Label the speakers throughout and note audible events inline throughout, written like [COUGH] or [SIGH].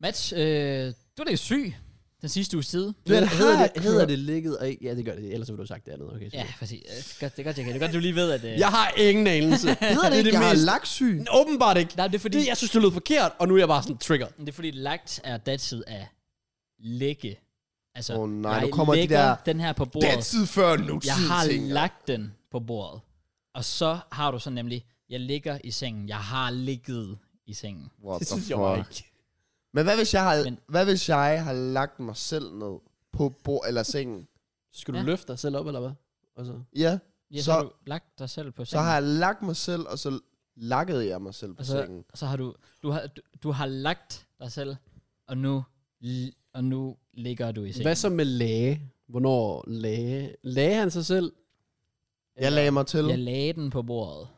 Speaker 1: Match, øh, du er lidt syg den sidste uges tid.
Speaker 2: Du er,
Speaker 3: Hedder- hedder
Speaker 2: har
Speaker 3: det-
Speaker 2: det,
Speaker 3: hedder
Speaker 2: hedder det ligget? Og, ja, det gør det. Ellers ville du have sagt det andet. Okay,
Speaker 1: Ja, præcis. Øh, Godt, det er godt, jeg kan. Det er godt, du lige ved, at... Øh,
Speaker 2: Jeg har ingen [LAUGHS] anelse.
Speaker 3: Hedder
Speaker 2: er
Speaker 3: det, ikke, jeg har
Speaker 2: mest-
Speaker 3: laksyg?
Speaker 2: Åbenbart ikke.
Speaker 1: Nej, det er fordi,
Speaker 2: Det, jeg synes, det lød forkert, og nu er jeg bare sådan trigger.
Speaker 1: det er fordi lagt er datid af lægge. Altså,
Speaker 3: Åh, nej,
Speaker 1: jeg
Speaker 3: nu kommer de
Speaker 1: lægger
Speaker 3: der-
Speaker 1: den her på
Speaker 3: Det
Speaker 1: bordet.
Speaker 3: er tid før nu.
Speaker 1: jeg har lagt den på bordet. Og så har du så nemlig, jeg ligger i sengen. Jeg har ligget i sengen.
Speaker 3: What
Speaker 2: Det
Speaker 3: the
Speaker 2: synes jeg bare
Speaker 3: fuck?
Speaker 2: ikke.
Speaker 3: Men hvad hvis jeg har,
Speaker 1: Men-
Speaker 3: hvad hvis jeg har lagt mig selv ned på bord eller sengen?
Speaker 2: Skal du
Speaker 1: Ja.
Speaker 2: løfte dig selv op, eller hvad? Altså.
Speaker 3: Ja,
Speaker 1: Ja, så,
Speaker 3: Så-
Speaker 1: har du lagt dig selv på sengen. Altså,
Speaker 3: så har jeg lagt mig selv, og så lakkede jeg mig selv på
Speaker 1: og så,
Speaker 3: sengen.
Speaker 1: og så har du, du har, du, du har lagt dig selv, og nu, l- og nu ligger du i sengen.
Speaker 2: Hvad så med læge? Hvornår læge? Læge han sig selv?
Speaker 3: Jeg lagde mig til.
Speaker 1: øh, Jeg lagde den på bordet.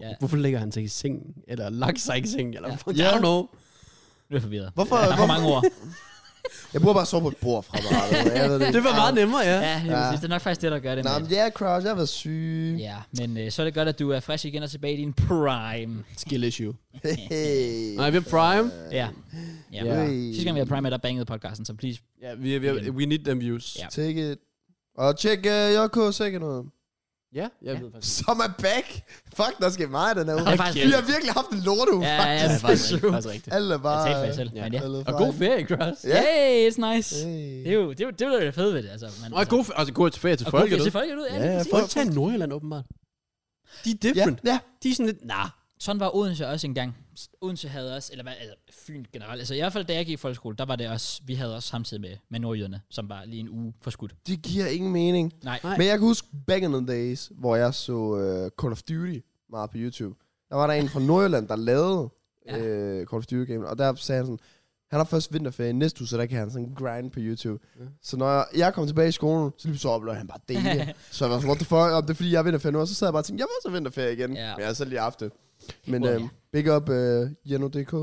Speaker 1: Ja.
Speaker 2: Ja. Hvorfor ligger han sig i sengen? Eller lagt sig ikke i sengen? Eller,
Speaker 1: Ja.
Speaker 2: ja. I
Speaker 3: Ja.
Speaker 2: don't know.
Speaker 1: Nu er jeg forvirret.
Speaker 3: Hvorfor-
Speaker 1: Der er for
Speaker 3: hvorfor-
Speaker 1: mange ord.
Speaker 3: Jeg bruger bare at sove på et
Speaker 1: [LAUGHS]
Speaker 3: bord fremadrettet. Jeg ved
Speaker 2: Det var meget nemmere, ja. [LAUGHS]
Speaker 1: Ja,
Speaker 3: Ja.
Speaker 1: ja. det er nok faktisk det, der gør det.
Speaker 3: Nå,
Speaker 1: Matt.
Speaker 3: men ja, Kraus, jeg var syg.
Speaker 1: Ja, men øh, så er det godt, at du er frisk igen og tilbage i din prime.
Speaker 2: Skill issue.
Speaker 3: [LAUGHS] Hey.
Speaker 2: Nej, vi er prime.
Speaker 1: Ja. ja.
Speaker 2: Ja.
Speaker 1: ja.
Speaker 3: Hey.
Speaker 1: Sidste gang, vi havde prime, der bangede podcasten, så please.
Speaker 2: Ja, vi, vi, we need them views.
Speaker 1: Ja.
Speaker 3: Take it. Og tjek uh, Jokko sikkert noget.
Speaker 2: ja jeg
Speaker 1: Ja.
Speaker 2: ved faktisk.
Speaker 3: Som er back. Fuck, der sker meget den her uge.
Speaker 1: Det er faktisk-
Speaker 3: Vi har virkelig haft en lorte uge,
Speaker 1: Ja, ja,
Speaker 3: faktisk.
Speaker 1: det er faktisk
Speaker 2: Det [LAUGHS] er
Speaker 1: true.
Speaker 2: faktisk rigtigt.
Speaker 3: Alle er
Speaker 1: Jeg
Speaker 3: bare...
Speaker 1: talte for jer selv,
Speaker 2: Ja.
Speaker 1: men ja.
Speaker 3: alle er
Speaker 2: Og
Speaker 3: fejl.
Speaker 2: god ferie, Cross.
Speaker 3: Ja.
Speaker 1: Hey, it's nice.
Speaker 3: Hey.
Speaker 1: Det er jo det, er jo- det, er jo det fede ved det, altså. Man,
Speaker 2: Og god, fe- altså, god ferie til
Speaker 1: og
Speaker 2: folket.
Speaker 1: folket
Speaker 2: du.
Speaker 1: ud. Folket ud, ja, lige
Speaker 2: Ja,
Speaker 1: præcis.
Speaker 2: folk tager Nordjylland åbenbart. De er
Speaker 3: Ja,
Speaker 2: different.
Speaker 3: ja.
Speaker 2: De er sådan lidt, nah.
Speaker 1: Sådan var Odense også engang. Odense havde også, eller hvad, altså Fyn generelt. Altså i hvert fald, da jeg gik i folkeskole, der var det også, vi havde også samtidig med, med nordjyderne, som var lige en uge forskudt.
Speaker 3: Det giver ingen mening.
Speaker 1: Nej.
Speaker 2: Nej.
Speaker 3: Men jeg kan huske back in the days, hvor jeg så uh, Call of Duty meget på YouTube. Der var der en fra Nordjylland, der lavede
Speaker 1: Ja.
Speaker 3: ja. uh, Call of Duty game, og der sagde han sådan, han har først vinterferie næste uge, så der kan han sådan grind på YouTube.
Speaker 2: Ja.
Speaker 3: Ja. Så når jeg, jeg kom tilbage i skolen, så lige så oplevede han bare dele. så jeg var sådan, what the fuck, om det er fordi jeg er vinterferie nu, og så sad jeg bare og tænkte, jeg var så vinterferie igen.
Speaker 1: Ja.
Speaker 3: Ja. Men jeg har så lige haft det.
Speaker 1: Well,
Speaker 3: Men well,
Speaker 1: ja.
Speaker 3: yeah. big up uh, Jeno.dk.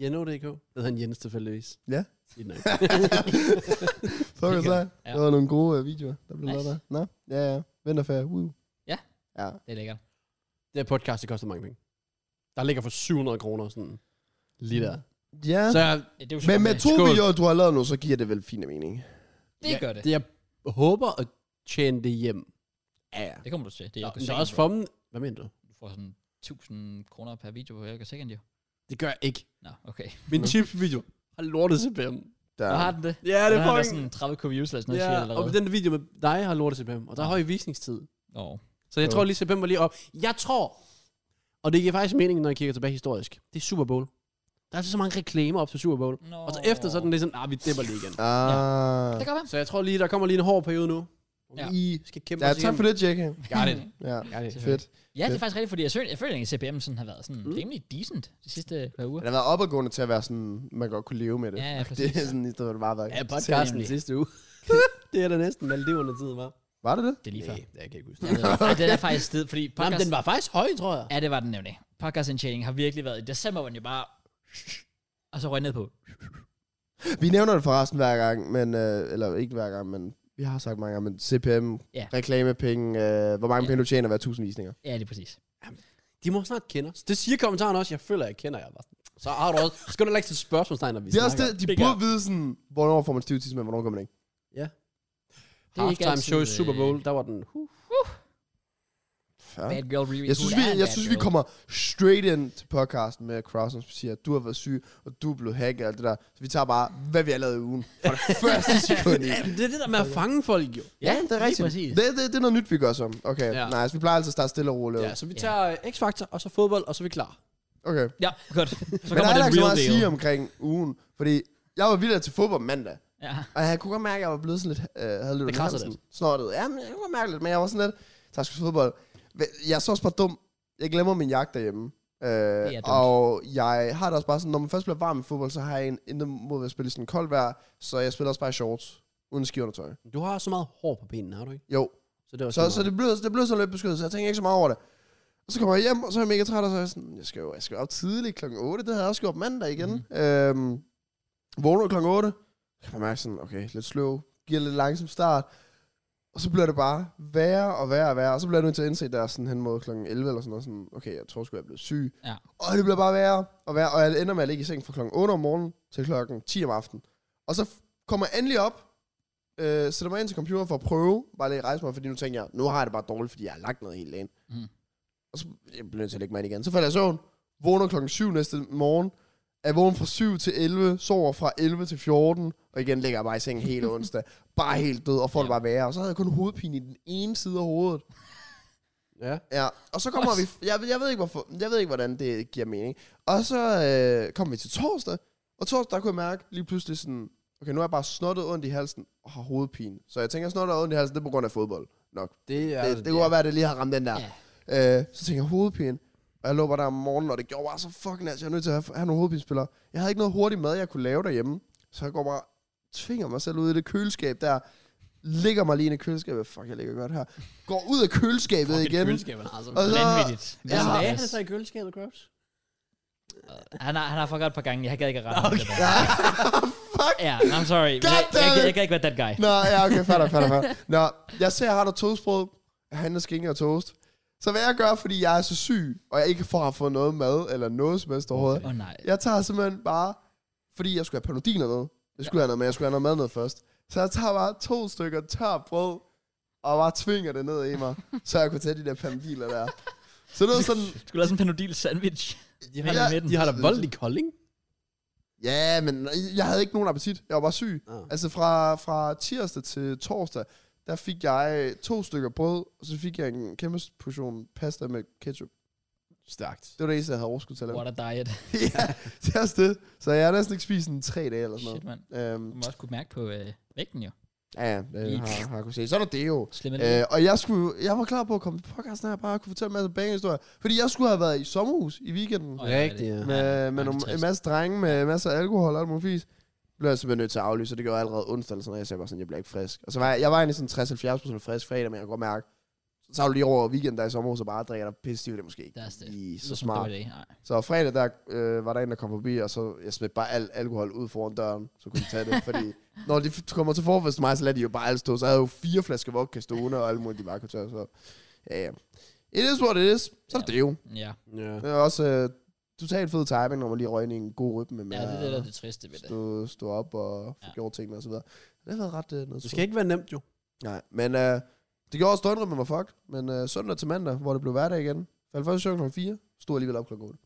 Speaker 2: Jeno.dk. Ved han Jens tilfældigvis.
Speaker 3: Ja.
Speaker 2: Sig den ikke. [LAUGHS]
Speaker 3: Fuck
Speaker 1: Big
Speaker 3: os af.
Speaker 1: Ja.
Speaker 3: Det var nogle gode uh, videoer, der blev
Speaker 1: Nice.
Speaker 3: nice. lavet der. Nå, ja, ja. Vinterferie, woo.
Speaker 1: Ja.
Speaker 3: Ja.
Speaker 1: Det er lækkert.
Speaker 2: Det her podcast, det koster mange penge. Der ligger for 700 kroner sådan lige der.
Speaker 3: Ja.
Speaker 2: Så jeg,
Speaker 1: Ja, Det er jo så
Speaker 3: Men
Speaker 1: godt,
Speaker 3: med
Speaker 1: det-
Speaker 3: to
Speaker 2: Skål.
Speaker 3: videoer, du har lavet nu, så giver det vel fin mening.
Speaker 1: Det gør det.
Speaker 2: det, jeg håber at tjene det hjem.
Speaker 3: Ja, ja.
Speaker 1: Det kommer du til. Det er
Speaker 2: Nå,
Speaker 1: Jokko
Speaker 2: men så
Speaker 1: Second,
Speaker 2: også
Speaker 1: bro.
Speaker 2: for dem. Hvad mener du?
Speaker 1: Du får sådan 1000 kroner per video på Jørgen Second, jo.
Speaker 2: Det gør jeg ikke.
Speaker 1: Nå, okay.
Speaker 2: Min
Speaker 3: Nå.
Speaker 2: chipsvideo har lortet CPM.
Speaker 3: Der.
Speaker 1: Ja. har den det?
Speaker 2: Ja, det
Speaker 1: Den
Speaker 2: er
Speaker 1: har der
Speaker 2: fucking...
Speaker 1: sådan 30 kv views eller sådan noget, siger jeg
Speaker 2: Ja, og
Speaker 1: allerede.
Speaker 2: den video med dig har lortet CPM, og der er høj visningstid.
Speaker 1: Åh.
Speaker 2: Så jeg
Speaker 3: Ja.
Speaker 2: tror lige, CPM var lige op. Jeg tror, og det giver faktisk mening, når jeg kigger tilbage historisk, det er Super Bowl. Der er så mange reklamer op til Super Bowl.
Speaker 1: Nå.
Speaker 2: Og så efter, så er den lidt sådan, ah, vi dipper lige igen.
Speaker 3: Ah.
Speaker 1: Det kan godt være.
Speaker 2: Så jeg tror lige, der kommer lige en hård periode nu.
Speaker 1: Ja.
Speaker 2: Ja. I skal kæmpe
Speaker 3: Ja,
Speaker 2: os
Speaker 3: tak
Speaker 2: igennem.
Speaker 3: for det, Jake.
Speaker 2: Got it.
Speaker 3: Ja,
Speaker 2: Got [LAUGHS] it.
Speaker 3: fedt.
Speaker 1: Ja, det er faktisk rigtigt, fordi jeg, føler, jeg føler, at CPM sådan har været sådan
Speaker 2: Mm.
Speaker 1: mm. rimelig decent de sidste par uger.
Speaker 3: Den har været opadgående til at være sådan, man godt kunne leve med det.
Speaker 1: Ja, ja,
Speaker 3: [LAUGHS] det
Speaker 1: præcis.
Speaker 3: er sådan, i stedet for det bare var.
Speaker 2: Ja, podcasten
Speaker 1: Nemlig.
Speaker 2: sidste uge. [LAUGHS] det er da næsten Maldiverne tid, var.
Speaker 3: Var det det?
Speaker 1: Det er lige før.
Speaker 2: Nej, det kan jeg ikke huske.
Speaker 1: Jeg ved ikke. Ej, den er
Speaker 3: [LAUGHS]
Speaker 1: faktisk sted, fordi
Speaker 2: Nej, men
Speaker 1: podcast,
Speaker 2: den var faktisk høj, tror jeg.
Speaker 1: Ja, det var den nemlig. Podcast indtjening har virkelig været... I december var den jo bare... Og så røg ned på.
Speaker 3: Vi nævner det forresten hver gang, men, øh, eller ikke hver gang, men vi har sagt mange gange, men CPM,
Speaker 1: Ja.
Speaker 3: ja. reklamepenge, øh, hvor mange
Speaker 1: Ja.
Speaker 3: penge du tjener hver tusind visninger.
Speaker 1: Ja, det er præcis.
Speaker 2: De må snart kende os. Det siger kommentaren også. Jeg føler, jeg kender jer. Bare sådan, Så har du også. Så skal du lægge til spørgsmålstegn, når vi
Speaker 3: Det er også
Speaker 2: snakker.
Speaker 3: det, de
Speaker 1: Big
Speaker 3: burde
Speaker 1: up.
Speaker 3: vide sådan, hvornår får man stiv tidsmænd, hvornår gør man ikke.
Speaker 1: Det er ikke
Speaker 2: Halftime
Speaker 1: altid,
Speaker 2: show i
Speaker 1: øh,
Speaker 2: Super Bowl. Der var den. Uh,
Speaker 3: Ja.
Speaker 1: Bad girl review.
Speaker 3: Jeg synes,
Speaker 1: Hun
Speaker 3: vi,
Speaker 1: er en
Speaker 3: jeg
Speaker 1: bad
Speaker 3: synes, vi
Speaker 1: girl.
Speaker 3: kommer straight ind til podcasten med Cross, som siger, at du har været syg, og du er blevet hacket og alt det der. Så vi tager bare, hvad vi har lavet i ugen. Fra det første sekund i.
Speaker 2: ja, men det er det der med at fange folk, jo.
Speaker 1: Ja, det er rigtigt. Præcis.
Speaker 3: Det, det, det er noget nyt, vi gør så. Okay,
Speaker 2: Ja.
Speaker 3: ja. nice. Vi plejer altid at starte stille og roligt.
Speaker 2: Ja, så vi tager øh, X-Factor, og så fodbold, og så er vi klar.
Speaker 3: Okay.
Speaker 1: Ja, godt. Så
Speaker 3: Men der
Speaker 1: kommer
Speaker 3: er heller
Speaker 1: den
Speaker 3: ikke så
Speaker 1: real
Speaker 3: meget at
Speaker 1: deal.
Speaker 3: sige omkring ugen, fordi jeg var vildt til fodbold mandag,
Speaker 1: Ja.
Speaker 3: og jeg kunne godt mærke, at jeg var blevet sådan lidt... Øh, havde lidt
Speaker 2: krasser
Speaker 3: Snortet. Ja, men jeg kunne godt mærke lidt, men jeg var sådan lidt... Tak skal fodbold. Jeg er så også bare dum. Jeg glemmer min jagt derhjemme. Øh,
Speaker 1: dumt.
Speaker 3: og jeg har det også bare sådan, når man først bliver varm i fodbold, så har jeg en intet mod at spille i sådan koldt vejr, så jeg spiller også bare i shorts, uden skiundertøj.
Speaker 2: Du har så meget hår på benene, har du ikke?
Speaker 3: Jo,
Speaker 2: Så det var
Speaker 3: så, så det blev, det blev sådan lidt beskyttet, så jeg tænker ikke så meget over det. Og så kommer jeg hjem, og så er jeg mega træt, og så er jeg sådan, jeg skal jo, jeg skal jo op tidligt kl. 8, det havde jeg også gjort mandag igen. Mm. Øhm, vågner kl. 8, kan man mærke sådan, okay, lidt sløv, giver lidt langsom start. Og så bliver det bare værre og værre og værre, og så bliver jeg nødt til at indse, der er sådan hen mod kl. 11 eller sådan noget, sådan, okay, jeg tror sgu, jeg er blevet syg.
Speaker 1: Ja.
Speaker 3: Og det bliver bare værre og værre, og jeg ender med at ligge i sengen fra kl. 8 om morgenen til klokken 10 om aftenen. Og så f- kommer jeg endelig op, øh, sætter mig ind til computer for at prøve, bare lige at rejse mig, fordi nu tænker jeg, nu har jeg det bare dårligt, fordi jeg har lagt noget hele dagen.
Speaker 1: Mm.
Speaker 3: Og så jeg bliver nødt til at lægge mig ind igen. Så falder jeg i søvn, vågner klokken 7 næste morgen, er vågen fra 7 til 11, sover fra 11 til 14, og igen ligger jeg bare i sengen hele onsdag. Bare helt død, og får det
Speaker 1: Ja.
Speaker 3: bare værre. Og så havde jeg kun hovedpine i den ene side af hovedet.
Speaker 2: Ja.
Speaker 3: Ja, og så kommer
Speaker 1: Også-
Speaker 3: vi... Jeg, jeg, ved ikke, hvorfor, jeg ved ikke, hvordan det giver mening. Og så øh, kommer vi til torsdag, og torsdag der kunne jeg mærke lige pludselig sådan... Okay, nu er jeg bare snottet ondt i halsen og har hovedpine. Så jeg tænker, at snottet og ondt i halsen, det er på grund af fodbold nok.
Speaker 2: Det, er,
Speaker 3: det, det kunne godt være, at det lige har ramt den der. Øh, så tænker jeg, hovedpine. Og jeg lå bare der om morgenen, og det gjorde bare så fucking altså, jeg er nødt til at have, have nogle hovedpinespillere. Jeg havde ikke noget hurtigt mad, jeg kunne lave derhjemme. Så jeg går bare og tvinger mig selv ud i det køleskab der. Ligger mig lige inde i køleskabet. Fuck, jeg ligger godt her. Går ud af køleskabet igen. [LAUGHS]
Speaker 1: Køleskabet har så
Speaker 3: Og så-
Speaker 1: vanvittigt.
Speaker 3: Ja.
Speaker 1: Sådan,
Speaker 2: Lagde
Speaker 1: yes.
Speaker 2: han det så i køleskabet, Gross?
Speaker 1: Han har, han har fucket et par gange. Jeg gad ikke at rette okay. det der.
Speaker 3: Fuck.
Speaker 1: Ja, I'm sorry. Jeg, jeg, jeg, gad- jeg gad ikke være that guy.
Speaker 3: Nå, ja, okay, fatter, fatter, fatter. Nå, jeg ser, at han har toastbrød. Jeg handler skinke og toast. Så hvad jeg gør, fordi jeg er så syg, og jeg ikke får har fået noget mad eller noget som helst overhovedet.
Speaker 1: Åh oh, nej.
Speaker 3: Jeg tager simpelthen bare, fordi jeg skulle have panodiner med. Jeg skulle have noget, men jeg skulle have noget mad ned først. Så jeg tager bare to stykker tør brød, og bare tvinger det ned i mig, så jeg kunne tage de der panodiler der. Så det var sådan,
Speaker 1: Du [LAUGHS] skulle lave sådan en panodil sandwich.
Speaker 2: De
Speaker 1: har-
Speaker 2: har,
Speaker 1: Helt i midten.
Speaker 2: de har da voldt i kolding.
Speaker 3: ja, men jeg havde ikke nogen appetit. Jeg var bare syg.
Speaker 2: Ah.
Speaker 3: Altså fra, fra tirsdag til torsdag, der fik jeg to stykker brød, og så fik jeg en kæmpe portion pasta med ketchup.
Speaker 2: Stærkt.
Speaker 3: Det var det eneste, jeg havde overskud til at lave.
Speaker 1: What a diet.
Speaker 3: ja, det er også det. Så jeg har næsten ikke spist en tre dage eller sådan
Speaker 1: Shit,
Speaker 3: noget.
Speaker 1: mand. Du
Speaker 3: Øhm,
Speaker 1: må også kunne mærke på øh, vægten jo.
Speaker 3: ja, ja, det har, har jeg kunnet se. Sådan er det jo.
Speaker 1: Slimme øh,
Speaker 3: Øh, og jeg, skulle, jeg var klar på at komme til podcasten her, bare at kunne fortælle en masse bangehistorier. Fordi jeg skulle have været i sommerhus i weekenden.
Speaker 1: Åh, ja, det er det.
Speaker 2: Rigtigt, ja.
Speaker 3: med, med
Speaker 1: det er
Speaker 3: nogle,
Speaker 1: trist.
Speaker 3: en masse drenge med masser af alkohol og alt muligt fisk. Blev jeg simpelthen nødt til at aflyse, og det gjorde jeg allerede onsdag eller sådan noget. Jeg sagde bare sådan, jeg bliver ikke frisk. Og så var jeg, jeg var egentlig sådan 60-70% frisk fredag, men jeg kunne godt mærke, så tager du lige over weekenden der i sommerhuset og bare drikker dig pisse, det er måske ikke
Speaker 1: Det er det.
Speaker 3: lige
Speaker 1: så
Speaker 3: så
Speaker 1: smart.
Speaker 3: smart. Så fredag der øh, var der en, der kom forbi, og så jeg smed bare al alkohol ud foran døren, så kunne de tage det.
Speaker 1: [LAUGHS]
Speaker 3: fordi når de f- kommer til forfest til mig, så lader de jo bare alt stå. Så jeg havde jo fire flasker vodka stående, og alt muligt, de bare kunne tage. Så ja, ja. It is what it is. Så er det det jo.
Speaker 1: Ja.
Speaker 2: Ja.
Speaker 3: Det er også øh, totalt fed timing, når man lige røg ind i en god rytme med
Speaker 1: ja, det er det, der er
Speaker 3: at
Speaker 1: det triste ved det.
Speaker 3: stå, stå op og få
Speaker 1: Ja.
Speaker 3: ja. gjort tingene og så videre. Det har været ret øh, noget
Speaker 2: Det
Speaker 3: tid.
Speaker 2: skal ikke være nemt, jo.
Speaker 3: Nej, men øh, det gjorde også døgnrymmen var fucked. Men øh, søndag til mandag, hvor det blev hverdag igen, faldt først i søvn klokken 4, stod alligevel op klokken 8.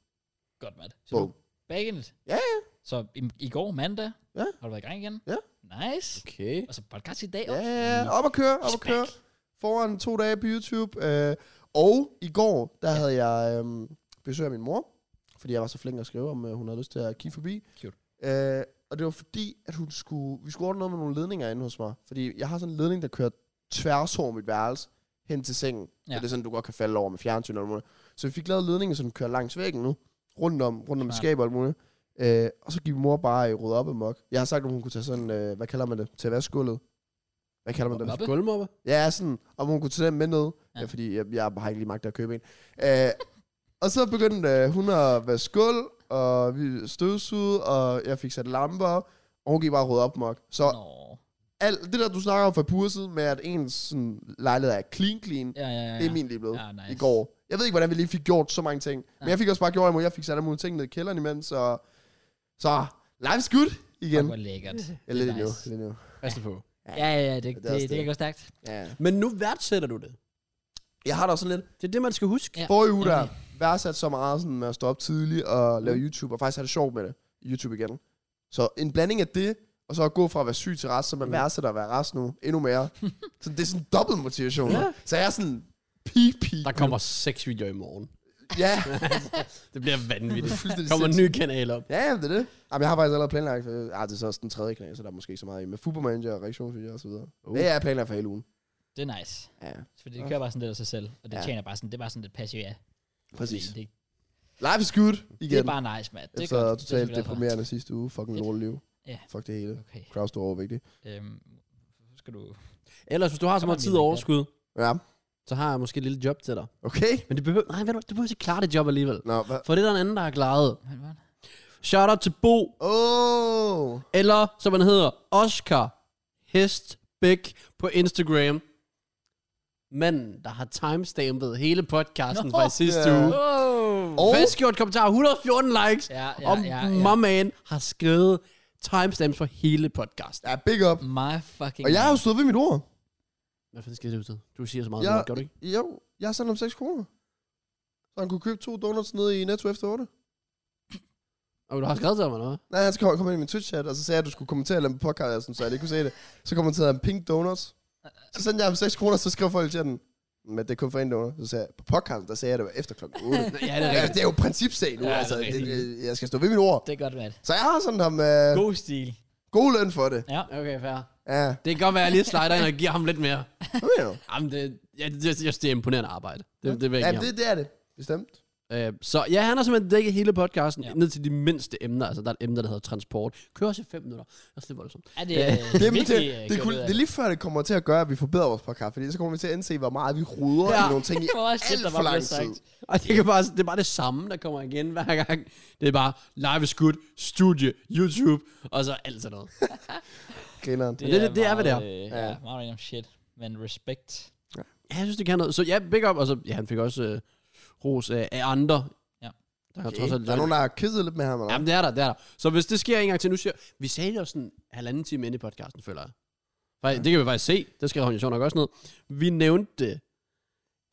Speaker 1: Godt, mand. Så
Speaker 3: Boom.
Speaker 1: du back in it.
Speaker 3: Ja,
Speaker 1: ja. Så i, i går mandag
Speaker 3: Ja.
Speaker 1: har du været i gang igen.
Speaker 3: Ja.
Speaker 1: Nice.
Speaker 2: Okay.
Speaker 1: Og så podcast i dag
Speaker 3: Ja,
Speaker 1: også.
Speaker 3: ja, ja, op og køre, op og køre. Foran to dage på YouTube. Øh, og i går, der havde jeg øh, besøg af min mor, fordi jeg var så flink at skrive, om øh, hun havde lyst til at kigge forbi.
Speaker 1: Cute.
Speaker 3: Øh, og det var fordi, at hun skulle, vi skulle ordne noget med nogle ledninger inde hos mig. Fordi jeg har sådan en ledning, der kører tværs over mit værelse hen til sengen.
Speaker 1: Ja.
Speaker 3: Ja. det er sådan, du godt kan falde over med fjernsyn eller noget. Så vi fik lavet ledningen, så den kører langs væggen nu. Rundt om, rundt om i
Speaker 1: Smart.
Speaker 3: skabet og alt muligt. Øh, og så gik mor bare øh, rydde op i mok. Jeg har sagt, om hun kunne tage sådan, øh, hvad kalder man det? Til vaskegulvet. Hvad kalder man det?
Speaker 1: Oppe?
Speaker 2: Gulvmopper?
Speaker 3: Ja, sådan, om hun kunne tage den med ned.
Speaker 1: Ja.
Speaker 3: Ja. Ja, fordi jeg, jeg har ikke lige magt at købe en. Øh, og så begyndte øh, hun at være skuld, og vi støvsugede, og jeg fik sat lamper op, og hun gik bare rød op mok. Så
Speaker 1: Nå.
Speaker 3: alt det der, du snakker om fra purset med, at ens sådan, lejlighed er clean clean,
Speaker 1: Ja,
Speaker 3: ja,
Speaker 1: ja, ja.
Speaker 3: ja. det er min lige blevet
Speaker 1: Ja, nice.
Speaker 3: i går. Jeg ved ikke, hvordan vi lige fik gjort så mange ting. Ja.
Speaker 1: Nej.
Speaker 3: Men jeg fik også bare gjort imod, jeg fik sat alle mulige ting ned i kælderen imens, og så life's good igen.
Speaker 1: Fuck, hvor lækkert.
Speaker 3: Ja, lidt
Speaker 1: det er
Speaker 3: endnu,
Speaker 1: nice.
Speaker 3: lidt endnu.
Speaker 2: Pas det på.
Speaker 1: Ja, ja, ja, det, det,
Speaker 3: er
Speaker 1: det,
Speaker 3: også
Speaker 1: det
Speaker 3: det.
Speaker 1: kan gå stærkt.
Speaker 3: Ja.
Speaker 2: Men nu værdsætter du det.
Speaker 3: Jeg har da også sådan lidt,
Speaker 2: Det er det, man skal huske.
Speaker 1: Ja.
Speaker 3: Ja, Forrige uge der
Speaker 1: nemlig. Mm.
Speaker 3: værdsat så meget sådan med at stå op tidligt og lave YouTube, og faktisk have det sjovt med det. YouTube igen. Så en blanding af det, og så at gå fra at være syg til rest, så man
Speaker 2: Mm.
Speaker 3: værdsætter at være rest nu endnu
Speaker 1: [LAUGHS]
Speaker 3: mere. så det er sådan en dobbelt motivation.
Speaker 2: Ja.
Speaker 3: Ja. Så jeg er sådan peak, peak.
Speaker 2: Der kommer seks videoer i morgen.
Speaker 3: [LAUGHS] Ja,
Speaker 2: Det bliver
Speaker 3: [LAUGHS]
Speaker 2: vanvittigt.
Speaker 3: fuldstændig
Speaker 2: kommer en
Speaker 3: sindssygt.
Speaker 2: ny kanal op.
Speaker 3: Ja, jamen, det er det. Jamen, jeg har faktisk allerede planlagt, øh, ah, det er så også den tredje kanal, så der er måske ikke så meget i. Med Football Manager og reaktionsvideo og så videre.
Speaker 2: Uh.
Speaker 3: Uh. Det er jeg planlagt for hele ugen.
Speaker 1: Det er nice.
Speaker 3: Ja,
Speaker 1: Fordi det kører bare sådan lidt af sig selv, og det
Speaker 3: Ja.
Speaker 1: tjener bare sådan, det er bare sådan lidt passivt af.
Speaker 3: præcis.
Speaker 1: Det,
Speaker 3: Life is good igen.
Speaker 1: det, er bare nice, mand. Det er godt.
Speaker 3: Efter
Speaker 1: Det er jeg
Speaker 3: totalt
Speaker 1: glad for.
Speaker 3: deprimerende sidste uge. Fucking
Speaker 1: Fedt.
Speaker 3: lort liv.
Speaker 1: Ja.
Speaker 3: Fuck det hele.
Speaker 1: Okay.
Speaker 3: Kraus, du er overvægtig.
Speaker 1: Øhm, så skal du...
Speaker 2: Ellers, hvis du har så
Speaker 1: Kommer
Speaker 2: meget
Speaker 1: den
Speaker 2: tid
Speaker 1: lige
Speaker 2: og
Speaker 1: med,
Speaker 2: overskud,
Speaker 3: Ja,
Speaker 2: så har jeg måske et lille job til dig.
Speaker 3: okay.
Speaker 2: Men det behøver, nej, ved du, du behøver ikke klare det job alligevel.
Speaker 3: Nå, hvad?
Speaker 2: For det er der en anden, der har klaret.
Speaker 1: Hvad var det?
Speaker 2: Shout out til Bo,
Speaker 3: Åh! Oh.
Speaker 2: eller som han hedder, Oscar Hestbæk på Instagram. manden, der har timestampet hele podcasten
Speaker 1: Nå,
Speaker 2: fra sidste
Speaker 3: ja.
Speaker 2: uge.
Speaker 1: Oh.
Speaker 3: Og
Speaker 2: Fastgjort kommentar, 114 likes,
Speaker 1: Ja, ja,
Speaker 2: og
Speaker 1: ja,
Speaker 2: my
Speaker 1: ja.
Speaker 2: man har skrevet timestamps for hele podcasten.
Speaker 3: ja, big up.
Speaker 1: My fucking...
Speaker 3: Og jeg har jo stået ved mit ord.
Speaker 2: Hvad fanden skal det betyde? Du siger så meget,
Speaker 3: Jeg,
Speaker 2: ja. gør du ikke?
Speaker 3: Jo, jeg har sendt ham 6 kroner. Så han kunne købe to donuts nede i Netto efter 8.
Speaker 2: Og du har skrevet til ham, eller hvad?
Speaker 3: Nej, han kom, kom ind i min Twitch-chat, og så sagde jeg, at du skulle kommentere dem på podcasten, så jeg ikke kunne se det. Så kommenterede han Pink Donuts. Så sendte jeg ham 6 kroner, så skrev folk i chatten, men det er kun for en donut. Så sagde jeg, på podcasten, der sagde jeg, at det var efter klokken 8.
Speaker 2: Ja, det er
Speaker 3: [LAUGHS] ja,
Speaker 2: rigtigt.
Speaker 3: det er jo principsag nu,
Speaker 1: Ja, det
Speaker 3: ja,
Speaker 1: er
Speaker 3: altså. Det,
Speaker 1: rigtigt.
Speaker 3: det- jeg skal stå ved mit ord.
Speaker 1: Det er godt, mand.
Speaker 3: Så jeg har sådan ham øh,
Speaker 1: God stil.
Speaker 3: god løn for det.
Speaker 1: Ja.
Speaker 2: Okay, fair.
Speaker 3: Ja,
Speaker 2: Det kan godt være, at jeg lige slider ind og giver ham lidt mere.
Speaker 3: hvad mener du?
Speaker 2: Jamen, det, jeg, det, jeg synes, det er imponerende arbejde. Det, det vil jeg
Speaker 3: Ja,
Speaker 2: give ham.
Speaker 3: det, det er det. Bestemt.
Speaker 2: Øh, så ja, han har simpelthen dækket hele podcasten
Speaker 1: Ja.
Speaker 2: ja. ned til de mindste emner. Altså, der er et emne, der hedder transport. Kører til 5 minutter. Det er også lidt voldsomt.
Speaker 1: Er det,
Speaker 3: Det, er,
Speaker 1: virkelig,
Speaker 3: det,
Speaker 1: øh,
Speaker 3: det,
Speaker 1: gjort
Speaker 3: kunne,
Speaker 1: ud af
Speaker 3: det er lige før, det kommer til at gøre, at vi forbedrer vores podcast, fordi så kommer vi til at indse, hvor meget vi ruder ja.
Speaker 2: Ja.
Speaker 3: i nogle
Speaker 1: [LAUGHS]
Speaker 3: ting i [LAUGHS]
Speaker 1: Det var også shit,
Speaker 3: alt
Speaker 1: der
Speaker 3: for
Speaker 1: var
Speaker 3: lang
Speaker 1: blevet sagt.
Speaker 3: tid.
Speaker 2: [LAUGHS] Og det, kan bare, det er bare det samme, der kommer igen hver gang. Det er bare live skud, studie, YouTube, og så alt sådan noget.
Speaker 3: Grineren.
Speaker 2: Men det- det er, hvad det er.
Speaker 1: meget, Øh,
Speaker 3: Ja.
Speaker 1: ja. ja, meget random shit. Men respekt.
Speaker 2: [LAUGHS] Ja, jeg synes, det kan noget. Så ja, big up. Og så, ja, han fik også øh, ros af, af andre.
Speaker 1: Ja.
Speaker 2: Der,
Speaker 3: Okay.
Speaker 2: okay. trods alt,
Speaker 3: Der er nogen, der har kisset lidt med ham, eller?
Speaker 2: Jamen, det er der, det er der. Så hvis det sker en gang til, nu siger vi sagde det jo sådan halvanden time inde i podcasten, føler jeg. Faktisk, Det kan vi faktisk se. Det skrev han jo sjovt nok også ned. Vi nævnte det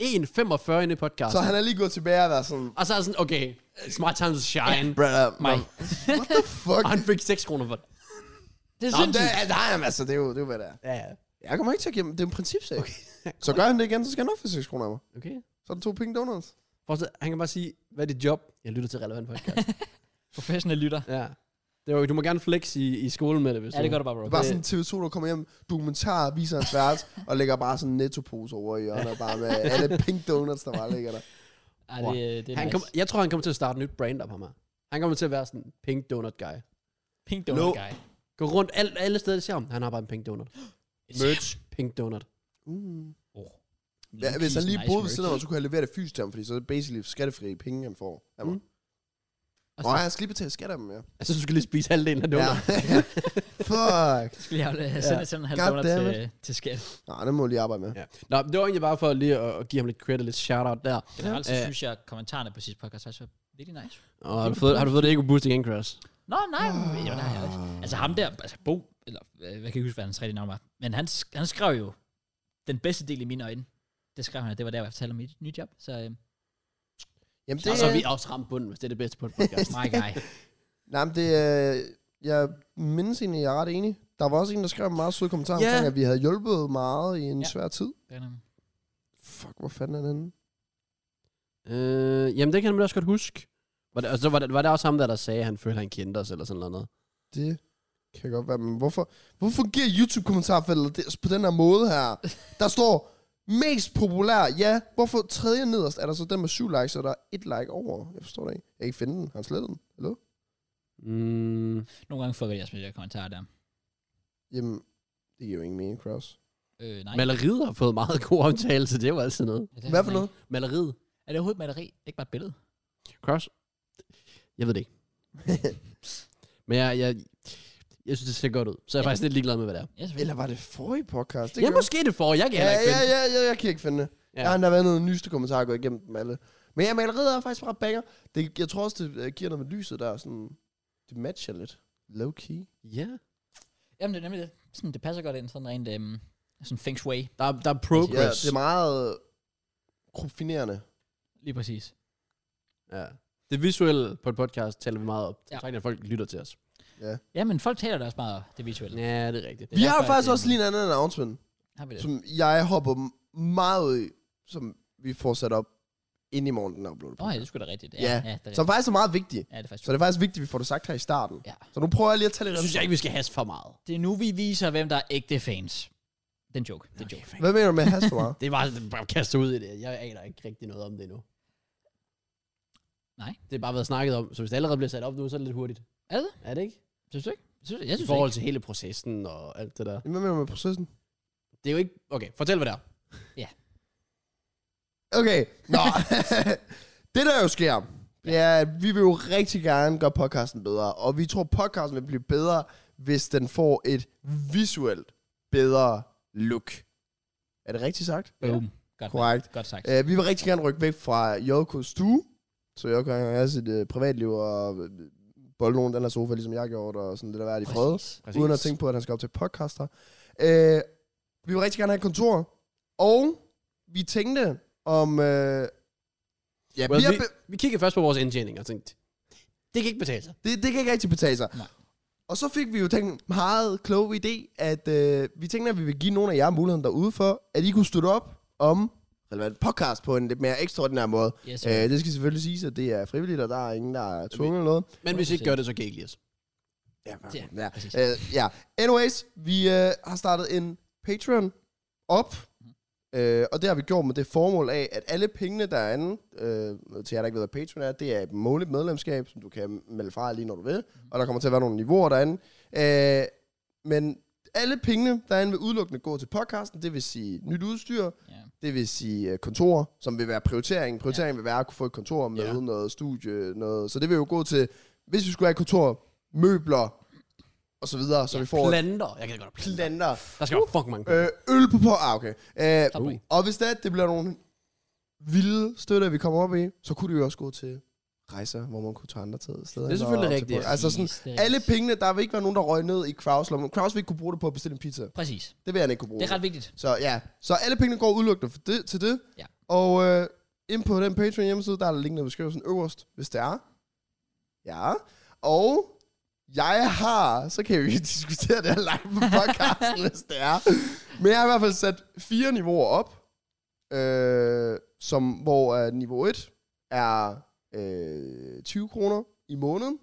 Speaker 2: 1.45 inde i podcasten.
Speaker 3: Så han er lige gået tilbage og været sådan,
Speaker 2: Og så er jeg sådan, okay, smart time to shine.
Speaker 3: brother,
Speaker 1: Mig.
Speaker 3: man, what the
Speaker 2: [LAUGHS]
Speaker 3: fuck?
Speaker 2: Og han fik 6 kroner for det.
Speaker 1: Det er
Speaker 3: Nå, men det,
Speaker 1: sindssygt.
Speaker 3: er- nej, jamen, altså, det er jo, det er jo, hvad det er.
Speaker 2: Ja, ja.
Speaker 3: Jeg kommer ikke til at give ham, det er en principsag. Okay. [LAUGHS] så gør han det igen, så skal han nok få 6 kroner af mig.
Speaker 2: Okay.
Speaker 3: Så er der to pink donuts.
Speaker 2: Forstå, han kan bare sige, hvad er dit job? Jeg lytter til relevant podcast.
Speaker 1: Professionel lytter.
Speaker 2: ja. Det var, du må gerne flex i, i skolen med det, hvis
Speaker 1: Ja, det gør du bare, bro.
Speaker 3: Det er bare sådan TV2, der kommer hjem, dokumentar, viser hans værelse, og lægger bare sådan en nettopose over i hjørnet, bare med alle pink donuts, der bare ligger der.
Speaker 1: Ej, det, øh, det er
Speaker 2: han
Speaker 1: nice.
Speaker 2: kom, jeg tror, han kommer til at starte et nyt brand op, ham her. Han kommer til at være sådan en pink donut guy.
Speaker 1: Pink
Speaker 3: Nå.
Speaker 1: donut guy.
Speaker 2: Gå rundt alt, alle steder, de ser ham. Han har bare en pink donut. Merch, pink donut.
Speaker 3: Mm.
Speaker 1: Oh.
Speaker 3: Ja, hvis han lige
Speaker 1: Lucky's
Speaker 3: boede ved siden af mig,
Speaker 1: merch.
Speaker 3: så kunne jeg levere det fysisk til ham, fordi så er det basically skattefri penge, han får. af mig.
Speaker 2: Mm.
Speaker 1: Og
Speaker 3: Nå,
Speaker 1: så-
Speaker 3: han skal lige betale skat af dem, ja.
Speaker 2: Altså, du skal lige spise halvdelen af
Speaker 3: ja.
Speaker 2: donut. [LAUGHS]
Speaker 3: Fuck.
Speaker 1: Så skulle jeg jo øh, sende sådan en halv
Speaker 3: God
Speaker 1: donut
Speaker 3: damn
Speaker 1: til, øh, til skat.
Speaker 3: Nå, det må jeg lige arbejde med.
Speaker 2: Ja. Nå, det var egentlig bare for lige at, at give ham lidt credit, lidt shout-out der.
Speaker 1: Generelt så
Speaker 2: Øh.
Speaker 1: synes jeg, at kommentarerne på sidste podcast faktisk var virkelig nice.
Speaker 2: Og har du fået, har du fået det ikke boost igen, Crash?
Speaker 1: Nå, nej.
Speaker 3: Ah.
Speaker 1: Jo, nej, jeg ikke. Altså ham der, altså Bo, eller øh, jeg kan ikke huske, hvad hans rigtige navn var, men han, sk- han skrev jo den bedste del i mine øjne. Det skrev han, at det var der, hvor jeg fortalte om mit nye job. Så øh,
Speaker 3: Jamen,
Speaker 2: Det...
Speaker 3: det,
Speaker 1: Altså,
Speaker 2: Og så er vi også ramt bunden, hvis det er det bedste på [LAUGHS] et podcast.
Speaker 1: my
Speaker 3: [LAUGHS]
Speaker 1: guy.
Speaker 3: nej, men det, øh, jeg mindes egentlig, jeg er ret enig. Der var også en, der skrev en meget sød kommentar
Speaker 2: Ja.
Speaker 3: yeah. omkring, at vi havde hjulpet meget i en
Speaker 1: Ja.
Speaker 3: yeah. svær tid.
Speaker 1: Det er nemlig-
Speaker 3: Fuck, hvor fanden er den henne?
Speaker 2: øh, jamen, det kan man også godt huske. Var det, altså, var, det, var det også ham der, der sagde, at han følte, at han kendte os, eller sådan noget?
Speaker 3: Det kan godt være, men hvorfor, hvorfor giver YouTube-kommentarfeltet det- på den her måde her?
Speaker 2: [LAUGHS]
Speaker 3: Der står, mest populær, ja. Hvorfor tredje nederst er der så den med syv likes, og der er et like over? Jeg forstår det ikke. Jeg kan ikke finde den. Har han slettet den? Hallo?
Speaker 2: Mm,
Speaker 1: Nogle gange fucker jeg også med de der kommentarer der.
Speaker 3: Jamen, det giver jo ingen mening, Kraus.
Speaker 1: Øh, nej.
Speaker 2: maleriet har fået meget god omtale, så det er jo altid noget.
Speaker 1: Ja, det er
Speaker 3: Hvad for
Speaker 1: han
Speaker 3: noget?
Speaker 1: ikke.
Speaker 2: Maleriet.
Speaker 1: Er det overhovedet maleri? Ikke bare et billede?
Speaker 2: Cross? Jeg ved det [LAUGHS] ikke. Men jeg, jeg, jeg synes, det ser godt ud. Så jeg er faktisk lidt ligeglad med, hvad det er.
Speaker 1: Ja, selvfølgelig.
Speaker 3: Eller var det forrige podcast? Det
Speaker 2: Det ja,
Speaker 3: kan-
Speaker 2: måske det får. Jeg kan
Speaker 3: Ja,
Speaker 2: heller
Speaker 3: ja,
Speaker 2: ikke finde.
Speaker 3: ja, ja, jeg kan ikke finde det. Ja. Jeg har endda været noget nyeste kommentar, og gået igennem dem alle. Men ja, maleriet er faktisk ret banger. Det, jeg tror også, det øh, giver noget med lyset der. Sådan, det matcher lidt. Low-key.
Speaker 2: ja.
Speaker 1: Jamen, det er nemlig det. Sådan, det passer godt ind, sådan rent øhm, sådan feng shui.
Speaker 2: Der, er- der er
Speaker 3: Ja,
Speaker 2: progress.
Speaker 3: det er meget øh, profinerende.
Speaker 1: Lige præcis.
Speaker 2: Ja. Det visuelle på et podcast taler vi meget op.
Speaker 1: Ja.
Speaker 2: Ja. Tak, at folk lytter til os.
Speaker 1: Ja, men folk taler da også meget om det visuelle. Ja.
Speaker 2: Ja, det er rigtigt.
Speaker 3: Vi har jo faktisk også lige en anden announcement,
Speaker 1: Har vi det?
Speaker 3: som jeg hopper m- meget ud i, som vi får sat op ind i morgen, den er uploadet.
Speaker 1: Åh, oh, ja, det skulle da rigtigt. Ja,
Speaker 3: Ja.
Speaker 1: ja det er
Speaker 3: Som
Speaker 1: rigtigt.
Speaker 3: faktisk er meget vigtigt.
Speaker 1: Ja, det er faktisk.
Speaker 3: Så det er faktisk vigtigt, at vi får det sagt her i starten.
Speaker 1: Ja.
Speaker 3: Så nu prøver jeg lige at tage
Speaker 2: Jeg
Speaker 3: lidt
Speaker 2: synes jeg ikke, vi skal hasse for meget.
Speaker 1: Det er nu, vi viser, hvem der er ægte fans. Den joke. Den joke.
Speaker 2: Okay,
Speaker 3: Hvad mener du med has for
Speaker 2: [LAUGHS]
Speaker 3: meget?
Speaker 2: det er bare, det er bare at kaste ud i det. Jeg aner ikke rigtig noget om det endnu.
Speaker 1: Nej.
Speaker 2: Det er bare været snakket om, så hvis det allerede bliver sat op nu, så er det lidt hurtigt.
Speaker 1: Er det?
Speaker 2: Er det ikke?
Speaker 1: Synes du ikke? Synes, jeg
Speaker 2: I
Speaker 1: synes
Speaker 2: forhold
Speaker 1: ikke.
Speaker 2: til hele processen og alt det der.
Speaker 3: Hvad mener du med processen?
Speaker 2: Det er jo ikke... Okay, fortæl hvad det er.
Speaker 3: Okay, nå. det der jo sker, det er, at vi vil jo rigtig gerne gøre podcasten bedre, og vi tror, podcasten vil blive bedre, hvis den får et visuelt bedre look. Er det rigtigt sagt?
Speaker 1: Boom. Godt,
Speaker 3: Korrekt.
Speaker 1: Godt sagt.
Speaker 3: Øh, vi vil rigtig gerne rykke væk fra Jokos stue, så Joko han har sit øh, privatliv og øh, bolde nogen i den her sofa, ligesom jeg gjorde, og sådan det der værd i fred,
Speaker 2: Præcis.
Speaker 3: uden at tænke på, at han skal op til podcaster. Øh, vi vil rigtig gerne have et kontor, og vi tænkte om... Øh, ja,
Speaker 2: Well,
Speaker 3: vi har
Speaker 2: vi,
Speaker 3: be-
Speaker 2: vi kiggede først på vores indtjening og tænkte, det kan ikke betale sig.
Speaker 3: det, det kan ikke rigtig betale sig.
Speaker 1: Nej.
Speaker 3: Og så fik vi jo tænkt en meget klog idé, at øh, vi tænkte, at vi vil give nogle af jer muligheden derude for, at I kunne støtte op om relevant podcast på en lidt mere ekstraordinær måde.
Speaker 1: Yes, sir.
Speaker 3: Øh, det skal selvfølgelig siges, at det er frivilligt, og der er ingen, der er tvunget eller noget.
Speaker 2: Men hvis I ikke gør det, så kan I ikke lide os.
Speaker 3: Ja,
Speaker 1: Ja,
Speaker 3: ja.
Speaker 1: præcis.
Speaker 3: Øh, ja. Anyways, vi øh, har startet en Patreon op,
Speaker 1: Mhm.
Speaker 3: øh, og det har vi gjort med det formål af, at alle pengene, der er andet, øh, til jer, der ikke ved, hvad Patreon er, det er et måligt medlemskab, som du kan melde fra lige når du vil,
Speaker 1: Mhm.
Speaker 3: og der kommer til at være nogle niveauer derinde. Øh, men alle pengene, der er inde, vil udelukkende gå til podcasten, det vil sige nyt udstyr,
Speaker 1: Ja.
Speaker 3: det vil sige øh, kontorer, som vil være prioriteringen. Prioriteringen vil være at kunne få et kontor med
Speaker 2: Ja.
Speaker 3: noget studie, noget. Så det vil jo gå til, hvis vi skulle have et kontor, møbler og så videre, så ja, vi får plan-
Speaker 2: Planter. Jeg kan godt have planter.
Speaker 3: planter.
Speaker 2: Der skal være fucking mange.
Speaker 3: Øh, øl på på, ah, okay. Øh,
Speaker 1: Top point.
Speaker 3: og hvis det, er, at det bliver nogle vilde støtter, vi kommer op i, så kunne det jo også gå til rejser, hvor man kunne tage andre til steder.
Speaker 2: Det er selvfølgelig
Speaker 3: Og til
Speaker 2: rigtigt,
Speaker 3: på-
Speaker 2: ja.
Speaker 3: Altså sådan,
Speaker 1: Præcis, det er
Speaker 3: alle
Speaker 1: rigtigt.
Speaker 3: pengene, der vil ikke være nogen, der røg ned i Kraus lommen. Kraus vil ikke kunne bruge det på at bestille en pizza.
Speaker 1: Præcis.
Speaker 3: Det vil han ikke kunne bruge.
Speaker 1: Det er ret vigtigt.
Speaker 3: Så ja, så alle pengene går udelukkende for det, til det.
Speaker 1: Ja.
Speaker 3: Og øh, ind på den Patreon hjemmeside, der er der linkende i beskrivelsen øverst, hvis det er. Ja. Og jeg har, så kan vi [LAUGHS] diskutere det her live på podcasten, hvis det er. Men jeg har i hvert fald sat fire niveauer op, øh, som, hvor øh, niveau 1 er øh, 20 kroner i måneden.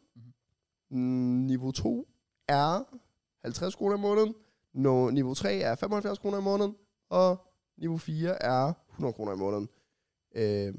Speaker 3: Mm, Niveau 2 er 50 kroner i måneden. No, niveau 3 er 75 kroner i måneden, og niveau 4 er 100 kroner i måneden. Øh,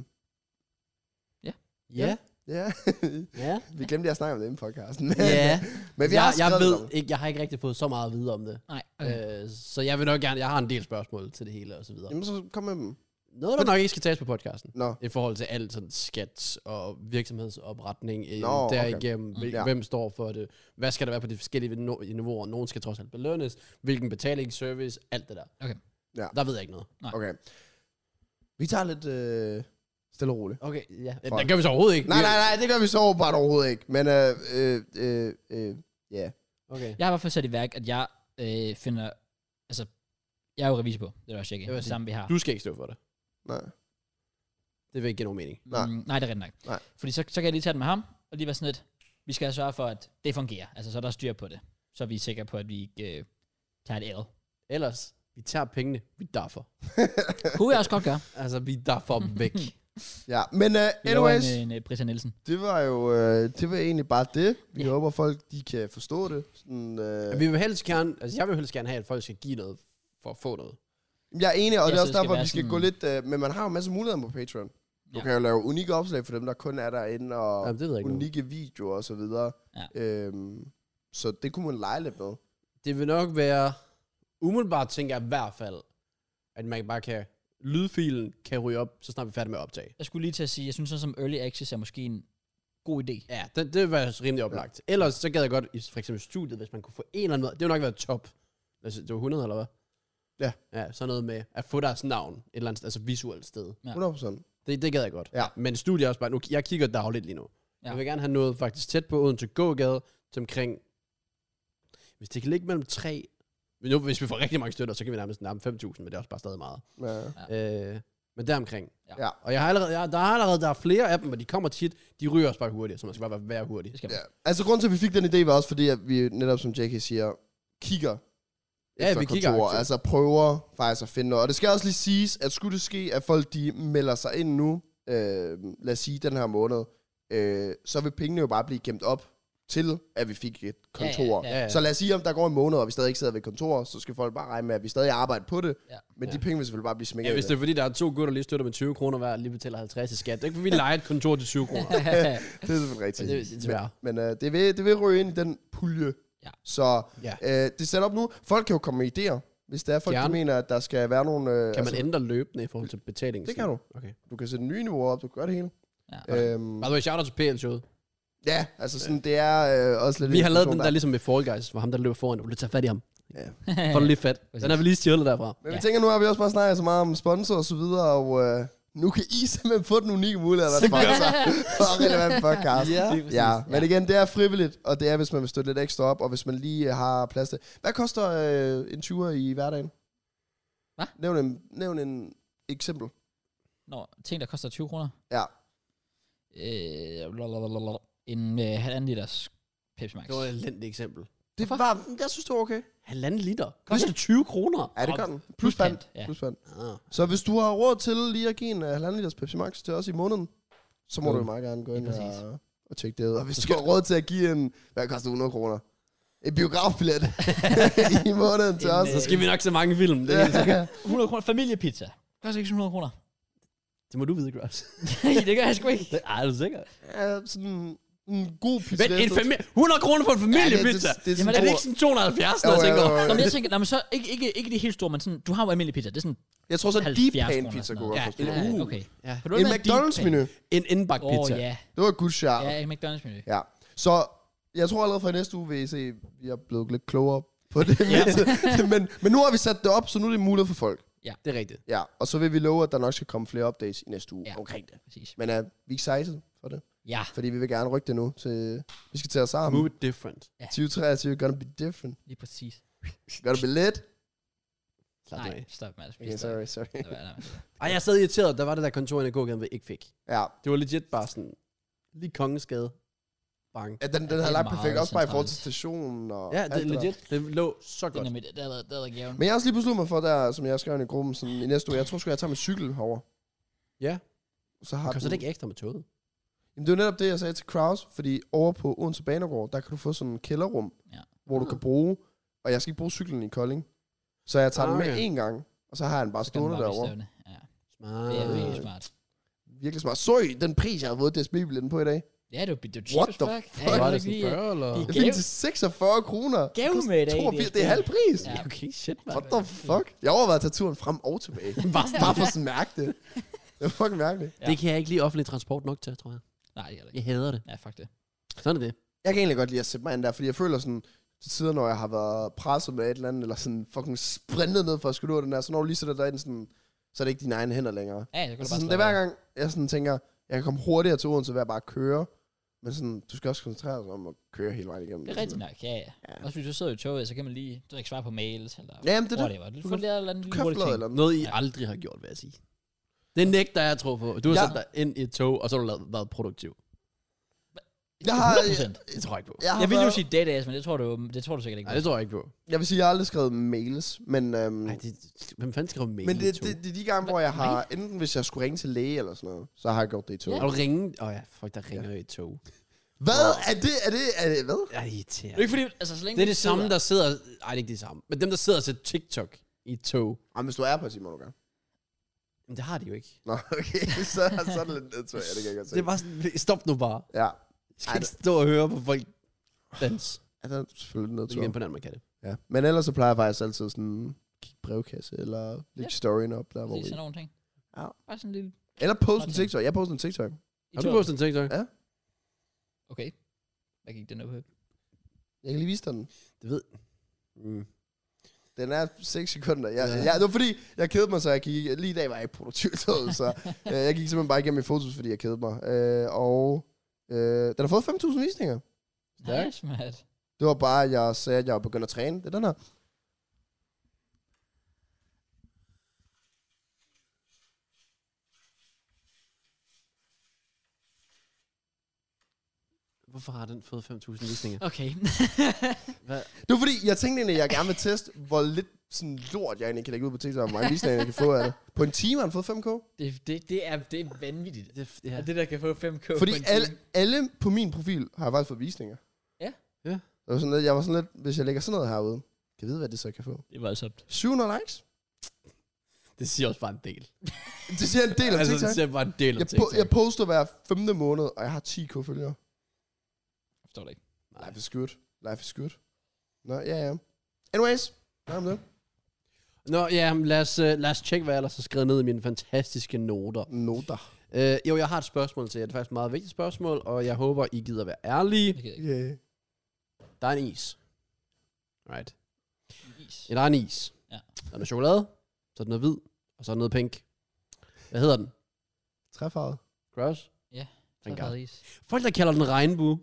Speaker 2: Ja.
Speaker 3: ja, [LAUGHS]
Speaker 2: Ja.
Speaker 3: vi glemte lige at snakke om det inden podcasten. Men,
Speaker 2: Ja.
Speaker 3: men vi
Speaker 2: Jeg,
Speaker 3: har
Speaker 2: jeg
Speaker 3: skrevet
Speaker 2: ved
Speaker 3: lidt om det.
Speaker 2: ikke, jeg har ikke rigtig fået så meget at vide om det.
Speaker 1: Nej, okay.
Speaker 2: Okay. Øh, så jeg vil nok gerne, jeg har en del spørgsmål til det hele og så videre.
Speaker 3: Jamen, så kom med dem.
Speaker 2: Noget, der nok ikke skal tages på podcasten.
Speaker 3: Nå,
Speaker 2: I forhold til alt sådan skat og virksomhedsopretning, øh,
Speaker 3: Nå, okay.
Speaker 2: derigennem, hvil,
Speaker 3: Ja.
Speaker 2: hvem står for det, hvad skal der være på de forskellige no- niveauer, nogen skal trods alt belønnes, hvilken betalingsservice, alt det der.
Speaker 1: Okay.
Speaker 3: Ja.
Speaker 2: Der ved jeg ikke noget.
Speaker 3: okay. Vi tager lidt øh, stille og roligt.
Speaker 2: Okay, ja. Det,
Speaker 3: Fuck.
Speaker 2: det gør vi så overhovedet ikke.
Speaker 3: Nej,
Speaker 2: Vi-
Speaker 3: nej, nej, det gør vi så åbenbart overhovedet ikke. Men øh, øh, øh, øh, ja.
Speaker 2: Okay.
Speaker 1: Jeg har i hvert fald sat i værk, at jeg øh, finder... Altså, jeg er jo revisor på. Det er også ikke.
Speaker 2: Det vil jeg
Speaker 1: Det samme, vi har.
Speaker 2: Du skal ikke stå for det.
Speaker 3: Nej.
Speaker 2: Det vil ikke give nogen mening.
Speaker 3: Nej.
Speaker 1: Mm, nej, det er rigtigt nok.
Speaker 3: Nej.
Speaker 1: Fordi så, så kan jeg lige tage den med ham, og lige være sådan lidt, vi skal sørge for, at det fungerer. Altså, så er der styr på det. Så er vi sikre på, at vi ikke øh, tager
Speaker 3: [LAUGHS]
Speaker 1: et L.
Speaker 2: Ellers, vi tager pengene, vi daffer.
Speaker 1: Kunne jeg også godt gøre.
Speaker 2: Altså, vi daffer dem væk.
Speaker 3: Ja, men øh,
Speaker 1: Vi laver
Speaker 3: anyways,
Speaker 1: en, en, en Brita Nielsen.
Speaker 3: det var jo øh, det var egentlig bare det. Vi
Speaker 1: Ja.
Speaker 3: håber, folk de kan forstå det. Sådan, øh,
Speaker 2: vi vil helst gerne, altså jeg vil helst gerne have, at folk skal give noget for at få noget.
Speaker 3: Jeg er enig, og
Speaker 1: Jeg
Speaker 3: det er
Speaker 1: synes, det
Speaker 3: også
Speaker 1: skal
Speaker 3: derfor,
Speaker 1: være
Speaker 3: vi skal
Speaker 1: sådan-
Speaker 3: gå lidt... Øh, men man har jo masser af muligheder på Patreon. Du
Speaker 1: Ja.
Speaker 3: ja. kan jo lave unikke opslag for dem, der kun er derinde, og
Speaker 2: Jamen, det ved jeg ikke. Unik.
Speaker 3: unikke videoer og så videre.
Speaker 1: Ja.
Speaker 3: Øhm, så det kunne man lege lidt med.
Speaker 2: Det vil nok være, umiddelbart tænker jeg i hvert fald, at man bare kan, lydfilen kan ryge op, så snart vi er færdige med at optage.
Speaker 1: Jeg skulle lige til at sige, jeg synes sådan som early access er måske en god
Speaker 3: [LAUGHS]
Speaker 1: idé.
Speaker 2: Ja, det, det vil være rimelig oplagt. Ellers så gad jeg godt, i for eksempel studiet, hvis man kunne få en eller anden måde, det ville nok være top. Altså, det var 100 eller hvad?
Speaker 3: Ja.
Speaker 2: Ja, sådan noget med at få deres navn et eller andet, altså visuelt sted.
Speaker 1: Ja.
Speaker 3: 100%.
Speaker 2: Det, det gad jeg godt.
Speaker 3: Ja.
Speaker 2: Men studier er også bare, nu, jeg kigger dagligt lige nu. Ja. Jeg vil gerne have noget faktisk tæt på Odense gågade, til omkring, hvis det kan ligge mellem 3, men nu, hvis vi får rigtig mange støtter, så kan vi nærmest nærme 5.000, men det er også bare stadig meget.
Speaker 3: Ja.
Speaker 2: Ja. Øh, men deromkring.
Speaker 1: Ja.
Speaker 3: Ja.
Speaker 2: Og jeg har allerede, jeg, der er allerede der er flere af dem, og de kommer tit, de ryger også bare hurtigt, så man skal bare være, være hurtig.
Speaker 1: Det skal man.
Speaker 3: Ja. Altså, grunden til, at vi fik den idé, var også fordi, at vi netop, som JK siger, kigger
Speaker 2: Ja,
Speaker 3: efter
Speaker 2: vi kigger
Speaker 3: kontorer.
Speaker 2: aktivt.
Speaker 3: Altså prøver faktisk at finde noget. Og det skal også lige siges, at skulle det ske, at folk de melder sig ind nu, øh, lad os sige den her måned, øh, så vil pengene jo bare blive gemt op til, at vi fik et kontor.
Speaker 1: Ja,
Speaker 2: Ja, ja.
Speaker 3: Så lad os sige, om der går en måned, og vi stadig ikke sidder ved kontor, så skal folk bare regne med, at vi stadig arbejder på det.
Speaker 1: Ja.
Speaker 3: Men
Speaker 2: Ja.
Speaker 3: de penge vil selvfølgelig bare blive smækket.
Speaker 2: ja, hvis
Speaker 3: i
Speaker 2: det er fordi, der er to gutter, der lige støtter med 20 kroner hver, og lige betaler 50 i skat. Det kan vi lege et kontor til 20 kroner.
Speaker 1: [LAUGHS]
Speaker 2: det,
Speaker 3: det er selvfølgelig rigtigt.
Speaker 2: det, det, det,
Speaker 3: Men øh, det, vil, det vil ryge ind i den pulje.
Speaker 1: Ja.
Speaker 3: Så
Speaker 2: Ja.
Speaker 3: øh, det er sat op nu. Folk kan jo komme med idéer, hvis der er folk, der
Speaker 2: Gerne.
Speaker 3: mener, at der skal være nogle... Øh,
Speaker 2: kan man ændre løbende i forhold til betaling?
Speaker 3: Det kan du.
Speaker 2: Okay.
Speaker 3: Du kan sætte nye niveauer op, du kan gøre det hele.
Speaker 1: Ja.
Speaker 3: Øhm,
Speaker 2: By the way, shout out til PL-showet.
Speaker 3: ja, altså sådan, det er øh, også lidt...
Speaker 2: Vi
Speaker 3: en
Speaker 2: har lavet
Speaker 3: diskussion
Speaker 2: den der ligesom med Fall Guys, hvor ham der løber foran, og du tager fat i ham. For det lige fedt. Den
Speaker 1: Præcis.
Speaker 2: har vi lige stjålet derfra.
Speaker 3: Men
Speaker 1: Ja.
Speaker 3: vi tænker, nu har vi også bare snakket så meget om sponsor og så videre, og øh, nu kan I [LAUGHS] simpelthen få den unikke mulighed at være sponsor for relevant podcast.
Speaker 2: Ja.
Speaker 1: Lige præcis.
Speaker 3: Ja, men igen, det er frivilligt, og det er, hvis man vil støtte lidt ekstra op, og hvis man lige øh, har plads til. Hvad koster øh, en tur i hverdagen?
Speaker 1: Hva?
Speaker 3: Nævn en, nævn en eksempel.
Speaker 1: Nå, ting, der koster 20 kroner.
Speaker 3: Ja.
Speaker 1: Øh, lalalala. en øh, halvanden liters Pepsi Max.
Speaker 2: Det var et elendigt eksempel.
Speaker 3: Det var, jeg synes, det var okay.
Speaker 2: Halvanden liter. Koster 20 kroner.
Speaker 3: Ja, det
Speaker 1: Og
Speaker 3: gør den. Plus
Speaker 1: plus
Speaker 3: pant.
Speaker 1: pant, ja.
Speaker 3: Plus pant.
Speaker 2: Ah.
Speaker 3: Så hvis du har råd til lige at give en øh, halvanden liters Pepsi Max til os i måneden, så må
Speaker 1: Jo.
Speaker 3: du jo meget gerne gå ind
Speaker 1: Lige præcis.
Speaker 3: og, og tjekke det ud. Og hvis du har råd til at give en, hvad koster 100 kroner? En
Speaker 1: [LAUGHS]
Speaker 3: biografbillet [LAUGHS] i måneden til
Speaker 1: En,
Speaker 3: os.
Speaker 1: øh,
Speaker 2: Så skal vi nok se mange film. Det, er
Speaker 1: [LAUGHS]
Speaker 2: helt sikkert.
Speaker 1: 100 kroner familiepizza. Koster ikke 100
Speaker 2: [LAUGHS]
Speaker 1: kroner. [LAUGHS]
Speaker 2: det må du vide, Gross.
Speaker 1: Nej, det gør jeg sgu ikke.
Speaker 2: Det er du sikker.
Speaker 3: Ja, sådan en god pizza.
Speaker 2: Men en familie, 100 kroner for en familiepizza.
Speaker 3: Ja, det, det,
Speaker 1: Jamen,
Speaker 3: det,
Speaker 2: Er
Speaker 3: det,
Speaker 2: det
Speaker 1: er
Speaker 2: ikke sådan 270,
Speaker 3: Jo,
Speaker 2: når jeg
Speaker 3: jo,
Speaker 2: tænker
Speaker 3: jo,
Speaker 2: over?
Speaker 3: jo.
Speaker 1: Nå, men jeg tænker, nej, men så ikke, ikke, ikke det helt store, men sådan, du har jo almindelig pizza. Det er sådan
Speaker 3: jeg tror så, en
Speaker 1: 70
Speaker 3: deep
Speaker 1: kroner.
Speaker 3: pan pizza kunne
Speaker 1: Ja,
Speaker 3: godt
Speaker 2: Ja,
Speaker 3: forstå.
Speaker 1: ja,
Speaker 2: Uh.
Speaker 1: okay.
Speaker 2: Ja.
Speaker 1: Har du
Speaker 3: En
Speaker 1: været med
Speaker 3: McDonald's-menu.
Speaker 2: En indbagt
Speaker 1: Åh,
Speaker 2: pizza.
Speaker 1: oh, ja.
Speaker 3: Det var et good shout.
Speaker 1: Ja, en McDonald's-menu.
Speaker 3: Ja. Så jeg tror allerede fra i næste uge vil I se, at vi er blevet lidt klogere på det.
Speaker 1: Ja.
Speaker 3: [LAUGHS] men, men nu har vi sat det op, så nu er det muligt for folk.
Speaker 2: Det er rigtigt.
Speaker 3: Ja, og så vil vi love, at der nok skal komme flere updates i næste uge
Speaker 1: Ja.
Speaker 3: ja. omkring det.
Speaker 1: Præcis.
Speaker 3: Men er vi excited for det?
Speaker 1: Ja.
Speaker 3: Fordi vi vil gerne rykke det nu til... Vi skal tage os sammen.
Speaker 2: Move it different.
Speaker 3: 2023, gonna be different.
Speaker 1: Lige præcis.
Speaker 3: Gonna be lit.
Speaker 2: Slap nu
Speaker 1: Nej,
Speaker 2: af.
Speaker 1: stop, Mads. Please
Speaker 3: Okay,
Speaker 1: stop.
Speaker 3: sorry, sorry.
Speaker 1: Lad være, lad være.
Speaker 2: Ej, jeg er stadig irriteret. Der var det der kontor, jeg gerne ved, ikke fik.
Speaker 3: Ja,
Speaker 2: Det var legit bare sådan, lige kongeskade. Bang.
Speaker 3: ja den, den
Speaker 1: det
Speaker 3: har
Speaker 1: er
Speaker 3: lagt
Speaker 1: meget
Speaker 3: perfekt. Også bare i forhold til
Speaker 1: centralt.
Speaker 3: stationen og
Speaker 2: Ja, det
Speaker 3: alt
Speaker 2: er
Speaker 3: der.
Speaker 2: legit. Det lå så
Speaker 1: Det
Speaker 2: godt.
Speaker 1: er nemlig- det har været- det har været gaven.
Speaker 3: Men jeg har også lige besluttet mig for der, som jeg skrev i gruppen, sådan, i næste uge, jeg tror sgu, jeg tager min cykel herover.
Speaker 2: Ja.
Speaker 3: Så har
Speaker 2: Koster
Speaker 3: den-
Speaker 2: det ikke ekstra med toget?
Speaker 3: Jamen, det var netop det, jeg sagde til Kraus, fordi over på Odense Banegård, der kan du få sådan en kælderrum,
Speaker 1: Ja.
Speaker 3: ja. hvor du
Speaker 2: Ah.
Speaker 3: kan bruge, og jeg skal ikke bruge cyklen i Kolding, så jeg tager den
Speaker 2: Okay.
Speaker 3: med én gang, og så har jeg den bare
Speaker 1: Så kan den
Speaker 3: stående
Speaker 1: bare blive
Speaker 3: derovre.
Speaker 1: stående. Ja,
Speaker 2: Smart.
Speaker 1: det er
Speaker 3: Ah.
Speaker 1: virkelig smart.
Speaker 3: Virkelig smart. Så I den pris, jeg har fået DSB-billetten på i dag?
Speaker 1: Ja, det var det var cheap
Speaker 3: What
Speaker 1: as
Speaker 3: the
Speaker 1: fuck. Ja,
Speaker 3: fuck?
Speaker 1: det
Speaker 2: Var
Speaker 1: var
Speaker 2: det
Speaker 1: ikke
Speaker 2: sådan
Speaker 3: [LAUGHS]
Speaker 1: lige-
Speaker 2: 40 eller?
Speaker 1: de-
Speaker 3: Jeg fik den til 46 kroner.
Speaker 1: Gave
Speaker 3: Koster
Speaker 1: med i dag,
Speaker 3: 82,
Speaker 1: DSB.
Speaker 3: det er halv pris.
Speaker 1: Ja.
Speaker 3: Ja.
Speaker 2: Okay, shit, mand.
Speaker 3: What the fuck? Jeg overvejede at tage turen frem
Speaker 1: [LAUGHS]
Speaker 3: og tilbage. bare, [LAUGHS] bare for sådan at mærke det. Det er fucking mærkeligt.
Speaker 1: Ja.
Speaker 2: Det kan jeg ikke lide offentlig transport nok til, tror jeg.
Speaker 1: Nej, det er det ikke.
Speaker 2: Jeg hader det.
Speaker 1: Ja, fuck det.
Speaker 2: Sådan er det.
Speaker 3: Jeg kan egentlig godt lide at sætte mig ind der, fordi jeg føler sådan, til tider, når jeg har været presset med et eller andet, eller sådan fucking sprintet ned for at skulle ud af den der, så når du lige sætter dig ind, sådan, så er det ikke dine egne hænder længere.
Speaker 1: Ja, det kunne du
Speaker 3: Altså,
Speaker 1: bare
Speaker 3: sådan, det er hver gang, jeg sådan tænker, jeg kan komme hurtigere til Odense ved at bare køre, men sådan, du skal også koncentrere dig om at køre hele vejen igennem.
Speaker 1: Det er rigtigt nok, ja, ja.
Speaker 3: Ja.
Speaker 1: Også hvis du sidder i toget, så kan man lige, du ved ikke svare på mails, eller
Speaker 3: Jamen, det er det.
Speaker 1: whatever. Du
Speaker 3: Du
Speaker 1: får
Speaker 3: kan-
Speaker 1: lige et eller andet
Speaker 3: Du
Speaker 1: lille hurtigt
Speaker 3: køfler
Speaker 1: ting.
Speaker 3: eller noget.
Speaker 2: Noget, I aldrig har gjort, vil jeg sige. Det nægter jeg, tror på. Du har
Speaker 3: Ja.
Speaker 2: sat dig ind i et tog, og så har du lavet, været produktiv.
Speaker 3: Jeg har, jeg,
Speaker 1: 100%.
Speaker 2: Det tror jeg ikke på.
Speaker 3: jeg, har
Speaker 1: Jeg vil jo
Speaker 3: været-
Speaker 1: sige data's, men det tror du, det tror du sikkert ikke.
Speaker 2: Nej, det tror jeg ikke på.
Speaker 3: jeg vil sige, jeg har aldrig skrevet mails, men, øhm,
Speaker 2: Ej, det, hvem fanden skriver mail
Speaker 3: men
Speaker 2: i
Speaker 3: det,
Speaker 2: et tog?
Speaker 3: det, det, er de gange, hvor jeg har, enten hvis jeg skulle ringe til læge eller sådan noget, så har jeg gjort det i tog.
Speaker 2: Har du ringet? Åh oh, ja, fuck, der ringer i et tog.
Speaker 3: Hvad? Er det, er det, er det, hvad?
Speaker 2: Ej, det er irriterende.
Speaker 1: Det er ikke fordi, altså så længe
Speaker 2: Det er
Speaker 1: du
Speaker 2: det samme,
Speaker 1: sidder-
Speaker 2: der sidder... Ej, det er ikke det samme. Men dem, der sidder og ser TikTok i et tog,
Speaker 3: Jamen, hvis du er på et time, må du gerne.
Speaker 2: jamen, det har de jo ikke.
Speaker 3: Nå, okay, [LAUGHS] så, så er det lidt nedtur, ja, det kan jeg godt se.
Speaker 2: Det er bare sådan, stop nu bare.
Speaker 3: Ja,
Speaker 2: Jeg skal
Speaker 3: Ej,
Speaker 2: ikke stå og høre på folk dans.
Speaker 3: ja, det er selvfølgelig lidt
Speaker 2: Det er
Speaker 3: nedtur.
Speaker 2: imponerende, man kan det.
Speaker 3: Ja. Men ellers så plejer jeg faktisk altid sådan kigge brevkasse, eller lægge storyen op der, hvor
Speaker 1: Præcis,
Speaker 3: vi...
Speaker 1: sådan nogle ting.
Speaker 3: Ja.
Speaker 1: Bare sådan en lille...
Speaker 3: Eller poste en
Speaker 1: Sådan.
Speaker 3: TikTok. Jeg poster en TikTok.
Speaker 1: i
Speaker 2: Har du
Speaker 1: toget.
Speaker 2: postet en TikTok?
Speaker 3: Ja.
Speaker 1: Okay. Hvad gik den op på? [LAUGHS]
Speaker 3: Jeg kan lige vise dig den.
Speaker 2: Det ved mm.
Speaker 3: Den er 6 sekunder. Jeg,
Speaker 2: Ja.
Speaker 3: ja. jeg, det var fordi, jeg kedede mig, så jeg gik... Lige i dag var jeg ikke produktiv,
Speaker 2: [LAUGHS]
Speaker 3: så øh, jeg gik simpelthen bare igennem mine fotos, fordi jeg kedede mig. Øh, og øh, den har fået 5.000 visninger.
Speaker 2: Stærkt.
Speaker 1: Nice, mand.
Speaker 3: Det var bare, at jeg sagde, at jeg var begyndt at træne. Det er den her.
Speaker 2: Hvorfor har den fået 5.000 visninger?
Speaker 1: Okay. [LAUGHS]
Speaker 2: Hvad?
Speaker 3: Det var fordi, jeg tænkte egentlig, at jeg gerne vil teste, hvor lidt sådan lort, jeg egentlig kan lægge ud på TikTok, og hvor mange visninger jeg kan få af det. På en time har den fået 5K.
Speaker 1: det, det, det, er, det er vanvittigt.
Speaker 2: Det, ja.
Speaker 1: At det der kan få 5K
Speaker 3: Fordi
Speaker 1: på en
Speaker 3: alle,
Speaker 1: time.
Speaker 3: alle på min profil har faktisk fået visninger.
Speaker 1: Ja.
Speaker 2: Ja.
Speaker 3: Det var sådan lidt, jeg var sådan lidt, hvis jeg lægger sådan noget herude, kan jeg vide, hvad det så kan få?
Speaker 1: Det var altså...
Speaker 3: 700 likes?
Speaker 2: det siger også bare en del.
Speaker 3: Det siger en del om
Speaker 2: altså,
Speaker 3: TikTok.
Speaker 2: det siger bare en del om
Speaker 3: Jeg,
Speaker 2: TikTok.
Speaker 3: po- jeg poster hver femte måned, og jeg har 10k følgere.
Speaker 1: Forstår det ikke.
Speaker 2: Nej.
Speaker 3: Life is good. Life is good. Nå, ja, ja. Anyways. Nej, men det.
Speaker 2: Nå, ja, men lad os, øh, lad os tjekke, hvad jeg ellers har skrevet ned i mine fantastiske noter.
Speaker 3: Noter.
Speaker 2: Øh, jo, jeg har et spørgsmål til jer. Det er faktisk et meget vigtigt spørgsmål, og jeg håber, I gider være ærlige.
Speaker 1: Jeg gider ikke.
Speaker 3: Yeah.
Speaker 2: Der er en is. Right.
Speaker 1: Is.
Speaker 2: En egen is.
Speaker 1: Ja.
Speaker 2: Der er noget chokolade, så er der noget hvid, og så er der noget pink. Hvad hedder den?
Speaker 3: Træfarvet.
Speaker 2: Cross?
Speaker 1: Ja,
Speaker 2: Thank
Speaker 1: Træfarvet
Speaker 2: God.
Speaker 1: is.
Speaker 2: Folk, der kalder den regnbue.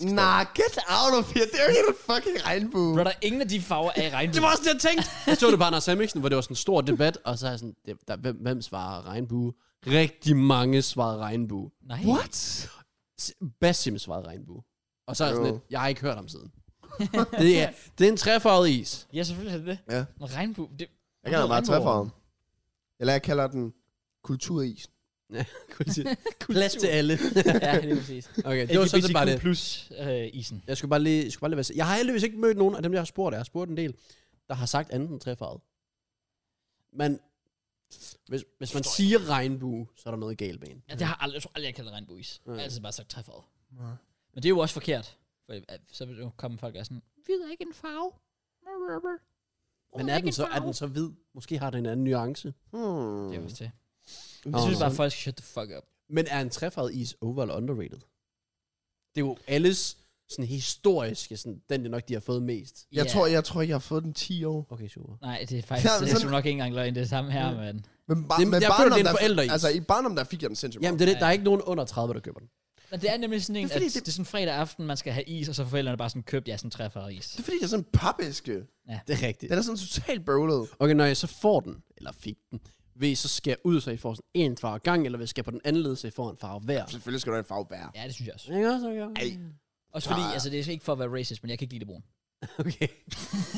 Speaker 3: Nah, get out of here. Det er jo ikke en fucking regnbue.
Speaker 1: Bro, der er ingen af de farver af regnbue.
Speaker 2: Det var også det, jeg tænkte. Jeg så det bare Anders Hemmingsen, hvor det var sådan en stor debat, og så er jeg sådan, det, der, hvem, hvem svarer regnbue? Rigtig mange svarede regnbue.
Speaker 1: Nej.
Speaker 3: What?
Speaker 2: S- Basim svarede regnbue. Og så er jeg sådan
Speaker 3: Jo.
Speaker 2: lidt, jeg har ikke hørt om siden. det, er, det er en træfarvet is.
Speaker 1: Ja, selvfølgelig er det det.
Speaker 3: Ja.
Speaker 1: Men regnbue, det...
Speaker 3: Jeg kalder den bare
Speaker 1: Regnbue.
Speaker 3: træfarvet. Eller jeg kalder den kulturis.
Speaker 2: Plads til [LAUGHS] alle.
Speaker 1: ja, det [LAUGHS] er præcis.
Speaker 2: Okay, det var sådan set bare det.
Speaker 1: plus øh, isen.
Speaker 2: Jeg skulle bare lige, jeg skulle bare lige være sikker. Jeg har heldigvis ikke mødt nogen af dem, jeg har spurgt. Jeg har spurgt en del, der har sagt andet end træfarvet. Men hvis, hvis man siger regnbue, så er der noget galt med en.
Speaker 1: Ja, det har jeg aldrig, jeg tror aldrig, jeg kalder regnbue is. Jeg har altid bare sagt træfarvet.
Speaker 3: Nej.
Speaker 1: Men det er jo også forkert. For, øh, så vil jo komme folk og er sådan, hvid er ikke en farve.
Speaker 2: Men er den, så, er den så hvid? Måske har den en anden nuance.
Speaker 3: Hmm.
Speaker 1: Det er jo også det.
Speaker 2: Nå,
Speaker 1: Jeg synes
Speaker 2: nå.
Speaker 3: Mm.
Speaker 1: bare, at folk skal shut the fuck up.
Speaker 2: Men er en træfarvet is over- eller underrated? Det er jo alles sådan historiske, sådan, den det nok, de har fået mest.
Speaker 3: Jeg,
Speaker 1: Ja.
Speaker 3: tror, jeg tror, jeg har fået den 10 år.
Speaker 2: Okay, super.
Speaker 1: Nej, det er faktisk,
Speaker 3: Ja,
Speaker 1: det er
Speaker 3: sådan- Mm.
Speaker 1: sgu nok ikke engang løgn, det er samme her,
Speaker 2: Ja.
Speaker 1: mand.
Speaker 3: Men, ba-
Speaker 2: Det-
Speaker 3: men
Speaker 2: jeg føler,
Speaker 3: barndom,
Speaker 2: det er en
Speaker 3: der-
Speaker 2: forældreis.
Speaker 3: Altså, i barndom, der fik jeg den sindssygt
Speaker 2: Jamen,
Speaker 3: meget.
Speaker 2: det er, det, der er ikke nogen under 30, der køber den.
Speaker 1: Men det er nemlig sådan en,
Speaker 3: Det
Speaker 1: det
Speaker 3: er fordi,
Speaker 1: at det...
Speaker 3: det-
Speaker 1: det er sådan en fredag aften, man skal have is, og så har forældrene bare sådan købt, ja, sådan træfarvet is.
Speaker 3: Det er fordi, det er sådan en papæske.
Speaker 2: Det er rigtigt.
Speaker 3: Den er sådan totalt bøvlet.
Speaker 2: Okay, når jeg så får den, eller fik den, vil I så skære ud, så I får sådan en farve gang, eller vil I skære på den anden led, så I får en farve hver?
Speaker 3: Selvfølgelig skal du have en farve bær.
Speaker 1: Ja, det synes jeg også.
Speaker 2: Ikke også, okay?
Speaker 3: Ej,
Speaker 1: Også fordi,
Speaker 3: Ah.
Speaker 1: altså det er ikke for at være racist, men jeg kan ikke lide det brun.
Speaker 2: Okay.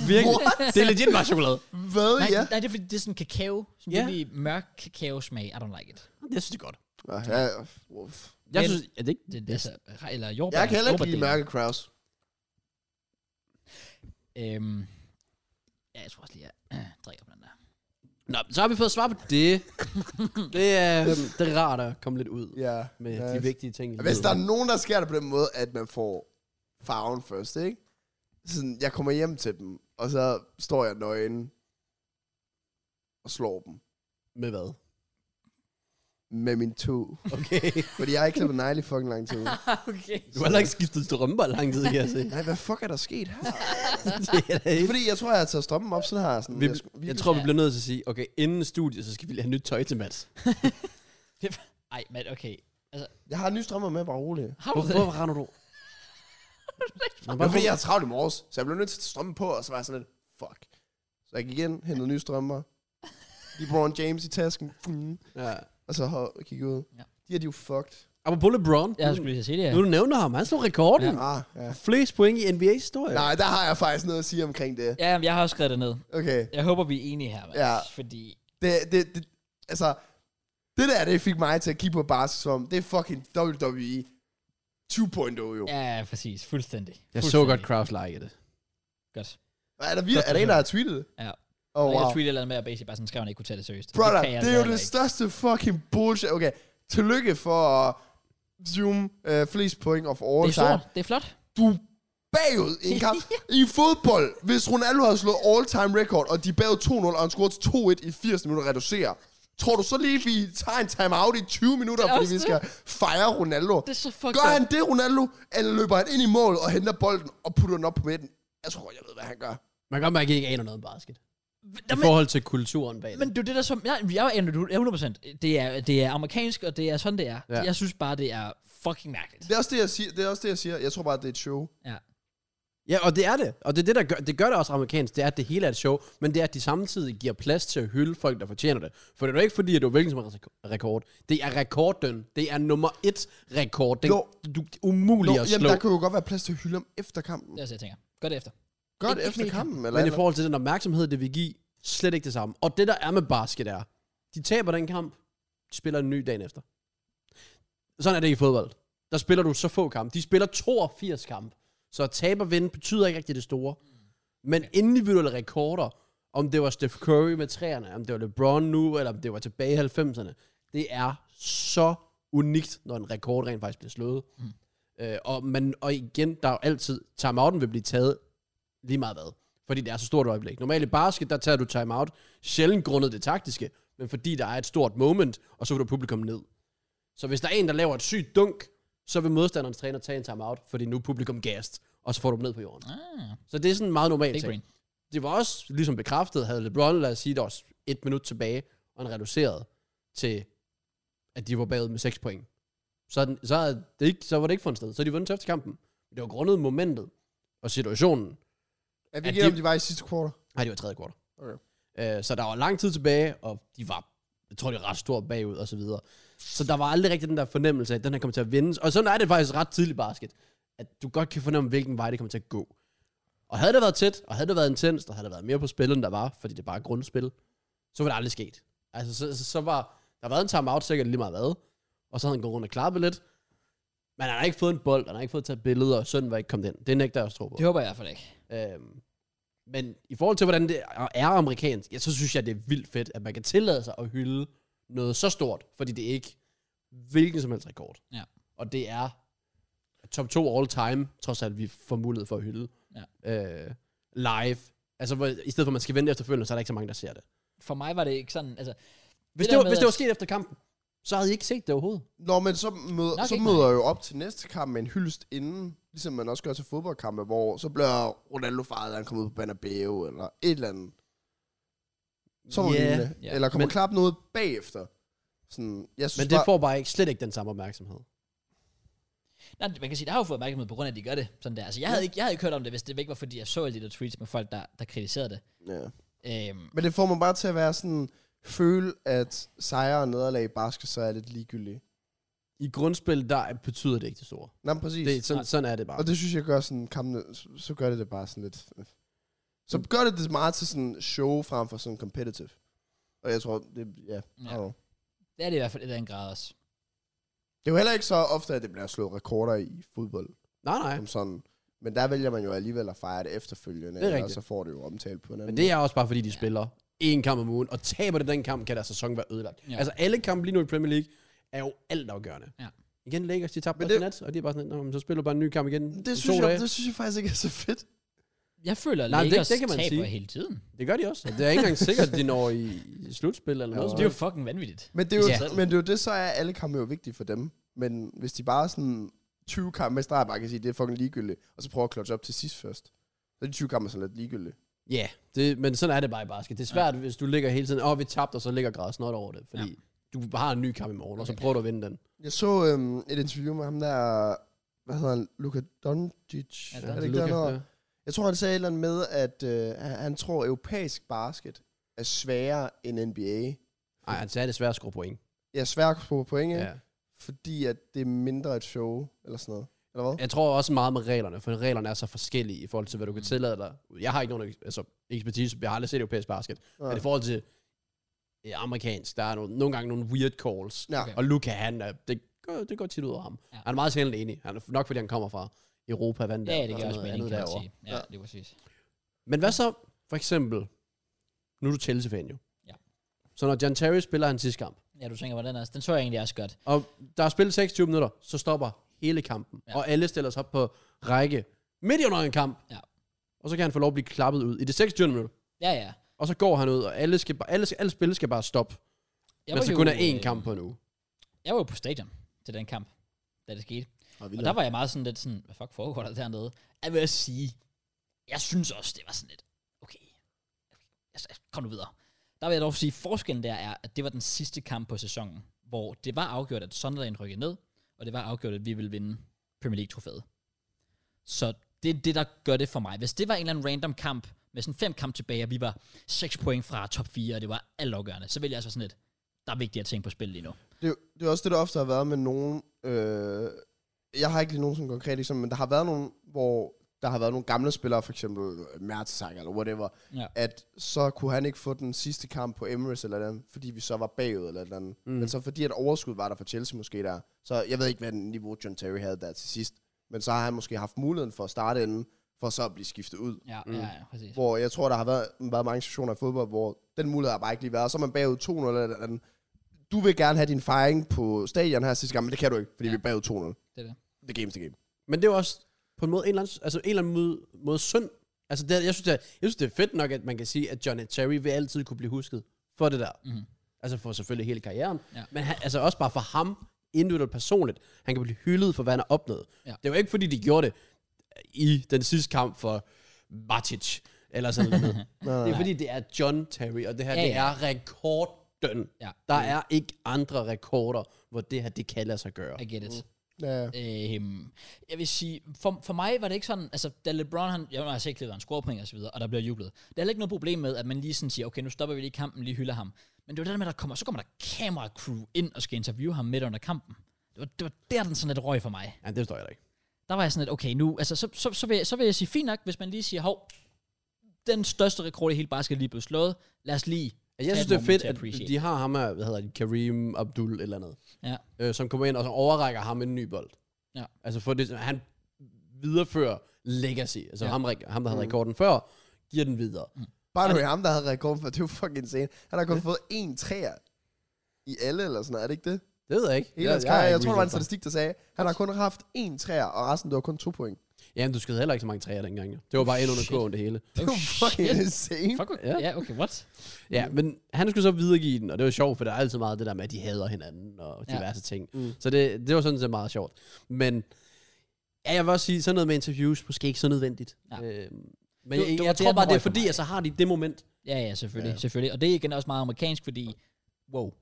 Speaker 2: [LAUGHS] Virkelig?
Speaker 3: What?
Speaker 2: Det er legit bare chokolade.
Speaker 3: hvad?
Speaker 1: Nej,
Speaker 3: Ja.
Speaker 1: nej, det er fordi, det er sådan kakao, sådan
Speaker 2: Ja.
Speaker 1: yeah. virkelig mørk kakao-smag. I don't like it.
Speaker 2: Jeg synes, det er godt.
Speaker 3: Nå, ja, uff.
Speaker 2: Jeg
Speaker 1: Men-
Speaker 2: synes, er det ikke
Speaker 1: Det, det er altså, eller jordbær.
Speaker 3: Jeg kan heller ikke lide
Speaker 1: jordbærdelen.
Speaker 3: mørke Kraus.
Speaker 1: Øhm, ja, jeg tror også lige, jeg drikker på den der.
Speaker 2: Nå, så har vi fået svar på [LAUGHS] det. det, er, øhm, det er rart at komme lidt ud
Speaker 3: Ja.
Speaker 2: med
Speaker 3: ja.
Speaker 2: de vigtige ting. i
Speaker 3: Hvis
Speaker 2: livet.
Speaker 3: der er nogen, der sker det på den måde, at man får farven først, ikke? Sådan, jeg kommer hjem til dem, og så står jeg nøgen og slår dem
Speaker 2: Med hvad?
Speaker 3: med min to.
Speaker 2: Okay.
Speaker 3: Fordi jeg har ikke klippet negle i fucking lang tid.
Speaker 1: okay.
Speaker 2: [LAUGHS] Du har heller ikke skiftet strømper i lang tid, kan
Speaker 1: [LAUGHS]
Speaker 2: jeg se.
Speaker 3: Nej, hvad fuck er der sket her?
Speaker 2: Det er da
Speaker 3: Det er
Speaker 2: [LAUGHS] helt-
Speaker 3: fordi, jeg tror, jeg har taget strømmen op, så har jeg sådan...
Speaker 2: Vi,
Speaker 3: jeg sku-
Speaker 2: jeg
Speaker 3: virkelig-
Speaker 2: tror, vi bliver nødt til at sige, okay, inden studiet, så skal vi lige have nyt tøj til Mads.
Speaker 1: Ej, men okay.
Speaker 3: jeg har nye strømmer med, bare rolig.
Speaker 1: Har du
Speaker 2: Hvorfor,
Speaker 1: det?
Speaker 2: hvorfor render du? Nå,
Speaker 3: Det var fordi, jeg havde travlt i morges, så jeg blev nødt til at tage strømmen på, og så var jeg sådan lidt, fuck. Så jeg gik ind, hentede nye strømmer, LeBron James i tasken, fum,
Speaker 2: Ja.
Speaker 3: og så hop- gik ud.
Speaker 1: Ja.
Speaker 3: De her, de er jo fucked.
Speaker 2: Apropos LeBron.
Speaker 1: Jeg skulle lige sige det, ja.
Speaker 2: Nu du nævner ham, han slog rekorden. Ja.
Speaker 3: Ah, ja.
Speaker 2: Flest point i NBA-historie.
Speaker 3: Nej, der har jeg faktisk noget at sige omkring det.
Speaker 1: Ja, men jeg har også skrevet det ned.
Speaker 3: Okay,
Speaker 1: Jeg håber, vi er enige her, Mads,
Speaker 3: Ja.
Speaker 1: Fordi,
Speaker 3: det, det, det, altså, det der, det fik mig til at kigge på Barca som, det er fucking E WWE 2.0 oh, jo. Ja.
Speaker 1: ja, præcis. Fuldstændig.
Speaker 2: Jeg så
Speaker 1: Fuldstændig.
Speaker 2: godt Kraus like det.
Speaker 1: Godt.
Speaker 3: Er der, vir- er der en, der har tweetet det?
Speaker 1: Ja.
Speaker 3: Oh,
Speaker 1: Og jeg
Speaker 3: wow.
Speaker 1: tweetede et eller andet med, at Basie bare sådan skrev, at han ikke kunne tage det seriøst.
Speaker 3: Brother,
Speaker 1: kan jeg
Speaker 3: det, det
Speaker 1: altså
Speaker 3: er jo det
Speaker 1: heller ikke.
Speaker 3: største fucking bullshit. Okay, tillykke for at zoom uh, flest point of all
Speaker 1: Det er
Speaker 3: time.
Speaker 1: stort. Det er flot.
Speaker 3: Du er bagud i en
Speaker 1: [LAUGHS]
Speaker 3: kamp. I fodbold, hvis Ronaldo havde slået all-time record, og de er bagud 2-0, og han scorede til 2-1 i 80 minutter reducerer. Tror du så lige, vi tager en timeout i 20 minutter,
Speaker 1: Det er
Speaker 3: fordi
Speaker 1: også
Speaker 3: vi skal fejre Ronaldo?
Speaker 1: Det er så fucked
Speaker 3: Gør
Speaker 1: up.
Speaker 3: han det, Ronaldo? Eller løber han ind i mål og henter bolden og putter den op på midten? Jeg tror, jeg ved, hvad han gør.
Speaker 2: Man kan godt mærke, at I ikke aner noget om basket. I
Speaker 1: Jamen,
Speaker 2: forhold til kulturen bag det.
Speaker 1: Men det er det der som... Jeg, jeg er 100%. Det er, det er amerikansk, og det er sådan, det er.
Speaker 2: Ja.
Speaker 1: Ja. Jeg synes bare, det er fucking mærkeligt.
Speaker 3: Det er også det, jeg siger. Det er også det, jeg, siger. jeg tror bare, det er et show.
Speaker 1: Ja.
Speaker 2: Ja, og det er det. Og det er det, der gør det, gør det også amerikansk. Det er, at det hele er et show. Men det er, at de samtidig giver plads til at hylde folk, der fortjener det. For det er jo ikke fordi, at du er hvilken som helst rek- rekord. Det er rekorden. Det er nummer et rekord. Den,
Speaker 3: Nå.
Speaker 2: du, det er umuligt
Speaker 3: Nå,
Speaker 2: at
Speaker 3: jamen,
Speaker 2: slå.
Speaker 3: der kunne jo godt være plads til at hylde ham efter kampen.
Speaker 1: Det er også, jeg tænker. Gør det efter.
Speaker 3: Godt
Speaker 1: Ikke- ikke
Speaker 3: efter
Speaker 1: midt i kampen.
Speaker 3: kampen, eller?
Speaker 2: Men i
Speaker 3: eller-
Speaker 2: forhold til den opmærksomhed, det vil give, slet ikke det samme. Og det, der er med basket, er, de taber den kamp, de spiller en ny dagen efter. Sådan er det i fodbold. Der spiller du så få kampe. De spiller 82 kampe. Så at tabe og vinde betyder ikke rigtig det store. Men individuelle rekorder, om det var Steph Curry med træerne, om det var LeBron nu, eller om det var tilbage i 90'erne, det er så unikt, når en rekord rent faktisk bliver slået. Mm. Øh, og, man, og igen, der er jo altid, timeouten vil blive taget lige meget hvad. Fordi det er så stort et øjeblik. Normalt i basket, der tager du timeout, sjældent grundet det taktiske, men fordi der er et stort moment, og så vil du publikum ned. Så hvis der er en, der laver et sygt dunk, så vil modstanderens træner tage en timeout, fordi nu er publikum gast, og så får du dem ned på jorden.
Speaker 1: Ah,
Speaker 2: Så det er sådan en meget normal
Speaker 1: big
Speaker 2: ting.
Speaker 1: brain.
Speaker 2: det var også ligesom bekræftet, havde LeBron, lad os sige, der var et minut tilbage, og han reducerede til, at de var bagud med 6 point. Så, er den- så, er det ikke, så var det ikke fundet sted. Så er de vundet til efter kampen. Det var grundet momentet og situationen.
Speaker 3: Er vi
Speaker 2: Ja,
Speaker 3: ikke
Speaker 2: det-
Speaker 3: om de var i sidste kvartal?
Speaker 2: Nej, det var tredje kvartal.
Speaker 3: Okay.
Speaker 2: Øh, så der var lang tid tilbage, og de var, jeg tror, de var ret stort bagud og så videre. Så der var aldrig rigtig den der fornemmelse af, at den her kommer til at vinde. Og sådan er det faktisk ret tidligt i basket, at du godt kan fornemme, hvilken vej det kommer til at gå. Og havde det været tæt, og havde det været intens, og havde der været mere på spillet, end der var, fordi det bare er grundspil, så var det aldrig sket. Altså, så, så, så var, der har været en timeout sikkert lige meget hvad, og så havde han gået rundt og klappet lidt. Men han har ikke fået en bold, han har ikke fået taget billeder, og søn var ikke kommet ind. Det nægter jeg også tro på.
Speaker 1: Det håber jeg i hvert fald ikke.
Speaker 2: Øhm, men i forhold til, hvordan det er- er amerikansk, ja, så synes jeg, det er vildt fedt, at man kan tillade sig at hylde noget så stort, fordi det er ikke hvilken som helst rekord.
Speaker 1: Ja.
Speaker 2: Og det er top 2 all time, trods alt vi får mulighed for at hylde ja. øh, live. Altså, hvor, i stedet for, at man skal vente efterfølgende, så er der ikke så mange, der ser det.
Speaker 1: For mig var det ikke sådan, altså...
Speaker 2: Hvis
Speaker 1: der
Speaker 2: det, det, var,
Speaker 1: med,
Speaker 2: hvis det var
Speaker 1: at-
Speaker 2: sket efter kampen, så havde I ikke set det overhovedet.
Speaker 3: Nå, men så, mød,
Speaker 1: Nok
Speaker 3: så
Speaker 1: ikke,
Speaker 3: møder jeg jo op til næste kamp med en hyldest inden, ligesom man også gør til fodboldkampe, hvor så bliver Ronaldo fejret, at han kommer ud på Banabeo, eller et eller andet. Så
Speaker 2: Ja,
Speaker 3: yeah,
Speaker 1: ja.
Speaker 3: yeah. Eller kommer
Speaker 2: Men-
Speaker 3: klappe noget bagefter. Sådan, jeg synes
Speaker 2: Men det
Speaker 3: bare,
Speaker 2: får bare ikke, slet ikke den samme opmærksomhed.
Speaker 1: Nej, man kan sige, det har jo fået opmærksomhed på grund af, at de gør det. Sådan der. Altså, jeg havde, ikke, jeg havde ikke hørt om det, hvis det ikke var, fordi jeg så alle de der tweets med folk, der, der kritiserede det.
Speaker 3: ja.
Speaker 1: Øhm,
Speaker 3: Men det får man bare til at være sådan, føle, at sejre og nederlag i basket, så er lidt ligegyldige.
Speaker 2: I grundspil, der betyder det ikke det store.
Speaker 3: Nej, men præcis.
Speaker 2: Det,
Speaker 3: Det,
Speaker 2: sådan, sådan er det bare.
Speaker 3: og det synes jeg gør sådan kampene, så- så gør det det bare sådan lidt... øh, Så gør det det meget til sådan show frem for sådan competitive. Og jeg tror, det, ja,
Speaker 1: Ja.
Speaker 3: ja. Oh.
Speaker 1: det er det i hvert fald i den grad også.
Speaker 3: Det er jo heller ikke så ofte, at det bliver slået rekorder i fodbold.
Speaker 2: nej, nej.
Speaker 3: Som sådan. Men der vælger man jo alligevel at fejre det efterfølgende.
Speaker 2: Det er
Speaker 3: eller
Speaker 2: rigtigt.
Speaker 3: så får det jo omtalt på en anden
Speaker 2: Men det
Speaker 3: måde.
Speaker 2: er også bare, fordi de ja. spiller én kamp om ugen, og taber det den kamp, kan deres sæson være ødelagt.
Speaker 1: Ja.
Speaker 2: Ja. Altså alle kampe lige nu i Premier League er jo altafgørende.
Speaker 1: Ja.
Speaker 2: Igen Lakers, de tabte
Speaker 3: Men
Speaker 2: det... nat, og de er bare sådan, "Nå, men så spiller du bare en ny kamp igen
Speaker 3: det,
Speaker 2: i
Speaker 3: det,
Speaker 2: to
Speaker 3: synes jeg,
Speaker 2: dage.
Speaker 3: det synes jeg faktisk ikke er så fedt.
Speaker 1: Jeg føler, at
Speaker 2: Nej, det-
Speaker 1: Lakers
Speaker 2: det kan man
Speaker 1: taber
Speaker 2: sige.
Speaker 1: hele tiden.
Speaker 2: Det gør de også. Og det er ikke engang sikkert, at de når i, i slutspil eller noget.
Speaker 1: Det
Speaker 2: som
Speaker 1: er jo
Speaker 2: helst.
Speaker 1: fucking vanvittigt.
Speaker 3: Men det, er jo,
Speaker 1: Ja.
Speaker 3: ja. men det er jo det, så er alle kampe jo vigtige for dem. Men hvis de bare er sådan 20 kampe i streg, bare kan sige, det er fucking ligegyldigt, og så prøver at klodse op til sidst først. Så er de 20 kampe sådan lidt ligegyldige.
Speaker 2: Ja, det, men sådan er det bare i basket. Det er svært, ja. hvis du ligger hele tiden, åh, oh, vi tabte, og så ligger græs not over det. Fordi
Speaker 1: Ja.
Speaker 2: ja. du har en ny kamp i morgen, og så
Speaker 1: Okay.
Speaker 2: prøver du at vinde den.
Speaker 3: Jeg så øhm, et interview med ham der, hvad hedder han, Luka Doncic?
Speaker 1: Ja,
Speaker 3: Er det
Speaker 1: Doncic,
Speaker 3: ikke det, han hedder?
Speaker 2: ja.
Speaker 3: Jeg tror, han sagde et eller andet med, at øh, han- han tror, at europæisk basket er sværere end NBA.
Speaker 2: Ej, altså, han sagde desværre at score point.
Speaker 3: Jeg er sværere at få point, ja.
Speaker 2: Ja.
Speaker 3: fordi at det er mindre et show, eller sådan noget. Eller hvad?
Speaker 2: Jeg tror også meget med reglerne, for reglerne er så forskellige i forhold til, hvad du kan
Speaker 1: Mm.
Speaker 2: tillade dig. Jeg har ikke nogen eks- altså, ekspertise, jeg har aldrig set europæisk basket, ja. men i forhold til øh, amerikansk, der er nogle, nogle gange nogle weird calls.
Speaker 3: ja.
Speaker 1: Okay.
Speaker 2: Og Luca, han er, det, går, det går tit ud over ham.
Speaker 1: Ja.
Speaker 2: Ja. Han er meget sjældent enig. Han er nok, fordi han kommer fra Europa, vandt
Speaker 1: Ja,
Speaker 2: der,
Speaker 1: det
Speaker 2: og
Speaker 1: gør
Speaker 2: sådan
Speaker 1: også
Speaker 2: noget
Speaker 1: mening,
Speaker 2: andet
Speaker 1: kan man
Speaker 2: derovre.
Speaker 1: sige. Ja,
Speaker 3: Ja.
Speaker 1: det er præcis.
Speaker 2: Men hvad så, for eksempel, nu er du Chelsea-fan jo.
Speaker 1: Ja.
Speaker 2: Så når John Terry spiller hans sidste kamp,
Speaker 1: Ja, du tænker, hvordan er Den så jeg egentlig også godt.
Speaker 2: Og der er spillet 26 minutter, så stopper hele kampen.
Speaker 1: Ja.
Speaker 2: Ja. Og alle stiller sig op på række midt i under en kamp.
Speaker 1: Ja.
Speaker 2: Og så kan han få lov at blive klappet ud i det 26. minut.
Speaker 1: Ja, ja.
Speaker 2: Og så går han ud, og alle, skal, bare- alle, alle spil skal bare stoppe.
Speaker 1: Jeg
Speaker 2: Men
Speaker 1: var
Speaker 2: så
Speaker 1: jo,
Speaker 2: kun er én
Speaker 1: øh,
Speaker 2: kamp på en uge.
Speaker 1: Jeg var jo på stadion til den kamp, da det skete.
Speaker 3: Og
Speaker 1: Og der var jeg meget sådan lidt sådan, hvad fuck foregår der dernede? Jeg vil også sige, jeg synes også, det var sådan lidt, okay, altså, kom nu videre. Der vil jeg dog sige, forskellen der er, at det var den sidste kamp på sæsonen, hvor det var afgjort, at Sunderland rykkede ned, og det var afgjort, at vi ville vinde Premier League-trofæet. Så det er det, der gør det for mig. Hvis det var en eller anden random kamp, med sådan fem kamp tilbage, og vi var 6 point fra top 4, og det var altafgørende, så ville jeg altså sådan lidt, der er vigtigere ting på spil lige nu.
Speaker 3: Det, er jo- det er også det, der ofte har været med nogen... Øh, jeg har ikke lige nogen sådan konkret eksempel, men der har været nogen, hvor der har været nogle gamle spillere, for eksempel Mertzak eller whatever,
Speaker 1: Ja.
Speaker 3: at så kunne han ikke få den sidste kamp på Emirates eller et eller andet, fordi vi så var bagud eller et eller andet. Mm. Men så fordi at overskud var der for Chelsea måske der, så jeg ved ikke, hvad den niveau John Terry havde der til sidst, men så har han måske haft muligheden for at starte inden, for så at blive skiftet ud.
Speaker 1: Ja, mm. ja, ja, præcis.
Speaker 3: Hvor jeg tror, der har været, været mange situationer i fodbold, hvor den mulighed har bare ikke lige været. Og så er man bagud 2-0 eller et eller andet. Du vil gerne have din fejring på stadion her sidste gang, men det kan du ikke, fordi
Speaker 1: Ja.
Speaker 3: ja. vi er bagud 2-0.
Speaker 1: Det er det.
Speaker 3: Det er games the game.
Speaker 2: Men det er jo også på en måde en eller anden, altså en eller anden måde, måde synd. Altså det, er- jeg, synes, det er, jeg synes, det er fedt nok, at man kan sige, at John Terry vil altid kunne blive husket for det der.
Speaker 1: Mhm.
Speaker 2: Altså for selvfølgelig hele karrieren.
Speaker 1: Ja.
Speaker 2: Men han, altså også bare for ham, individuelt personligt. Han kan blive hyldet for, hvad han har opnået.
Speaker 1: Ja.
Speaker 2: øh, Det var ikke, fordi de gjorde det i den sidste kamp for Matic. eller
Speaker 1: [LAUGHS]
Speaker 2: sådan noget. andet.
Speaker 3: Nej, nej,
Speaker 2: Det er
Speaker 3: nej.
Speaker 2: fordi, det er John Terry, og det her,
Speaker 1: Ja,
Speaker 2: ja, det
Speaker 1: ja.
Speaker 2: er rekorden.
Speaker 1: Ja.
Speaker 2: Der er ikke andre rekorder, hvor det her, det kan lade sig gøre.
Speaker 1: I get it.
Speaker 3: Ja, ja.
Speaker 1: Øhm, jeg vil sige, for, for mig var det ikke sådan, altså da LeBron, han, jeg har set klippet, han scorer point og så videre, og der bliver jublet. Der er heller ikke noget problem med, at man lige sådan siger, okay, nu stopper vi lige kampen, lige hylder ham. Men det var det der med, at der kommer, så kommer der kamera-crew ind og skal interviewe ham midt under kampen. Det var, det var der, den sådan lidt røg for mig.
Speaker 2: Ja, det forstår jeg da ikke.
Speaker 1: Der var jeg sådan lidt, okay, nu, altså så, så, så, vil, jeg- så vil jeg sige, fint nok, hvis man lige siger, hov, den største rekord i hele basket lige blev slået, lad os lige tage
Speaker 2: Altså, Jeg synes,
Speaker 1: et
Speaker 2: det er
Speaker 1: moment
Speaker 2: fedt,
Speaker 1: til appreciate.
Speaker 2: at de har ham her, hvad hedder det, Kareem Abdul et eller andet,
Speaker 1: Ja.
Speaker 2: øh, som kommer ind og så overrækker ham en ny bold.
Speaker 1: Ja.
Speaker 2: Altså, for det, han viderefører legacy. Altså,
Speaker 1: Ja.
Speaker 2: ja. ham, rek- ham, der havde
Speaker 3: Mm.
Speaker 2: rekorden før, giver den videre.
Speaker 3: By the way, ham, der havde rekorden for, det var fucking insane. Han har kun fået én træer i alle, eller sådan noget, er det ikke det?
Speaker 2: Det ved jeg ikke.
Speaker 3: Hele,
Speaker 2: Jeg- jeg
Speaker 3: ja, jeg,
Speaker 2: har
Speaker 3: jeg,
Speaker 2: ikke
Speaker 3: tror, der var en
Speaker 2: research
Speaker 3: statistik, der sagde, han har kun haft én træer, og resten, det var kun to point.
Speaker 2: på. Jamen, du skød heller ikke så mange træer dengang. Jo. Det var bare ind under
Speaker 1: Shit.
Speaker 2: kurven, det hele.
Speaker 3: Det var fucking insane.
Speaker 1: Fuck,
Speaker 2: Ja.
Speaker 1: ja, okay, what?
Speaker 2: Ja,
Speaker 1: Mm.
Speaker 2: men han skulle så videregive den, og det var sjovt, for der er altid meget det der med, at de hader hinanden og
Speaker 1: Ja.
Speaker 2: diverse ting.
Speaker 3: Mm.
Speaker 2: Mm. Så det, det var sådan set meget sjovt. Men ja, jeg vil også sige, sådan noget med interviews, måske ikke så nødvendigt.
Speaker 1: Ja.
Speaker 2: Ja. Øhm,
Speaker 1: Det-
Speaker 2: men jeg,
Speaker 1: det
Speaker 2: jeg,
Speaker 1: var
Speaker 2: jeg
Speaker 1: der,
Speaker 2: tror
Speaker 1: den
Speaker 2: bare, det er
Speaker 1: røg for
Speaker 2: fordi,
Speaker 1: mig.
Speaker 2: at så har de det moment.
Speaker 1: Ja, ja, selvfølgelig, ja.
Speaker 3: Ja.
Speaker 1: selvfølgelig. Og det er igen også meget amerikansk, fordi, wow,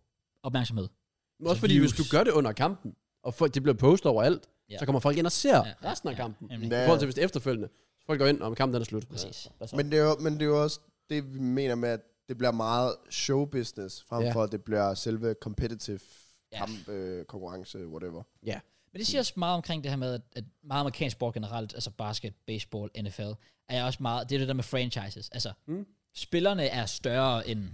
Speaker 1: opmærksomhed.
Speaker 2: Men også fordi, hvis du
Speaker 1: Interviews.
Speaker 2: gør det under kampen, og folk, det bliver postet overalt,
Speaker 1: Ja.
Speaker 2: ja. så kommer folk ind og ser ja. resten af
Speaker 1: ja,
Speaker 2: kampen.
Speaker 1: nemlig.
Speaker 2: I
Speaker 3: Ja.
Speaker 2: forhold til, hvis det er efterfølgende, så folk går ind, og kampen den er slut.
Speaker 1: Præcis.
Speaker 2: Ja, hvad så?
Speaker 3: Men det, er jo, men det er jo også det, vi mener med, at det bliver meget showbusiness, frem
Speaker 2: Ja.
Speaker 3: for at det bliver selve competitive
Speaker 1: Ja.
Speaker 3: kamp, øh, konkurrence, whatever.
Speaker 2: ja.
Speaker 1: Men det siger også meget omkring det her med, at, at meget amerikansk sport generelt, altså basket, baseball, NFL, er også meget, det er det der med franchises. Altså, mm.
Speaker 2: Mm.
Speaker 1: spillerne er større end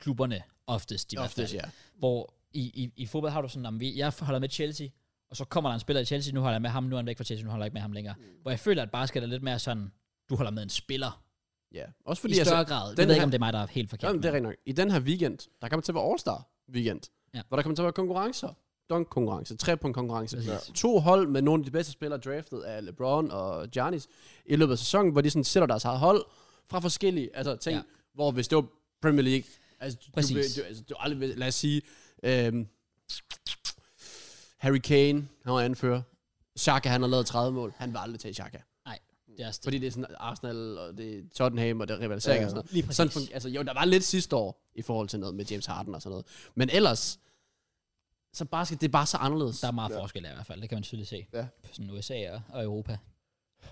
Speaker 1: klubberne oftest i hvert fald.
Speaker 2: Oftest, ja.
Speaker 1: Hvor i, i, i fodbold har du sådan, at jeg holder med Chelsea, og så kommer der en spiller i Chelsea, nu holder jeg med ham, nu er han væk fra Chelsea, nu holder jeg ikke med ham længere. Mm. Hvor jeg føler, at basket er lidt mere sådan, du holder med en spiller
Speaker 2: ja. Også
Speaker 1: Fordi
Speaker 2: fordi,
Speaker 1: i større altså,
Speaker 2: altså,
Speaker 1: grad. Jeg
Speaker 2: den
Speaker 1: ved ikke,
Speaker 2: her-
Speaker 1: om det er mig, der er helt forkert.
Speaker 2: Jamen, det er rigtigt nok. I den her weekend, der kommer til at være All-Star weekend,
Speaker 1: Ja.
Speaker 2: ja. hvor der kommer til at være konkurrencer. Dunk-konkurrence, tre-punkt-konkurrence.
Speaker 1: Præcis.
Speaker 2: Ja. To hold med nogle af de bedste spillere draftet af LeBron og Giannis i løbet af sæsonen, hvor de sådan sætter deres eget hold fra forskellige altså, ting,
Speaker 1: Ja.
Speaker 2: ja. hvor hvis det var Premier League, altså, du,
Speaker 1: Præcis.
Speaker 2: vil- du, altså, du aldrig, vil- lad os sige, øhm, Harry Kane, han var anfører. Xhaka, han har lavet 30 mål. Han var aldrig til Xhaka.
Speaker 1: Nej, det er også det.
Speaker 2: Fordi det er sådan Arsenal, og det er Tottenham, og det er rivalisering
Speaker 3: Ja,
Speaker 2: og sådan noget.
Speaker 1: lige præcis.
Speaker 2: Sådan fungerer, altså, jo, der var lidt sidste år i forhold til noget med James Harden og sådan noget. Men ellers, så basket, det er bare så anderledes.
Speaker 1: Der er meget ja.
Speaker 3: Ja.
Speaker 1: forskel i hvert fald, det kan man tydeligt se.
Speaker 3: Ja.
Speaker 1: På sådan USA og, og Europa.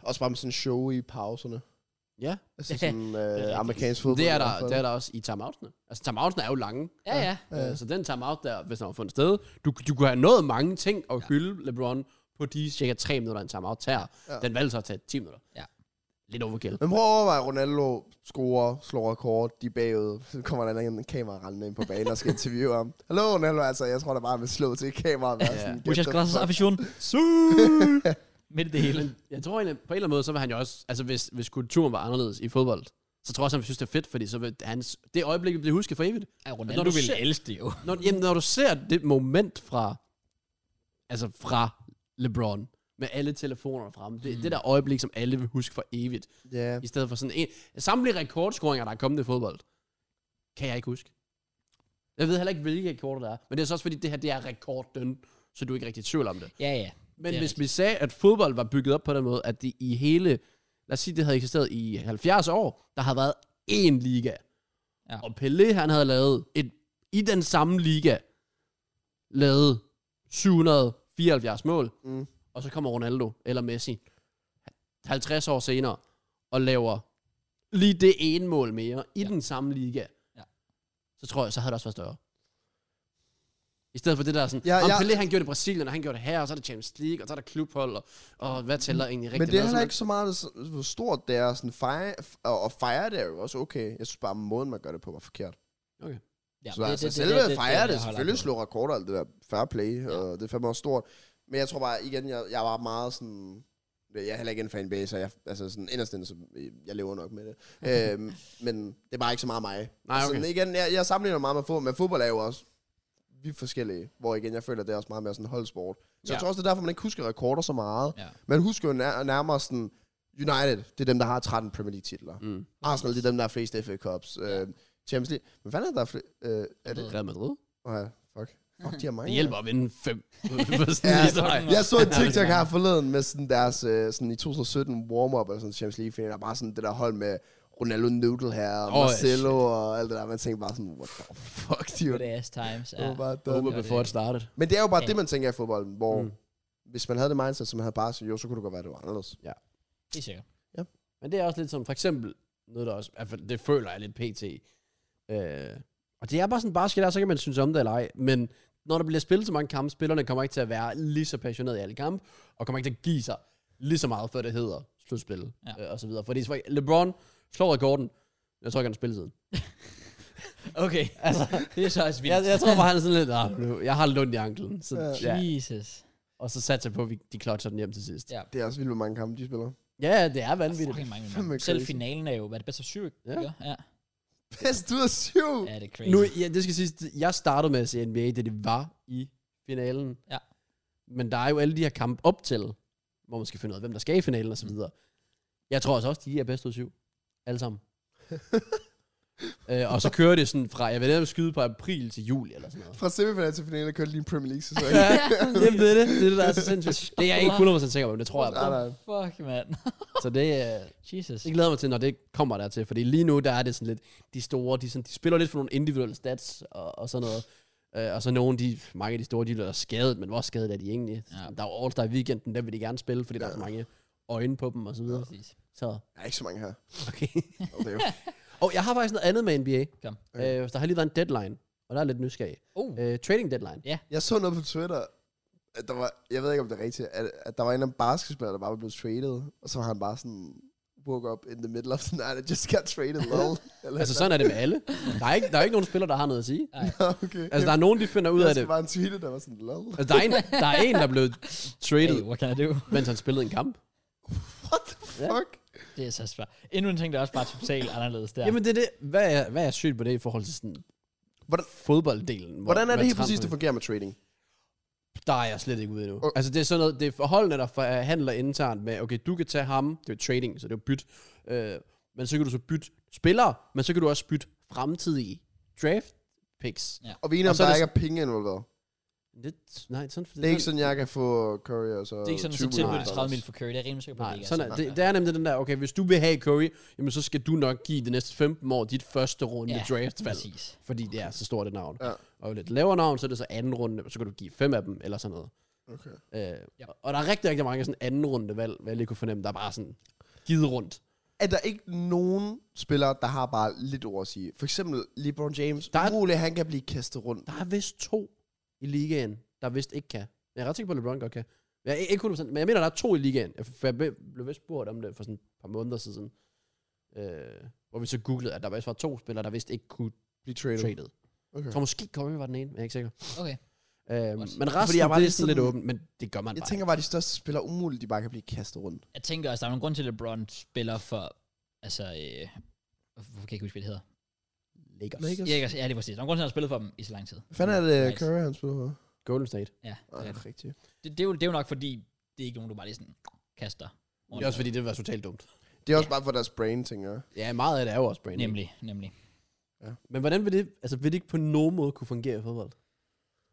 Speaker 3: Også bare med sådan show i pauserne.
Speaker 2: [LAUGHS] ja,
Speaker 3: Altså
Speaker 1: Ja,
Speaker 3: sådan
Speaker 1: rigtigt.
Speaker 3: øh, amerikansk fodbold.
Speaker 2: det er,
Speaker 3: i hvert
Speaker 2: der,
Speaker 3: fald.
Speaker 2: det er der også i timeoutene. Altså, timeoutene er jo lange.
Speaker 1: Ja, ja.
Speaker 2: Ja. Så den timeout der, hvis den var fundet sted, du, du kunne have nået mange ting og hylde LeBron på de cirka 3 minutter, en timeout tager.
Speaker 3: Ja.
Speaker 2: Ja. Den valgte så at tage 10 minutter.
Speaker 1: Ja.
Speaker 2: Lidt overkill.
Speaker 3: Men prøv at overveje, Ronaldo scorer, slår rekord, de er bagud. Så kommer der en anden kamera rendende ind på banen og skal interviewe ham. Hallo Ronaldo, altså jeg tror da bare, han vil slå til kameraet. og være sådan, "Get
Speaker 1: Muchas
Speaker 3: the
Speaker 1: gracias,
Speaker 3: fuck
Speaker 1: afición.
Speaker 2: Su-
Speaker 1: Midt i det hele.
Speaker 2: Men jeg tror egentlig, på en eller anden måde, så vil han jo også, altså hvis, hvis kulturen var anderledes i fodbold, så tror jeg også, han synes, det er fedt, fordi så vil hans, det øjeblik vil blive husket for evigt.
Speaker 1: Ja,
Speaker 2: Når
Speaker 1: Ronaldo
Speaker 2: du
Speaker 1: ville
Speaker 2: ser-
Speaker 1: elske det jo.
Speaker 2: Når, jamen, når du ser det moment fra, altså fra LeBron, med alle telefoner frem, det, mm. det der øjeblik, som alle vil huske for evigt,
Speaker 3: Ja.
Speaker 2: i stedet for sådan en, samtlige rekordscoringer, der er kommet i fodbold, kan jeg ikke huske. Jeg ved heller ikke, hvilke rekorder der er, men det er så også fordi, det her, det er rekorden, så du er ikke rigtig i tvivl om det.
Speaker 1: Ja, ja.
Speaker 2: Men
Speaker 1: Det er
Speaker 2: hvis
Speaker 1: rigtigt.
Speaker 2: vi sagde, at fodbold var bygget op på den måde, at det i hele, lad os sige, det havde eksisteret i 70 år, der har været én liga.
Speaker 1: Ja.
Speaker 2: Ja. Og Pelé, han havde lavet et, i den samme liga, lavet 774 mål,
Speaker 3: Mm.
Speaker 2: og så kommer Ronaldo eller Messi 50 år senere og laver lige det ene mål mere i
Speaker 1: Ja.
Speaker 2: ja. den samme liga.
Speaker 1: Ja.
Speaker 2: Så tror jeg, så havde det også været større. I stedet for det der sådan,
Speaker 3: Ja,
Speaker 2: ja, ja.
Speaker 3: jeg-
Speaker 2: Pelé han gjorde det i Brasilien, og han gjorde det her, og så er det Champions League, og så er der klubhold, og, og hvad tæller egentlig
Speaker 3: Mm. Men
Speaker 2: rigtigt?
Speaker 3: det er
Speaker 2: hvad,
Speaker 3: heller
Speaker 2: så-
Speaker 3: ikke så meget, så- hvor stort det er. Sådan fejre, og, og fejre det er jo også okay. Jeg synes bare, måden man gør det på var forkert.
Speaker 1: Ja,
Speaker 3: Ja, så det, altså, det, selve det, det, fejre det, det selvfølgelig slå rekorder og alt det der fair play, ja. og det er fandme også stort. Men jeg tror bare, igen, jeg, jeg var meget sådan... Jeg er heller ikke en fanbase, og jeg, altså sådan inderst inde, så jeg lever nok [LAUGHS] med det. øhm, men det er bare ikke så meget mig.
Speaker 2: Nej, okay.
Speaker 3: Sådan, Altså, igen, jeg, jeg sammenligner meget med fodbold, men fodbold er jo også vi er forskellige, hvor igen, jeg føler, det er også meget mere sådan holdsport. Så ja.
Speaker 2: Ja.
Speaker 3: jeg tror også, det er derfor, man ikke husker rekorder så meget.
Speaker 1: Ja.
Speaker 3: Man husker jo nær, nærmere sådan, United, det er dem, der har 13 Premier League-titler.
Speaker 2: Mm.
Speaker 3: Arsenal, det er dem, der har flest FA Cups.
Speaker 1: Ja.
Speaker 3: Øh, Champions League. Men fanden er der flere? Øh, er det?
Speaker 2: Real Madrid?
Speaker 3: Åh ja, fuck. Fuck, de har mange.
Speaker 2: Mm. Det hjælper at vinde fem. på sådan
Speaker 3: [LAUGHS]
Speaker 2: [LAUGHS]
Speaker 3: Ja, altså,
Speaker 2: en historie.
Speaker 1: fucking-
Speaker 3: Jeg så en TikTok her forleden med sådan deres, øh, sådan i 2017 warm-up, eller sådan Champions League final, der bare sådan det der hold med Ronaldo Noodle her, og
Speaker 2: Åh, ja,
Speaker 3: Marcelo og alt det der. Man tænker bare sådan, what the fuck,
Speaker 1: Good
Speaker 3: dude.
Speaker 1: ass times.
Speaker 3: Det
Speaker 1: Ja.
Speaker 3: var bare
Speaker 2: Jeg
Speaker 3: done.
Speaker 2: håber,
Speaker 1: Gør det
Speaker 2: before it
Speaker 1: ikke.
Speaker 2: started.
Speaker 3: Men det er jo bare
Speaker 1: Ja.
Speaker 3: det, man tænker i fodbolden, hvor
Speaker 2: Mm.
Speaker 3: mm. hvis man havde det mindset, som man havde bare, så jo, så kunne det godt være, det var anderledes.
Speaker 1: Det er sikkert.
Speaker 2: Men det er også lidt som, for eksempel, noget der også, i hvert fald, det føler jeg lidt pt. Øh, og det er bare sådan basket der, så kan man synes om det eller ej, men når der bliver spillet så mange kampe, spillerne kommer ikke til at være lige så passionerede i alle kampe, og kommer ikke til at give sig lige så meget, før det hedder slutspillet,
Speaker 1: Ja.
Speaker 2: ja. øh, og så videre. Fordi så- LeBron slår rekorden, jeg tror ikke, han har spilletiden.
Speaker 1: Okay,
Speaker 2: Altså,
Speaker 1: det er så også vildt.
Speaker 2: jeg, jeg tror bare, han er sådan lidt, "Ah, nu- jeg har lidt ondt i anklen. Så,
Speaker 3: Ja.
Speaker 2: ja.
Speaker 1: [LAUGHS] Jesus.
Speaker 2: Og så satser jeg på, at vi- de klotser den hjem til sidst.
Speaker 1: Ja.
Speaker 2: Ja,
Speaker 3: Det er også vildt, hvor mange kampe de spiller. [LAUGHS]
Speaker 2: ja det er
Speaker 1: Det er
Speaker 2: vanvittigt.
Speaker 1: fucking mange
Speaker 3: Fandme
Speaker 1: minutter. Selv
Speaker 3: crazy.
Speaker 1: finalen er jo, hvad er det bedst af syv, ikke?
Speaker 2: Ja.
Speaker 1: Ikke? Ja.
Speaker 3: Bedst ud af syv!
Speaker 1: ja, det er crazy.
Speaker 2: Nu, ja, det skal siges, jeg startede med at se NBA, da det var i finalen.
Speaker 1: Ja.
Speaker 2: Men der er jo alle de her kampe op til, hvor man skal finde ud af, hvem der skal i finalen og
Speaker 1: Mm.
Speaker 2: så videre. Jeg tror altså også, de er bedst ud af syv. Alle
Speaker 1: [LAUGHS]
Speaker 2: sammen. øh, og så kører det sådan fra, jeg ved ikke, om skyde på april til juli eller sådan noget.
Speaker 3: Fra semifinal til finale kørte lige en Premier
Speaker 1: [LAUGHS]
Speaker 3: League-sæson.
Speaker 2: Ja, [LAUGHS] jamen, det er det. Det er det, der er så sindssygt. Det er jeg ikke 100% sikker på, men det tror jeg
Speaker 3: Nej,
Speaker 1: [LAUGHS]
Speaker 2: på.
Speaker 3: nej.
Speaker 1: Fuck, mand.
Speaker 2: Så det, øh,
Speaker 1: Jesus.
Speaker 2: det glæder jeg mig til, når det kommer dertil. Fordi lige nu, der er det sådan lidt, de store, de, sådan, de spiller lidt for nogle individuelle stats og, og sådan noget. Øh, og så nogle, de, mange af de store, de er skadet, men hvor skadet er de egentlig?
Speaker 1: Ja.
Speaker 2: Ja. Der er jo All-Star Weekenden, der vil de gerne spille, fordi ja. der er
Speaker 3: Ja.
Speaker 2: så mange øjne på dem og så videre.
Speaker 1: Præcis.
Speaker 2: Så,
Speaker 3: Der er ikke så mange her.
Speaker 2: okay.
Speaker 3: Okay.
Speaker 2: og jeg har faktisk noget andet med NBA.
Speaker 1: Kom.
Speaker 2: Øh, der har lige været en deadline, og der er lidt nysgerrig.
Speaker 1: Oh,
Speaker 2: Øh, trading deadline.
Speaker 3: Jeg så noget på Twitter, at der var, jeg ved ikke om det er rigtigt, at, at der var en eller anden basketspiller, der bare var blevet traded, og så var han bare sådan, woke up in the middle of the night and just got traded, lol. Eller,
Speaker 2: Altså sådan er det med alle. Der er, ikke, der er ikke nogen spiller, der har noget at sige.
Speaker 3: [LAUGHS] okay.
Speaker 2: Altså der er nogen, de finder ud af det.
Speaker 3: Det var en tweet, der var sådan, lol. [LAUGHS]
Speaker 2: Altså, der, er en, der er en, der blev
Speaker 1: hey,
Speaker 2: traded,
Speaker 1: what can I do?
Speaker 2: mens han spillede en kamp.
Speaker 3: What the fuck?
Speaker 1: Det er så svært. Endnu en ting, der er også bare totalt anderledes der.
Speaker 2: Ja. Jamen det er det. Hvad er, hvad er sygt på det i forhold til sådan
Speaker 3: Hvordan-
Speaker 2: fodbolddelen? Hvor,
Speaker 3: Hvordan er det
Speaker 2: hvad
Speaker 3: helt præcis,
Speaker 2: transfer-
Speaker 3: det fungerer med trading?
Speaker 2: Der er jeg slet ikke ude endnu.
Speaker 3: Okay.
Speaker 2: Altså det er sådan noget, det er forholdene, der forhandler internt med, okay, du kan tage ham, det er jo trading, så det er jo byt, øh, men så kan du så bytte spillere, men så kan du også bytte fremtidige draft picks.
Speaker 1: Ja.
Speaker 3: Og vi er enige
Speaker 2: Og
Speaker 3: om,
Speaker 2: så er
Speaker 3: der
Speaker 2: det
Speaker 3: ikke er penge involveret.
Speaker 2: Lidt, nej, sådan,
Speaker 3: Det er ikke sådan, jeg kan få Curry og så
Speaker 1: det er ikke sådan, at så
Speaker 3: 20
Speaker 1: tilbyder
Speaker 3: millioner
Speaker 1: det 30 mil
Speaker 3: dollars.
Speaker 1: for Curry. Det er rimelig sikker på, at det
Speaker 2: Nej,
Speaker 1: ikke
Speaker 2: sådan er, det, det er nemlig den der, okay, hvis du vil have Curry, jamen så skal du nok give de næste 15 år dit første runde ja, draftvalg.
Speaker 1: Præcis.
Speaker 2: fordi det er så stort et navn.
Speaker 3: Ja.
Speaker 2: Ja. Og jo lidt lavere navn, så er det så anden runde, så kan du give fem af dem, eller sådan noget.
Speaker 3: Okay.
Speaker 2: Øh,
Speaker 1: Ja.
Speaker 2: ja. Og der er rigtig, rigtig mange sådan anden runde valg, hvad jeg lige kunne fornemme, der er bare sådan givet rundt.
Speaker 3: Er der ikke nogen spillere, der har bare lidt ord at sige? For eksempel LeBron James. Der
Speaker 2: Der
Speaker 3: er...
Speaker 2: er-
Speaker 3: Umuligt, han kan blive kastet rundt.
Speaker 2: Der er vist to i ligaen, der vist ikke kan. Jeg er ret sikker på, at LeBron godt kan. Jeg er ikke 100%, men jeg mener, der er to i ligaen. Jeg, for jeg blev blev vist spurgt om det for sådan et par måneder siden. Øh, hvor vi så googlede, at der vist var to spillere, der vist ikke kunne
Speaker 3: Blive traded.
Speaker 2: trade.
Speaker 3: Okay.
Speaker 2: Jeg tror måske Curry var den ene, men jeg er ikke sikker.
Speaker 1: Okay.
Speaker 2: Øh,
Speaker 1: Godt.
Speaker 2: men resten,
Speaker 3: Fordi jeg var
Speaker 2: det er
Speaker 3: lidt
Speaker 2: sådan lidt
Speaker 3: sådan-
Speaker 2: åbent, men det gør man
Speaker 3: Jeg
Speaker 2: bare
Speaker 3: tænker bare, at de største spillere umuligt, de bare kan blive kastet rundt.
Speaker 1: Jeg tænker også, der er nogen grund til, at LeBron spiller for... Altså, øh, hvorfor kan jeg ikke huske, hvad det hedder?
Speaker 2: Lakers.
Speaker 3: Lakers.
Speaker 1: Ja, ikke- ja, det er præcis. Der er nogen grund til, at han har spillet for dem i så lang tid.
Speaker 3: Hvad fanden er det,
Speaker 1: Nice.
Speaker 3: Curry, han spiller for?
Speaker 2: Golden State.
Speaker 1: Ja, det er det.
Speaker 3: Ah, rigtigt.
Speaker 1: Det, det, er jo, det er jo nok, fordi det er ikke nogen, du bare lige sådan kaster.
Speaker 2: Det er også fordi, det var totalt dumt.
Speaker 3: Det er også bare for deres brain, tænker jeg.
Speaker 2: Ja, meget af det er jo også branding.
Speaker 1: Nemlig, nemlig.
Speaker 2: Men hvordan vil det, altså vil det ikke på nogen måde kunne fungere i fodbold?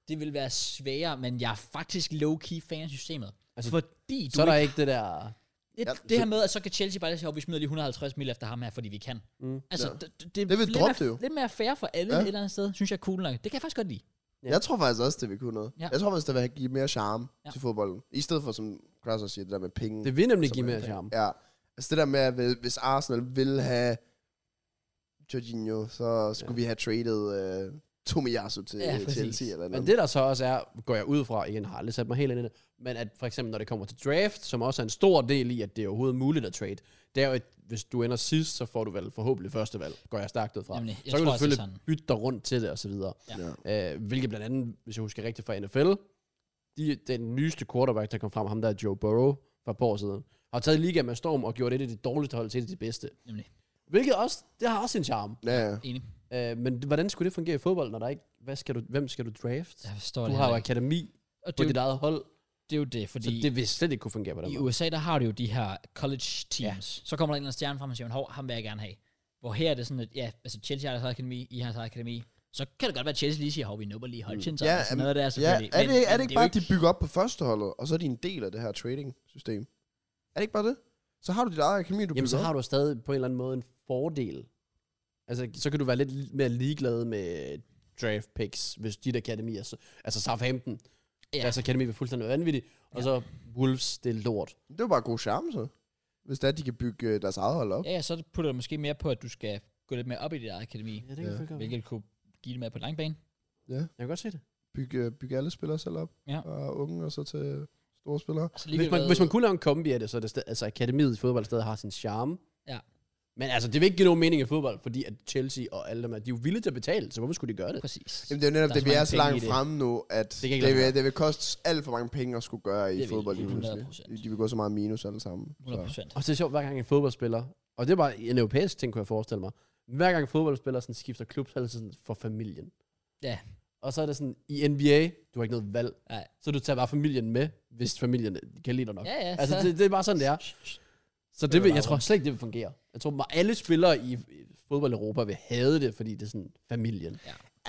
Speaker 1: Det vil være sværere, men jeg er faktisk low-key fan af systemet. Altså,
Speaker 2: Altså,
Speaker 1: fordi du
Speaker 2: så er der ikke det der...
Speaker 1: Det, ja,
Speaker 3: Ja,
Speaker 1: det her med, at så kan Chelsea bare lige sige, at vi smider lige 150 mil efter ham her, fordi vi kan.
Speaker 2: Mm.
Speaker 1: Altså,
Speaker 3: Ja.
Speaker 1: det, det,
Speaker 3: Det vil
Speaker 1: lidt
Speaker 3: droppe
Speaker 1: mere,
Speaker 3: det jo.
Speaker 1: Lidt mere fair for alle ja.
Speaker 3: Ja.
Speaker 1: et eller andet sted, synes jeg er cool nok. Det kan jeg faktisk godt lide.
Speaker 2: Ja.
Speaker 3: Jeg tror faktisk også, det vil kunne noget.
Speaker 1: Ja.
Speaker 3: Jeg tror faktisk, det vil give mere charme
Speaker 1: Ja.
Speaker 3: ja. til fodbolden. I stedet for, som Kraus også siger, det der med penge.
Speaker 2: Det vil nemlig
Speaker 3: som
Speaker 2: give
Speaker 3: er
Speaker 2: mere
Speaker 3: en ting.
Speaker 2: charme.
Speaker 3: Ja. Altså det der med, at hvis- hvis Arsenal ville have Jorginho, så skulle ja. vi have traded uh, Tomiyasu til
Speaker 1: Ja,
Speaker 3: ja,
Speaker 1: præcis.
Speaker 3: Chelsea eller
Speaker 2: Men
Speaker 3: noget.
Speaker 2: det der så også er, går jeg ud fra, igen har aldrig sat mig helt ind i det, men at for eksempel når det kommer til draft, som også er en stor del i, at det er overhovedet muligt at trade, det er jo, at hvis du ender sidst, så får du vel forhåbentlig første valg, går jeg stærkt ud fra.
Speaker 1: Nemlig. Jeg
Speaker 2: så kan
Speaker 1: tror
Speaker 2: du
Speaker 1: også,
Speaker 2: selvfølgelig
Speaker 1: det er sådan.
Speaker 2: bytte dig rundt til det og så videre.
Speaker 1: Ja.
Speaker 3: Ja.
Speaker 2: Øh, hvilket blandt andet, hvis jeg husker rigtigt fra NFL, de, den nyeste quarterback, der kom frem, ham der er Joe Burrow, for et par år siden, har taget liga med Storm og gjort et af de dårligste hold til et af de bedste.
Speaker 1: Nemlig.
Speaker 2: Hvilket også, det har også sin charme.
Speaker 3: Ja, ja.
Speaker 1: Enig.
Speaker 2: Øh, men hvordan skulle det fungere i fodbold, når der ikke, hvad skal du, hvem skal du draft?
Speaker 1: Jeg forstår
Speaker 2: du
Speaker 1: det
Speaker 2: har jo
Speaker 1: heller ikke.
Speaker 2: akademi
Speaker 1: Og det
Speaker 2: på
Speaker 1: er, jo,
Speaker 2: dit eget hold,
Speaker 1: det er jo det,
Speaker 2: så
Speaker 1: fordi
Speaker 2: det vil slet ikke kunne fungere på den
Speaker 1: i
Speaker 2: måde.
Speaker 1: USA, der har du jo de her college teams. Ja. Så kommer der en eller anden stjerne frem og siger, hov, ham vil jeg gerne have. Hvor her er det sådan, at ja, altså Chelsea har deres eget akademi, I har deres eget akademi. Så kan det godt være, at Chelsea lige siger, hov, vi nubber lige Hutchinson.
Speaker 2: Mm.
Speaker 3: Ja,
Speaker 1: Ja, og sådan
Speaker 3: men-
Speaker 1: noget der,
Speaker 3: ja.
Speaker 1: selvfølgelig.
Speaker 3: Er det, er det ikke bare, at
Speaker 1: de...
Speaker 3: de bygger op på førsteholdet, og så er de en del af det her trading-system? Er det ikke bare det? Så har du dit eget akademi, du
Speaker 2: Jamen, så
Speaker 3: bygger
Speaker 2: har
Speaker 3: op.
Speaker 2: du stadig på en eller anden måde en fordel. Altså, så kan du være lidt li- mere ligeglad med draft picks, hvis dit akademi er... Så, altså, Southampton,
Speaker 1: Ja.
Speaker 2: ja. deres akademi vil fuldstændig vanvittigt, og
Speaker 1: Ja.
Speaker 2: så Wolves, det er lort.
Speaker 3: Det er jo bare god charme, så. Hvis det er, at de kan bygge øh, deres eget hold op.
Speaker 1: Ja, ja, så putter du måske mere på, at du skal gå lidt mere op i dit eget akademi,
Speaker 2: Ja, det
Speaker 3: Ja.
Speaker 2: kan ja. Jeg
Speaker 1: hvilket kunne give det med på lang bane.
Speaker 2: kan godt se det.
Speaker 3: Bygge, øh, bygge alle spillere selv op.
Speaker 1: Ja.
Speaker 3: Fra unge og så til store spillere.
Speaker 1: Altså,
Speaker 2: Hvis man, hvis man kunne lave en kombi af det, så er det stadig, altså, akademiet i fodbold stadig har sin charme.
Speaker 1: Ja.
Speaker 2: Men altså, det vil ikke give nogen mening i fodbold, fordi at Chelsea og alle dem her, de er jo villige til at betale, så hvorfor skulle de gøre det?
Speaker 1: Præcis.
Speaker 3: Jamen, det er jo
Speaker 1: Der
Speaker 3: netop
Speaker 1: er
Speaker 3: det,
Speaker 1: så
Speaker 3: vi
Speaker 1: mange penge i
Speaker 3: er så langt
Speaker 1: det.
Speaker 3: fremme nu, at
Speaker 2: kan
Speaker 3: det,
Speaker 2: ikke
Speaker 3: det,
Speaker 2: lade være.
Speaker 3: vil, det vil koste alt for mange penge at skulle gøre i
Speaker 1: Det vil-
Speaker 3: fodbold. lige
Speaker 1: 100%.
Speaker 3: pludselig. De vil gå så meget minus alle sammen.
Speaker 1: 100
Speaker 3: Så.
Speaker 1: procent.
Speaker 2: Og det er sjovt, hver gang en fodboldspiller, og det er bare en europæisk ting, kunne jeg forestille mig, hver gang en fodboldspiller sådan, skifter klub, så er det sådan for familien.
Speaker 1: Ja.
Speaker 2: Og så er det sådan, i NBA, du har ikke noget valg,
Speaker 1: Nej.
Speaker 2: så du tager bare familien med, hvis familien kan lide dig nok.
Speaker 1: Ja, ja.
Speaker 2: Altså, det, det, er bare sådan, det er. Så det
Speaker 1: det
Speaker 2: vil,
Speaker 1: bare
Speaker 2: jeg tror
Speaker 1: rundt.
Speaker 2: slet ikke, det vil fungere. Jeg tror, at alle spillere i i fodbold Europa vil have det, fordi det er sådan familien.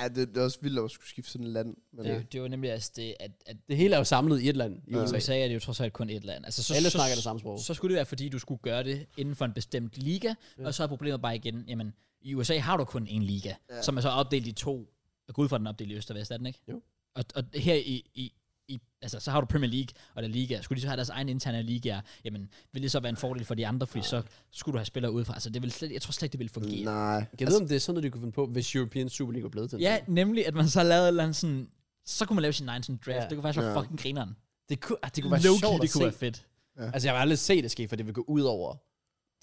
Speaker 3: Ja, det, det er også vildt at skulle skifte sådan et land. Men
Speaker 1: Det, er
Speaker 3: ja.
Speaker 1: jo- det, er jo nemlig altså det, at, at
Speaker 2: Det hele er jo samlet i et land i
Speaker 3: Ja.
Speaker 1: i
Speaker 2: USA.
Speaker 1: USA er det jo trods alt kun et land. Altså, så,
Speaker 2: Alle
Speaker 1: så,
Speaker 2: snakker det samme sprog.
Speaker 1: Så skulle det være, fordi du skulle gøre det inden for en bestemt liga, ja. og så er problemet bare igen, jamen, i USA har du kun en liga, ja.
Speaker 3: Ja.
Speaker 1: som er så opdelt i to. Jeg går ud fra, at den er opdelt i Øst og Vest, er den ikke?
Speaker 2: Jo.
Speaker 1: Og, og her i, i, i, altså, så har du Premier League, og der er liga. Skulle de så have deres egen interne ligaer, jamen, vil det så være en fordel for de andre, fordi så skulle du have spillere udefra. Altså, det vil slet, jeg tror slet ikke, det vil fungere.
Speaker 3: Nej.
Speaker 2: Jeg ved, om det er sådan, at de kunne finde på, hvis European Super League var blevet til. en
Speaker 1: Ja, nemlig, at man så lavede et eller andet sådan, så kunne man lave sin egen sådan draft.
Speaker 2: Ja.
Speaker 1: Det kunne faktisk være
Speaker 3: Ja.
Speaker 1: fucking grineren.
Speaker 2: Det kunne, ah, det kunne være
Speaker 1: Low-key,
Speaker 2: sjovt
Speaker 1: det
Speaker 2: at
Speaker 1: kunne
Speaker 2: se.
Speaker 1: være fedt.
Speaker 2: Altså, jeg vil aldrig se det ske, for det vil gå ud over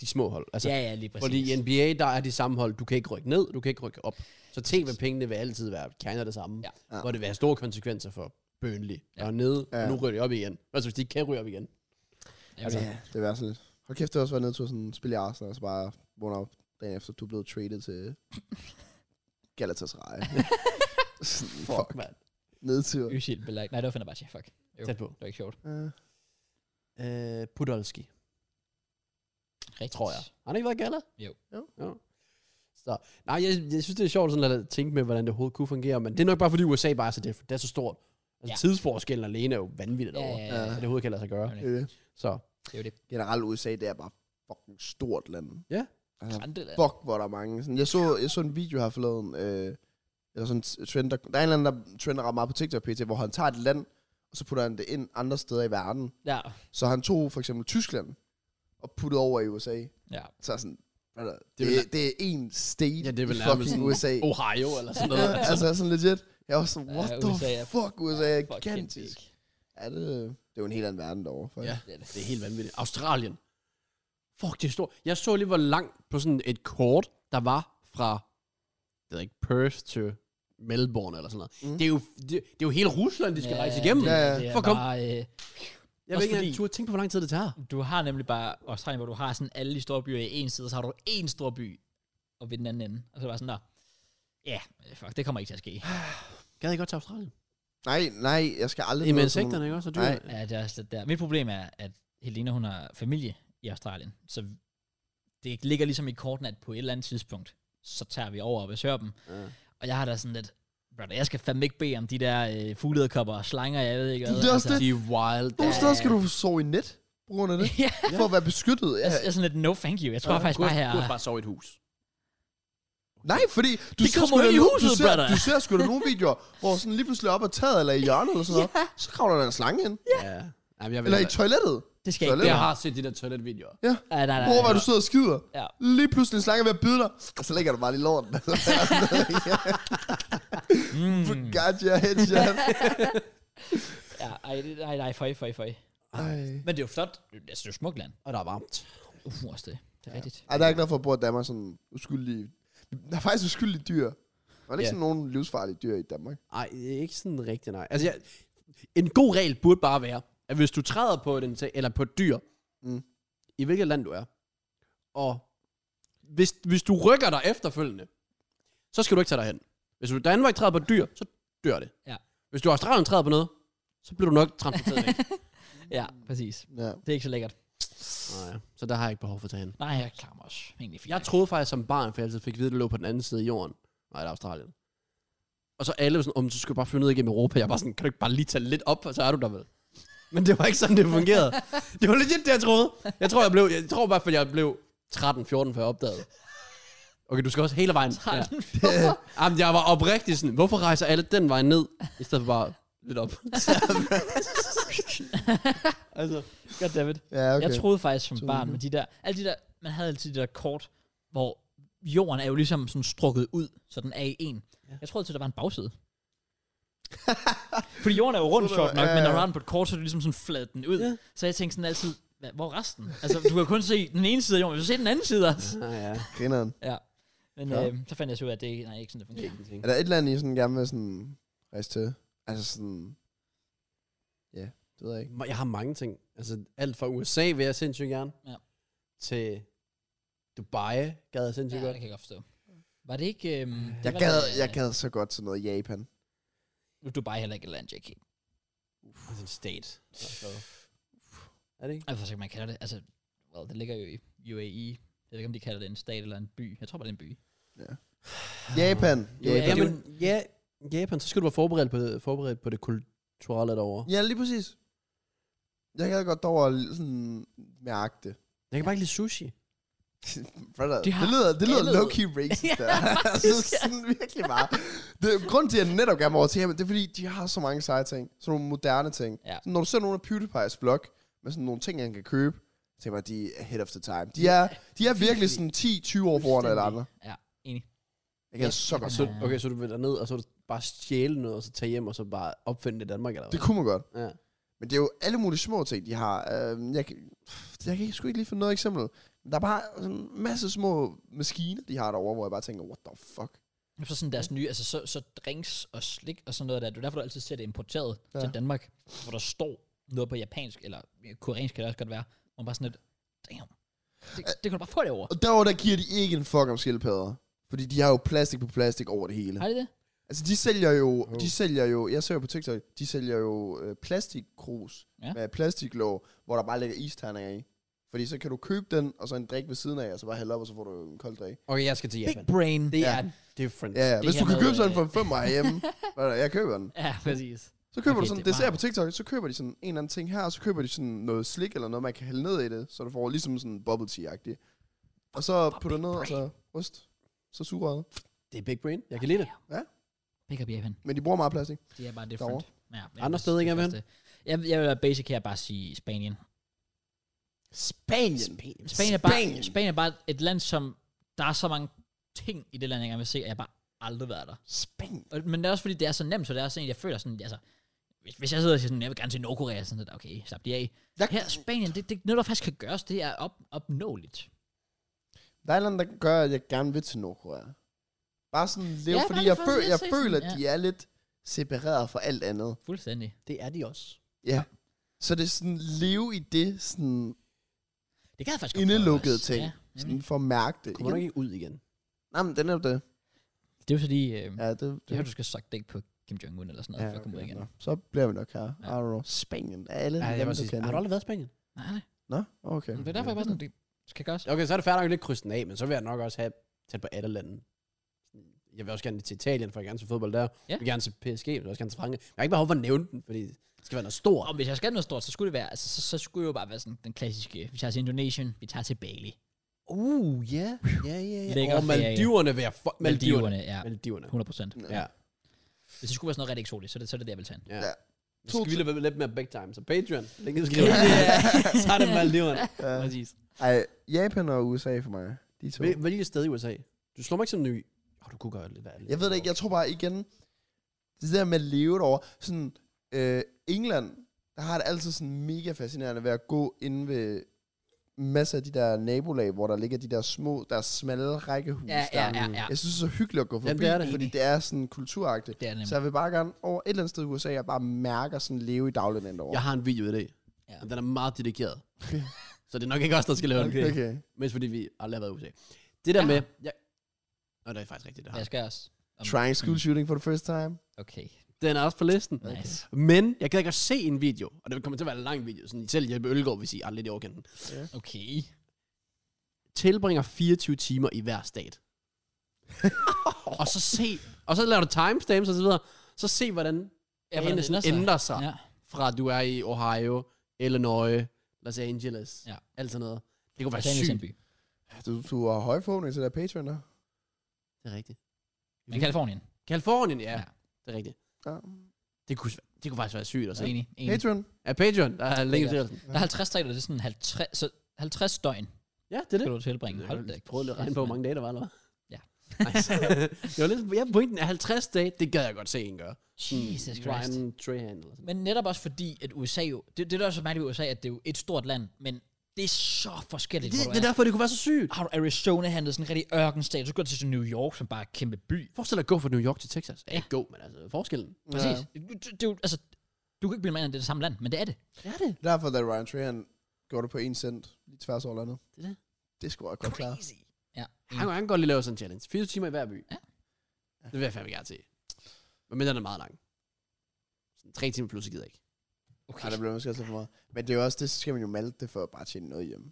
Speaker 2: de små hold. Altså,
Speaker 1: Ja, ja, lige præcis.
Speaker 2: fordi i NBA, der er de samme hold. Du kan ikke rykke ned, du kan ikke rykke op. Så tv-pengene vil altid være kerner det samme.
Speaker 1: Ja.
Speaker 3: Ja.
Speaker 2: Hvor det vil have store konsekvenser for Burnley.
Speaker 1: Ja.
Speaker 2: Ja. Og nede, ja.
Speaker 3: Ja.
Speaker 2: og nu ryger de op igen. Altså, hvis de ikke kan ryge op igen.
Speaker 1: Ja,
Speaker 3: Altså,
Speaker 1: okay.
Speaker 3: ja, det er værd sådan lidt. Hold kæft, det har også været nede til at sådan spille i Arsenal, og så bare vågne op dagen efter, du er blevet traded [LAUGHS] til [LAUGHS] Galatasaray. Sådan, Fuck,
Speaker 2: Fuck, mand.
Speaker 3: nedtur.
Speaker 1: [LAUGHS] Øsild belagt. Nej, det var Fenerbahce. Fuck. Jo.
Speaker 2: Tæt på.
Speaker 1: Det var ikke sjovt.
Speaker 3: Ja.
Speaker 2: Øh, Podolski,
Speaker 1: Rigtigt.
Speaker 2: tror jeg. Har han ikke været gala?
Speaker 1: Jo.
Speaker 2: jo. jo. Så, nej, jeg, jeg synes, det er sjovt sådan at tænke med, hvordan det overhovedet kunne fungere, men det er nok bare, fordi USA bare er så, det, det er så stort. Altså,
Speaker 1: Ja.
Speaker 2: ja. tidsforskellen alene er jo vanvittigt
Speaker 1: Ja,
Speaker 2: over,
Speaker 1: ja,
Speaker 2: at
Speaker 1: ja.
Speaker 2: det overhovedet kan lade sig gøre.
Speaker 1: Jamen,
Speaker 3: Det er det.
Speaker 2: Så,
Speaker 1: Det er jo det.
Speaker 3: Generelt USA, det er bare fucking stort land.
Speaker 2: Ja.
Speaker 3: Altså,
Speaker 1: Andre lande.
Speaker 3: fuck, hvor der er mange. Sådan, jeg, så, jeg så en video her forleden, øh, eller sådan en trend, der, der er en eller anden, der trender ret meget på TikTok PT, hvor han tager et land, og så putter han det ind andre steder i verden.
Speaker 1: Ja.
Speaker 3: Så han tog for eksempel Tyskland, og puttede over i USA.
Speaker 1: Ja.
Speaker 3: Så er sådan, altså, det,
Speaker 2: er vel-
Speaker 3: det, det er en state
Speaker 2: Ja, det er vel
Speaker 3: i
Speaker 2: nærmest
Speaker 3: fucking
Speaker 2: sådan-
Speaker 3: USA.
Speaker 2: Ohio eller sådan noget.
Speaker 3: Ja, altså sådan legit. Jeg var sådan, what
Speaker 1: Ja,
Speaker 3: the
Speaker 1: USA er-
Speaker 3: fuck, USA er
Speaker 1: [LAUGHS] Fuck,
Speaker 3: gigantisk. Er det, det er jo en helt anden verden derovre, faktisk.
Speaker 2: Ja,
Speaker 3: Ja.
Speaker 1: Det er det.
Speaker 2: det er helt vanvittigt. Australien. Fuck, det er stort. Jeg så lige, hvor langt på sådan et kort, der var fra, jeg ved ikke, Perth til Melbourne eller sådan noget. Mm.
Speaker 3: Mm.
Speaker 2: Det, er jo, det, det er jo hele Rusland, de skal ja, rejse igennem.
Speaker 1: Ja,
Speaker 2: Ja,
Speaker 1: det,
Speaker 3: Ja, ja.
Speaker 1: det er
Speaker 2: For kom-
Speaker 1: bare, øh,
Speaker 2: jeg ved
Speaker 1: Også
Speaker 2: ikke,
Speaker 1: fordi-
Speaker 2: fordi... du tænkt på, hvor lang tid det tager.
Speaker 1: du har nemlig bare Australien, hvor du har sådan alle de store byer i en side, og så har du en stor by og ved den anden ende. Og så er det bare sådan der, ja, øh, fuck, det kommer ikke til at ske.
Speaker 2: Gad I godt til Australien?
Speaker 3: Nej, nej, jeg skal aldrig...
Speaker 2: I med
Speaker 3: ned til
Speaker 2: insekterne,
Speaker 3: nogen-
Speaker 2: ikke også? Og
Speaker 3: Nej.
Speaker 2: dyr.
Speaker 1: Ja, det er også lidt der. Mit problem er, at Helena, hun har familie i Australien, så det ligger ligesom i korten, at på et eller andet tidspunkt, så tager vi over og besøger dem.
Speaker 2: Ja.
Speaker 1: Og jeg har da sådan lidt, brother, jeg skal fandme ikke bede om de der øh, fuglederkopper og slanger, jeg ved ikke hvad. Altså,
Speaker 3: Det er også
Speaker 2: De er wild. der.
Speaker 3: Nogle steder skal du sove i net, på grund
Speaker 2: [LAUGHS]
Speaker 3: af
Speaker 1: [LAUGHS]
Speaker 3: det.
Speaker 1: ja,
Speaker 3: For at være beskyttet. Ja.
Speaker 1: jeg,
Speaker 2: Altså,
Speaker 1: jeg er sådan lidt, no thank you. Jeg tror ja, faktisk
Speaker 2: Burde-
Speaker 1: bare her,
Speaker 2: burde bare sove i et hus.
Speaker 3: Nej, fordi du
Speaker 1: Det
Speaker 3: ser
Speaker 1: kommer jo
Speaker 3: sgu da
Speaker 1: i
Speaker 3: nogle-
Speaker 1: huset,
Speaker 3: du ser,
Speaker 1: brother.
Speaker 3: du ser sgu da nogle videoer, hvor sådan lige pludselig op ad taget eller i hjørnet eller sådan noget, så kravler der en slange ind.
Speaker 2: Ja. Jamen, jeg, vil,
Speaker 3: Eller i toilettet.
Speaker 1: det skal jeg ikke.
Speaker 3: Toilet.
Speaker 2: jeg har set de der toiletvideoer.
Speaker 1: Ja, nej, nej,
Speaker 3: Hvor
Speaker 1: nej.
Speaker 3: var du sidder og skider.
Speaker 1: Ja.
Speaker 3: Lige pludselig en slange er ved at bide dig, og så ligger du bare lige lorten. [LAUGHS]
Speaker 1: Mm,
Speaker 3: God, your headshot.
Speaker 1: ja, ej, det- nej, nej, føj, føj, føj.
Speaker 3: Ej.
Speaker 1: Men det er jo flot. Altså, det er jo smukt land.
Speaker 2: Og der er varmt.
Speaker 1: Uh, også det. Det er ja. rigtigt.
Speaker 3: Ej, der er ikke noget for at bo i Danmark sådan uskyldige... Der er faktisk uskyldige dyr. Der er ikke
Speaker 2: Ja.
Speaker 3: sådan nogen livsfarlige dyr i Danmark.
Speaker 2: Nej, ikke sådan rigtig nej. Altså, jeg, en god regel burde bare være, at hvis du træder på et, insek- eller på et dyr,
Speaker 3: Mm.
Speaker 2: i hvilket land du er, og hvis, hvis du rykker dig efterfølgende, så skal du ikke tage dig hen. Hvis du i Danmark træder på et dyr, så dør det.
Speaker 1: Ja.
Speaker 2: Hvis du i Australien træder på noget, så bliver du nok transporteret væk.
Speaker 1: Ja, præcis.
Speaker 3: Ja.
Speaker 1: Det er ikke så lækkert.
Speaker 2: Nej, så der har jeg ikke behov for at tage hen.
Speaker 1: Nej, jeg klarer mig også. Egentlig fint.
Speaker 2: Jeg troede faktisk som barn, for jeg altid fik at vide, at det lå på den anden side af jorden. Nej, det er Australien. Og så alle var sådan, om du skal du bare flyve ned igennem Europa. Jeg var sådan, kan du ikke bare lige tage lidt op, og så er du der vel. Men det var ikke sådan, det fungerede. Det var legit det, jeg troede. Jeg tror, jeg blev, jeg tror i hvert fald, jeg blev 13-14, før jeg opdagede. Okay, du skal også hele vejen. Ja. Jamen, jeg var oprigtig sådan, hvorfor rejser alle den vej ned, i stedet for bare lidt op? [LAUGHS]
Speaker 3: [LAUGHS]
Speaker 2: altså,
Speaker 1: Goddammit.
Speaker 3: Ja,
Speaker 1: Okay.
Speaker 3: okay.
Speaker 1: Jeg troede faktisk som
Speaker 3: Så
Speaker 1: barn
Speaker 3: nu.
Speaker 1: med de der, alle de der, man havde altid de der kort, hvor jorden er jo ligesom sådan strukket ud, så den er i en.
Speaker 2: Ja.
Speaker 1: Jeg troede altid, der var en bagside. [LAUGHS] Fordi jorden er jo rundt,
Speaker 3: Så der-
Speaker 1: sjovt nok,
Speaker 3: ja,
Speaker 1: men når
Speaker 3: ja.
Speaker 1: du har den på et kort, så er det ligesom sådan fladet den ud.
Speaker 2: Ja.
Speaker 1: Så jeg tænkte sådan altid, "Hva- hvor er resten? Altså, du kan jo kun se den ene side af jorden, men du kan se den anden side også.
Speaker 2: ah, ja.
Speaker 3: Grineren.
Speaker 1: Men
Speaker 3: Ja.
Speaker 1: øh, så fandt jeg så ud af, at det ikke, nej, ikke sådan, det fungerer.
Speaker 3: Er der et eller andet, I sådan gerne vil sådan rejse til? Altså sådan... Ja, det ved jeg ikke.
Speaker 2: Jeg har mange ting. Altså, alt fra USA vil jeg sindssygt gerne.
Speaker 1: Ja.
Speaker 2: Til Dubai gad jeg sindssygt
Speaker 1: Ja,
Speaker 2: ja,
Speaker 1: det
Speaker 2: godt.
Speaker 1: kan jeg godt forstå. Var det ikke... Øhm, det
Speaker 3: Jeg
Speaker 1: var
Speaker 3: gad,
Speaker 1: da, øh,
Speaker 3: jeg gad så godt til noget Japan.
Speaker 1: Nu er Dubai heller ikke et land, Jackie.
Speaker 2: Det er Altså, en state. Er det ikke?
Speaker 1: Altså, så man kalder det, altså, well, det ligger jo i UAE. Jeg ved ikke, om de kalder det en stat eller en by. Jeg tror bare, det er en by.
Speaker 3: Japan. Japan.
Speaker 1: Japan.
Speaker 2: Jamen, ja, Japan, så skal du være forberedt på, forberedt på det kulturelle derovre.
Speaker 3: Ja, lige præcis. Jeg gad godt over at sådan mærke det.
Speaker 2: Jeg kan bare ikke lide sushi.
Speaker 3: Brother,
Speaker 1: Det
Speaker 3: det,
Speaker 1: har
Speaker 3: det lyder, det lyder
Speaker 1: alle-
Speaker 3: low-key racist,
Speaker 1: [LAUGHS] Ja,
Speaker 3: der. altså,
Speaker 1: faktisk, ja.
Speaker 3: sådan virkelig meget. Det, grunden til, at jeg netop gerne vil over til Japan, det er fordi, de har så mange seje ting. Sådan nogle moderne ting.
Speaker 1: Ja.
Speaker 3: Så når du ser nogle af PewDiePie's vlog, med sådan nogle ting, han kan købe, så tænker jeg, de er head of the time. De er, de er virkelig sådan 10-20 år foran alle andre.
Speaker 1: Ja, enig.
Speaker 3: Jeg kan
Speaker 1: Ja.
Speaker 3: så godt.
Speaker 2: Så,
Speaker 1: Ja.
Speaker 2: okay, så du vil derned, og så vil du bare stjæle noget, og så tage hjem, og så bare opfinde det i Danmark, eller hvad?
Speaker 3: Det kunne man godt.
Speaker 2: Ja.
Speaker 3: Men det er jo alle mulige små ting, de har. Øhm, Jeg, kan- jeg kan sgu ikke lige finde noget eksempel. Men Der er bare sådan en masse små maskiner, de har derovre, hvor jeg bare tænker, what the fuck?
Speaker 1: Så sådan deres nye, altså så, så drinks og slik og sådan noget der. Det er derfor, du altid ser det importeret ja.
Speaker 3: Ja.
Speaker 1: til Danmark, hvor der står noget på japansk, eller koreansk kan det også godt være, hvor man bare sådan lidt, damn, det, det kan du bare få derovre.
Speaker 3: Og derovre, der giver de ikke en fuck om skildpadder. Fordi de har jo plastik på plastik over det hele.
Speaker 1: Har de det?
Speaker 3: Altså, de sælger jo,
Speaker 2: Oh.
Speaker 3: de sælger jo, jeg ser jo på TikTok, de sælger jo øh, plastikkrus
Speaker 1: Ja.
Speaker 3: ja. med plastiklåg, hvor der bare ligger isterninger i. Fordi så kan du købe den, og så en drik ved siden af, og så bare hælde op, og så får du en kold drik.
Speaker 2: Okay, jeg skal til
Speaker 1: Big
Speaker 2: Japan.
Speaker 1: brain.
Speaker 2: Det
Speaker 3: Ja.
Speaker 2: er different.
Speaker 3: Ja, ja. Hvis
Speaker 1: her
Speaker 3: du kan
Speaker 1: med,
Speaker 3: købe sådan
Speaker 1: øh,
Speaker 3: for en
Speaker 1: [LAUGHS]
Speaker 3: femmer herhjemme, hvad er det, jeg køber den.
Speaker 1: Ja, præcis.
Speaker 3: Så køber
Speaker 1: Okay,
Speaker 3: du sådan,
Speaker 1: det er
Speaker 3: det ser jeg på
Speaker 1: meget.
Speaker 3: TikTok, så køber de sådan en eller anden ting her, og så køber de sådan noget slik eller noget, man kan hælde ned i det, så du får ligesom sådan bubble tea-agtigt. Og så putter du ned, og så ryst. Så sugerøret.
Speaker 2: Det er big brain. Jeg kan lide det.
Speaker 1: Pick up Japan.
Speaker 3: Men de bruger meget plastik.
Speaker 1: Det er bare different. Ja, ja,
Speaker 2: Andre
Speaker 1: det-
Speaker 2: steder,
Speaker 1: det er
Speaker 2: ikke,
Speaker 1: faktisk det. Jeg, jeg vil basic her bare sige Spanien.
Speaker 3: Spanien.
Speaker 1: Spanien er, bare,
Speaker 3: Spanien.
Speaker 1: Spanien er bare et land, som... Der er så mange ting i det land, jeg gerne vil se, og jeg har bare aldrig været der.
Speaker 3: Spanien.
Speaker 1: Og, men det er også fordi, det er så nemt, så det er sådan, jeg føler sådan, altså... Hvis, hvis jeg sidder og siger sådan, jeg vil gerne til Nordkorea, sådan lidt, okay, slap de af.
Speaker 3: Der-
Speaker 1: Her, Spanien, det, det er noget, der faktisk kan gøres, det er op, opnåeligt.
Speaker 3: Der er et eller andet, der gør, at jeg gerne vil til Nordkorea. Bare sådan lidt,
Speaker 1: Ja,
Speaker 3: ja, fordi
Speaker 1: bare
Speaker 3: jeg,
Speaker 1: lige for
Speaker 3: føl,
Speaker 1: lige at
Speaker 3: jeg
Speaker 1: se
Speaker 3: føler,
Speaker 1: sådan,
Speaker 3: at de er lidt separeret fra alt andet.
Speaker 1: Fuldstændig.
Speaker 2: Det er de også.
Speaker 3: Ja. Så det er sådan, leve i det, sådan,
Speaker 1: Det kan jeg faktisk godt prøve
Speaker 3: indelukkede
Speaker 1: også.
Speaker 3: ting.
Speaker 1: Ja,
Speaker 3: sådan
Speaker 1: nemlig.
Speaker 3: for at mærke det.
Speaker 2: Kommer du
Speaker 3: Igen.
Speaker 2: ikke ud igen?
Speaker 3: Nej, men den er jo det.
Speaker 1: det er jo fordi, øh, ja,
Speaker 3: Ja, det, det,
Speaker 1: det er, du skal suck dick på Kim Jong-un eller sådan noget, ja, for at komme ud igen.
Speaker 3: nå. Så bliver vi nok her.
Speaker 1: Ja.
Speaker 3: I don't know. Spanien. Alle
Speaker 2: Ja,
Speaker 3: ja,
Speaker 2: jeg
Speaker 3: dem,
Speaker 2: må
Speaker 3: du
Speaker 2: sige,
Speaker 3: kan.
Speaker 2: har du aldrig været i Spanien?
Speaker 1: Nej, nej.
Speaker 3: Nå, okay.
Speaker 1: Det er derfor, jeg bare sådan, det skal gøres.
Speaker 2: Okay, så er det færdigt nok lidt krysten af, men så vil jeg nok også have tæt på alle lande. Jeg vil også gerne til Italien, for jeg vil gerne til fodbold der. Jeg vil gerne til PSG, jeg vil også gerne til Frankrig. Jeg har ikke behov for at nævne den, fordi det skal være noget stort.
Speaker 1: Og hvis jeg skal noget stort, så skulle det være, altså, så, så skulle det jo bare være sådan den klassiske, vi tager til Indonesien, vi tager til Bali.
Speaker 2: Uh, ja. Ja, ja,
Speaker 1: Lækker
Speaker 2: Og
Speaker 1: ferie.
Speaker 2: Maldiverne vil jeg... fu- Maldiverne.
Speaker 1: Maldiverne, ja.
Speaker 2: Maldiverne.
Speaker 1: 100 procent.
Speaker 2: Ja.
Speaker 1: Hvis det skulle være sådan noget rigtig eksotisk, så er det så er det, det, jeg vil tage.
Speaker 2: Ja.
Speaker 3: Ja.
Speaker 2: Så skal vi lidt, lidt mere big time. Så Patreon, link i
Speaker 1: Ja,
Speaker 2: skriver. [LAUGHS] så er det Maldiverne.
Speaker 3: Ja.
Speaker 1: Præcis.
Speaker 3: Ej, Japan og USA for mig. De to.
Speaker 2: Hvil- Hvilket sted i USA? Du slår mig ikke som ny. Åh, du kunne gøre lidt værre.
Speaker 3: Jeg ved det ikke. Jeg tror bare igen, det der med at leve derovre. Sådan, øh, England, der har det altid sådan mega fascinerende ved at gå inde ved masser af de der nabolag, hvor der ligger de der små, der er smalle rækkehus.
Speaker 1: Ja, ja,
Speaker 3: der.
Speaker 1: ja, ja.
Speaker 3: Jeg synes, det er så hyggeligt at gå forbi,
Speaker 2: Jamen, det er det.
Speaker 3: fordi det er sådan kulturagtigt.
Speaker 1: Det er det nemlig.
Speaker 3: Så jeg vil bare gerne over et eller andet sted i USA, jeg bare mærker sådan leve i dagligdagen derovre.
Speaker 2: Jeg har en video i dag.
Speaker 1: Ja.
Speaker 2: Ja. Den er meget dedikeret. så det er nok ikke os, der skal lave den.
Speaker 3: Okay. okay.
Speaker 2: Mest fordi vi aldrig har været i USA. Det der
Speaker 1: Ja.
Speaker 2: med... Jeg... Nå, det er faktisk rigtigt, det
Speaker 1: Jeg
Speaker 2: har.
Speaker 1: skal også. Om-
Speaker 3: Trying school shooting for the first time.
Speaker 1: Okay,
Speaker 2: Den er også på listen.
Speaker 1: nice.
Speaker 2: Men jeg gad godt se en video, og det kommer til at være en lang video, sådan selv Jeppe Ølgaard vil sige, aldrig i overkanten.
Speaker 1: Okay.
Speaker 2: Tilbringer 24 timer i hver
Speaker 1: [LAUGHS]
Speaker 2: stat. og så se, og så laver du timestamps og så videre, så se hvordan
Speaker 1: hvordan
Speaker 2: ja,
Speaker 1: det ændrer
Speaker 2: sådan
Speaker 1: sig.
Speaker 2: ændrer sig.
Speaker 1: Ja.
Speaker 2: fra at du er i Ohio, Illinois, Los Angeles,
Speaker 1: Ja.
Speaker 2: alt sådan noget. Det kunne
Speaker 1: Hvad
Speaker 2: være
Speaker 1: er
Speaker 2: sygt.
Speaker 1: Sandby.
Speaker 3: Du, du har høje forhåbninger til der Patreon der.
Speaker 2: Det er rigtigt.
Speaker 1: Men Kalifornien.
Speaker 2: Kalifornien, ja.
Speaker 1: Ja.
Speaker 2: ja. Det er rigtigt.
Speaker 3: Ja.
Speaker 2: Det kunne, sv- det kunne faktisk være sygt at
Speaker 1: Altså,
Speaker 2: se.
Speaker 1: enig, enig.
Speaker 3: Patreon.
Speaker 2: Ja, Patreon, der er længe til.
Speaker 1: Der er 50 dage, det er sådan 50, så 50 døgn,
Speaker 2: Ja, det er det.
Speaker 1: skal du tilbringe. Hold da.
Speaker 2: Jeg prøvede lige at regne på, hvor mange dage der var, eller hvad?
Speaker 1: Ja.
Speaker 2: [LAUGHS] Nice. det var lidt, ja, pointen er 50 dage, det gad jeg godt se en gøre.
Speaker 1: Jesus Christ.
Speaker 2: Hmm, Ryan Trahan eller sådan.
Speaker 1: Men netop også fordi, at USA jo... Det, det der er så mærkeligt ved USA, at det er jo et stort land, men det er så forskelligt,
Speaker 2: Det,
Speaker 1: hvor du
Speaker 2: det, er
Speaker 1: er.
Speaker 2: derfor, det kunne være så sygt.
Speaker 1: Har du Arizona handlet sådan en rigtig ørkenstat, så går du til sådan New York, som bare er en kæmpe by.
Speaker 2: Forestil dig at gå fra New York til Texas. Ja,
Speaker 1: Ja.
Speaker 2: ikke gå, men altså forskellen.
Speaker 1: Præcis. Ja. Det, det, er jo- altså, du kan ikke blive med, at det er det samme land, men det er det.
Speaker 2: Det er det.
Speaker 3: Ja. Derfor, da Ryan Trahan gjorde det på en cent, lige tværs over landet.
Speaker 2: Det er det.
Speaker 3: Det skulle jeg godt klare.
Speaker 1: Crazy. Ja.
Speaker 2: Han kunne han kunne godt lige lave sådan en challenge. 80 timer i hver by.
Speaker 1: Ja.
Speaker 2: Det vil jeg fandme gerne se. Men den er meget lang. Sådan tre timer plus, jeg gider ikke.
Speaker 3: Ja, det blev måske også lidt for meget. Men det er jo også det, så skal man jo malte det for at bare tjene noget hjemme.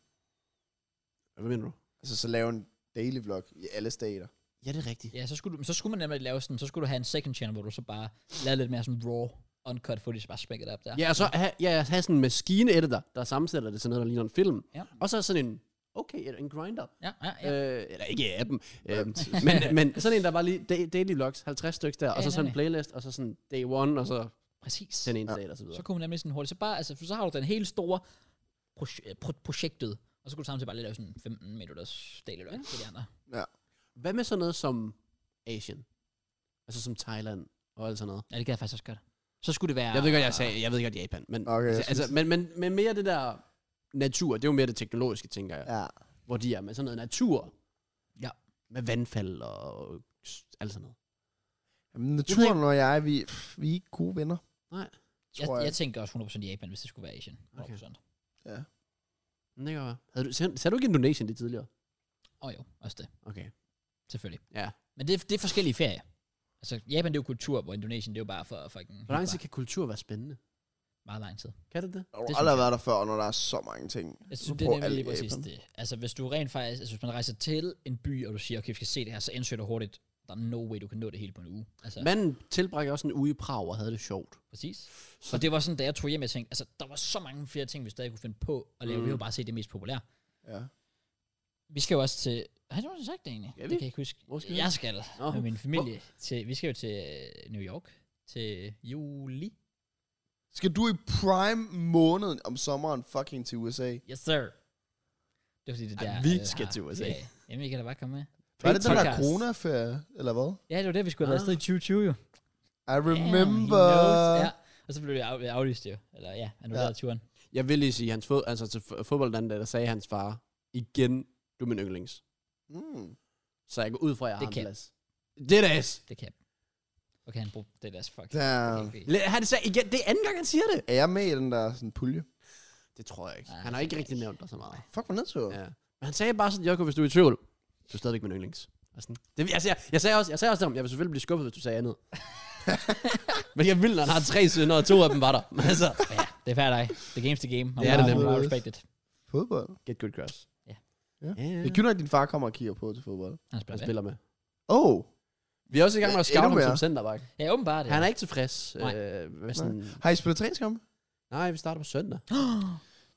Speaker 2: Hvad mener du?
Speaker 3: Altså så lave en daily vlog i alle stater.
Speaker 2: Ja, det er rigtigt.
Speaker 1: Ja, så skulle, du, men så skulle man nemlig lave sådan, så skulle du have en second channel, hvor du så bare lavede lidt mere sådan raw, uncut footage, bare spækket op der.
Speaker 2: Ja, og så have, ja, have sådan en maskine-editor, der sammensætter det til noget, der ligner en film.
Speaker 1: Ja.
Speaker 2: Og så sådan en, okay, en grinder.
Speaker 1: ja, ja. ja.
Speaker 2: Ja. Øh, eller ikke appen. Øh,
Speaker 3: Appen.
Speaker 2: men, men sådan en, der bare lige da- daily vlogs, 50 stykker der, og
Speaker 1: Ja,
Speaker 2: så sådan en
Speaker 1: nemlig.
Speaker 2: playlist, og så sådan day one, og så
Speaker 1: Præcis.
Speaker 2: den ene
Speaker 3: Ja.
Speaker 2: dag, og så videre.
Speaker 1: Så kunne man nemlig sådan hurtigt, så bare, altså, så har du den helt store proje- øh, pro- projektet, og så kunne du samtidig bare lige lave sådan 15 minutters daily vlog til de andre.
Speaker 2: Hvad med sådan noget som Asien? Altså som Thailand og alt sådan noget.
Speaker 1: Ja, det kan jeg faktisk også godt. Så skulle det være...
Speaker 2: Jeg ved godt, jeg sagde, jeg ved godt Japan, men,
Speaker 3: Okay, jeg
Speaker 2: altså,
Speaker 3: synes-
Speaker 2: altså, men, men, men mere det der natur, det er jo mere det teknologiske, tænker jeg, ja.
Speaker 3: Ja.
Speaker 2: hvor de er med sådan noget natur.
Speaker 1: Ja.
Speaker 2: Med vandfald og alt sådan noget.
Speaker 3: Jamen, naturen og jeg, vi, pff, vi er ikke gode venner.
Speaker 2: Nej.
Speaker 1: jeg,
Speaker 3: tror jeg.
Speaker 1: jeg, tænker også 100% Japan, hvis det skulle være Asien. 100%.
Speaker 2: Okay.
Speaker 1: Okay.
Speaker 3: Ja.
Speaker 2: Men Det kan være. Havde du, sagde, sagde du ikke Indonesien det tidligere?
Speaker 1: Og jo, også det,
Speaker 2: Okay.
Speaker 1: selvfølgelig.
Speaker 2: Ja.
Speaker 1: Men det, det er forskellige ferier. Altså, Japan det er jo kultur, hvor Indonesien det er jo bare for fucking...
Speaker 2: Hvor lang tid
Speaker 1: bare
Speaker 2: kan kultur være spændende?
Speaker 1: Meget lang tid.
Speaker 2: Kan det det?
Speaker 3: Jeg har
Speaker 1: synes
Speaker 3: aldrig
Speaker 1: jeg.
Speaker 3: været der før, når der er så mange ting.
Speaker 1: Jeg
Speaker 3: Du
Speaker 1: synes, det er
Speaker 3: bruger
Speaker 1: nemlig lige
Speaker 3: alt i
Speaker 1: præcis
Speaker 3: Japan.
Speaker 1: det. Altså, hvis du rent faktisk... Altså, hvis man rejser til en by, og du siger, okay, vi skal se det her, så indsøger du hurtigt, der er no way, du kan nå det hele på en uge. Altså,
Speaker 2: Manden tilbragte også en uge i Prag og havde det sjovt.
Speaker 1: Præcis. Så og det var sådan, da jeg tog hjem, jeg tænkte, altså, der var så mange flere ting, vi stadig kunne finde på at lave.
Speaker 2: Mm.
Speaker 1: Mm. Vi har jo bare set det mest populære.
Speaker 3: Ja.
Speaker 1: Vi skal jo også til... Har jeg nogensinde sagt det egentlig?
Speaker 2: Skal vi?
Speaker 1: Det kan jeg ikke huske.
Speaker 2: Hvor skal vi?
Speaker 1: jeg skal
Speaker 2: Nå.
Speaker 1: med min familie. Til, vi skal jo til øh, New York til juli.
Speaker 3: Skal du i prime måneden om sommeren fucking til USA?
Speaker 1: Yes, sir. Det er fordi, det
Speaker 2: Ej,
Speaker 1: der...
Speaker 2: vi
Speaker 1: øh,
Speaker 2: skal
Speaker 1: har-
Speaker 2: til USA.
Speaker 1: Ja, jamen, I kan da bare komme med.
Speaker 3: Var det den der
Speaker 1: podcast.
Speaker 3: coronaferie, eller hvad?
Speaker 1: Ja, det var det, vi skulle have været
Speaker 2: Ah.
Speaker 1: afsted i 2020 jo.
Speaker 3: I remember.
Speaker 1: Damn, he knows. Ja, og så blev det af- aflyst jo. Eller ja, annulleret ja. turen.
Speaker 2: Jeg vil lige sige, hans fod, altså til f- fodbold den anden dag, der sagde hans far, igen, du er min yndlings.
Speaker 3: Mm.
Speaker 2: Så jeg går ud fra, at jeg har
Speaker 1: Det
Speaker 2: en
Speaker 1: kan.
Speaker 2: plads. Det er det.
Speaker 1: Det kan Okay, han brugte det deres fuck.
Speaker 3: Damn.
Speaker 2: Han sagde igen, det er anden gang, han siger det.
Speaker 3: Er jeg med i den der sådan, pulje?
Speaker 2: Det tror jeg ikke.
Speaker 1: Nej,
Speaker 2: Han har
Speaker 1: det
Speaker 2: ikke
Speaker 1: tror jeg
Speaker 2: rigtig
Speaker 1: ikke.
Speaker 2: nævnt dig så meget.
Speaker 3: Fuck, hvor nedtur. Ja.
Speaker 2: Ja. Men han sagde bare sådan, Jokko, hvis du er i tvivl, du er stadigvæk min yndlings. Og sådan, det, altså, jeg, jeg, sagde også, jeg sagde også til ham, jeg vil selvfølgelig blive skuffet, hvis du sagde
Speaker 3: [LAUGHS]
Speaker 2: andet. Men jeg vil, når han har tre sønner, og to af dem var der. Men altså,
Speaker 1: ja, det er fair dig. The game's the game.
Speaker 2: Det er det
Speaker 3: nemlig.
Speaker 1: nemlig. respect it.
Speaker 3: Fodbold.
Speaker 2: get good cross.
Speaker 1: Ja.
Speaker 3: Ja.
Speaker 2: Yeah.
Speaker 3: Det er kun, at din far kommer og kigger på til fodbold.
Speaker 1: Han
Speaker 2: han
Speaker 1: spiller, spiller.
Speaker 2: spiller med.
Speaker 3: Oh,
Speaker 2: Vi er også i gang med at
Speaker 3: Endnu
Speaker 2: scoute ham
Speaker 3: mere.
Speaker 2: som centerback.
Speaker 1: Ja, åbenbart.
Speaker 2: Han er ikke tilfreds.
Speaker 1: Nej.
Speaker 2: Øh, hvad sådan,
Speaker 3: har I spillet træningskamp?
Speaker 2: nej, vi starter på søndag.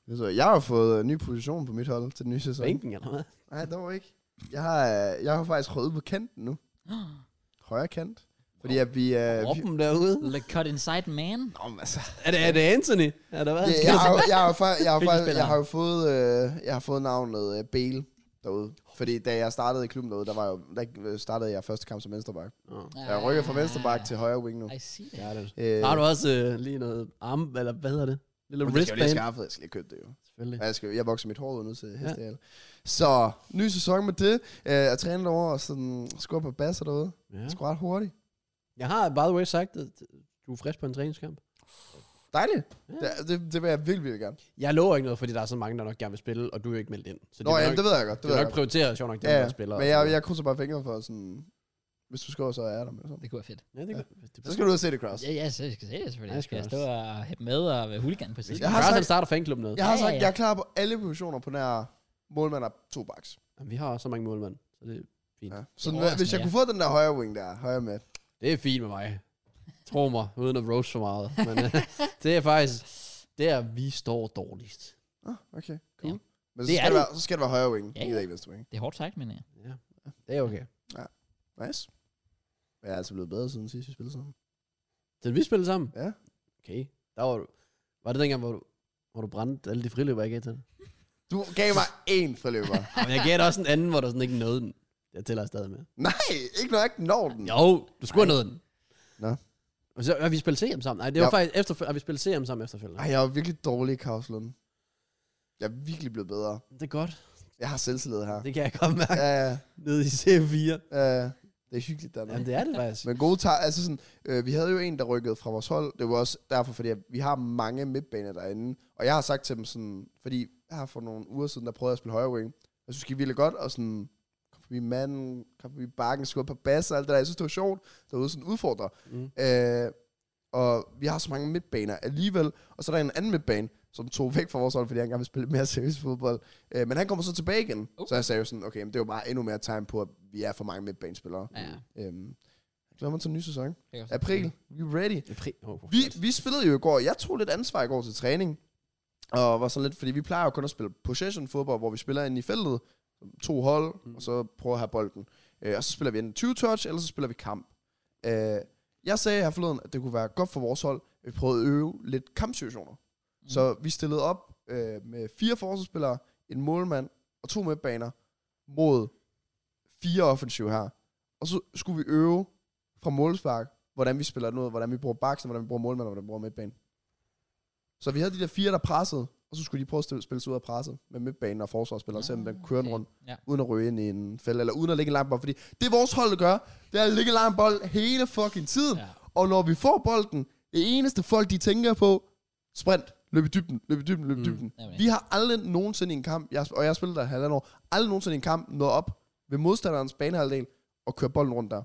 Speaker 3: Det så jeg. Jeg har fået øh, ny position på mit hold til den nye sæson.
Speaker 2: Bænken eller hvad?
Speaker 3: Nej, dog ikke. Jeg har, øh, jeg har faktisk røget på kanten [GASPS] nu. Højre kant. Fordi at vi... Øh, vi
Speaker 2: Råben derude.
Speaker 1: The cut inside man.
Speaker 3: Nå, men altså,
Speaker 2: Er det, er det Anthony? Er det hvad?
Speaker 3: jeg,
Speaker 2: han
Speaker 3: jeg,
Speaker 2: skal-
Speaker 3: har, jo- jeg, har, fa- jeg, har,
Speaker 2: Hvilken
Speaker 3: faktisk,
Speaker 2: spiller
Speaker 3: jeg
Speaker 2: han?
Speaker 3: har jo fået, øh, jeg har fået navnet øh, Bale derude. Fordi da jeg startede i klubben derude, der, var jo, der øh, startede jeg første kamp som venstreback.
Speaker 2: Nå,
Speaker 3: Jeg rykker fra venstreback til højre wing nu.
Speaker 1: Ah, I see
Speaker 2: det
Speaker 1: that.
Speaker 2: er det.
Speaker 3: Øh,
Speaker 2: Har du også øh, lige noget arm, eller hvad hedder det? Lille
Speaker 3: men det skal jeg jo lige
Speaker 2: wristband.
Speaker 3: skaffe, jeg skal lige købe det jo.
Speaker 2: Selvfølgelig.
Speaker 3: Og Jeg, skal, jeg vokser mit hår ud nu til hestehale. Ja. Så, ny sæson med det. Øh, Jeg træner derovre og sådan, skubber på basser derude.
Speaker 2: Ja.
Speaker 3: Ja. Sgu ret hurtigt.
Speaker 2: Jeg har, by the way, sagt, at du er frisk på en træningskamp.
Speaker 3: Dejligt.
Speaker 2: Ja.
Speaker 3: Ja. Det, det, vil jeg virkelig, virkelig gerne.
Speaker 2: Jeg lover ikke noget, fordi der er så mange, der nok gerne vil spille, og du er ikke meldt ind. Så
Speaker 3: Nå
Speaker 2: vil
Speaker 3: ja,
Speaker 2: nok,
Speaker 3: det ved jeg
Speaker 2: det
Speaker 3: godt. Det ved
Speaker 2: vil
Speaker 3: jeg
Speaker 2: nok
Speaker 3: godt.
Speaker 2: prioritere sjovt nok dem,
Speaker 3: Ja,
Speaker 2: der spiller. altså.
Speaker 3: men jeg, jeg krydser bare fingre for sådan... Hvis du skriver, så er jeg der med. Sådan.
Speaker 1: Det kunne være fedt.
Speaker 2: ja, det, det,
Speaker 3: Så skal du ud og se det, Cross.
Speaker 1: Ja, ja, så jeg skal se det selvfølgelig.
Speaker 2: Ja,
Speaker 1: Jeg
Speaker 2: skal
Speaker 1: skal
Speaker 2: også.
Speaker 1: stå og have med og være hooligan på siden.
Speaker 3: Jeg
Speaker 2: jeg
Speaker 3: har
Speaker 2: har
Speaker 3: sagt-
Speaker 2: sagt, starter fanklubben noget.
Speaker 3: Jeg har
Speaker 1: Ja,
Speaker 3: sagt,
Speaker 1: ja, ja.
Speaker 3: jeg er klar på alle positioner på nær målmand og to baks.
Speaker 2: Jamen, Vi har også så mange målmænd, så det,
Speaker 3: Ja. Så
Speaker 1: Det er
Speaker 3: hvis jeg
Speaker 1: overraskende,
Speaker 3: kunne få den der højre wing der, højre med.
Speaker 2: det er fint med mig. Tro mig, uden at roast for meget. Men øh, [LAUGHS] det er faktisk, der vi står dårligst.
Speaker 3: Ah, okay, cool.
Speaker 1: Ja.
Speaker 3: Men så
Speaker 1: Det er
Speaker 3: skal, det
Speaker 1: det.
Speaker 3: være, så skal det være højre wing,
Speaker 1: Ja,
Speaker 3: ja,
Speaker 1: ja.
Speaker 3: ja. ikke venstre wing.
Speaker 1: Det er hårdt sagt, men ja.
Speaker 2: Ja, det er okay.
Speaker 3: Nice. Jeg er altså blevet bedre siden sidst, vi spillede sammen.
Speaker 2: Så vi spillede sammen?
Speaker 3: Ja.
Speaker 2: Okay. Der var du, var det dengang, hvor du, hvor du brændte alle de friløber, jeg gav til dig?
Speaker 3: Du gav mig én friløber.
Speaker 2: Ej, Men jeg gav dig også en anden, hvor der sådan ikke nåede den. Jeg tæller stadig med.
Speaker 3: Nej, ikke nok når den.
Speaker 2: Jo, du skulle have nået den.
Speaker 3: Nå.
Speaker 2: Og så har vi spillet CM sammen. Nej, det var
Speaker 3: Ja.
Speaker 2: faktisk efterfølgende. Har vi spillet CM sammen efterfølgende?
Speaker 3: Ej, jeg er virkelig dårlig i Kavslund. Jeg er virkelig blevet bedre.
Speaker 2: Det er godt.
Speaker 3: Jeg har selvtillid her.
Speaker 2: Det kan jeg godt mærke.
Speaker 3: Ja, ja,
Speaker 2: Nede i CM4.
Speaker 3: ja. Det er hyggeligt dernede.
Speaker 2: Jamen, det er det faktisk.
Speaker 3: Men gode tager, altså sådan, øh, vi havde jo en, der rykkede fra vores hold. Det var også derfor, fordi at vi har mange midtbaner derinde. Og jeg har sagt til dem sådan, fordi jeg har for nogle uger siden, der prøvede jeg at spille højre wing. Jeg synes, det virkelig godt, og sådan, kom forbi manden, kom forbi bakken, skudde på bass og alt det der. Jeg synes, det var sjovt. Der var sådan udfordrer.
Speaker 2: Mm.
Speaker 3: Øh, og vi har så mange midtbaner alligevel. Og så er der en anden midtbane, som tog væk fra vores hold, fordi han gerne ville spille mere seriøs fodbold. Øh, men han kommer så tilbage igen.
Speaker 1: Uh.
Speaker 3: Så jeg sagde jo sådan, okay, men det er jo bare endnu mere tegn på, at vi er for mange midtbanespillere.
Speaker 1: Ja, ja.
Speaker 3: Øhm, jeg glæder mig til en ny sæson.
Speaker 1: Det er godt.
Speaker 3: April, we ready.
Speaker 2: Pri- oh,
Speaker 3: Vi, vi spillede jo i går, jeg tog lidt ansvar i går til træning, og var sådan lidt, fordi vi plejer jo kun at spille possession fodbold, hvor vi spiller ind i feltet, to hold,
Speaker 2: Mm.
Speaker 3: mm. og så prøver at have bolden. Øh, og så spiller vi enten 20 touch, eller så spiller vi kamp. Øh, jeg sagde her forleden, at det kunne være godt for vores hold, at vi prøvede at øve lidt kampsituationer.
Speaker 1: Mm.
Speaker 3: Mm. Så vi stillede op øh, med fire forsvarsspillere, en målmand og to midtbaner mod fire offensiv her. Og så skulle vi øve fra målspark, hvordan vi spiller den ud, hvordan vi bruger baksen, hvordan vi bruger målmanden, og hvordan vi bruger midtbanen. Så vi havde de der fire, der pressede, og så skulle de prøve at spille- spille sig ud af presset med midtbanen og forsvarsspillere, selvom den
Speaker 1: Ah,
Speaker 3: kører den rundt
Speaker 1: Ja.
Speaker 3: uden at ryge ind i en fælde, eller uden at ligge en lang bold. Fordi det vores hold der gør, det er at ligge en lang bold hele fucking tiden. Ja.
Speaker 1: ja.
Speaker 3: Og når vi får bolden, det eneste folk, de tænker på, sprint, løb i dybden, løb i dybden, løb i
Speaker 2: Mm.
Speaker 3: dybden.
Speaker 1: Nemlig.
Speaker 3: Vi har aldrig nogensinde i en kamp, jeg, og jeg har spillet der i halvandet år, aldrig nogensinde i en kamp nået op ved modstanderens banehalvdel og køre bolden rundt der.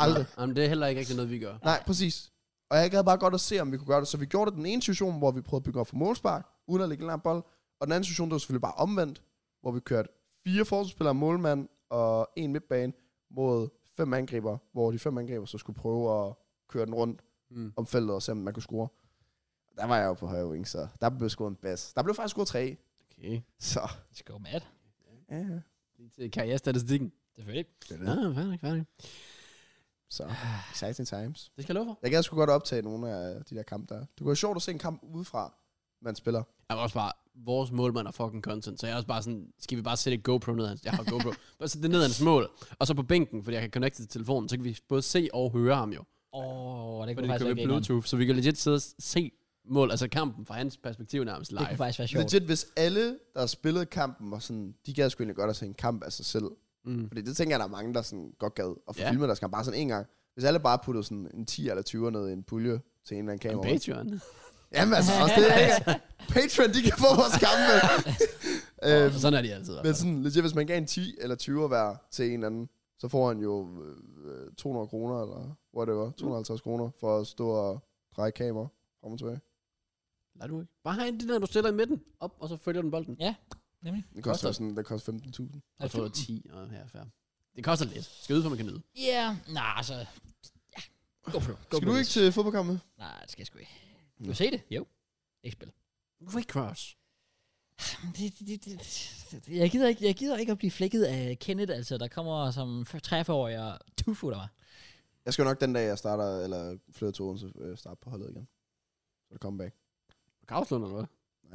Speaker 3: aldrig.
Speaker 2: Jamen, det er heller ikke rigtig noget, vi gør.
Speaker 3: Nej, præcis. Og jeg gad bare godt at se, om vi kunne gøre det. Så vi gjorde det den ene situation, hvor vi prøvede at bygge op for målspark, uden at lægge en lang bold. Og den anden situation, det var selvfølgelig bare omvendt, hvor vi kørte fire forsvarsspillere, målmand og en midtbane mod fem angriber, hvor de fem angriber så skulle prøve at køre den rundt
Speaker 2: Mm.
Speaker 3: om feltet og se, om man kunne score. Der var jeg jo på højre wing, så der blev scoret en bas. Der blev faktisk scoret tre.
Speaker 2: Okay.
Speaker 3: Så.
Speaker 1: Let's go, Matt.
Speaker 3: Ja, ja.
Speaker 2: Lige til karrierestatistikken.
Speaker 1: Selvfølgelig.
Speaker 2: Ja, færdig, færdig.
Speaker 3: Så. Exciting times.
Speaker 2: Det skal jeg love for.
Speaker 3: Jeg gad sgu godt optage nogle af øh, de der kampe der. Det kunne være sjovt at se en kamp udefra, man spiller.
Speaker 2: Jeg var også bare, vores målmand er fucking content, så jeg er også bare sådan, skal vi bare sætte et GoPro ned af hans, jeg har
Speaker 3: [LAUGHS]
Speaker 2: GoPro, bare sætte det ned af hans mål, og så på bænken, fordi jeg kan connecte til telefonen, så kan vi både se og høre ham jo,
Speaker 1: Åh, oh, det
Speaker 2: fordi
Speaker 1: kunne faktisk
Speaker 2: det kører
Speaker 1: være
Speaker 2: med
Speaker 1: grineren.
Speaker 2: Bluetooth, så vi kan legit sidde og se mål, altså kampen fra hans perspektiv nærmest
Speaker 1: Det
Speaker 2: live.
Speaker 1: kunne faktisk være sjovt.
Speaker 3: Legit, hvis alle, der har spillet kampen, var sådan, de gad sgu egentlig godt at se en kamp af sig selv.
Speaker 2: Mm.
Speaker 3: Fordi det tænker jeg, der er mange, der sådan godt gad at få
Speaker 2: Ja.
Speaker 3: yeah. filmet deres kamp bare sådan en gang. Hvis alle bare puttede sådan en 10 eller 20 ned i en pulje til en eller anden
Speaker 2: Jamen,
Speaker 3: kamera.
Speaker 1: [LAUGHS]
Speaker 2: Patreon.
Speaker 3: Jamen altså, også det ikke? Patreon, de kan få vores kampe.
Speaker 2: Øhm,
Speaker 3: øhm,
Speaker 2: sådan er de altid.
Speaker 3: men sådan, legit, hvis man gav en 10 eller 20 hver til en eller anden, så får han jo øh, 200 kroner, eller
Speaker 2: Mm.
Speaker 3: whatever, 250 kroner, for at stå og dreje kamera frem og tilbage.
Speaker 2: Nej, du ikke. Bare have en den der, du stiller i midten, op, og så følger den bolden.
Speaker 1: Nemlig.
Speaker 3: Det koster
Speaker 2: Koster.
Speaker 3: jo sådan, det koster 15.000.
Speaker 2: Jeg tror, det var 10, og her er fair. Det koster lidt. Skal ud, for man kan nyde.
Speaker 1: Ja, nej, altså... Ja. Go for it. Go for
Speaker 3: Skal du
Speaker 1: it.
Speaker 3: ikke til fodboldkampe?
Speaker 1: Nej, det skal jeg sgu ikke. Vil du se det? Jo. Ikke spil.
Speaker 2: Recross.
Speaker 1: Det, det, det, det, det- jeg, gider ikke, jeg gider ikke at blive flækket af Kenneth, altså, der kommer som 43-årig og tufutter mig.
Speaker 3: Jeg skal jo nok den dag, jeg starter, eller flytter til Odense, øh, starte på holdet igen. Så det back.
Speaker 2: Kavslund, eller hvad?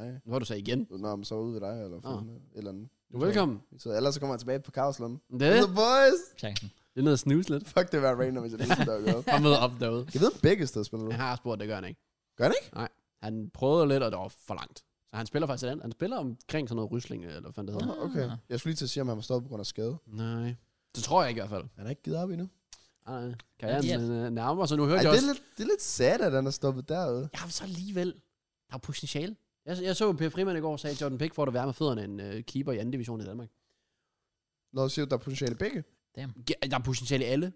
Speaker 3: Nej.
Speaker 2: Nu har du sagt igen.
Speaker 3: Nå, men så ude ved dig, eller
Speaker 2: Ah.
Speaker 3: fanden, et eller andet.
Speaker 2: Du er velkommen.
Speaker 3: Så ellers så kommer jeg tilbage på Karlslund.
Speaker 2: Det,
Speaker 3: Yeah. The boys!
Speaker 1: Chancen.
Speaker 2: det er noget at snuse lidt.
Speaker 3: Fuck, det var random, hvis jeg lige sådan
Speaker 2: [LAUGHS]
Speaker 3: der
Speaker 2: Bare møde op
Speaker 1: [LAUGHS]
Speaker 2: derude.
Speaker 3: Jeg ved, begge steder spiller du.
Speaker 2: Jeg har spurgt, det gør han ikke.
Speaker 3: Gør han ikke?
Speaker 2: Nej. Han prøvede lidt, og det var for langt. Så han spiller faktisk et andet. Han spiller omkring sådan noget rysling, eller hvad fanden det hedder.
Speaker 3: Nå, Ah, okay. Jeg skulle lige til at sige, om han var stoppet på grund af skade.
Speaker 2: Nej. Det tror jeg ikke i hvert fald.
Speaker 3: Han har ikke givet op endnu.
Speaker 2: Ej, nej. Kan
Speaker 1: Ja,
Speaker 2: jeg
Speaker 1: de er-
Speaker 2: yeah. nærmere, så nu hørte jeg
Speaker 3: Ej, det,
Speaker 2: også...
Speaker 3: er lidt, det er lidt sad, at han er stoppet derude.
Speaker 2: Ja, men så alligevel. Der er potentiale. Jeg, jeg så Per Frimand i går sagde, at Jordan Pickford er værre med fødderne end øh, keeper i anden division i Danmark.
Speaker 3: Lad os sige, at der er potentiale i begge.
Speaker 2: Ja, Der er potentiale i alle.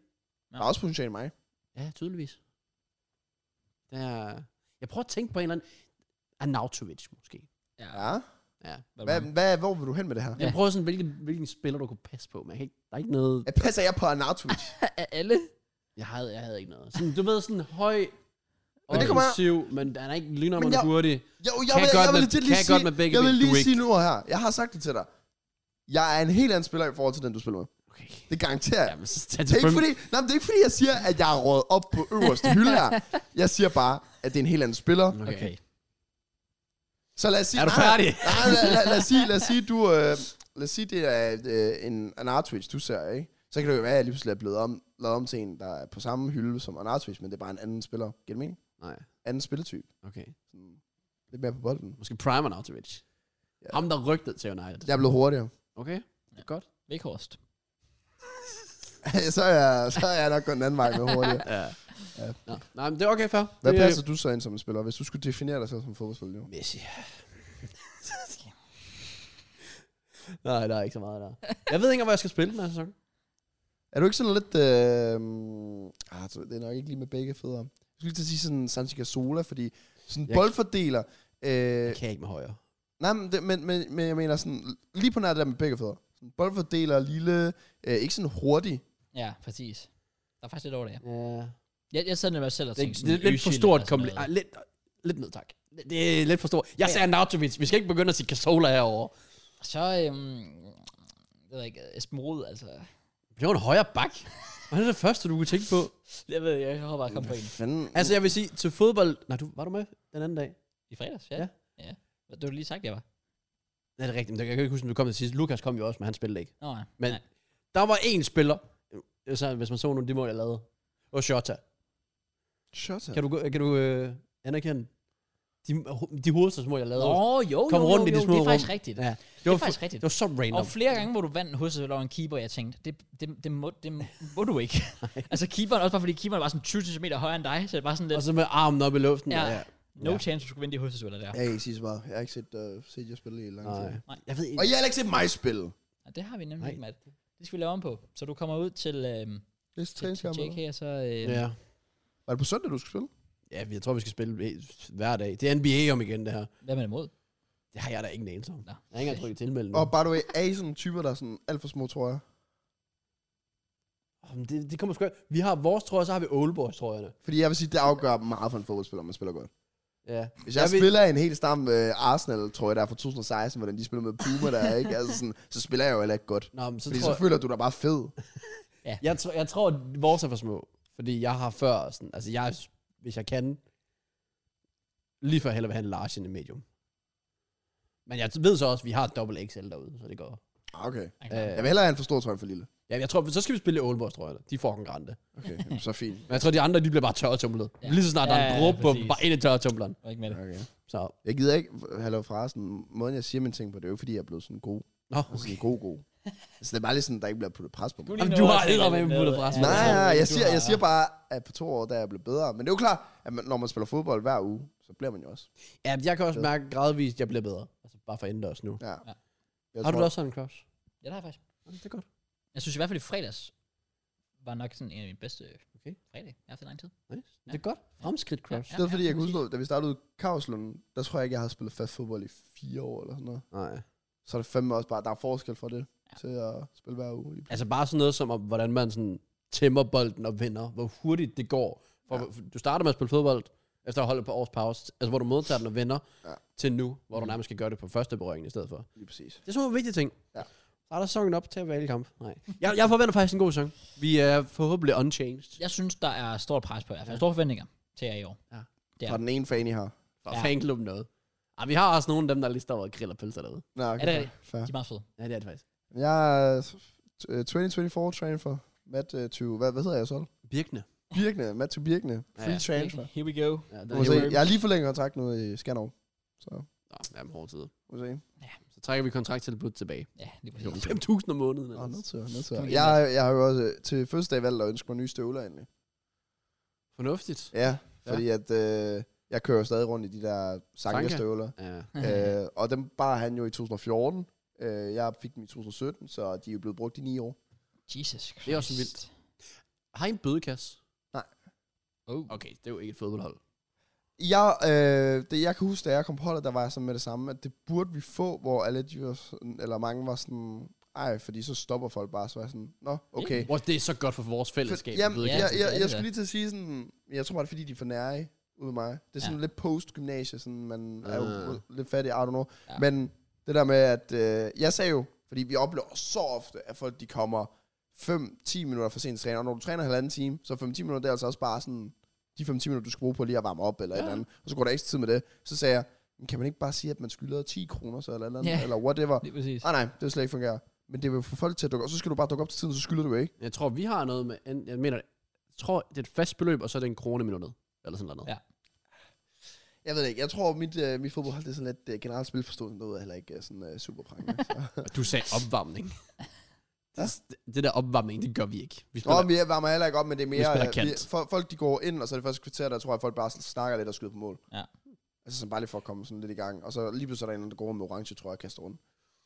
Speaker 3: Der er også potentiale i mig.
Speaker 2: Ja, tydeligvis. Der er... Jeg prøver at tænke på en eller anden... Arnautovic, måske.
Speaker 1: Ja.
Speaker 3: Ja.
Speaker 2: Ja.
Speaker 3: Hvad, hvad, hvor vil du hen med det her?
Speaker 2: Jeg prøver sådan, hvilken, hvilken spiller du kunne passe på, men jeg kan ikke, der er ikke noget...
Speaker 3: [LAUGHS] Jeg passer jeg på Arnautovic?
Speaker 1: Af alle?
Speaker 2: Jeg havde, jeg havde ikke noget. Sådan, du ved, sådan høj,
Speaker 3: Men det kommer an-
Speaker 2: offensiv, men han er ikke lyner,
Speaker 3: Men
Speaker 2: men
Speaker 3: jeg-
Speaker 2: hurtig.
Speaker 3: Jo, jeg,
Speaker 2: Kan
Speaker 3: vil,
Speaker 2: godt
Speaker 3: jeg vil
Speaker 2: med-
Speaker 3: legit lige
Speaker 2: kan
Speaker 3: sige,
Speaker 2: godt med begge
Speaker 3: jeg vil
Speaker 2: ben, du
Speaker 3: lige
Speaker 2: ikke-
Speaker 3: sige nu her. Jeg har sagt det til dig. Jeg er en helt anden spiller i forhold til den, du spiller med.
Speaker 2: Okay.
Speaker 3: Det garanterer jeg.
Speaker 2: Jamen, så tag
Speaker 3: Det
Speaker 2: til
Speaker 3: er, ikke fordi, nej, men det er ikke fordi, jeg siger, at jeg er råd op på øverste hylde [LAUGHS] her. Jeg siger bare, at det er en helt anden spiller.
Speaker 2: Okay. okay.
Speaker 3: Så lad os sige...
Speaker 2: Er du
Speaker 3: nej, nej,
Speaker 2: færdig?
Speaker 3: Nej, lad, lad, lad, os sige, lad os sige, du... Øh, lad os sige, det er øh, en, en Artwitch, du ser, ikke? Så kan det jo være, at jeg lige pludselig er blevet om, lavet om til en, der er på samme hylde som en Artwitch, men det er bare en anden spiller. Giver det mening?
Speaker 2: Nej,
Speaker 3: Anden spilletype.
Speaker 2: okay.
Speaker 3: Sådan Lidt mere på bolden.
Speaker 2: Måske Primer Nautovic.
Speaker 3: Ja.
Speaker 2: Ham, der rygtede til United.
Speaker 3: Jeg er blevet hurtigere. [LAUGHS]
Speaker 2: Okay, godt.
Speaker 1: Vækhorst.
Speaker 3: så, er jeg, så er jeg nok gået den anden vej med hurtigere.
Speaker 2: Ja.
Speaker 3: Ja.
Speaker 2: Nå, nej, men det er okay, fair.
Speaker 3: Hvad
Speaker 2: Det-
Speaker 3: passer du så ind som en spiller, hvis du skulle definere dig selv som fodboldspiller? Jo?
Speaker 2: Messi. Nej, der er ikke så meget der. Jeg ved ikke, engang, hvor jeg skal spille den her sæson.
Speaker 3: Er du ikke sådan lidt... Øh, ah, så- det er nok ikke lige med begge fædre. Jeg skulle lige til at sige sådan Santi Cazorla, fordi sådan
Speaker 2: Jeg-
Speaker 3: boldfordeler... Øh,
Speaker 2: Jeg kan ikke med højre.
Speaker 3: nej, men, det, men, men, men jeg mener sådan... Lige på nær det der med begge fædre. Sådan boldfordeler, lille... Øh, ikke sådan hurtig.
Speaker 1: Ja, præcis. Der er faktisk lidt over det, ja.
Speaker 2: Ja.
Speaker 1: Jeg, jeg sad nemlig også selv og
Speaker 2: Det,
Speaker 1: tænkte
Speaker 2: det, det er lidt for
Speaker 1: Özil
Speaker 2: stort
Speaker 1: eller sådan
Speaker 2: kompliment.
Speaker 1: noget.
Speaker 2: Lidt, lidt ned, tak. Det- Det er lidt for stort. Jeg sagde Nautovic. Vi skal ikke begynde at sige Casola herovre.
Speaker 1: Så, øhm, jeg ved ikke, Esben Rud, altså.
Speaker 2: Det var en højre bak. Hvad er det første, du kunne tænke på?
Speaker 1: Jeg ved ikke, jeg håber bare at komme på en.
Speaker 3: fanden?
Speaker 2: Altså, jeg vil sige, til fodbold... Nej, du, var du med den anden dag?
Speaker 1: I fredags, ja.
Speaker 2: Ja.
Speaker 1: Ja. ja. Det har du lige sagt, jeg var.
Speaker 2: Nej, det er rigtigt. Men jeg kan ikke huske, om du kom til sidst. Lukas kom jo også, men han spillede ikke.
Speaker 1: Nå, nej.
Speaker 2: Men
Speaker 1: nej.
Speaker 2: der var én spiller, øh, så, hvis man så nogle af de mål, jeg lavede. Og Shota.
Speaker 3: Shota.
Speaker 2: Kan du, gå- kan du øh, anerkende de, de hovedstadsmål, jeg lavede?
Speaker 1: Nå, jo,
Speaker 2: Kom
Speaker 1: jo,
Speaker 2: rundt
Speaker 1: jo,
Speaker 2: i de
Speaker 1: jo,
Speaker 2: små
Speaker 1: det er faktisk
Speaker 2: rum.
Speaker 1: rigtigt.
Speaker 2: Ja.
Speaker 1: Det
Speaker 2: var
Speaker 1: er faktisk
Speaker 2: fu-
Speaker 1: rigtigt.
Speaker 2: Det var så random.
Speaker 1: Og flere gange, hvor du vandt hos over en keeper, jeg tænkte, det, det, det, må, det må du
Speaker 2: [LAUGHS]
Speaker 1: ikke. [LAUGHS] altså keeperen, også bare fordi keeperen var sådan 20 cm højere end dig, så det var sådan
Speaker 2: og
Speaker 1: lidt,
Speaker 2: så med armen op i luften.
Speaker 1: Ja.
Speaker 2: Ja. ja.
Speaker 1: no
Speaker 2: ja.
Speaker 1: chance, du skulle vinde i hos der.
Speaker 3: Jeg kan ikke sige så meget. Jeg har ikke set, uh, set jer spille i lang
Speaker 2: Nej.
Speaker 3: tid.
Speaker 1: Nej.
Speaker 2: Jeg ved ikke.
Speaker 3: Og jeg har heller ikke set mig spille.
Speaker 1: Ja, det har vi nemlig
Speaker 2: Nej.
Speaker 1: ikke, Matt. Det skal vi lave om på. Så du kommer ud til, øhm,
Speaker 3: Det er
Speaker 1: til, til
Speaker 3: træningskamp.
Speaker 1: JK,
Speaker 3: eller?
Speaker 1: og så... Øhm,
Speaker 2: Ja.
Speaker 3: Var det på søndag, du skulle spille?
Speaker 2: ja, jeg tror, vi skal spille øh, hver dag. Det er NBA om igen, det her.
Speaker 1: Hvad er man imod?
Speaker 2: Det har jeg da ingen anelse om.
Speaker 1: Nå.
Speaker 2: Jeg har ikke engang trykket tilmelde nu.
Speaker 3: Og by the way, er I sådan typer, der er sådan alt for små, tror jeg?
Speaker 2: Jamen, Det, det kommer sgu af. Vi har vores trøje, så har vi Aalborgs trøjerne.
Speaker 3: Fordi jeg vil sige, det afgør meget for en fodboldspiller, om man spiller godt.
Speaker 2: Ja.
Speaker 3: Hvis jeg,
Speaker 2: Jeg
Speaker 3: jeg
Speaker 2: vil-
Speaker 3: spiller i en helt stam øh, Arsenal, tror jeg, der er fra 2016, hvordan de spiller med Puma der, ikke? Altså sådan, så spiller jeg jo heller ikke godt.
Speaker 2: Nå, men så
Speaker 3: Fordi
Speaker 2: tror
Speaker 3: så
Speaker 2: jeg,
Speaker 3: føler du dig bare fed.
Speaker 2: jeg, tror, jeg tror, at vores er for små. Fordi jeg har før, sådan, altså jeg, hvis jeg kan, lige før hellere vil have en large end en medium. Men jeg ved så også, at vi har et dobbelt XL derude, så det går.
Speaker 3: Ah, Okay.
Speaker 1: Jeg
Speaker 2: Øh,
Speaker 1: kan-
Speaker 3: Jeg vil hellere have en for stor trøje for lille.
Speaker 2: Ja, jeg tror, så skal vi spille Aalborgs trøjerne. De får en grænte.
Speaker 3: Okay, jamen, så fint.
Speaker 2: Men jeg tror, de andre, de bliver bare tørretumlet. Ja.
Speaker 1: Ja.
Speaker 2: Lige så snart der er
Speaker 1: Ja,
Speaker 2: en
Speaker 1: ja,
Speaker 2: dråbe på dem,
Speaker 1: præcis.
Speaker 2: bare ind i tørretumleren.
Speaker 1: Jeg er ikke med det.
Speaker 3: Okay.
Speaker 2: Så,
Speaker 3: [LAUGHS] Jeg gider ikke have lov fra sådan, måden jeg siger mine ting på, det er jo ikke, fordi jeg er blevet sådan god.
Speaker 2: nå,
Speaker 3: Altså
Speaker 2: okay.
Speaker 3: sådan god, god. Så det er bare lige sådan, der ikke bliver puttet pres på mig.
Speaker 2: Jamen, du har eddermame puttet pres på
Speaker 3: Nej,
Speaker 2: Ja,
Speaker 3: nej, jeg siger, jeg siger bare, at på to år, der er jeg blevet bedre. Men det er jo klart, at man, når man spiller fodbold hver uge, så bliver man jo også.
Speaker 2: Ja, jeg kan også mærke gradvist, at jeg bliver bedre. Altså bare for indendørs nu.
Speaker 3: Ja.
Speaker 1: Ja.
Speaker 3: Jeg
Speaker 2: Har du
Speaker 3: tror-
Speaker 2: da også sådan en crush?
Speaker 1: Ja, det har jeg faktisk.
Speaker 2: Ja, det er godt.
Speaker 1: Jeg synes i hvert fald, i fredags var nok sådan en af mine bedste
Speaker 2: Okay.
Speaker 1: fredag. Jeg har haft i lang tid.
Speaker 2: Nice. Det er godt. Fremskridt crush.
Speaker 1: Ja,
Speaker 3: Det er fordi,
Speaker 1: ja,
Speaker 3: jeg kan
Speaker 1: præcis.
Speaker 3: huske, da vi startede ud i Kavslund, der tror jeg ikke, jeg har spillet fast fodbold i fire år eller sådan noget.
Speaker 2: Nej.
Speaker 3: Så er det fandme også bare, der er forskel fra det
Speaker 1: Ja.
Speaker 3: til at spille hver uge. lige pludselig.
Speaker 2: Altså bare sådan noget som, om, hvordan man sådan tæmmer bolden og vinder. Hvor hurtigt det går. For,
Speaker 3: Ja.
Speaker 2: ja. Du starter med at spille fodbold, efter at holde et par års pause. Altså hvor du modtager den og vinder,
Speaker 3: Ja. Mm.
Speaker 2: ja. til nu, hvor du
Speaker 1: Mhm.
Speaker 2: nærmest skal gøre det på første berøring i stedet for.
Speaker 3: Lige præcis.
Speaker 2: Det er sådan nogle vigtige ting.
Speaker 3: Ja.
Speaker 2: Så er der sæsonen op til at vælge kamp. Nej. Jeg, jeg forventer faktisk en god sæson. Vi er forhåbentlig unchanged.
Speaker 1: Jeg synes, der er stort pres på jer. Ja. Store forventninger til jer i år. Ja.
Speaker 3: Fra den ene fan, I har.
Speaker 2: For
Speaker 1: Ja.
Speaker 2: ja. fanklubben noget. Ej, vi har også nogle af dem, der lige står og griller pølser derude.
Speaker 3: Nå, okay,
Speaker 1: Er det
Speaker 3: fair,
Speaker 1: rigtigt?
Speaker 3: fair.
Speaker 1: De er meget fede.
Speaker 2: Ja, det er det faktisk.
Speaker 3: Jeg er øh, 2024 transfer. Matt øh, 20. Hvad, hvad hedder jeg så?
Speaker 2: Birkene.
Speaker 3: Birkene. Matt to Birkene.
Speaker 2: Ja,
Speaker 3: Free
Speaker 2: ja.
Speaker 3: transfer.
Speaker 1: Here we go.
Speaker 2: Ja, det
Speaker 3: Du må se.
Speaker 2: er
Speaker 3: Jeg har lige forlænget kontrakt nu i Skanderborg. Så
Speaker 2: Nå, jamen, hårde tider.
Speaker 3: må vi se.
Speaker 2: Så trækker vi kontrakttilbuddet tilbage.
Speaker 1: Ja, det er
Speaker 2: Det er
Speaker 1: præcis. [LAUGHS]
Speaker 2: jo 5.000 om måneden.
Speaker 3: Åh, ned
Speaker 2: ellers.
Speaker 3: til, ned til.
Speaker 1: Kom igen,
Speaker 3: Jeg, jeg har jo også øh, til første dag valgt at ønske mig nye støvler egentlig.
Speaker 2: Fornuftigt.
Speaker 3: Ja, fordi at øh, jeg kører jo stadig rundt i de der
Speaker 2: [LAUGHS]
Speaker 3: Sanka-støvler.
Speaker 2: Ja.
Speaker 3: øh, og dem bar han jo i 2014. Øh, jeg fik dem i 2017, så de er jo blevet brugt i ni år.
Speaker 1: Jesus Christ.
Speaker 2: Det er også vildt. Har I en bødekasse?
Speaker 1: Oh.
Speaker 2: Okay, det er jo ikke et fodboldhold.
Speaker 3: Jeg, øh, det, jeg kan huske, da jeg kom på holdet, der var jeg sådan med det samme, at det burde vi få, hvor alle de var sådan, eller mange var sådan, Ej, fordi så stopper folk bare, så er jeg sådan, nå, okay.
Speaker 2: Wow, det er så godt for vores fællesskab.
Speaker 3: For, jamen,
Speaker 2: ved
Speaker 3: jeg,
Speaker 2: ikke.
Speaker 1: ja.
Speaker 3: jeg,
Speaker 1: det er
Speaker 3: jeg,
Speaker 1: det
Speaker 3: jeg
Speaker 1: da.
Speaker 3: skulle lige til at sige sådan, jeg tror bare, det er fordi, de er for nære ude med mig. Det er sådan
Speaker 1: Ja.
Speaker 3: ja. lidt post-gymnasie, sådan man er jo
Speaker 2: Ah.
Speaker 3: lidt fattig, I don't know.
Speaker 1: Ja.
Speaker 3: Ja. Men det der med, at øh, jeg sagde jo, fordi vi oplever så ofte, at folk de kommer 5-10 minutter for sent til træning, og når du træner halvanden time, så 5-10 minutter, det er altså også bare sådan, de 5-10 minutter, du skal bruge på lige at varme op, eller ja.
Speaker 1: Ja.
Speaker 3: et eller andet, og så går der ekstra tid med det. Så sagde jeg, "Men kan man ikke bare sige, at man skylder 10 kroner, så eller et eller andet,
Speaker 1: Ja.
Speaker 3: ja. eller
Speaker 1: [LAUGHS]
Speaker 3: whatever. Ah,
Speaker 1: Lige præcis.
Speaker 3: Nej, nej, det vil slet ikke fungere. Men det vil få folk til at dukke, og så skal du bare dukke op til tiden, så skylder du ikke.
Speaker 2: Jeg tror, vi har noget med... en- Jeg mener, jeg tror, det er et fast beløb, og så er det en krone i minuttet. Eller sådan noget.
Speaker 1: Ja.
Speaker 3: Jeg ved det ikke. Jeg tror, mit, øh, mit fodboldhold det er sådan lidt øh, generelt spilforståelsen derude er heller ikke øh, sådan øh, super prangende. så.
Speaker 2: Og Du sagde opvarmning.
Speaker 3: Ja.
Speaker 2: det, det der opvarmning, det gør vi ikke. Vi
Speaker 3: Nå,
Speaker 2: spiller,
Speaker 3: men jeg varmer heller ikke op, men det er mere...
Speaker 2: spiller
Speaker 3: øh,
Speaker 2: kant.
Speaker 3: fo- folk, de går ind, og så er det første kvarter, der tror jeg, folk bare sådan snakker lidt og skyder på mål.
Speaker 1: Ja.
Speaker 3: Altså sådan bare lige for at komme sådan lidt i gang. Og så lige pludselig er der en, der går rundt med orange, tror jeg, og kaster rundt.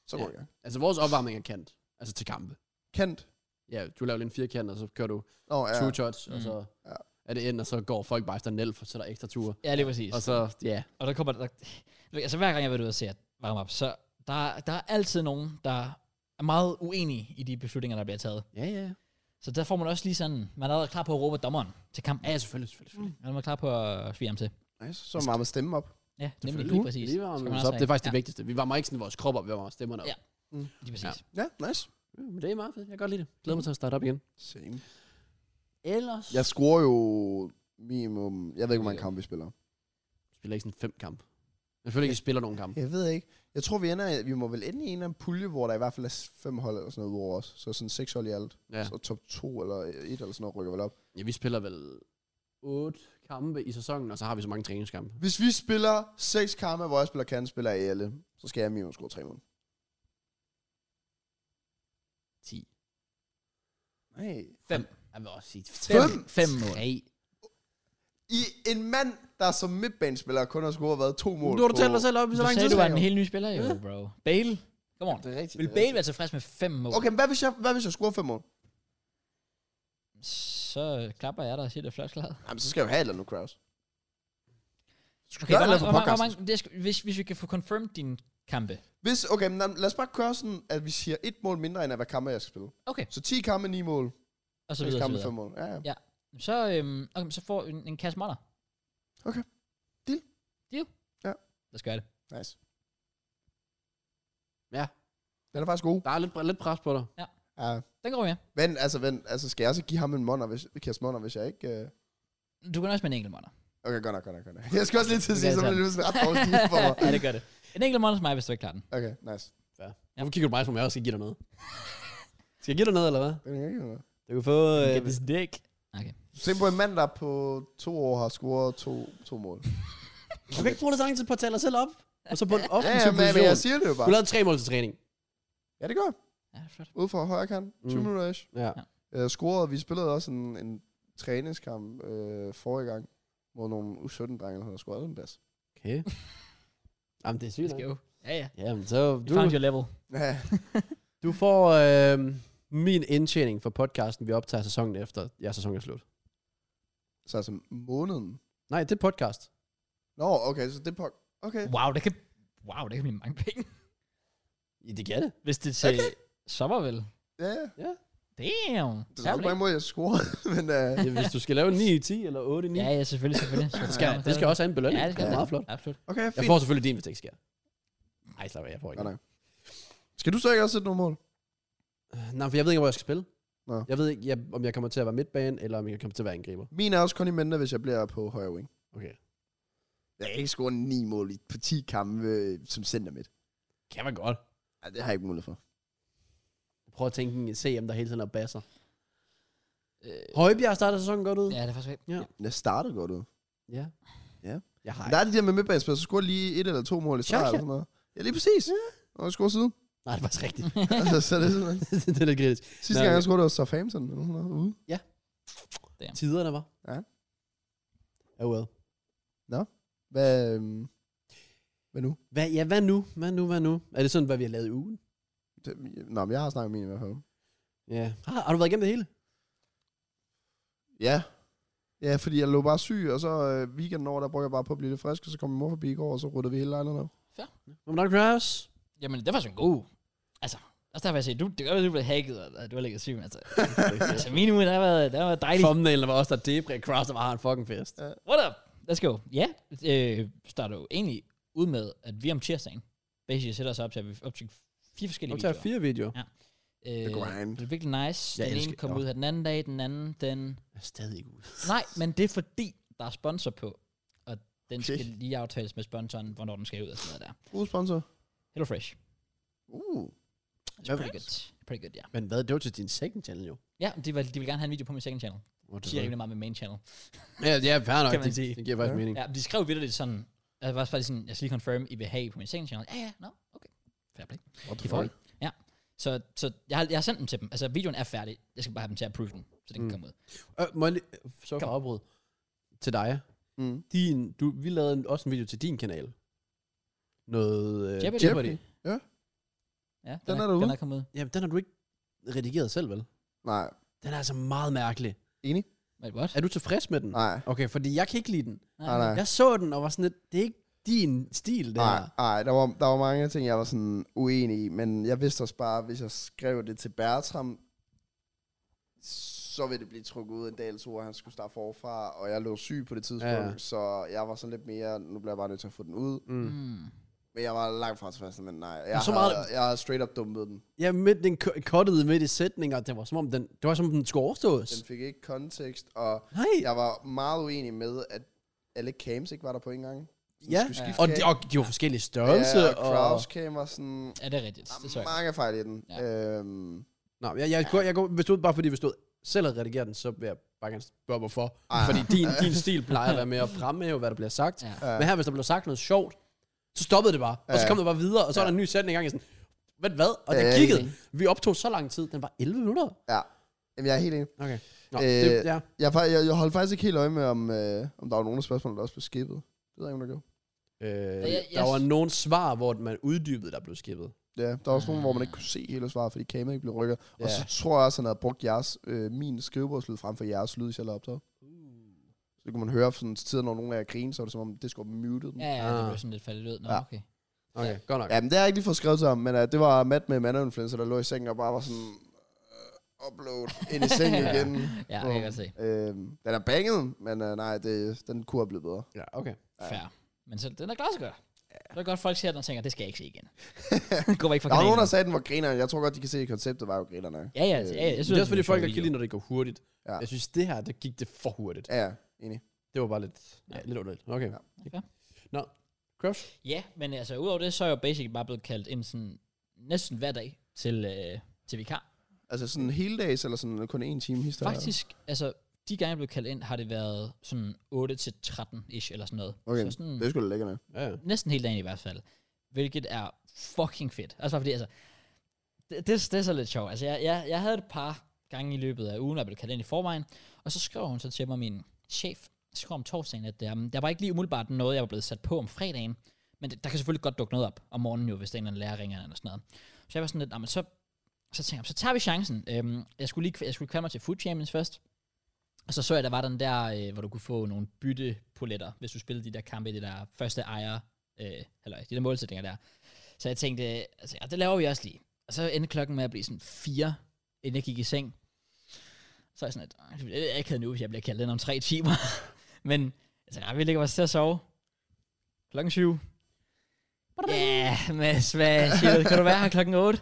Speaker 3: Så går
Speaker 2: Ja.
Speaker 3: ja. i gang.
Speaker 2: altså vores opvarmning er kant. Altså til kampe.
Speaker 3: Kent.
Speaker 2: Ja, du laver lige en firkant, og så kører du
Speaker 3: Nå,
Speaker 2: ja.
Speaker 3: ja.
Speaker 2: two shots, og
Speaker 1: Mm.
Speaker 2: så
Speaker 3: Ja.
Speaker 2: er det ind, og så går folk bare efter en elf, og så er der ekstra ture.
Speaker 1: Ja, lige præcis.
Speaker 2: Og så, ja,
Speaker 1: Og der kommer der, altså hver gang jeg ved ud og ser varme op, så der, der er altid nogen, der er meget uenige i de beslutninger, der bliver taget.
Speaker 2: ja, ja.
Speaker 1: Så der får man også lige sådan, man er allerede klar på at råbe dommeren til kampen.
Speaker 2: Ja, ja selvfølgelig, selvfølgelig. selvfølgelig.
Speaker 1: Man er klar på at svige ham til.
Speaker 3: Nice. Så meget med stemme op.
Speaker 1: Ja, nemlig
Speaker 2: Selvfølgelig.
Speaker 1: lige præcis.
Speaker 2: Lige varmer
Speaker 1: Skal
Speaker 2: vi
Speaker 1: man
Speaker 2: os
Speaker 1: også
Speaker 2: op. Det er
Speaker 1: have.
Speaker 2: faktisk ja. det vigtigste. Vi varmer ikke sådan vores krop op, vi varmer stemmerne op.
Speaker 1: Ja.
Speaker 2: Ja.
Speaker 1: Ja, lige præcis.
Speaker 3: Ja, nice.
Speaker 2: Mm, Men det er meget fedt. Jeg kan godt lide det. Glæder mig til at starte op igen.
Speaker 3: Same.
Speaker 2: Ellers...
Speaker 3: Jeg scorer jo minimum... Jeg ved ikke, hvor mange
Speaker 2: Ja.
Speaker 3: kampe vi spiller.
Speaker 2: spiller ikke sådan fem kamp. Jeg føler ikke, I spiller nogen kamp.
Speaker 3: Jeg ved ikke. Jeg tror, vi ender, vi må vel ende i en eller anden pulje, hvor der i hvert fald er fem hold eller sådan noget over os. Så sådan seks hold i alt.
Speaker 2: Ja.
Speaker 3: Så top 2 eller 1 eller sådan noget rykker vel op.
Speaker 2: ja. vi spiller vel otte kampe i sæsonen, og så har vi så mange træningskampe.
Speaker 3: Hvis vi spiller 6 kampe, hvor jeg spiller kan, spiller jeg alle, så skal jeg minimum score 3 mål.
Speaker 2: 10.
Speaker 3: Nej.
Speaker 1: Fem.
Speaker 2: Jeg vil også sige 5.
Speaker 1: Fem,
Speaker 3: Fem?
Speaker 1: fem mål.
Speaker 3: I en mand, der som midtbanespiller kun har scoret hvad, to mål.
Speaker 2: Nu har du
Speaker 3: på-
Speaker 2: talt dig selv op i så
Speaker 1: Du
Speaker 2: lang
Speaker 1: sagde,
Speaker 2: tid.
Speaker 1: du var
Speaker 3: siden.
Speaker 1: en helt ny spiller, jo,
Speaker 2: Ja.
Speaker 1: bro. Bale, come on.
Speaker 3: Det er rigtigt.
Speaker 1: Vil
Speaker 3: det er
Speaker 1: Bale være tilfreds med fem mål,
Speaker 3: rigtigt. Okay, men hvad hvis jeg, hvad hvis jeg scorer 5 mål?
Speaker 1: så klapper jeg dig og siger, det er flot klaret.
Speaker 3: Jamen, så skal jeg jo have et eller andet, Kraus.
Speaker 1: Okay,
Speaker 3: gøre
Speaker 1: hvor
Speaker 3: det
Speaker 1: mange,
Speaker 3: for
Speaker 1: hvor mange, hvor
Speaker 3: podcasten.
Speaker 1: mange, det skal, hvis, hvis vi kan få confirmed dine kampe.
Speaker 3: Hvis, okay, men lad os bare køre sådan, at vi siger et mål mindre, end af, hvad kampe jeg skal spille.
Speaker 1: Okay,
Speaker 3: Så 10 kampe, 9 mål.
Speaker 1: og så
Speaker 3: 6
Speaker 1: videre, og så
Speaker 3: kampe,
Speaker 1: videre.
Speaker 3: 5 mål. Ja, ja.
Speaker 1: Så, øhm, okay, så får en, en kasse modder.
Speaker 3: Okay. Deal.
Speaker 1: Deal?
Speaker 3: Ja.
Speaker 1: Lad os gøre det.
Speaker 3: Nice.
Speaker 2: Ja,
Speaker 3: Den er faktisk god.
Speaker 2: der er lidt, lidt pres på dig.
Speaker 3: Ja.
Speaker 1: Den går vi med.
Speaker 3: Vent, altså, vent, altså, skal jeg så give ham en måneder, hvis, kasse måneder, hvis jeg ikke... Øh
Speaker 1: Du kan også med en enkelt modder.
Speaker 3: Okay, godt nok, godt nok, godt nok. Jeg skal også lige til at
Speaker 1: Okay,
Speaker 3: sige, så
Speaker 1: tak.
Speaker 3: bliver det pludselig ret dårligt stil for mig.
Speaker 1: ja, det gør
Speaker 2: [LAUGHS]
Speaker 1: det. En enkelt modder som mig, hvis du ikke klarer den.
Speaker 3: Okay, nice.
Speaker 2: Ja. Nu kigger du på mig, som om jeg også skal give dig noget. skal jeg give dig noget, eller hvad?
Speaker 3: Det er ikke noget.
Speaker 2: Du kan få... Øh,
Speaker 1: dick. Okay.
Speaker 3: Se på en mand, der på to år har scoret to, to mål.
Speaker 2: du kan ikke bruge det så lang tid på at tale dig selv op. Og så på en
Speaker 3: Ja,
Speaker 2: offensiv
Speaker 3: ja,
Speaker 2: ja,
Speaker 3: men, men
Speaker 2: position.
Speaker 3: jeg siger det jo
Speaker 2: Du
Speaker 3: bare.
Speaker 2: lavede tre mål til træning.
Speaker 3: Ja, det gør jeg.
Speaker 1: Ja, det er flot.
Speaker 3: Ude fra højre kant. 20
Speaker 2: Mm.
Speaker 3: minutter ish.
Speaker 2: Ja.
Speaker 3: Uh, scorede, vi spillede også en, en træningskamp øh, forrige gang mod nogle U17-drenge, der havde scoret en bas.
Speaker 2: Okay. Jamen, det er
Speaker 1: Det
Speaker 2: sygt.
Speaker 1: skal jo. Ja, ja.
Speaker 2: Jamen, så
Speaker 1: You
Speaker 2: du,
Speaker 1: found your level.
Speaker 3: Ja,
Speaker 2: du får øh, min indtjening for podcasten, vi optager sæsonen efter, ja, sæsonen er slut.
Speaker 3: så altså måneden.
Speaker 2: Nej, det er podcast.
Speaker 3: Nå, okay, så det på... Okay.
Speaker 1: Wow, det kan, wow, det kan blive mange penge.
Speaker 2: Ja, det kan det.
Speaker 1: Hvis det er til okay. [LAUGHS] sommer, vel?
Speaker 3: Ja, ja.
Speaker 1: Damn.
Speaker 3: Det er jo ikke på en måde, jeg scorede, [LAUGHS] men... Uh,
Speaker 2: Ja, Altså, hvis du skal lave 9 i 10 eller 8 i 9,
Speaker 1: Ja,
Speaker 2: ja,
Speaker 1: ja, selvfølgelig, selvfølgelig.
Speaker 2: det, skal, det skal også have en belønning.
Speaker 1: Ja, det skal
Speaker 2: er
Speaker 1: det.
Speaker 2: meget flot.
Speaker 1: Absolut.
Speaker 3: okay,
Speaker 2: Jeg
Speaker 3: fint.
Speaker 2: får selvfølgelig din, hvis det ikke sker. Nej, slap af, jeg får ikke.
Speaker 3: Nej, nej. Skal du så ikke også sætte nogle mål?
Speaker 2: Øh, nej, for jeg ved ikke, hvor jeg skal spille.
Speaker 3: Nå.
Speaker 2: Jeg ved ikke, jeg, om jeg kommer til at være midtbane, eller om jeg kommer til at være angriber.
Speaker 3: Min er også kun i mente, hvis jeg bliver på højre wing.
Speaker 2: Okay.
Speaker 3: Jeg kan ikke score 9 mål i- på 10 kampe øh, som center midt.
Speaker 2: Kan man godt.
Speaker 3: Ej, det har jeg ikke mulighed for.
Speaker 2: Prøv at tænke en CM, der hele tiden er basser.
Speaker 1: Øh,
Speaker 2: Højbjerg starter sæsonen godt ud.
Speaker 1: ja, det er faktisk rigtigt.
Speaker 2: Ja.
Speaker 3: Jeg startede godt ud.
Speaker 2: ja.
Speaker 3: Ja.
Speaker 2: Jeg har
Speaker 3: Ej. Der er det der med midtbanespil, så scorer de lige et eller to mål i streg
Speaker 2: Chaka.
Speaker 3: eller sådan noget. Ja, lige præcis. Ja. Og jeg scorer siden.
Speaker 2: Nej, det er faktisk rigtigt. [LAUGHS]
Speaker 3: altså, så er det sådan.
Speaker 2: det er lidt kritisk.
Speaker 3: Sidste
Speaker 2: Nå,
Speaker 3: gang,
Speaker 2: okay.
Speaker 3: jeg scorede, det var Southampton eller sådan noget ude.
Speaker 2: Tiderne var.
Speaker 3: Ja.
Speaker 2: Oh well.
Speaker 3: Hvad, øhm, hvad nu?
Speaker 2: Hvad, ja, hvad nu? Hvad nu? Hvad nu? Er det sådan, hvad vi har lavet i ugen?
Speaker 3: Det, nå, men jeg har snakket med min i hvert fald.
Speaker 2: Ja. Ah, Har, har du været igennem det hele?
Speaker 3: Ja. Ja, fordi jeg lå bare syg, og så øh, weekenden over, der brugte jeg bare på at blive lidt frisk, og så kom min mor forbi i går, og så ryddede vi hele lejligheden op.
Speaker 2: Hvor mange drives?
Speaker 1: Jamen, det var sådan en god. Altså, Også derfor, jeg siger, du, det gør, at du blev hacket, og du har ligget syg, men altså, altså min uge, der har været, der har været dejligt.
Speaker 2: Thumbnail var også der debre cross, der var en fucking fest.
Speaker 1: What up? Let's go. Ja, øh, starter jo egentlig ud med, at vi om tirsdagen, basically sætter os op til, at vi optager fire forskellige
Speaker 2: Nu tager
Speaker 1: videoer.
Speaker 2: fire videoer.
Speaker 1: Øh,
Speaker 3: The grind.
Speaker 1: Det er virkelig nice.
Speaker 2: Jeg
Speaker 1: den ene
Speaker 2: elsker-
Speaker 1: kom
Speaker 2: Nå.
Speaker 1: ud her den anden dag, den anden, den...
Speaker 2: Jeg er stadig ikke ude.
Speaker 1: Nej, men det er fordi, der er sponsor på, og den
Speaker 3: Okay.
Speaker 1: okay. skal lige aftales med sponsoren, hvornår den skal ud og sådan noget der.
Speaker 3: God sponsor.
Speaker 1: Hello Fresh.
Speaker 3: Uh.
Speaker 1: It's
Speaker 2: Hvad
Speaker 1: pretty
Speaker 2: var det?
Speaker 1: good. Pretty good, ja.
Speaker 2: Men hvad, det var til din second channel jo.
Speaker 1: Ja, de vil, de vil gerne have en video på min second channel.
Speaker 2: Hvor
Speaker 1: Det siger rimelig meget med main channel.
Speaker 2: Ja, ja, fair nok.
Speaker 1: Kan man
Speaker 2: Det,
Speaker 1: sige.
Speaker 2: det giver faktisk
Speaker 3: Ja.
Speaker 2: mening.
Speaker 1: Ja, de skrev videre sådan, jeg var faktisk sådan, jeg skal lige confirm, I vil have på min second channel. Ja, ja, no, okay. Fair play.
Speaker 3: What
Speaker 1: De får det. Ja. Så, så jeg, har, jeg har sendt dem til dem. Altså, videoen er færdig. Jeg skal bare have dem til at approve den, så den mm.
Speaker 2: Mm.
Speaker 1: kan komme ud.
Speaker 2: Øh, må jeg lige, så for
Speaker 1: Kom.
Speaker 2: afbrud. Til dig.
Speaker 3: Mm.
Speaker 2: Din, du, vi lavede en, også en video til din kanal. Noget øh,
Speaker 1: Jeopardy.
Speaker 2: Jeopardy.
Speaker 1: Ja, den,
Speaker 3: Den
Speaker 1: er,
Speaker 3: er derude.
Speaker 1: Den er kommet ud.
Speaker 2: Jamen, den har du ikke redigeret selv, vel?
Speaker 3: Nej.
Speaker 2: Den er altså meget mærkelig.
Speaker 1: Wait, what?
Speaker 2: Er du tilfreds med den?
Speaker 3: Nej.
Speaker 2: Okay, fordi jeg kan ikke lide den.
Speaker 3: Nej, nej.
Speaker 2: Jeg så den og var sådan lidt, det er ikke din stil, det
Speaker 3: Nej,
Speaker 2: her.
Speaker 3: nej, der var, der var mange ting, jeg var sådan uenig i, men jeg vidste også bare, at hvis jeg skrev det til Bertram, så ville det blive trukket ud af Dals ord, han skulle starte forfra, og jeg lå syg på det tidspunkt,
Speaker 2: Ja.
Speaker 3: ja. så jeg var sådan lidt mere, nu bliver jeg bare nødt til at få den ud.
Speaker 2: Mm.
Speaker 1: Mm.
Speaker 3: Men jeg var langt fra tilfreds, men nej, jeg,
Speaker 2: så
Speaker 3: så
Speaker 2: meget-
Speaker 3: meget... havde, jeg havde straight up dumpet den.
Speaker 2: Ja, midt, den k- cuttede midt i sætninger, det var som om den, det var som om den skulle overstås.
Speaker 3: Den fik ikke kontekst, og
Speaker 2: Nej, ja,
Speaker 3: jeg var meget uenig med, at alle cams ikke var der på en gang.
Speaker 2: ja.
Speaker 3: skulle skifte
Speaker 2: Og, de,
Speaker 3: cam.
Speaker 2: og de var forskellige størrelser.
Speaker 3: ja, og
Speaker 2: og
Speaker 3: crowds cam og sådan,
Speaker 1: Ja, det er rigtigt. Det så
Speaker 3: der er
Speaker 1: jeg.
Speaker 3: mange fejl i den.
Speaker 1: Ja.
Speaker 3: Øhm,
Speaker 2: Nå, jeg, jeg, jeg, jeg, går, hvis du, bare fordi hvis du selv har redigeret den, så vil jeg bare gerne spørge, hvorfor.
Speaker 3: Ej.
Speaker 2: Fordi
Speaker 3: [LAUGHS]
Speaker 2: din, din stil plejer at være med at fremhæve, hvad der bliver sagt.
Speaker 1: Ja.
Speaker 2: Men her, hvis der blev sagt noget sjovt, så stoppede det bare. Og så
Speaker 3: Ja.
Speaker 2: kom det bare videre, og så var der en ny sætning i gang. Jeg sådan, hvad, hvad? Og det
Speaker 3: Ja, ja,
Speaker 2: kiggede. Vi optog så lang tid, den var 11 minutter.
Speaker 3: ja, Jamen, jeg er helt enig.
Speaker 2: Okay. Nå,
Speaker 3: Øh,
Speaker 2: det, ja.
Speaker 3: Jeg, fa- jeg, jeg holdt faktisk ikke helt øje med, om, øh, om der var nogle af spørgsmålene, der også blev skippet. Det ved jeg ikke, om der gjorde.
Speaker 2: Øh,
Speaker 1: jeg-
Speaker 2: der
Speaker 1: jeg-
Speaker 2: var nogle svar, hvor man uddybede, der blev skippet.
Speaker 3: Ja, der var også nogle, hvor man ikke kunne se hele svaret, fordi kameraet ikke blev rykket. Ja. Og
Speaker 2: Ja.
Speaker 3: så tror jeg også, han havde brugt jeres, øh, min skrivebordslyd frem for jeres lyd, hvis jeg lavede optaget.
Speaker 1: Uh.
Speaker 3: Så det kunne man høre sådan til tider, når nogen af jer grinede, så var det som om, det skulle have muted dem.
Speaker 1: Ja,
Speaker 3: Ja.
Speaker 1: ja, det
Speaker 2: Ah.
Speaker 1: blev sådan lidt faldet ud. Nå,
Speaker 3: Ja.
Speaker 1: okay.
Speaker 2: Okay, godt nok.
Speaker 3: ja, men det har jeg ikke lige fået skrevet til ham, men øh, det var Matt med mandinfluencer, der lå i sengen og bare var sådan, øh, upload ind i
Speaker 1: [LAUGHS]
Speaker 3: sengen
Speaker 1: Ja.
Speaker 3: igen.
Speaker 1: Ja, det kan jeg godt se.
Speaker 3: Øh, den er banget, men øh, nej, det, den kunne have blevet bedre.
Speaker 2: Ja, okay.
Speaker 1: Fair. Men så, den er klar så godt. Så er det godt, folk ser den og tænker, det skal jeg ikke se igen. [LAUGHS] Gå væk fra
Speaker 3: Der var nogen, der
Speaker 1: kanalen.
Speaker 3: sagde, den var grineren. Jeg tror godt, de kan se, at konceptet var jo grinerne.
Speaker 1: Ja, ja, ja, ja, jeg
Speaker 2: Jeg synes, Øh, det er også fordi,
Speaker 1: en
Speaker 2: folk
Speaker 1: sjov
Speaker 2: ikke
Speaker 1: video.
Speaker 2: kan lide, når det går hurtigt.
Speaker 3: Ja.
Speaker 2: Ja. Jeg synes, det her, der gik det for hurtigt.
Speaker 3: Ja, ja, enig.
Speaker 2: Det var bare lidt, ja, lidt underligt. Okay.
Speaker 3: Ja.
Speaker 1: Okay.
Speaker 2: Nå, Crush?
Speaker 1: Ja, men altså udover det, så er jeg jo basically bare blevet kaldt ind sådan næsten hver dag til, øh, til vikar.
Speaker 3: Altså sådan hele dags, eller sådan kun en time historie?
Speaker 1: Faktisk, altså de gange jeg blev kaldt ind, har det været sådan 8-13-ish eller sådan noget.
Speaker 3: Okay,
Speaker 1: Så sådan,
Speaker 3: det er sgu da lækkerne.
Speaker 2: Ja, ja.
Speaker 1: næsten hele dagen i hvert fald. Hvilket er fucking fedt. Altså bare fordi, altså, det, det, det er så lidt sjovt. Altså, jeg, jeg, jeg havde et par gange i løbet af ugen, hvor jeg blev kaldt ind i forvejen, og så skrev hun så til mig, min chef, skrev om torsdagen, at um, der var ikke lige umiddelbart noget, jeg var blevet sat på om fredagen, men det, der kan selvfølgelig godt dukke noget op om morgenen jo, hvis der er en eller anden lærer ringer eller sådan noget. Så jeg var sådan lidt, "Nå, men så, så tænkte jeg, så tager vi chancen. Øhm, jeg skulle lige jeg skulle kvalde mig til Food Champions først, og så så jeg, der var den der, øh, hvor du kunne få nogle byttepoletter, hvis du spillede de der kampe i det der første ejer, øh, eller de der målsætninger der. Så jeg tænkte, øh, altså, ja, det laver vi også lige. Og så endte klokken med at blive sådan fire, inden jeg gik i seng. Så er jeg sådan, at øh, det er ikke nu, hvis jeg bliver kaldt ind om tre timer. [LAUGHS] Men altså, ja, vi ligger os til at sove. Klokken syv. Ja, yeah, Mads, hvad siger du? Kan du være her klokken 8?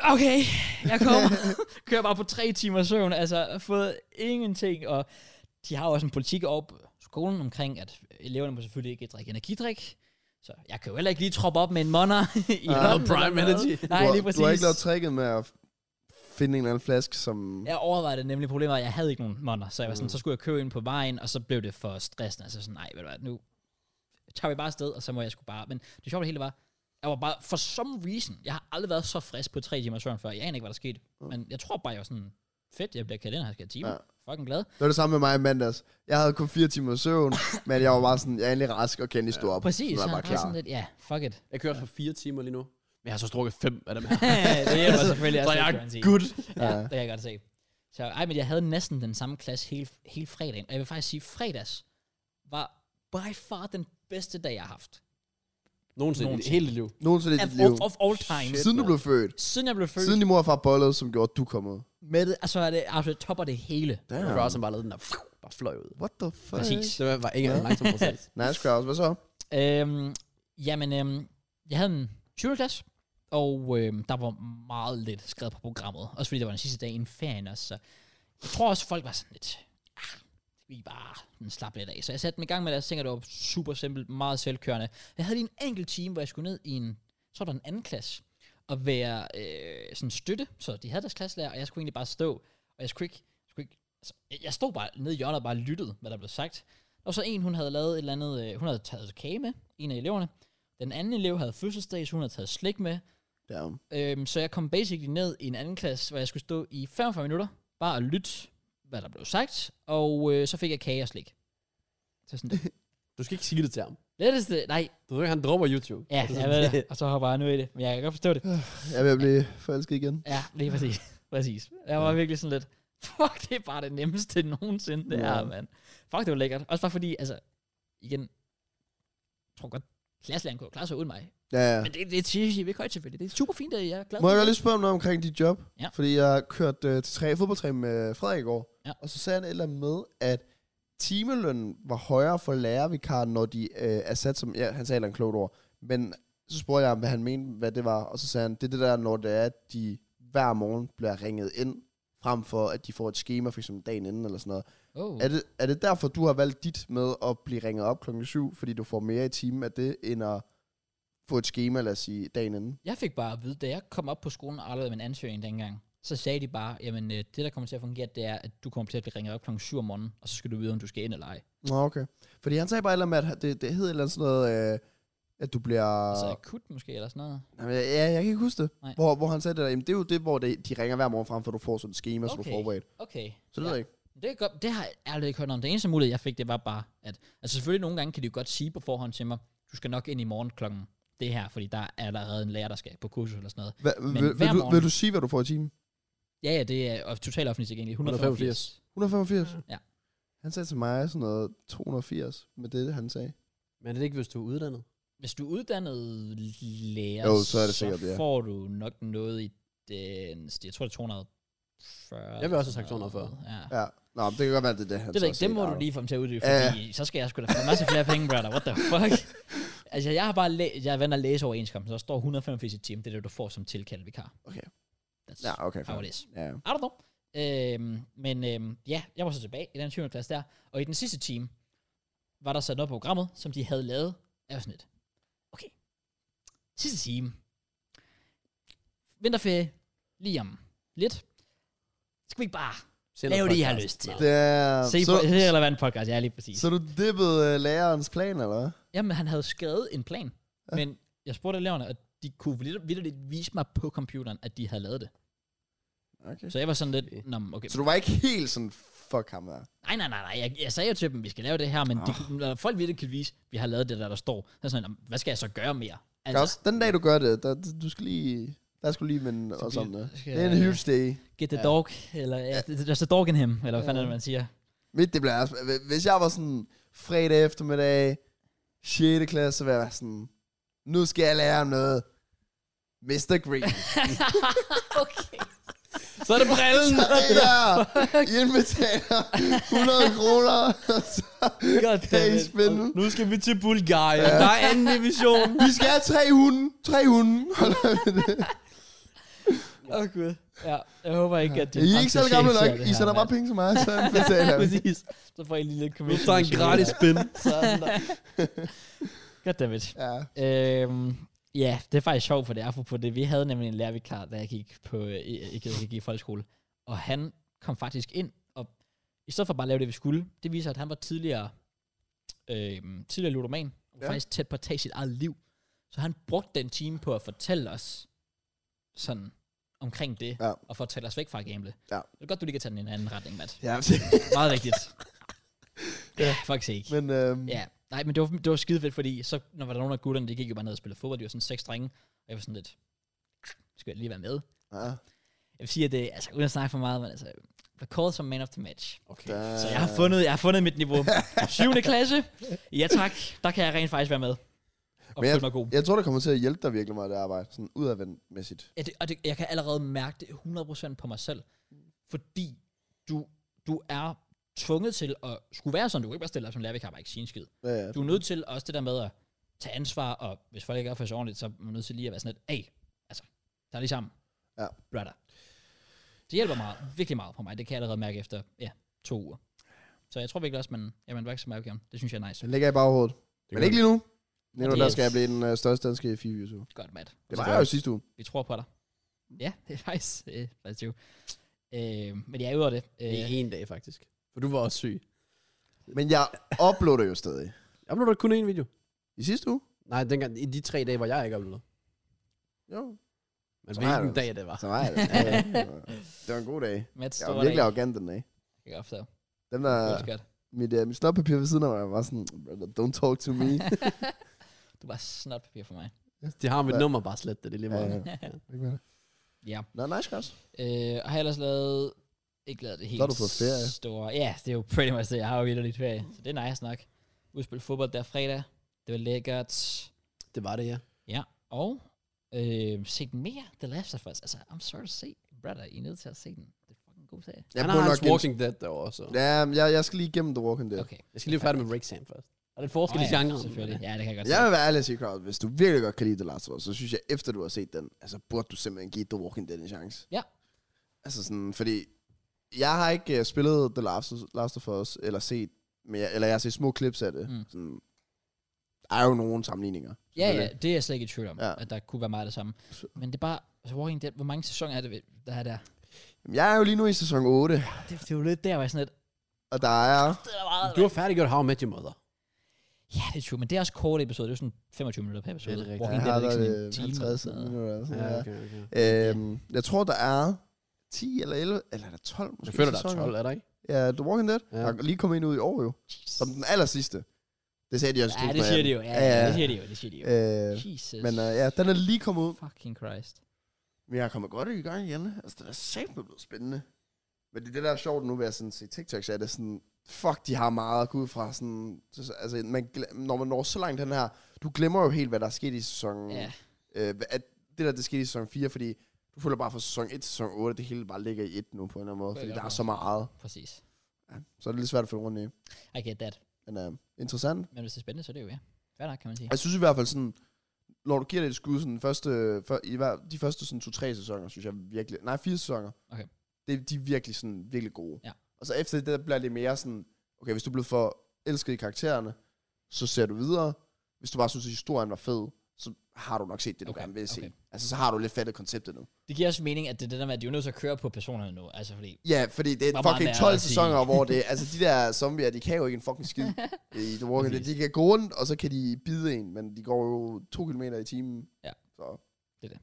Speaker 1: Okay, jeg
Speaker 2: [LAUGHS]
Speaker 1: kommer. Kører bare på tre timer søvn, altså har fået ingenting. Og de har jo også en politik op skolen omkring, at eleverne må selvfølgelig ikke drikke energidrik. Så jeg kan jo heller ikke lige troppe op med en monner [LAUGHS] i
Speaker 3: Ah,
Speaker 1: hånden
Speaker 2: Prime
Speaker 1: eller noget.
Speaker 2: Energy.
Speaker 1: Nej,
Speaker 3: du, har-
Speaker 1: lige præcis.
Speaker 3: Du har ikke lavet tricket med at finde en eller anden flaske, som... Ja.
Speaker 1: Jeg overvejede det nemlig problemet, at jeg havde ikke nogen måneder, så jeg var sådan,
Speaker 2: Mm.
Speaker 1: så skulle jeg købe ind på vejen, og så blev det for stressende, altså sådan, nej, ved du hvad, nu tager vi bare afsted, og så må jeg sgu bare, men det sjove af det hele var, jeg var bare, for some reason, jeg har aldrig været så frisk på tre timer søvn før, jeg aner ikke, hvad der skete, men jeg tror bare, jeg var sådan, fedt, jeg bliver kaldt ind, og jeg skal have timer, ja. fucking glad,
Speaker 3: Det var det samme med mig i mandags. Jeg havde kun fire timer søvn, men jeg var bare sådan, jeg er egentlig rask og kendte stå op.
Speaker 1: præcis,
Speaker 3: så jeg
Speaker 1: så
Speaker 3: var
Speaker 1: jeg
Speaker 3: bare
Speaker 1: var
Speaker 3: klar.
Speaker 1: sådan lidt, ja, fuck
Speaker 2: [LAUGHS]
Speaker 1: it, [LAUGHS]
Speaker 2: Jeg kører for fire timer lige nu. Men jeg har så strukket fem af dem her.
Speaker 1: det hjælper selvfølgelig
Speaker 2: så
Speaker 1: også,
Speaker 2: jeg
Speaker 1: lidt, kan man
Speaker 2: er
Speaker 1: sige.
Speaker 2: good.
Speaker 1: Ja, det kan jeg godt se. Så ej, men jeg havde næsten den samme klasse hele, hele fredagen. Og jeg vil faktisk sige, fredags var by far den bedste dag, jeg har haft.
Speaker 2: Nogensinde. Nogensinde.
Speaker 1: Nogensinde.
Speaker 2: Hele dit liv.
Speaker 3: Nogensinde i
Speaker 1: Of,
Speaker 3: dit liv.
Speaker 1: of, of all time. Shit.
Speaker 3: Siden du blev født.
Speaker 1: Siden jeg blev født,
Speaker 3: Siden
Speaker 1: Siden...
Speaker 3: din mor og far bollede, som gjorde, at du kom ud.
Speaker 1: med det, altså, er det, altså, det topper det hele.
Speaker 2: Ja.
Speaker 3: Damn.
Speaker 2: Cross, han bare lavede den der, bare fløj ud.
Speaker 3: What the fuck?
Speaker 1: Præcis.
Speaker 2: Det var- var ikke en langsom proces.
Speaker 3: Nice Kraus, hvad så?
Speaker 1: Øhm, jamen, øhm, jeg havde en 20. klasse, og øhm, der var meget lidt skrevet på programmet. Også fordi det var den sidste dag i en ferie også. Så jeg tror også, folk var sådan lidt, ah, vi bare den slap lidt af. Så jeg satte mig i gang med det, og så tænkte, jeg, det var super simpelt, meget selvkørende. Jeg havde lige en enkelt time, hvor jeg skulle ned i en, så var der en anden klasse, og være øh, sådan støtte, så de havde deres klasselærer, og jeg skulle egentlig bare stå, og jeg skulle ikke, skulle ikke altså, jeg- jeg stod bare nede i hjørnet og bare lyttede, hvad der blev sagt. Og så en, hun havde lavet et eller andet, øh, hun havde taget kage med, en af eleverne. Den anden elev havde fødselsdag, så hun havde taget slik med.
Speaker 3: Damn.
Speaker 1: Øhm, så jeg kom basically ned i en anden klasse, hvor jeg skulle stå i 45 minutter, bare og lytte, hvad der blev sagt, og øh, så fik jeg kage og slik. Så sådan, det
Speaker 2: [LAUGHS] Du skal ikke sige det til ham.
Speaker 1: letteste, nej,
Speaker 2: Du ved ikke, han dropper YouTube.
Speaker 1: ja, jeg ved det, og så hopper jeg nu i det, men jeg kan godt forstå det.
Speaker 3: Jeg vil blive forelsket igen.
Speaker 1: Ja, lige præcis, præcis. Jeg var virkelig sådan lidt, fuck, det er bare det nemmeste nogensinde, det
Speaker 3: Ja.
Speaker 1: er, mand. Fuck, det var lækkert. Også bare fordi, altså, igen, jeg tror godt, klasselæreren kunne jo klare sig uden mig,
Speaker 3: Ja, ja.
Speaker 1: Men det, det siger vi ikke højt selvfølgelig. Det er super fint, at jeg er glad
Speaker 3: Må jeg
Speaker 1: for det.
Speaker 3: godt lige spørge om noget omkring dit job?
Speaker 1: Ja.
Speaker 3: Fordi jeg kørte øh, til tre, fodboldtræning med Frederik i går,
Speaker 1: Ja.
Speaker 3: og så sagde han et eller andet med, at timelønnen var højere for lærervikarer, når de øh, er sat som... Ja, han sagde et eller andet klogt ord. Men så spurgte jeg ham, hvad han mente, hvad det var, og så sagde han, det er det der, når det er, at de hver morgen bliver ringet ind, frem for at de får et schema, for eksempel dagen inden eller sådan noget.
Speaker 1: Oh.
Speaker 3: Er det, er det derfor, du har valgt dit med at blive ringet op klokken 7, fordi du får mere i timen af det, end at få et schema, lad os sige, dagen inden?
Speaker 1: Jeg fik bare at vide, da jeg kom op på skolen og afleverede min ansøgning dengang, så sagde de bare, jamen øh, det der kommer til at fungere, det er, at du kommer til at blive ringet op klokken 7 om morgenen, og så skal du vide, om du skal ind eller ej.
Speaker 3: Nå, okay. Fordi han sagde bare et eller andet med, at det, det hedder et eller andet sådan noget, øh, at du bliver...
Speaker 1: Så
Speaker 3: Altså,
Speaker 1: akut måske eller sådan noget.
Speaker 3: ja, jeg kan ikke huske det.
Speaker 1: Nej.
Speaker 3: Hvor, hvor han sagde det der, jamen det er jo det, hvor det, de ringer hver morgen frem, for du får sådan et schema, okay. så du
Speaker 1: Okay.
Speaker 3: er forberedt.
Speaker 1: Okay.
Speaker 3: Så det ja. ved jeg ikke.
Speaker 1: Det, er godt, det har jeg ærligt ikke hørt om. Det eneste mulighed, jeg fik, det var bare, at... Altså selvfølgelig nogle gange kan de jo godt sige på forhånd til mig, du skal nok ind i morgen klokken det her, fordi der er allerede en lærer, der skal på kursus eller sådan noget.
Speaker 3: Hva,
Speaker 1: Men
Speaker 3: vil, vil,
Speaker 1: hver
Speaker 3: du,
Speaker 1: morgen-
Speaker 3: vil du sige, hvad du får i timen?
Speaker 1: Ja, ja, det er og totalt offentligt tilgængeligt. 185.
Speaker 2: 185.
Speaker 3: 185?
Speaker 1: Mm. Ja.
Speaker 3: Han sagde til mig sådan noget 280 med det, han sagde.
Speaker 2: Men er det ikke, hvis du er uddannet?
Speaker 1: Hvis du er uddannet lærer,
Speaker 3: Jo, så er det sikkert,
Speaker 1: så
Speaker 3: ja.
Speaker 1: får du nok noget i den... Jeg tror, det er 240.
Speaker 2: Jeg vil også have sagt
Speaker 1: eller sådan
Speaker 2: 240.
Speaker 1: noget. Ja.
Speaker 3: Ja. Nå, men det kan godt være, det er det, han
Speaker 1: Det, ved
Speaker 3: så
Speaker 1: jeg ikke, det
Speaker 3: sagde.
Speaker 1: må
Speaker 3: I
Speaker 1: du
Speaker 3: don't
Speaker 1: lige få mig til at uddybe,
Speaker 3: Ja.
Speaker 1: fordi så skal jeg sgu da få en masse flere penge, brother. What the fuck?
Speaker 3: [LAUGHS]
Speaker 1: altså, jeg har bare læ- jeg er vant at læse overenskomsten, så der står 185 i timen. Det er det, du får som tilkaldt vikar.
Speaker 3: Okay.
Speaker 1: That's
Speaker 3: know. Ja, okay.
Speaker 1: how
Speaker 3: fair.
Speaker 1: it is.
Speaker 3: Ja.
Speaker 1: I don't know. Øhm, men øhm, ja, jeg var så tilbage i den 20. klasse der. Og i den sidste time var der sat noget på programmet, som de havde lavet. Jeg var sådan lidt, okay, sidste time. Vinterferie, lige om lidt. Skal vi ikke bare
Speaker 2: Send
Speaker 1: lave
Speaker 2: en
Speaker 1: det, I har
Speaker 2: podcast.
Speaker 1: lyst til?
Speaker 2: Nej.
Speaker 1: Det,
Speaker 3: Damn.
Speaker 1: Se,
Speaker 3: så,
Speaker 1: så, på, [LAUGHS] det er relevant podcast, ja, lige præcis.
Speaker 3: så du dippede øh, lærerens plan, eller hvad?
Speaker 1: Jamen, han havde skrevet en plan, ja. men jeg spurgte eleverne, og de kunne vidt- vitterligt vise mig på computeren, at de havde lavet det.
Speaker 3: Okay.
Speaker 1: Så jeg var sådan
Speaker 2: Okay.
Speaker 1: lidt, Nå, men okay.
Speaker 3: Så du var ikke helt sådan, fuck ham der.
Speaker 1: Nej, nej, nej, nej. Jeg, jeg sagde jo til dem, vi skal lave det her, men oh. de, kunne- når folk virkelig kan vise, vi har lavet det der, der står. Så er sådan, "Nå, hvad skal jeg så gøre mere?
Speaker 3: Altså, også, den dag, du gør det, der, du skal lige... Der skulle lige vende os om
Speaker 1: bliver-
Speaker 3: det.
Speaker 1: skal
Speaker 3: Det er en
Speaker 1: jeg-
Speaker 3: huge day.
Speaker 1: get the dog, eller ja, there's a dog in him, eller hvad fanden er det, man siger?
Speaker 3: Mit, det bliver også... Hvis jeg var sådan fredag eftermiddag, 6. klasse, så ville jeg være sådan... Nu skal jeg lære om noget. Mr.
Speaker 1: [LAUGHS]
Speaker 3: Green.
Speaker 1: okay.
Speaker 2: Så er det brillen!
Speaker 3: [LAUGHS] ja, indbetaler 100 kroner. og så-
Speaker 1: God
Speaker 3: Hey,
Speaker 1: damn it.
Speaker 3: spændende.
Speaker 2: nu skal vi til Bulgarien. Der er anden division.
Speaker 3: Vi skal have tre hunde. Tre hunde. [LAUGHS]
Speaker 1: Åh, oh, gud. Ja, jeg håber ikke, at det
Speaker 3: I er ikke så gamle nok. I sender bare penge til mig, så
Speaker 1: [LAUGHS]
Speaker 3: betaler vi.
Speaker 1: Præcis. Så får I lige lidt
Speaker 2: Nu
Speaker 1: commission.
Speaker 2: tager en gratis spin. Så er den der.
Speaker 1: God damn it.
Speaker 3: Ja.
Speaker 1: Øhm, ja, det er faktisk sjovt, for det er apropos det. Vi havde nemlig en lærervikar, da jeg gik på øh, i- ikke, jeg gik i folkeskole. Og han kom faktisk ind, og i stedet for bare at lave det, vi skulle, det viser, at han var tidligere, øhm, tidligere ludoman, og
Speaker 3: Ja.
Speaker 1: ja. faktisk tæt på at tage sit eget liv. Så han brugte den time på at fortælle os sådan omkring det,
Speaker 3: Ja.
Speaker 1: og fortælle os væk fra at gamble.
Speaker 3: Ja.
Speaker 1: Det er godt, du lige kan tage den i en anden retning, Matt.
Speaker 3: ja. [LAUGHS]
Speaker 1: Meget vigtigt. ja, faktisk ikke.
Speaker 3: Men øhm,
Speaker 1: Ja, nej, men det var, det var skide fedt, fordi så, når der var nogle af gutterne, de gik jo bare ned og spillede fodbold, de var sådan seks drenge, og jeg var sådan lidt, skal jeg lige være med?
Speaker 3: ja.
Speaker 1: Jeg vil sige, at det, altså uden at snakke for meget, men altså, jeg blev kåret som man of the match.
Speaker 2: Okay.
Speaker 3: Der,
Speaker 1: Så jeg har fundet, jeg har fundet mit niveau. 7. klasse, ja tak, der kan jeg rent faktisk være med. og føler mig god.
Speaker 3: Jeg tror, det kommer til at hjælpe dig virkelig meget, det arbejde. Sådan udadvendtmæssigt.
Speaker 1: Ja, det, og det, jeg kan allerede mærke det 100% på mig selv, fordi du, du er tvunget til at skulle være sådan. Du kan ikke bare stille dig som lærer, vi kan bare ikke sige en skid.
Speaker 3: Ja, ja.
Speaker 1: Du er nødt til også det der med at tage ansvar, og hvis folk ikke opfører sig ordentligt, så er man nødt til lige at være sådan lidt, hey, altså, der er lige sammen.
Speaker 3: Ja.
Speaker 1: Brother. Det hjælper meget, virkelig meget på mig. Det kan jeg allerede mærke efter, ja, to uger. Så jeg tror virkelig også, man, ja, man vokser så mærke om. Det synes jeg er nice.
Speaker 3: Den ligger i baghovedet. Men ikke lige nu. Lige nu,
Speaker 1: det er-
Speaker 3: der skal jeg blive den øh, største danske FIV YouTube.
Speaker 1: Godt, Matt.
Speaker 3: Det
Speaker 2: Så
Speaker 3: var
Speaker 2: det
Speaker 3: jeg
Speaker 2: er-
Speaker 3: jo sidste uge.
Speaker 1: Vi tror på dig. Ja, det er faktisk, [LAUGHS] øh, faktisk jo. Øh, men jeg er ude af det. Øh,
Speaker 2: Det er en dag, faktisk. For du var også syg.
Speaker 3: Men jeg uploader jo stadig.
Speaker 2: Jeg uploadede kun én video.
Speaker 3: I sidste uge?
Speaker 2: Nej, dengang, i de tre dage, hvor jeg ikke uploadede.
Speaker 3: Jo.
Speaker 2: Men
Speaker 3: Så har
Speaker 2: hvilken
Speaker 3: du-
Speaker 2: dag det var.
Speaker 3: Så var jeg det. Ja, ja. Det var en god dag.
Speaker 1: Mads,
Speaker 3: Jeg
Speaker 1: står
Speaker 3: var
Speaker 1: der
Speaker 3: virkelig
Speaker 1: ikke.
Speaker 3: arrogant den dag.
Speaker 1: Jeg kan opstå.
Speaker 3: Den der,
Speaker 1: Det er godt.
Speaker 3: mit, uh, mit snoppapir ved siden af mig var sådan, "Brother, don't talk to me.
Speaker 1: Du var snot papir for mig.
Speaker 2: De har mit
Speaker 3: Hvad?
Speaker 2: nummer, bare slet det. Det er lige
Speaker 3: Ja,
Speaker 2: meget.
Speaker 3: ja. Ikke med det.
Speaker 1: Ja.
Speaker 3: Nå, nice, guys.
Speaker 1: Øh, og har ellers lavet, ikke lavet det helt
Speaker 3: har du fået ferie.
Speaker 1: store. Ja, det er jo pretty much det. Jeg har jo vildt lidt ferie, så det er nice nok. Udspil fodbold der fredag. Det var lækkert.
Speaker 2: Det var det, ja.
Speaker 1: Ja, og øh, set mere The Last of Us. Altså, I'm sorry to say, brother, I er nødt til at se den. Det er fucking en god serie.
Speaker 3: Jeg
Speaker 2: Han har
Speaker 3: burde
Speaker 2: hans
Speaker 3: nok gen-
Speaker 2: Walking Dead derovre, så.
Speaker 3: Ja, jeg, jeg skal lige igennem The Walking Dead.
Speaker 1: Okay.
Speaker 2: Jeg skal lige være færdig med Rick Sam først. Og det er forskel i
Speaker 1: Nå ja,
Speaker 2: genren.
Speaker 1: Selvfølgelig. Ja, det kan jeg godt
Speaker 3: Jeg
Speaker 1: se.
Speaker 3: vil være ærlig og sige, Kraus, hvis du virkelig godt kan lide The Last of Us, så synes jeg, efter du har set den, altså burde du simpelthen give The Walking Dead en chance.
Speaker 1: Ja.
Speaker 3: Altså sådan, fordi jeg har ikke uh, spillet The Last of, Last of Us, eller set, men jeg, eller jeg har set små clips af det.
Speaker 1: Mm.
Speaker 3: Mm. Sådan, der er jo nogle sammenligninger.
Speaker 1: Ja, ja,
Speaker 3: selvfølgelig.
Speaker 1: det er jeg slet ikke i tvivl om, ja.
Speaker 3: Ja.
Speaker 1: at der kunne være meget af det samme. Men det er bare, altså Walking Dead, hvor mange sæsoner er det, der er der?
Speaker 3: Jamen, Jeg er jo lige nu i sæson 8,
Speaker 1: Det, det er jo lidt der, hvor jeg sådan lidt,
Speaker 3: og der er...
Speaker 1: det er meget.
Speaker 2: Du har færdiggjort How I Met Your Mother.
Speaker 1: Ja, det er true, men det er også kort episode, det er jo sådan 25 minutter per episode.
Speaker 2: det er rigtigt.
Speaker 1: Walking
Speaker 3: Jeg
Speaker 1: Dead
Speaker 3: har
Speaker 1: er ikke sådan en time. eller sådan
Speaker 3: været 50
Speaker 1: noget.
Speaker 3: minutter. eller Sådan, ja,
Speaker 2: okay, okay.
Speaker 3: okay. øhm, jeg tror, der er 10 eller 11, eller er der 12 måske?
Speaker 2: Jeg føler, der er
Speaker 3: sæsoner.
Speaker 2: 12, er der ikke?
Speaker 3: Ja, The Walking Dead.
Speaker 2: Ja.
Speaker 3: Ja. Der er lige kommet en ud i år jo. Som den aller sidste. Det sagde de også. i
Speaker 1: Ja, det siger de jo. Ja, ja, det siger de jo. Det siger de
Speaker 3: 2018.
Speaker 1: jo.
Speaker 3: Øh,
Speaker 1: Jesus.
Speaker 3: men øh, ja, Mm. den er lige kommet ud.
Speaker 1: Fucking Christ.
Speaker 3: Men jeg er kommet godt i gang igen. Altså, den er sagt blevet spændende. Men det er det, der er sjovt nu ved at sådan se TikToks, er det sådan, fuck, de har meget at gå ud fra. Sådan, så- altså, man, glem- når man når så langt den her, du glemmer jo helt, hvad der er sket i sæson...
Speaker 1: Ja.
Speaker 3: Øh, hvad- at det der, det skete i sæson 4, fordi du føler bare fra sæson 1 til sæson 8, det hele bare ligger i et nu på en eller anden måde,
Speaker 1: Det
Speaker 3: fordi
Speaker 1: gør
Speaker 3: der er
Speaker 1: det.
Speaker 3: så meget.
Speaker 1: Præcis.
Speaker 3: Ja, så er det lidt svært at følge rundt i.
Speaker 1: I get that.
Speaker 3: Men øh, interessant.
Speaker 1: Men hvis det er spændende, så er det jo ja. Hvad nok, kan man sige.
Speaker 3: Jeg synes i hvert fald sådan, når du giver det et skud, sådan første, for, i hver, de første sådan to-tre sæsoner, synes jeg virkelig, nej, fire sæsoner,
Speaker 1: Okay.
Speaker 3: det, de er virkelig sådan, virkelig gode.
Speaker 1: Ja.
Speaker 3: Og så efter det, der bliver det mere sådan, okay, hvis du blev for elsket i karaktererne, så ser du videre. Hvis du bare synes, at historien var fed, så har du nok set det, du
Speaker 1: Okay,
Speaker 3: okay. gerne vil se.
Speaker 1: okay.
Speaker 3: Okay. Altså, så har du lidt fattet konceptet nu.
Speaker 1: Det giver også mening, at det er det der med, at de er jo nødt til at køre på personerne nu. Altså fordi,
Speaker 3: Ja, fordi det
Speaker 1: Hvor
Speaker 3: er
Speaker 1: meget
Speaker 3: fucking
Speaker 1: værre
Speaker 3: 12
Speaker 1: at sige.
Speaker 3: sæsoner, hvor det altså de der zombier, de kan jo ikke en fucking
Speaker 1: [LAUGHS]
Speaker 3: skid i The Walking Dead.
Speaker 1: Præcis.
Speaker 3: De kan gå rundt, og så kan de bide en, men de går jo to kilometer i timen.
Speaker 1: Ja.
Speaker 3: Så.
Speaker 1: Det er det.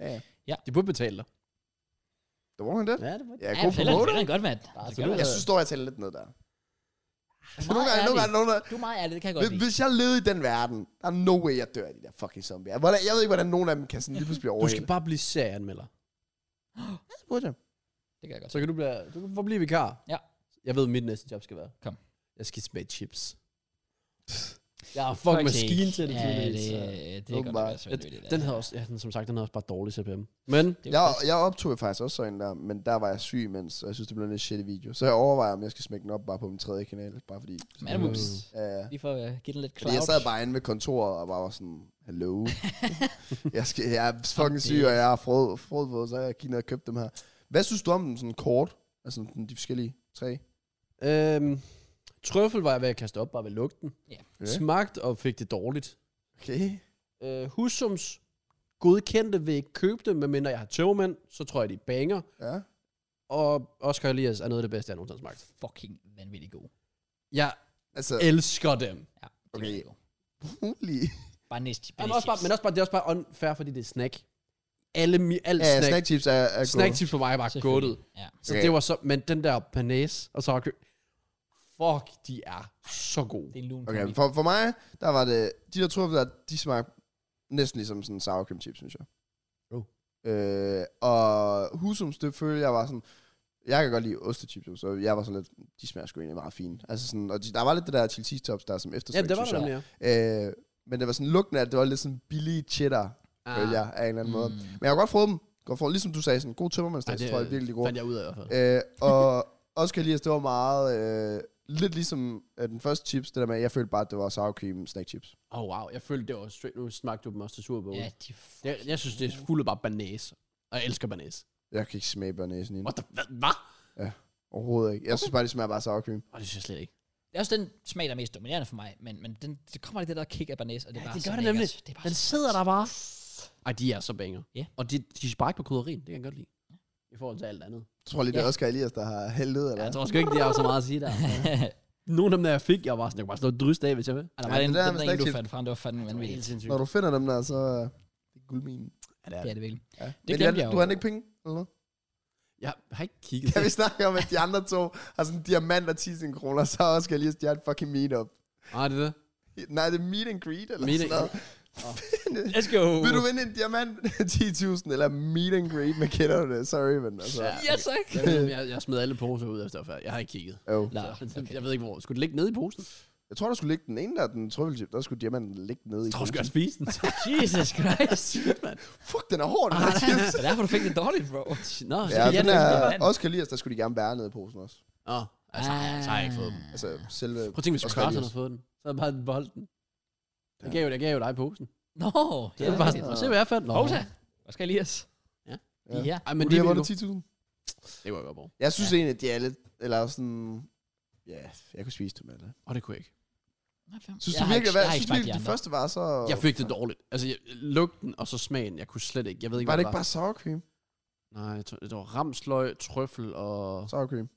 Speaker 3: Ja, ja.
Speaker 2: De burde betale dig.
Speaker 3: The Walking Dead?
Speaker 2: Ja, det var
Speaker 3: Ja,
Speaker 1: ja,
Speaker 3: god
Speaker 1: men ellers-
Speaker 3: promoter.
Speaker 1: ellers godt, mand.
Speaker 2: absolut.
Speaker 1: Det gør
Speaker 3: Jeg
Speaker 1: det.
Speaker 3: synes dog, jeg taler lidt ned der. Altså,
Speaker 1: Meget
Speaker 3: nogle gange,
Speaker 1: ærlig.
Speaker 3: nogle gange, nogle gange,
Speaker 1: Du er meget ærlig, det kan jeg godt
Speaker 3: hvis,
Speaker 1: lide.
Speaker 3: hvis jeg levede i den verden, der er no way, jeg dør af de der fucking zombier. Hvordan, jeg ved ikke, hvordan nogen af dem kan sådan lige pludselig blive
Speaker 2: Du skal
Speaker 3: overhældet.
Speaker 2: bare blive serieanmelder.
Speaker 3: Det spurgte jeg.
Speaker 1: Det kan jeg godt.
Speaker 2: Så kan du, blive, du kan forblive vikar.
Speaker 1: Ja.
Speaker 2: Jeg ved, mit næste job skal være.
Speaker 1: Kom.
Speaker 2: Jeg skal smage chips. Jeg er fucking
Speaker 1: Fuck
Speaker 2: maskine
Speaker 1: sake.
Speaker 2: til det,
Speaker 1: Ja, det,
Speaker 2: tydeligvis.
Speaker 1: det,
Speaker 2: så-
Speaker 1: det er godt nok
Speaker 3: Åbenbart.
Speaker 1: også vanvittigt,
Speaker 2: Den
Speaker 1: altså.
Speaker 2: havde også, ja, den, som sagt, den havde også bare dårlig CPM. Men
Speaker 1: Det er jo
Speaker 3: Jeg,
Speaker 1: faktisk-
Speaker 3: jeg optog jo faktisk også sådan en der, men der var jeg syg imens, og jeg synes, det blev en lidt shitty video. Så jeg overvejer, om jeg skal smække den op bare på min tredje kanal, bare fordi...
Speaker 1: Man er moves.
Speaker 3: Øh,
Speaker 1: Lige for at give den lidt
Speaker 3: fordi jeg
Speaker 1: clout.
Speaker 3: sad bare inde ved kontoret og bare var sådan, hello.
Speaker 1: [LAUGHS]
Speaker 3: jeg, skal, jeg er fucking syg, og jeg har frød, frød på, så jeg gik ned og købte dem her. Hvad synes du om dem sådan kort? Altså sådan de forskellige tre?
Speaker 2: øhm, trøffel var jeg ved at kaste op bare ved lugten.
Speaker 1: Ja.
Speaker 2: Yeah. Smagt og fik det dårligt.
Speaker 3: Okay.
Speaker 2: Øh, husums godkendte vil ikke købe dem, medmindre jeg har tømmermænd, så tror jeg, de banger.
Speaker 3: Ja.
Speaker 2: Og Oscar Elias er noget af det bedste, jeg nogensinde har smagt.
Speaker 1: Fucking vanvittigt god.
Speaker 2: Jeg
Speaker 3: Altså,
Speaker 2: elsker dem.
Speaker 1: Ja, det
Speaker 3: Okay.
Speaker 1: er rigtig god.
Speaker 3: mulig.
Speaker 1: Bare næst.
Speaker 2: Men også, bare, men også bare, det er også bare unfair, fordi det er snack. Alle, mi- alt
Speaker 3: Ja,
Speaker 2: snack, snack,
Speaker 3: snackchips er, er
Speaker 2: snack
Speaker 3: gode.
Speaker 2: chips for mig er bare guttet.
Speaker 1: Ja.
Speaker 2: Så
Speaker 3: Okay.
Speaker 2: det var så, men den der panæs og så fuck, de er så gode.
Speaker 1: Det er en lun
Speaker 3: Okay,
Speaker 1: kombi.
Speaker 3: for, for mig, der var det... De der trøffler, de smagte næsten ligesom sådan sour cream chips, synes jeg. Oh.
Speaker 2: Jo.
Speaker 3: Øh, og Husums, det følte jeg var sådan... Jeg kan godt lide ostechips, jo, så jeg var sådan lidt... De smager sgu egentlig meget fine. Altså sådan, og de, der var lidt det der chili cheese tops der, som
Speaker 2: Ja,
Speaker 3: eftersmag,
Speaker 2: det var der
Speaker 3: synes jeg.
Speaker 2: nemlig, ja.
Speaker 3: Øh, Men det var sådan lugten af, at det var lidt sådan billige cheddar, ah. øh, ja, af en eller anden mm. måde. Men jeg har godt fået dem. Godt fået, ligesom du sagde, sådan god tømmermandsdags, tror jeg er virkelig god.
Speaker 2: fandt jeg ud af i hvert fald.
Speaker 3: Øh, og også kan jeg lide, at det var meget... Øh, lidt ligesom øh, den første chips, det der med, jeg følte bare, at det var sour cream snack chips.
Speaker 2: Åh, oh, wow. Jeg følte det også straight. Nu smagte du dem også til surbåden.
Speaker 1: Ja,
Speaker 2: Yeah.
Speaker 1: de er fucking
Speaker 2: Jeg, jeg synes, det er fuldt bare banæs. Og jeg elsker banæs.
Speaker 3: Jeg kan ikke smage bernæsen i den.
Speaker 2: What the... Hvad? Hva?
Speaker 3: Overhovedet ikke. Jeg synes bare, de smager bare sour cream.
Speaker 2: Oh, det synes jeg slet ikke.
Speaker 1: Det er også den smag, der er mest dominerende for mig, men, men den, det kommer aldrig det der kick af banæs, og det er
Speaker 2: Ja,
Speaker 1: bare
Speaker 2: det
Speaker 1: så
Speaker 2: gør det
Speaker 1: lækkert.
Speaker 2: nemlig.
Speaker 1: Det er bare
Speaker 2: Den
Speaker 1: så
Speaker 2: sidder
Speaker 1: [LAUGHS]
Speaker 2: der bare. Ej, de er så banger.
Speaker 1: Ja.
Speaker 2: Og de, de sparer ikke på krydderien. Det kan jeg godt lide. I forhold til alt andet.
Speaker 3: Jeg tror lige, det er
Speaker 1: Ja.
Speaker 3: Oscar Elias, der har hældt ud, eller
Speaker 2: Ja, jeg
Speaker 3: hvad?
Speaker 2: tror sgu ikke, de har så meget at sige der. [LAUGHS] Nogle af dem, der jeg fik, jeg var sådan, jeg kunne bare stå og dryste af, hvis jeg vil.
Speaker 1: Ej, der
Speaker 3: Ja,
Speaker 1: var
Speaker 3: det
Speaker 1: den,
Speaker 3: der er
Speaker 1: den
Speaker 3: vist
Speaker 1: der en,
Speaker 3: ikke
Speaker 1: du
Speaker 3: helt-
Speaker 1: fandt frem, det var fandme
Speaker 2: Det var helt
Speaker 1: vanvittigt.
Speaker 2: sindssygt.
Speaker 3: Når du finder dem der, så øh, det er guldminen.
Speaker 2: Ja, det er
Speaker 1: Det
Speaker 2: det.
Speaker 1: er det vel.
Speaker 3: Ja. Men
Speaker 1: glemte
Speaker 3: Jan,
Speaker 1: jeg jo.
Speaker 3: du har ikke penge, eller noget?
Speaker 2: Jeg har ikke kigget. [LAUGHS]
Speaker 3: Kan vi snakke om, at de andre to har sådan en diamant og 10.000 kroner, så har Oscar Elias, de har et fucking meetup.
Speaker 2: Ah, det er
Speaker 3: [LAUGHS]
Speaker 2: det.
Speaker 3: Nej, det er meet and greet, eller
Speaker 2: Meet
Speaker 3: meet sådan
Speaker 2: and-
Speaker 3: noget.
Speaker 1: Let's go.
Speaker 3: [LAUGHS] Vil du vinde en diamant [LAUGHS] 10.000, eller meet and greet med kænderne? Sorry, men altså.
Speaker 2: Ja.
Speaker 1: Ja, tak.
Speaker 2: Jeg, ved, jeg, jeg smed alle poser ud efter før. Jeg har ikke kigget.
Speaker 3: Jo.
Speaker 1: Nå,
Speaker 2: Så,
Speaker 1: okay.
Speaker 2: Jeg ved ikke, hvor. Skulle det ligge nede i posen?
Speaker 3: Jeg tror, der skulle ligge den ene der, den trøffelchip, der skulle diamanten ligge nede i.
Speaker 2: Jeg tror, du
Speaker 3: posen.
Speaker 2: skal spise [LAUGHS] den.
Speaker 1: Jesus Christ.
Speaker 3: Fuck, den er
Speaker 2: [LAUGHS]
Speaker 3: hård, den her
Speaker 1: Ah, [LAUGHS] Det
Speaker 3: chips.
Speaker 1: er derfor, du fik det dårligt, bro.
Speaker 2: Nå, så
Speaker 3: Ja,
Speaker 2: kan jeg
Speaker 3: den
Speaker 2: tage
Speaker 3: er
Speaker 2: den.
Speaker 3: også kan der skulle de gerne bære ned i posen også.
Speaker 2: Nå, altså, ah. så har jeg ikke fået den.
Speaker 3: Altså, selve...
Speaker 2: Prøv at tænke, hvis
Speaker 3: Oscar
Speaker 2: Carson havde
Speaker 3: Elias.
Speaker 2: fået den. Så havde jeg bare boldt den. Jeg
Speaker 3: Ja.
Speaker 2: gav, jo- jeg gav jo dig posen.
Speaker 1: Nå,
Speaker 2: Det er bare sådan,
Speaker 3: rigtigt.
Speaker 2: og se hvad jeg fandt. Nå.
Speaker 1: Rosa, hvad skal Elias?
Speaker 3: Ja.
Speaker 1: Ja.
Speaker 2: Ej,
Speaker 3: Men
Speaker 2: men
Speaker 3: de
Speaker 2: det
Speaker 3: har
Speaker 2: er
Speaker 3: vundet
Speaker 2: vildt.
Speaker 3: 10.000.
Speaker 2: Det var jeg godt bruge.
Speaker 3: Jeg synes egentlig, at de er lidt... Eller sådan... Ja, jeg kunne spise dem alle.
Speaker 2: Og det kunne jeg ikke.
Speaker 3: Synes
Speaker 1: Jeg
Speaker 3: du
Speaker 1: har
Speaker 3: virkelig,
Speaker 1: ikke-
Speaker 3: hvad,
Speaker 1: jeg har
Speaker 3: synes
Speaker 1: ikke
Speaker 3: du
Speaker 1: smagt
Speaker 3: virkelig,
Speaker 1: de
Speaker 3: de
Speaker 1: andre.
Speaker 3: første var så...
Speaker 2: Jeg fik det dårligt. Altså, jeg, lugten og så smagen, jeg kunne slet ikke. Jeg ved ikke,
Speaker 3: Var det
Speaker 2: hvad
Speaker 3: ikke bare sour cream?
Speaker 2: Nej, jeg tror- det var ramsløg, trøffel og...
Speaker 3: Sour cream.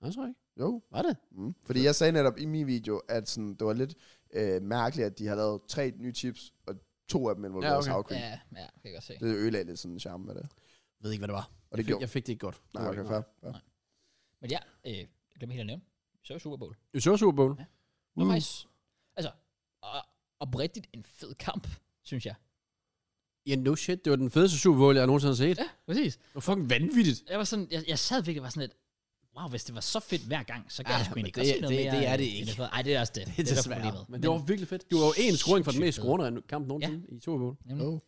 Speaker 2: Nej, jeg tror jeg ikke.
Speaker 3: Jo.
Speaker 2: Var det?
Speaker 3: Mm. Fordi jeg sagde netop i min video, at sådan, det var lidt øh, mærkeligt, at de har lavet tre nye chips, og to af dem involverede
Speaker 2: Ja, okay.
Speaker 3: ja, okay. sour cream.
Speaker 1: Ja, ja, kan jeg godt se.
Speaker 3: Det ødelagde lidt sådan charme med det.
Speaker 2: Jeg ved ikke, hvad det var.
Speaker 3: Og det
Speaker 2: jeg, fik,
Speaker 3: gjorde...
Speaker 2: jeg fik det ikke godt. Det
Speaker 3: Nej,
Speaker 2: var
Speaker 3: okay,
Speaker 2: ikke
Speaker 3: fair.
Speaker 2: godt.
Speaker 3: fair.
Speaker 1: Men ja, øh, jeg glemte helt at nævne. Så er Super Bowl.
Speaker 2: Vi så Super Bowl.
Speaker 1: Ja. Det var
Speaker 2: Uh.
Speaker 1: faktisk, altså, og- oprigtigt en fed kamp, synes jeg.
Speaker 2: Ja, no shit. Det var den fedeste Super Bowl, jeg nogensinde har set.
Speaker 1: Ja, præcis.
Speaker 2: Det var fucking vanvittigt.
Speaker 1: Jeg var sådan, jeg, jeg sad virkelig og var sådan lidt, wow, hvis det var så fedt hver gang, så gad
Speaker 2: Ah,
Speaker 1: jeg sgu
Speaker 2: men
Speaker 1: egentlig
Speaker 2: det-
Speaker 1: godt se noget
Speaker 2: det-
Speaker 1: mere.
Speaker 2: det er
Speaker 1: øh,
Speaker 2: det
Speaker 1: end
Speaker 2: ikke.
Speaker 1: fede. Ej, det er også det.
Speaker 2: [LAUGHS] Det er
Speaker 1: der
Speaker 2: desværre.
Speaker 1: problemet.
Speaker 2: Men det var virkelig fedt. Du var jo en scoring fra den mest
Speaker 1: Sindssygt
Speaker 2: scorende kamp nogensinde i Super Bowl.
Speaker 1: Nemlig.
Speaker 3: Jo.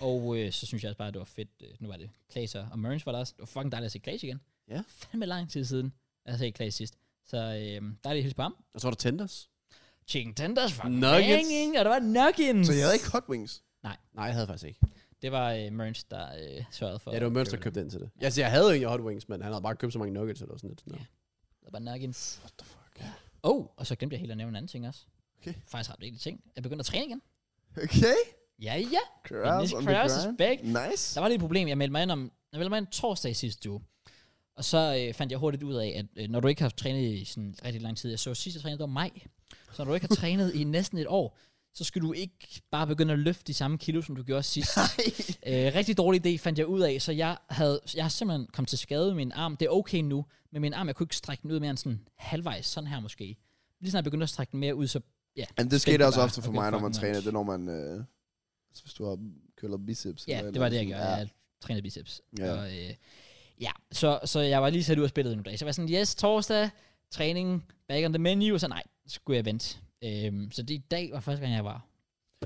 Speaker 1: Og øh, så synes jeg også bare, at det var fedt. øh, Nu var det Klaas og og Merns var der også. Det var fucking dejligt at se Klaas igen.
Speaker 2: Ja.
Speaker 1: Fandme lang tid siden, at jeg sagde Klaas sidst. Så øh, dejligt at hilse på ham.
Speaker 2: Og så var der Tenders.
Speaker 1: Chicken tenders var
Speaker 2: Nuggets.
Speaker 1: banging, og der var nuggets.
Speaker 3: Så jeg havde ikke hot wings.
Speaker 2: Nej, jeg havde faktisk ikke.
Speaker 1: Det var øh, Merns, der øh, sørgede for.
Speaker 2: Ja, det var Mønster, der købte ind til det. Altså, jeg havde egentlig Hot Wings, men han havde bare købt så mange nuggets eller sådan lidt. Nå.
Speaker 1: Ja. Der var nuggets.
Speaker 3: What the fuck?
Speaker 1: Oh, og så glemte jeg helt at nævne en anden ting også.
Speaker 3: Okay.
Speaker 1: Faktisk ret vigtig ting. Jeg begyndte at træne igen.
Speaker 3: Okay.
Speaker 1: Ja, ja. Dennis
Speaker 3: Cross on the
Speaker 1: Cross is
Speaker 3: grind.
Speaker 1: back.
Speaker 3: Nice.
Speaker 1: Der var lidt et problem. Jeg meldte mig ind om, jeg meldte mig ind torsdag i sidste uge. Og så øh, fandt jeg hurtigt ud af, at øh, når du ikke har trænet i sådan rigtig lang tid, jeg så sidst, jeg trænede, det var maj. Så når du ikke har trænet i næsten et år, så skal du ikke bare begynde at løfte de samme kilo, som du gjorde sidst. øh, rigtig dårlig idé fandt jeg ud af, så jeg havde jeg har simpelthen kommet til skade med min arm. Det er okay nu, men min arm, jeg kunne ikke strække den ud mere end sådan halvvejs, sådan her måske. Lige snart jeg begyndte at strække den mere ud, så ja.
Speaker 3: Jamen, det
Speaker 1: spændte
Speaker 3: skete
Speaker 1: jeg
Speaker 3: også
Speaker 1: bare.
Speaker 3: ofte for
Speaker 1: Okay,
Speaker 3: mig, når
Speaker 1: fuck,
Speaker 3: man
Speaker 1: mand.
Speaker 3: træner. Det er, når man... Øh, altså, hvis du har køller biceps.
Speaker 1: Ja,
Speaker 3: eller
Speaker 1: det var det, jeg
Speaker 3: sådan.
Speaker 1: gjorde.
Speaker 3: Ja.
Speaker 1: Jeg trænede biceps.
Speaker 3: Ja.
Speaker 1: Ja. Og, øh, ja, så, så jeg var lige sat ud af spillet en dag. Så jeg var sådan, yes, torsdag, træning, back on the menu. Og så nej, så skulle jeg vente. Øhm, så det i dag var første gang, jeg var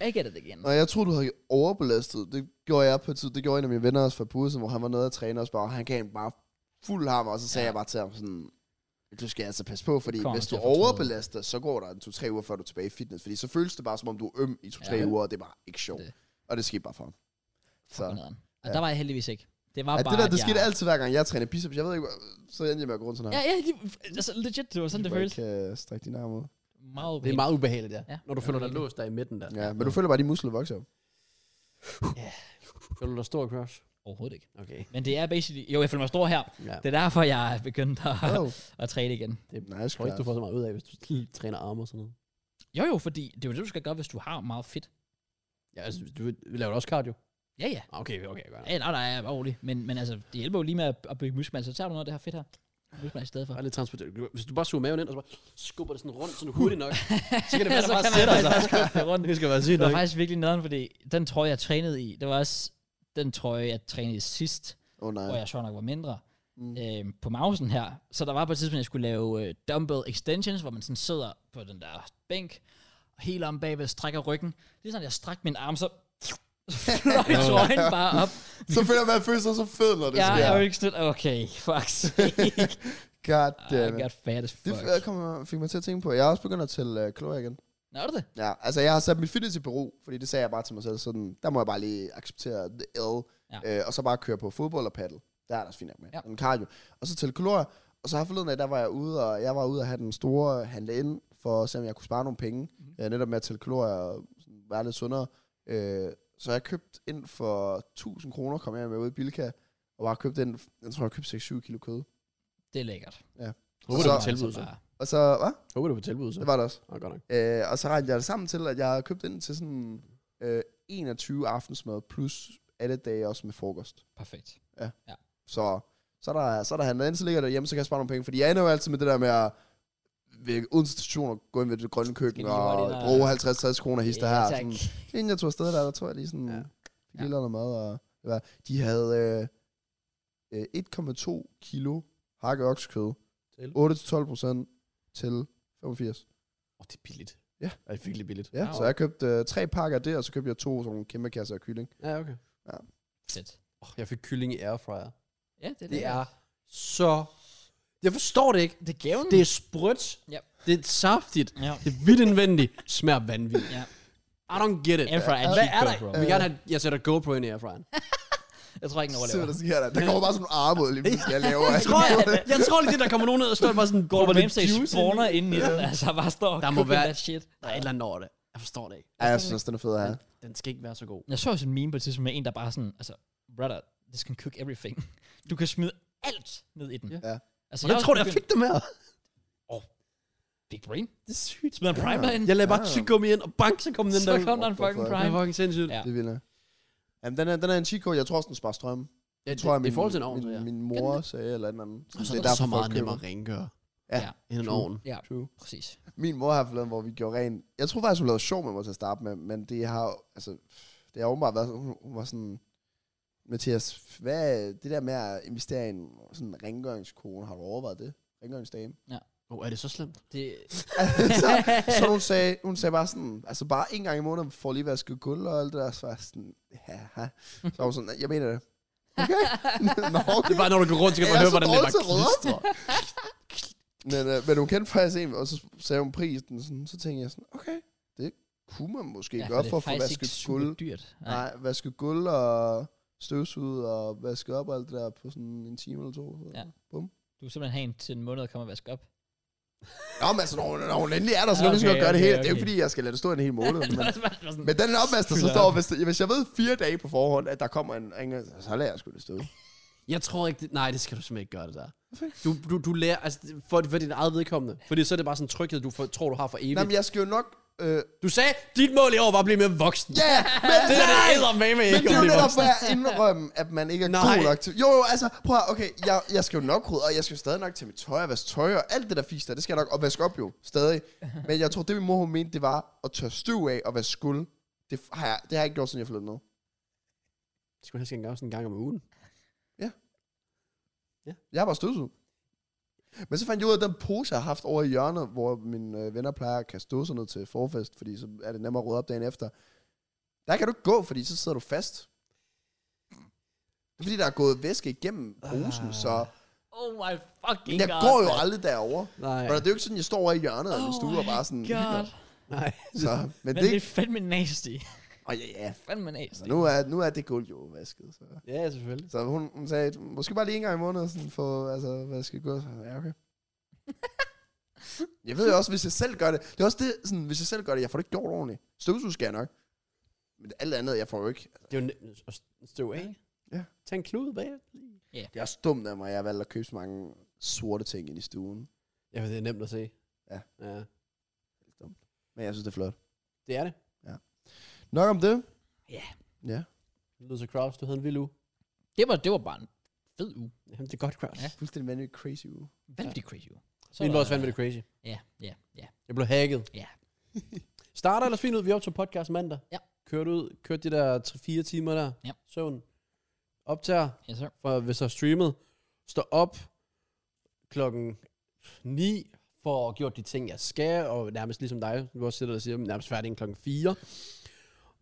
Speaker 1: back at it igen.
Speaker 3: Nå, jeg troede, du havde overbelastet. Det gjorde jeg på et tid. Det gjorde en af mine venner også fra bussen, hvor han var nede og træne os bare. og Han gav en bare fuld hammer, og så sagde
Speaker 1: Ja.
Speaker 3: ja. jeg bare til ham sådan, du skal altså passe på, fordi
Speaker 1: Kommer
Speaker 3: hvis
Speaker 1: til
Speaker 3: du
Speaker 1: at fortryde.
Speaker 3: overbelaster, så går der en to-tre uger, før du er tilbage i fitness. Fordi så føles det bare, som om du er øm i to-tre
Speaker 1: Ja.
Speaker 3: ja. uger, og det er bare ikke sjovt.
Speaker 1: Det-
Speaker 3: Det. Og det skete bare for ham. Så.
Speaker 1: Så. Og
Speaker 3: ja.
Speaker 1: der var jeg heldigvis ikke. Det var
Speaker 3: Ej,
Speaker 1: bare,
Speaker 3: det der, det
Speaker 1: at
Speaker 3: skete
Speaker 1: jeg,
Speaker 3: altid hver gang jeg træner biceps. Jeg ved ikke, hvor- så endte jeg med at gå rundt sådan her.
Speaker 1: Ja, ja, lige- altså legit, det var sådan, det
Speaker 3: Du
Speaker 1: føltes.
Speaker 3: kan ikke strække dine arme ud.
Speaker 1: Meget
Speaker 2: Det er meget ubehageligt, ja.
Speaker 1: Ja.
Speaker 2: Når du føler dig
Speaker 1: Okay.
Speaker 2: låst der i midten der.
Speaker 3: Ja, men du føler bare, at de muskler vokser op.
Speaker 2: Føler du dig stor, Crush?
Speaker 1: Overhovedet ikke.
Speaker 2: Okay.
Speaker 1: Men det er basically... Jo, jeg føler mig stor her.
Speaker 2: Ja.
Speaker 1: Det er derfor, jeg er begyndt at,
Speaker 3: Oh,
Speaker 1: at træne igen.
Speaker 3: nice,
Speaker 2: Jeg tror ikke, du får så meget ud af, hvis du træner arme og sådan noget.
Speaker 1: Jo, jo, fordi det er jo det, du skal gøre, hvis du har meget fedt.
Speaker 2: Ja, altså, du laver også cardio.
Speaker 1: Ja, ja.
Speaker 2: Ah, Okay, okay, godt.
Speaker 1: Ja, nej, nej, jeg er rolig. Men, men altså, det hjælper jo lige med at, at bygge muskelmasse. Så tager du noget af det her fedt her. Muskelmasse i stedet for.
Speaker 2: Bare lidt transporteret. Hvis du bare suger maven ind, og så bare skubber det sådan rundt, sådan hurtigt
Speaker 1: [LAUGHS]
Speaker 2: nok, så kan det være,
Speaker 1: Så
Speaker 2: der bare
Speaker 1: kan man
Speaker 2: sætter sig.
Speaker 1: faktisk skubbe det [LAUGHS] rundt.
Speaker 2: [LAUGHS] Det skal være sygt
Speaker 1: Det var
Speaker 2: nok.
Speaker 1: faktisk virkelig nederen, fordi den trøje, jeg trænede i, det var også den trøje, jeg trænede i sidst,
Speaker 3: Åh, oh, nej.
Speaker 1: hvor jeg sjovt nok var mindre,
Speaker 3: Mm.
Speaker 1: øh, på mausen her. Så der var på et tidspunkt, jeg skulle lave øh, dumbbell extensions, hvor man sådan sidder på den der bænk, og helt om bagved, strækker ryggen. Lige sådan, jeg strækker min arm, så fløj trøjen bare op.
Speaker 3: Så føler man, at føler sig så fed, når det
Speaker 1: Ja, jeg
Speaker 3: sker.
Speaker 1: er jo ikke sådan, lidt, okay, fuck sake.
Speaker 3: God damn
Speaker 1: I
Speaker 3: it.
Speaker 1: got fat as
Speaker 3: Det
Speaker 1: Ah, fuck.
Speaker 3: øh, kom, fik mig til at tænke på. Jeg er også begyndt at tælle øh, kalorier igen.
Speaker 1: Nå, er det det?
Speaker 3: Ja, altså jeg har sat mit fitness i bero, fordi det sagde jeg bare til mig selv. Sådan, der må jeg bare lige acceptere the L,
Speaker 1: Ja.
Speaker 3: ja. øh, og så bare køre på fodbold og paddle. Der er der også fint nok med.
Speaker 1: Ja.
Speaker 3: Ja. En cardio. Og så tælle kalorier. Og så har forleden af, der var jeg ude, og jeg var ude at have den store handle ind, for at se om jeg kunne spare nogle penge.
Speaker 1: Mhm.
Speaker 3: Mm-hmm. Øh, netop med at tælle kalorier og sådan være lidt sundere. Øh, så jeg købte ind for 1000 kroner, kom jeg med ud i Bilka, og bare købte ind, jeg tror jeg købte 6-7 kilo kød.
Speaker 1: Det er lækkert.
Speaker 2: Håber,
Speaker 3: Så-
Speaker 2: det var på tilbud, så.
Speaker 1: bare-
Speaker 3: Og så, hvad?
Speaker 2: Håber, det var på tilbud, så.
Speaker 3: Det var det også.
Speaker 2: Nå, godt nok.
Speaker 3: Øh, og så regnede jeg det sammen til, at jeg havde købt ind til sådan øh, 21 aftensmad, plus alle dage også med frokost.
Speaker 1: Perfekt.
Speaker 3: Så, så er der, så er der handlet ind, så ligger der hjemme, så kan jeg spare nogle penge. Fordi jeg ender jo altid med det der med at ved Odense station og gå ind ved det grønne køkken
Speaker 1: lige hurtigt
Speaker 3: og
Speaker 1: ind og-
Speaker 3: bruge 50-60 kroner hister
Speaker 1: Ja,
Speaker 3: her.
Speaker 1: tak.
Speaker 3: Sådan, inden jeg tog afsted der, der tog jeg lige sådan
Speaker 2: Ja.
Speaker 3: ja. lige noget mad. Og, eller, de havde øh, øh, 1,2 kilo hakket oksekød,
Speaker 2: Til.
Speaker 3: 8-12 procent til 85.
Speaker 2: Åh, det er billigt.
Speaker 3: Ja.
Speaker 2: Det er virkelig billigt.
Speaker 3: Ja,
Speaker 1: Ah,
Speaker 3: så jeg købte øh, tre pakker af det, og så købte jeg to sådan nogle kæmpe kasser af kylling.
Speaker 2: Ja, okay.
Speaker 1: Fedt.
Speaker 2: Oh, jeg fik kylling i airfryer.
Speaker 1: Ja, det er
Speaker 2: Det
Speaker 1: lækkert.
Speaker 2: er så... Jeg forstår det ikke.
Speaker 1: Det er gaven.
Speaker 2: Det er sprødt.
Speaker 1: Ja.
Speaker 2: Det er saftigt.
Speaker 1: Ja.
Speaker 2: Det er vidt indvendigt. Smager vanvittigt.
Speaker 1: Ja.
Speaker 2: I don't get it.
Speaker 1: Airfryer er
Speaker 2: Hvad
Speaker 1: helt
Speaker 2: er
Speaker 1: god,
Speaker 2: der?
Speaker 1: bro.
Speaker 2: Jeg vil gerne have, jeg sætter GoPro ind i airfryeren.
Speaker 1: Jeg tror ikke, den
Speaker 3: Se, hvad der
Speaker 1: overlever.
Speaker 3: sker der. Der kommer bare sådan nogle arme ud, lige pludselig, jeg laver.
Speaker 2: [LAUGHS] Jeg tror, jeg, jeg tror lige, det, der kommer nogen ned og står bare sådan...
Speaker 1: Går på
Speaker 2: med
Speaker 1: Ramsay
Speaker 2: juice ind i.
Speaker 1: spawner ind i den, altså bare står og
Speaker 2: Der må
Speaker 1: cooking
Speaker 2: være-
Speaker 1: that shit.
Speaker 2: Der er et eller andet over det. Jeg forstår det ikke.
Speaker 3: Ja, jeg synes, den er fed her.
Speaker 2: Den skal ikke være så god.
Speaker 1: Jeg så også en meme på et tidspunkt med en, der bare sådan, altså, brother, this can cook everything. [LAUGHS] Du kan smide alt ned i den.
Speaker 2: Ja.
Speaker 3: Ja.
Speaker 1: Altså,
Speaker 2: Hvordan
Speaker 1: er
Speaker 2: tror du,
Speaker 1: også
Speaker 2: jeg
Speaker 1: begyndt-
Speaker 2: fik det med?
Speaker 1: Big brain.
Speaker 2: Det er sygt.
Speaker 1: Smider en prime derinde.
Speaker 2: Jeg lagde bare
Speaker 3: Ja.
Speaker 2: tyggegummi ind, og bank, så kom den
Speaker 1: [LAUGHS] Så
Speaker 2: der.
Speaker 1: kom der en
Speaker 3: What the
Speaker 1: fucking
Speaker 3: fuck?
Speaker 2: Det
Speaker 1: prime.
Speaker 2: er fucking sindssygt.
Speaker 1: Ja.
Speaker 3: Det er vildt. nok. Jamen, den er, den er en cheat code. Jeg tror også, den sparer strøm.
Speaker 2: Ja,
Speaker 3: Det tror jeg,
Speaker 2: det er i forhold til en ovn, så
Speaker 3: min,
Speaker 2: ja.
Speaker 3: min mor sagde eller et eller andet.
Speaker 2: Og så er
Speaker 3: det
Speaker 2: det så
Speaker 3: folk
Speaker 2: meget
Speaker 3: køber.
Speaker 2: nemmere at rengøre
Speaker 3: Ja.
Speaker 1: Ja.
Speaker 2: end en
Speaker 3: True.
Speaker 2: ovn.
Speaker 1: Ja,
Speaker 3: True.
Speaker 1: præcis.
Speaker 3: Min mor har forladen, hvor vi gjorde rent. Jeg tror faktisk, hun lavede sjov med mig til at starte med, men det har, altså, det har åbenbart været, hun, hun var sådan, Mathias, hvad er det der med at investere i en sådan rengøringskone, har du overvejet det? Rengøringsdame?
Speaker 2: Åh, oh, er det så slemt?
Speaker 1: Det,
Speaker 3: [LAUGHS] så, så hun, sagde, hun sagde bare sådan, altså bare en gang i måneden får lige vasket gulv og alt det der, så var jeg sådan, ja, ha. Så var hun sådan, jeg mener det. Okay. [LAUGHS] Nå, okay.
Speaker 2: Det er bare, når du går rundt, så kan man
Speaker 3: Jeg
Speaker 2: høre,
Speaker 3: er så
Speaker 2: hvordan det
Speaker 3: dårlig
Speaker 2: bare
Speaker 3: til rødder,
Speaker 2: klistrer.
Speaker 3: [LAUGHS] Men, øh, men hun kendte faktisk en, og så sagde hun prisen, sådan, så tænkte jeg sådan, okay, det kunne man måske ja, gøre for at få vasket gulv.
Speaker 1: dyrt. Nej.
Speaker 3: Nej, vaske gulv og støvsuget og vaske op og alt det der på sådan en time eller to.
Speaker 1: Ja.
Speaker 3: Ja.
Speaker 1: Du vil simpelthen have en til en måned at komme og vaske op.
Speaker 3: Nå, men altså, når hun, når hun endelig er der, så kan
Speaker 1: Ja,
Speaker 3: hun lige så godt
Speaker 1: okay,
Speaker 3: gøre det
Speaker 1: okay,
Speaker 3: hele. Det er
Speaker 1: okay.
Speaker 3: jo ikke, fordi jeg skal lade det stå en hel
Speaker 2: [LAUGHS]
Speaker 1: [LAUGHS]
Speaker 3: måned. men,
Speaker 1: Men,
Speaker 3: men den opvask, der så
Speaker 1: Fylder
Speaker 3: står,
Speaker 1: op.
Speaker 3: hvis, det, hvis jeg ved fire dage på forhånd, at der kommer en ringe, så lader jeg sgu det stå.
Speaker 2: [LAUGHS] Jeg tror ikke, det, nej, det skal du simpelthen ikke gøre det der. Du, du, du lærer, altså, det- for, for dit eget vedkommende. Fordi så er det bare sådan en tryghed, du for, tror, du har for evigt.
Speaker 3: Nej, men jeg skal jo nok... Øh,
Speaker 2: Du sagde, dit mål i år var at blive mere voksen.
Speaker 3: ja, men
Speaker 2: Det er det
Speaker 3: nej!
Speaker 2: eddermame
Speaker 3: Men
Speaker 2: ikke at
Speaker 3: det er
Speaker 2: blive
Speaker 3: jo netop,
Speaker 2: voksen.
Speaker 3: hvor jeg indrømme, at man ikke er
Speaker 2: Nej.
Speaker 3: Nej. god nok til... Jo, jo, altså, prøv at, okay, jeg, jeg skal jo nok rydde, og jeg skal jo stadig nok til mit tøj og vaske tøj, og alt det der fisk der, det skal jeg nok, og vaske op jo, stadig. Men jeg tror, det min mor, hun mente, det var at tørre støv af og vaske gulv. Det har jeg, det har jeg ikke gjort, siden jeg flyttede ned.
Speaker 2: Det skulle helst ikke gøre sådan en gang om ugen.
Speaker 3: Jeg har bare støvsug. Men så fandt jeg ud af, at den pose, jeg har haft over i hjørnet, hvor mine øh, venner plejer at kaste dåser ned til forfest, fordi så er det nemmere at rydde op dagen efter. Der kan du ikke gå, fordi så sidder du fast. Det er fordi, der er gået væske igennem posen,
Speaker 2: Ah.
Speaker 3: ah. så
Speaker 1: oh my fucking
Speaker 3: jeg
Speaker 1: god.
Speaker 3: går jo aldrig derover.
Speaker 2: Nej.
Speaker 3: Men det er jo ikke sådan, jeg står over i hjørnet af min
Speaker 1: Oh
Speaker 3: stue og
Speaker 1: my
Speaker 3: bare sådan...
Speaker 1: God.
Speaker 2: Nej.
Speaker 3: [LAUGHS] Så, men
Speaker 1: Men det
Speaker 3: det...
Speaker 1: er fandme nasty.
Speaker 3: Og ja, ja.
Speaker 1: fandme nasty.
Speaker 3: Nu er, nu er det guld jo vasket. Så,
Speaker 2: Ja, selvfølgelig.
Speaker 3: så hun, hun sagde, måske bare lige en gang i måneden, sådan for, altså, hvad skal gå? Så, ja, okay. jeg ved jo også, hvis jeg selv gør det, det er også det, sådan, hvis jeg selv gør det, jeg får det ikke gjort ordentligt. Støvsug skal jeg nok. Men alt andet, jeg får jo ikke.
Speaker 2: Det er jo ne- at støv af.
Speaker 3: Ja.
Speaker 2: Tag en klude bag.
Speaker 3: Det er også dumt af mig, at jeg har valgt at købe så mange sorte ting ind i stuen.
Speaker 2: Ja, det er nemt at se.
Speaker 3: Ja.
Speaker 2: ja.
Speaker 3: Men jeg synes, det er flot.
Speaker 2: Det er det.
Speaker 3: Nok om det.
Speaker 1: Ja.
Speaker 3: Ja,
Speaker 2: Lød Kraus, du havde en vild uge.
Speaker 1: Det var, det var bare en fed uge.
Speaker 2: Jamen, det er godt, Kraus.
Speaker 1: Ja.
Speaker 2: Ja.
Speaker 3: fuldstændig vanvittig crazy uge.
Speaker 1: Vanvittig crazy uge. Så
Speaker 2: Min
Speaker 1: er
Speaker 2: var
Speaker 1: der-
Speaker 2: også vanvittigt crazy.
Speaker 1: Ja, ja, ja.
Speaker 2: Jeg blev hacket.
Speaker 1: Ja.
Speaker 2: [LAUGHS] Starter ellers fint ud. Vi optog podcast mandag.
Speaker 1: Ja.
Speaker 2: Kørte ud. Kørte de der 3-4 timer der.
Speaker 1: Ja.
Speaker 2: Søvn. Optager,
Speaker 1: Yes, sir.
Speaker 2: for hvis der er streamet. Står op klokken 9. får gjort de ting, jeg skal, og nærmest ligesom dig, hvor jeg sidder og siger, nærmest færdig klokken 4.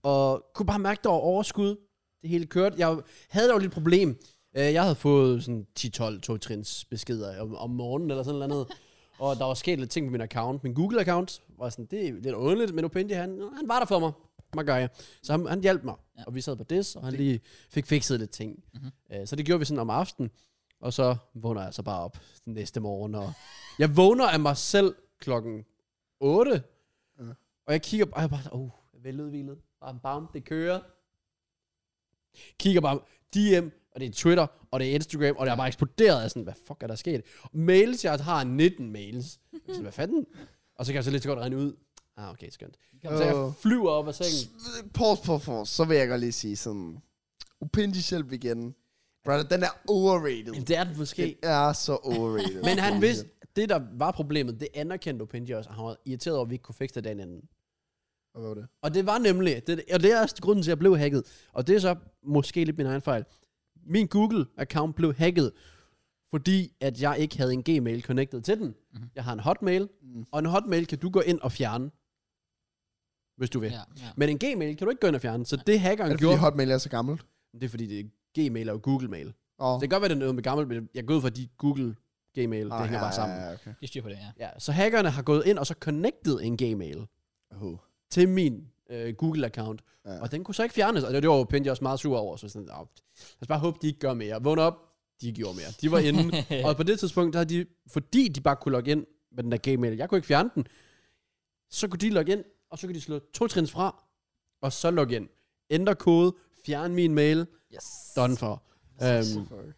Speaker 2: Og kunne bare mærke, der var overskud. Det hele kørte. Jeg havde dog lidt problem. Øh, Jeg havde fået sådan 10-12 to-trins beskeder om, om morgenen eller sådan [LAUGHS] noget. Og der var sket lidt ting på min account. Min Google-account var sådan, det er lidt underligt, men Opendi, han, han var der for mig. Man gør jeg. Så han, han hjalp mig.
Speaker 1: Ja.
Speaker 2: Ja. Og vi sad på det, og han lige fik fikset lidt ting. Mm-hmm. Så det gjorde vi sådan om aftenen. Og så vågner jeg så bare op den næste morgen. Og jeg vågner af mig selv klokken 8.
Speaker 3: Ja.
Speaker 2: Og jeg kigger bare, og jeg er bare, oh, veludvilet. Bam, bam, det kører. Kigger bare, DM, og det er Twitter, og det er Instagram, og det er bare eksploderet. Jeg er sådan, hvad fuck er der sket? Mails, jeg har 19 mails. Jeg er sådan, hvad fanden? Og så kan jeg så lidt så godt regne ud. Ah, okay, skønt. Så jeg
Speaker 3: Åh.
Speaker 2: flyver op af sengen.
Speaker 3: Pause, pause, pause. Så vil jeg godt lige sige sådan... Upindi selv igen. Brother, den er overrated.
Speaker 2: Men det er den måske.
Speaker 3: Den er så overrated.
Speaker 2: Men han vidste, det der var problemet, det anerkendte Opinji også, og han var irriteret over, at vi ikke kunne fikse det dagen inden.
Speaker 3: Hvad var det?
Speaker 2: Og det var nemlig, det, og det er også grunden til, at jeg blev hacket. Og det er så måske lidt min egen fejl. Min Google-account blev hacket, fordi at jeg ikke havde en Gmail connected til den. Mm-hmm.
Speaker 3: Mhm.
Speaker 2: Jeg har en Hotmail, mm. og en Hotmail kan du gå ind og fjerne, hvis du vil.
Speaker 1: Ja, ja.
Speaker 2: Men en Gmail kan du ikke gå ind og fjerne, så det hackeren
Speaker 3: Er det
Speaker 2: gjorde...
Speaker 3: fordi Hotmail er så gammelt?
Speaker 2: Det er fordi, det er Gmail og Google-mail. Det
Speaker 3: Åh.
Speaker 2: kan godt være, det er noget med gammelt, men jeg går ud fra, at de Google-Gmail, det
Speaker 3: Ah,
Speaker 2: hænger
Speaker 3: ja,
Speaker 2: bare sammen.
Speaker 3: Ja, ja, okay.
Speaker 1: De styrer på det, ja.
Speaker 2: Ja, så hackerne har gået ind og så connected en Gmail
Speaker 3: Oh.
Speaker 2: til min øh, Google-account,
Speaker 3: Ja.
Speaker 2: og den kunne så ikke fjernes, og det, det var Pindy også meget sur over, så sådan, "Nå, lad os bare håbe, de ikke gør mere. Vågn op, de gjorde mere. De var inde, og på det tidspunkt, der havde de, fordi de bare kunne logge ind med den der Gmail, jeg kunne ikke fjerne den, så kunne de logge ind, og så kunne de slå to trins fra, og så logge ind. Ændre kode, fjerne min mail,
Speaker 1: Yes. [LAUGHS]
Speaker 2: done for. Øhm,
Speaker 3: Fuck.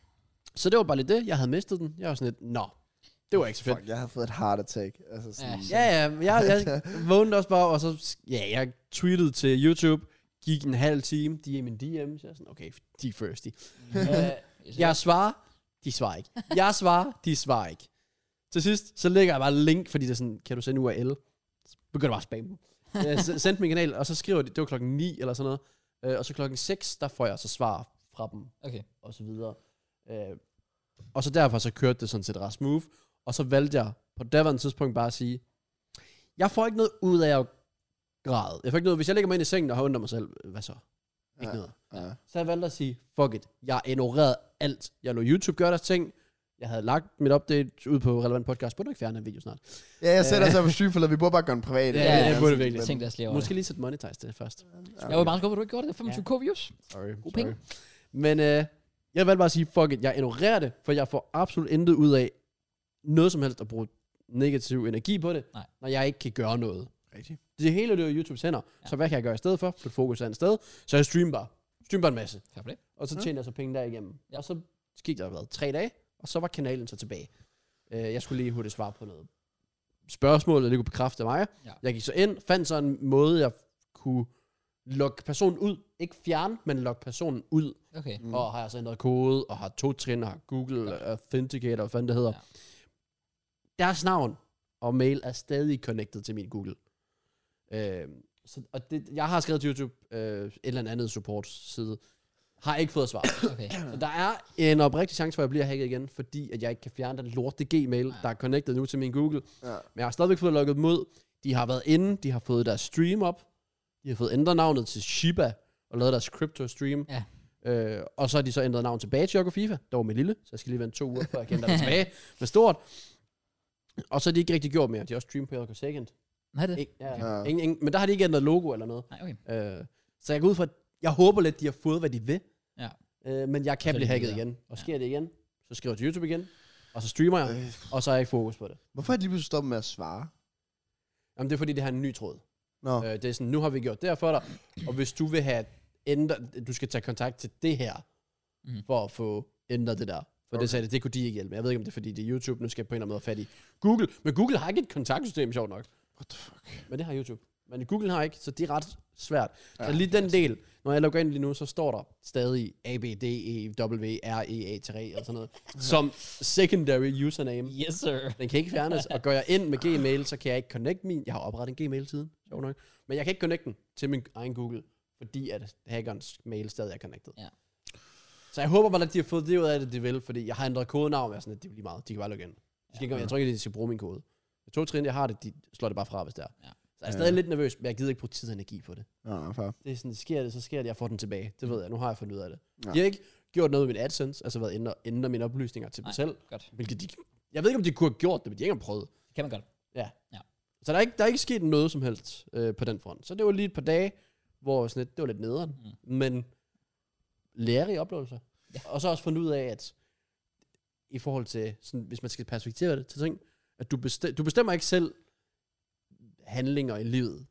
Speaker 2: så det var bare lidt det, jeg havde mistet den. Jeg var sådan lidt, nå, det var ikke så fedt.
Speaker 3: Fuck, jeg har fået et heart attack. Altså sådan,
Speaker 1: Ja.
Speaker 2: Ja, ja, jeg, jeg vågnede også bare, og så, ja, jeg tweetede til YouTube, gik en halv time, de er i min DM, så jeg er sådan, okay, de er thirsty. øh, jeg svarer, de svarer ikke. Jeg svarer, de svarer ikke. Til sidst, så lægger jeg bare link, fordi det er sådan, kan du sende URL? Så begynder jeg bare at spamme. Jeg s- sendte min kanal, og så skriver de, det var klokken 9 eller sådan noget, øh, og så klokken 6, der får jeg så svar fra dem,
Speaker 1: Okay.
Speaker 2: og så videre. Øh, og så derfor så kørte det sådan set ret smooth, og så valgte jeg på daværende tidspunkt bare at sige, jeg får ikke noget ud af at græde. Jeg får ikke noget, hvis jeg lægger mig ind i sengen og har ondt af mig selv, hvad så? Ikke
Speaker 3: Ja.
Speaker 2: noget.
Speaker 3: ja.
Speaker 2: Så jeg valgte at sige, fuck it, jeg ignorerede alt. Jeg lå YouTube gøre deres ting, jeg havde lagt mit update ud på relevant podcast, burde du ikke fjerne en video snart?
Speaker 3: ja, jeg sætter så på sygeforløb. Vi burde bare gøre den privat.
Speaker 2: Ja,
Speaker 1: ja, det
Speaker 2: burde vi virkelig.
Speaker 1: Jeg tænkte også lige over
Speaker 2: Måske
Speaker 1: det.
Speaker 2: lige sætte monetize det først.
Speaker 1: Jeg var bare skuffet, at du ikke gjorde det. 25k views.
Speaker 2: Sorry.
Speaker 1: God penge.
Speaker 2: Men øh, jeg valgte bare at sige, fuck it, jeg ignorerer det, for jeg får absolut intet ud af noget som helst at bruge negativ energi på det,
Speaker 1: Nej.
Speaker 2: når jeg ikke kan gøre noget.
Speaker 3: Rigtigt.
Speaker 2: Det hele det er jo YouTubes hænder, ja. så hvad kan jeg gøre i stedet for? Flytte fokus andet sted, så jeg streamer bare. Streamer bare en masse,
Speaker 1: Fair play.
Speaker 2: og så tjener jeg så penge derigennem.
Speaker 1: Mhm. Ja.
Speaker 2: Ja. Og så gik der hvad, tre dage, og så var kanalen så tilbage. Øh, jeg skulle lige hurtigt svare på noget spørgsmål, og det kunne bekræfte mig.
Speaker 1: Ja.
Speaker 2: Jeg gik så ind, fandt så en måde, jeg kunne lokke personen ud. Ikke fjerne, men lokke personen ud
Speaker 1: Okay.
Speaker 2: mm. og har altså ændret kode, og har to trin, og har Google Authenticator, hvad fanden det hedder.
Speaker 1: Ja.
Speaker 2: Ja. Deres navn og mail er stadig connected til min Google. Øh, så, og det, jeg har skrevet til YouTube øh, et eller andet support side, har ikke fået svar.
Speaker 3: [CLEARS THROAT]
Speaker 1: Okay.
Speaker 2: så der er en oprigtig chance for, at jeg bliver hacket igen, fordi at jeg ikke kan fjerne den lorte Gmail, ja. der er connected nu til min Google.
Speaker 3: Ja.
Speaker 2: Men jeg har stadigvæk fået lukket dem ud. De har været inde, de har fået deres stream op. De har fået ændret navnet til Shiba og lavet deres crypto stream.
Speaker 1: Ja.
Speaker 2: Øh, og så har de så ændret navn tilbage til Jokko FIFA. Det var med lille, så jeg skal lige vente to uger, før jeg
Speaker 1: [LAUGHS]
Speaker 2: kan ændre det tilbage med stort. Og så har de ikke rigtig gjort mere. De har også streamet på Jokko Second.
Speaker 1: Nej, det.
Speaker 2: Ikke, ja,
Speaker 3: Ja.
Speaker 2: ja. Ingen, ingen, men der har de ikke ændret logo eller noget.
Speaker 1: Nej, okay.
Speaker 2: Øh, så jeg går ud fra, jeg håber lidt, de har fået, hvad de vil.
Speaker 1: Ja.
Speaker 2: Øh, men jeg kan
Speaker 1: Så
Speaker 2: blive
Speaker 1: de
Speaker 2: hacket
Speaker 1: videre.
Speaker 2: igen. Og
Speaker 1: Ja.
Speaker 2: sker det igen, så skriver jeg til YouTube igen. Og så streamer jeg,
Speaker 3: Øh,
Speaker 2: og så har jeg ikke fokus på det.
Speaker 3: Hvorfor er de lige pludselig stoppet med at svare?
Speaker 2: Jamen det er fordi, det har en ny tråd.
Speaker 3: Nå,
Speaker 2: Øh, det er sådan, nu har vi gjort det her for dig, og hvis du vil have ændret, du skal tage kontakt til det her,
Speaker 1: Mhm.
Speaker 2: mm. for at få ændret det der. For okay.
Speaker 3: Okay.
Speaker 2: det sagde det, det kunne de ikke hjælpe med. Jeg ved ikke, om det er fordi, det er YouTube, nu skal jeg på en eller anden måde have fat i Google. Men Google har ikke et kontaktsystem, sjovt nok.
Speaker 3: what the fuck?
Speaker 2: Men det har YouTube. Men Google har ikke, så det er ret svært. Ja,
Speaker 3: Ja,
Speaker 2: så lige den del, når jeg logger ind lige nu, så står der stadig A, B, D, E, W, R, E, A, 3 og sådan noget, som secondary username.
Speaker 1: Yes, sir.
Speaker 2: Den kan ikke fjernes, og går jeg ind med Gmail, så kan jeg ikke connecte min... Jeg har oprettet en Gmail siden, sjov nok. Men jeg kan ikke connecte den til min egen Google, fordi at hackerens mail stadig er connected.
Speaker 1: Ja.
Speaker 2: Så jeg håber bare, at de har fået det ud af det, de vil, fordi jeg har ændret kodenavn, og jeg er sådan, at det er jo lige meget. De kan bare logge ind. De skal ikke, jeg tror ikke, at de skal bruge min kode. To trin, jeg har det, de slår det bare fra, hvis det er.
Speaker 1: Ja.
Speaker 2: Ja. Så jeg er stadig
Speaker 3: Ja.
Speaker 2: lidt nervøs, men jeg gider ikke bruge tid og energi på det.
Speaker 3: Ja, nej, fair.
Speaker 2: Det er sådan, sker det, så sker det, jeg får den tilbage. Det ved jeg, nu har jeg fundet ud af det.
Speaker 3: Ja.
Speaker 2: Ja. Jeg har ikke gjort noget med min AdSense, altså været inde og ændre mine oplysninger til mig
Speaker 1: Nej.
Speaker 2: selv.
Speaker 1: Godt.
Speaker 2: Hvilket de, jeg ved ikke, om de kunne have gjort det, men de har ikke engang prøvet.
Speaker 1: Det kan man godt.
Speaker 2: Så der er ikke, der er ikke sket noget som helst øh, på den front. Så det var lige et par dage, hvor sådan lidt, det var lidt nederen, mm. men lærerige oplevelser.
Speaker 1: Ja.
Speaker 2: Ja. Og så også fundet ud af, at i forhold til, sådan, hvis man skal perspektivere det til ting, at du, bestem, du bestemmer ikke selv handlinger i livet.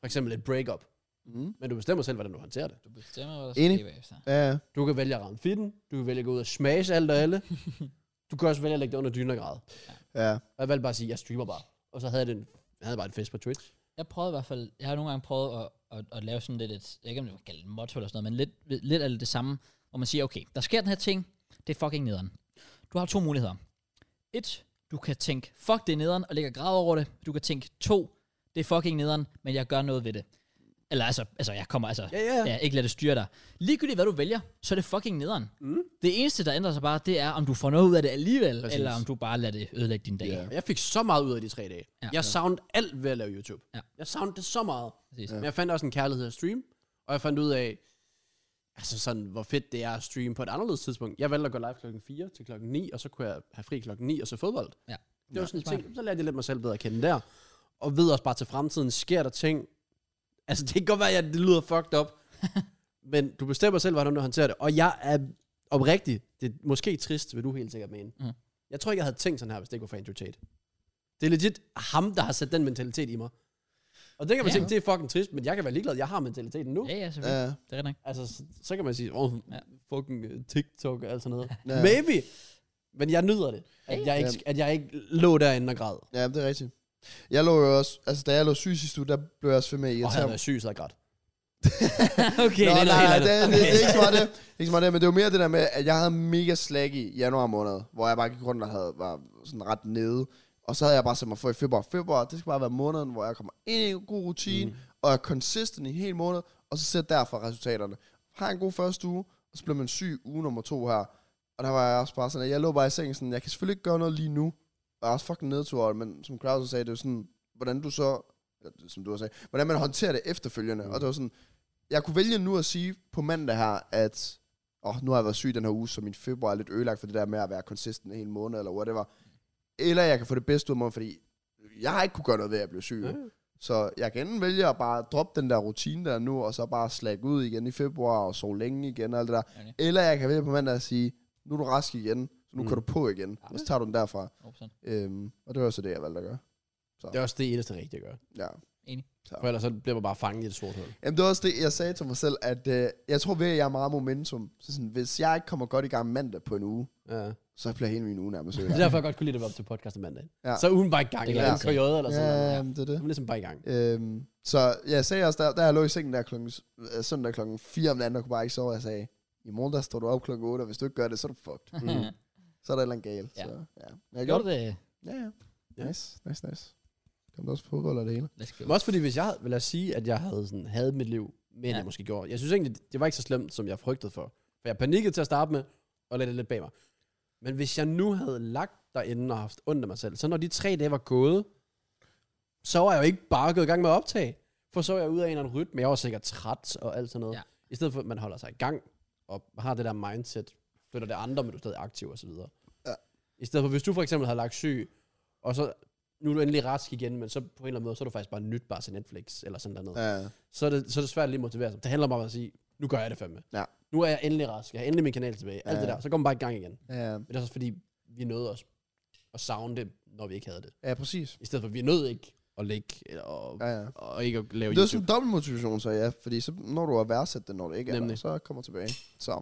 Speaker 2: For eksempel et breakup.
Speaker 3: Mm.
Speaker 2: Men du bestemmer selv, hvordan du håndterer det.
Speaker 1: Du bestemmer, hvad der
Speaker 3: Enig.
Speaker 1: skal ske bagefter.
Speaker 3: Ja, ja.
Speaker 2: Du kan vælge at ramme fitten, du kan vælge at gå ud og smage alt og [LAUGHS] alle. Du kan også vælge at lægge det under dynen og græde.
Speaker 3: ja.
Speaker 2: Og jeg valgte bare at sige, jeg streamer bare. Og så havde jeg, den, jeg havde bare en fest på Twitch.
Speaker 1: Jeg prøvede i hvert fald, jeg har nogle gange prøvet at, at, at lave sådan lidt et, jeg ved ikke om det var kaldt et motto eller sådan noget, men lidt, lidt af det samme, hvor man siger, okay, der sker den her ting, det er fucking nederen. Du har to muligheder. Et, du kan tænke, fuck det er nederen, og ligge og græde over det. Du kan tænke, to, det er fucking nederen, men jeg gør noget ved det. Eller altså, altså jeg kommer, altså,
Speaker 2: Ja, ja, ja.
Speaker 1: ja, ikke lad det styre dig. Ligegyldigt hvad du vælger, så er det fucking nederen. Mm. Det eneste, der ændrer sig bare, det er, om du får noget ud af det alligevel, Præcis.
Speaker 2: Præcis.
Speaker 1: eller om du bare lader det ødelægge din dag.
Speaker 3: Ja.
Speaker 2: Og Jeg fik så meget ud af de tre dage.
Speaker 1: Ja.
Speaker 2: Ja. Jeg savnede alt ved at lave YouTube.
Speaker 1: Ja.
Speaker 2: Jeg savnede det så meget.
Speaker 1: Præcis.
Speaker 2: Ja. Men jeg fandt også en kærlighed at stream, og jeg fandt ud af, altså sådan, hvor fedt det er at streame på et anderledes tidspunkt. Jeg valgte at gå live klokken 4 til klokken 9, og så kunne jeg have fri klokken 9 og så fodbold.
Speaker 1: Ja.
Speaker 2: Det var sådan
Speaker 1: smart.
Speaker 2: en ting, så lærte jeg lidt mig selv bedre at kende der. Og ved også bare til fremtiden, sker der ting. Altså det kan godt være, at det lyder fucked
Speaker 1: [LAUGHS]
Speaker 2: up, men du bestemmer selv, hvordan du håndterer det. Og jeg er oprigtig, det er måske trist, vil du helt sikkert mene.
Speaker 1: Mm.
Speaker 2: Jeg tror ikke, jeg havde tænkt sådan her, hvis det ikke var for Andrew Tate. Det er legit ham, der har sat den mentalitet i mig. Og det kan
Speaker 1: Ja.
Speaker 2: man ja. tænke, det er fucking trist, men jeg kan være ligeglad, jeg har mentaliteten nu.
Speaker 1: Ja, ja, selvfølgelig.
Speaker 3: Ja,
Speaker 1: Det er rigtig nok.
Speaker 2: Altså, så, så kan man sige, åh, oh,
Speaker 1: Ja.
Speaker 2: ja. fucking øh, TikTok og alt sådan noget.
Speaker 3: Ja.
Speaker 2: Ja. Maybe. Men jeg nyder det.
Speaker 1: Ja,
Speaker 2: At jeg ikke, at jeg ikke lå derinde og græd. Og
Speaker 3: ja, det er rigtigt. Jeg lå jo også, altså da jeg lå syg sidste uge, der blev jeg også ved med at
Speaker 2: havde
Speaker 3: irritere
Speaker 2: jeg
Speaker 3: mig.
Speaker 2: været syg, så jeg græd.
Speaker 1: [LAUGHS] okay,
Speaker 3: Nå,
Speaker 1: det
Speaker 3: nej,
Speaker 1: er noget helt
Speaker 3: nej,
Speaker 1: andet.
Speaker 3: det, det, det, er ikke så meget det. Det er ikke så meget det, men det var mere det der med, at jeg havde mega slag i januar måned, hvor jeg bare gik rundt og havde, var sådan ret nede. Og så havde jeg bare sat mig for i februar. Februar, det skal bare være måneden, hvor jeg kommer ind i en god rutine, mm. og er consistent i en hel måned, og så sæt derfor resultaterne. Har en god første uge, og så blev man syg uge nummer to her. Og der var jeg også bare sådan, at jeg lå bare i sengen sådan, jeg kan selvfølgelig ikke gøre noget lige nu. Jeg er også fucking nedtur, over det, men som Claus sagde, det er jo sådan, hvordan du så, eller som du også sagde, hvordan man håndterer det efterfølgende. Mm. Og det var sådan, jeg kunne vælge nu at sige på mandag her, at oh, nu har jeg været syg den her uge, så min februar er lidt ødelagt for det der med at være consistent en hel måned, eller whatever. Eller jeg kan få det bedste ud af mig, fordi jeg har ikke kunne gøre noget ved, at jeg blev syg. Mm. Så jeg kan enten vælge at bare droppe den der rutine der nu, og så bare slække ud igen i februar, og sove længe igen og alt det der.
Speaker 1: Okay.
Speaker 3: Eller jeg kan vælge på mandag at sige, nu er du rask igen, så nu mm. kan du på igen, og så tager du den derfra.
Speaker 1: [LAUGHS] 100%.
Speaker 3: Øhm, og det var så det, jeg valgte at gøre.
Speaker 2: Det er også det eneste rigtige, jeg gør.
Speaker 3: Ja.
Speaker 2: For ellers så bliver man bare fanget i et sort hul.
Speaker 3: Jamen, det var også det, jeg sagde til mig selv, at øh, jeg tror ved, at jeg er meget momentum. Så sådan, hvis jeg ikke kommer godt i gang mandag på en uge,
Speaker 2: Ja.
Speaker 3: så bliver hele min uge nærmest
Speaker 2: Det er
Speaker 3: ødelagt.
Speaker 2: derfor, jeg godt kunne lide at være op til podcast om mandagen.
Speaker 3: Ja.
Speaker 2: Ja. Så uden bare i gang,
Speaker 1: Det
Speaker 2: eller
Speaker 1: kan
Speaker 2: en
Speaker 1: jeg
Speaker 2: KJ eller sådan noget.
Speaker 3: ja, men det er
Speaker 2: Så
Speaker 3: det.
Speaker 2: er man ligesom bare i gang.
Speaker 3: Øhm, så jeg sagde også, der, der jeg lå i sengen der klokken, s- øh, søndag klokken 4 om natten, og kunne bare ikke sove, jeg sagde, i morgen der står du op klokken 8, og hvis du ikke gør det, så er du
Speaker 1: [LAUGHS]
Speaker 3: fucked.
Speaker 2: Mm.
Speaker 3: Så er der et eller andet galt.
Speaker 1: Ja.
Speaker 3: Så, ja. Men
Speaker 1: Gjorde
Speaker 3: Jeg gjorde
Speaker 1: du
Speaker 3: det.
Speaker 1: det?
Speaker 3: Ja, ja.
Speaker 2: Ja.
Speaker 3: Nice, nice, nice. Kom der også på fodbold og det hele.
Speaker 1: Let's go.
Speaker 2: Men også fordi, hvis jeg havde, vil jeg sige, at jeg havde sådan, havde mit liv, men
Speaker 1: Ja.
Speaker 2: ja. jeg måske gjorde. Jeg synes egentlig, det var ikke så slemt, som jeg frygtede for. For jeg panikkede til at starte med, og lagde det lidt bag mig. Men hvis jeg nu havde lagt derinde og haft ondt af mig selv, så når de tre dage var gået, så var jeg jo ikke bare gået i gang med at optage. For så var jeg ud af en eller anden rytme, jeg var sikkert træt og alt sådan noget.
Speaker 1: Ja.
Speaker 2: Ja. I stedet for, at man holder sig i gang og har det der mindset, flytter det andre, men du er stadig aktiv og så videre.
Speaker 3: Ja.
Speaker 2: I stedet for, hvis du for eksempel havde lagt syg, og så nu er du endelig rask igen, men så på en eller anden måde, så er du faktisk bare nyt bare til Netflix eller sådan noget. Ja.
Speaker 3: Ja,
Speaker 2: Så, er det, så er det svært at lige motivere sig. Det handler bare om at sige, nu gør jeg det fandme.
Speaker 3: Ja.
Speaker 2: Nu er jeg endelig rask, jeg har endelig min kanal tilbage, alt
Speaker 3: Ja.
Speaker 2: det der. Så går man bare i gang igen.
Speaker 3: ja,
Speaker 2: Men det er også fordi, vi nåede os at savne det, når vi ikke havde det.
Speaker 3: ja præcis.
Speaker 2: I stedet for, vi nåede ikke at ligge eller- og,
Speaker 3: Ja, ja.
Speaker 2: og ikke at lave
Speaker 3: Det er
Speaker 2: YouTube.
Speaker 3: sådan en dobbelt motivation, så ja, fordi så, når du har værdsat det, når det ikke er der,
Speaker 2: Nemlig.
Speaker 3: så kommer tilbage. Så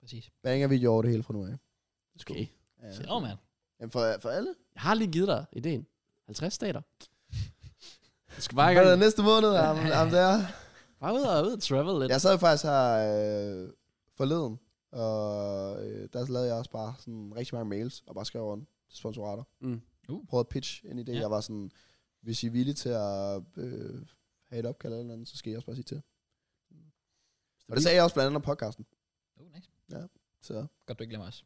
Speaker 1: Præcis.
Speaker 3: banger vi over det hele fra nu af.
Speaker 2: Okay.
Speaker 3: Ja.
Speaker 1: Shit, oh, man.
Speaker 3: Jamen for, for alle.
Speaker 2: Jeg har lige givet dig ideen. 50 stater. Du skal bare,
Speaker 3: Hvad
Speaker 2: i
Speaker 3: er der
Speaker 2: gang.
Speaker 3: næste måned? Am, am der.
Speaker 2: bare ud og ud og travel lidt.
Speaker 3: Jeg sad faktisk her øh, forleden, og øh, der lavede jeg også bare sådan rigtig mange mails, og bare skrev rundt til sponsorater.
Speaker 2: Mm.
Speaker 1: Uh.
Speaker 3: Prøvede at pitch en idé.
Speaker 1: Ja.
Speaker 3: Ja. Jeg var sådan, hvis I er villige til at øh, have et opkald eller noget, andet, så skal I også bare sige til. Og det sagde jeg også blandt andet om podcasten.
Speaker 1: Oh, nice.
Speaker 3: Så.
Speaker 1: Godt, du ikke glemmer os.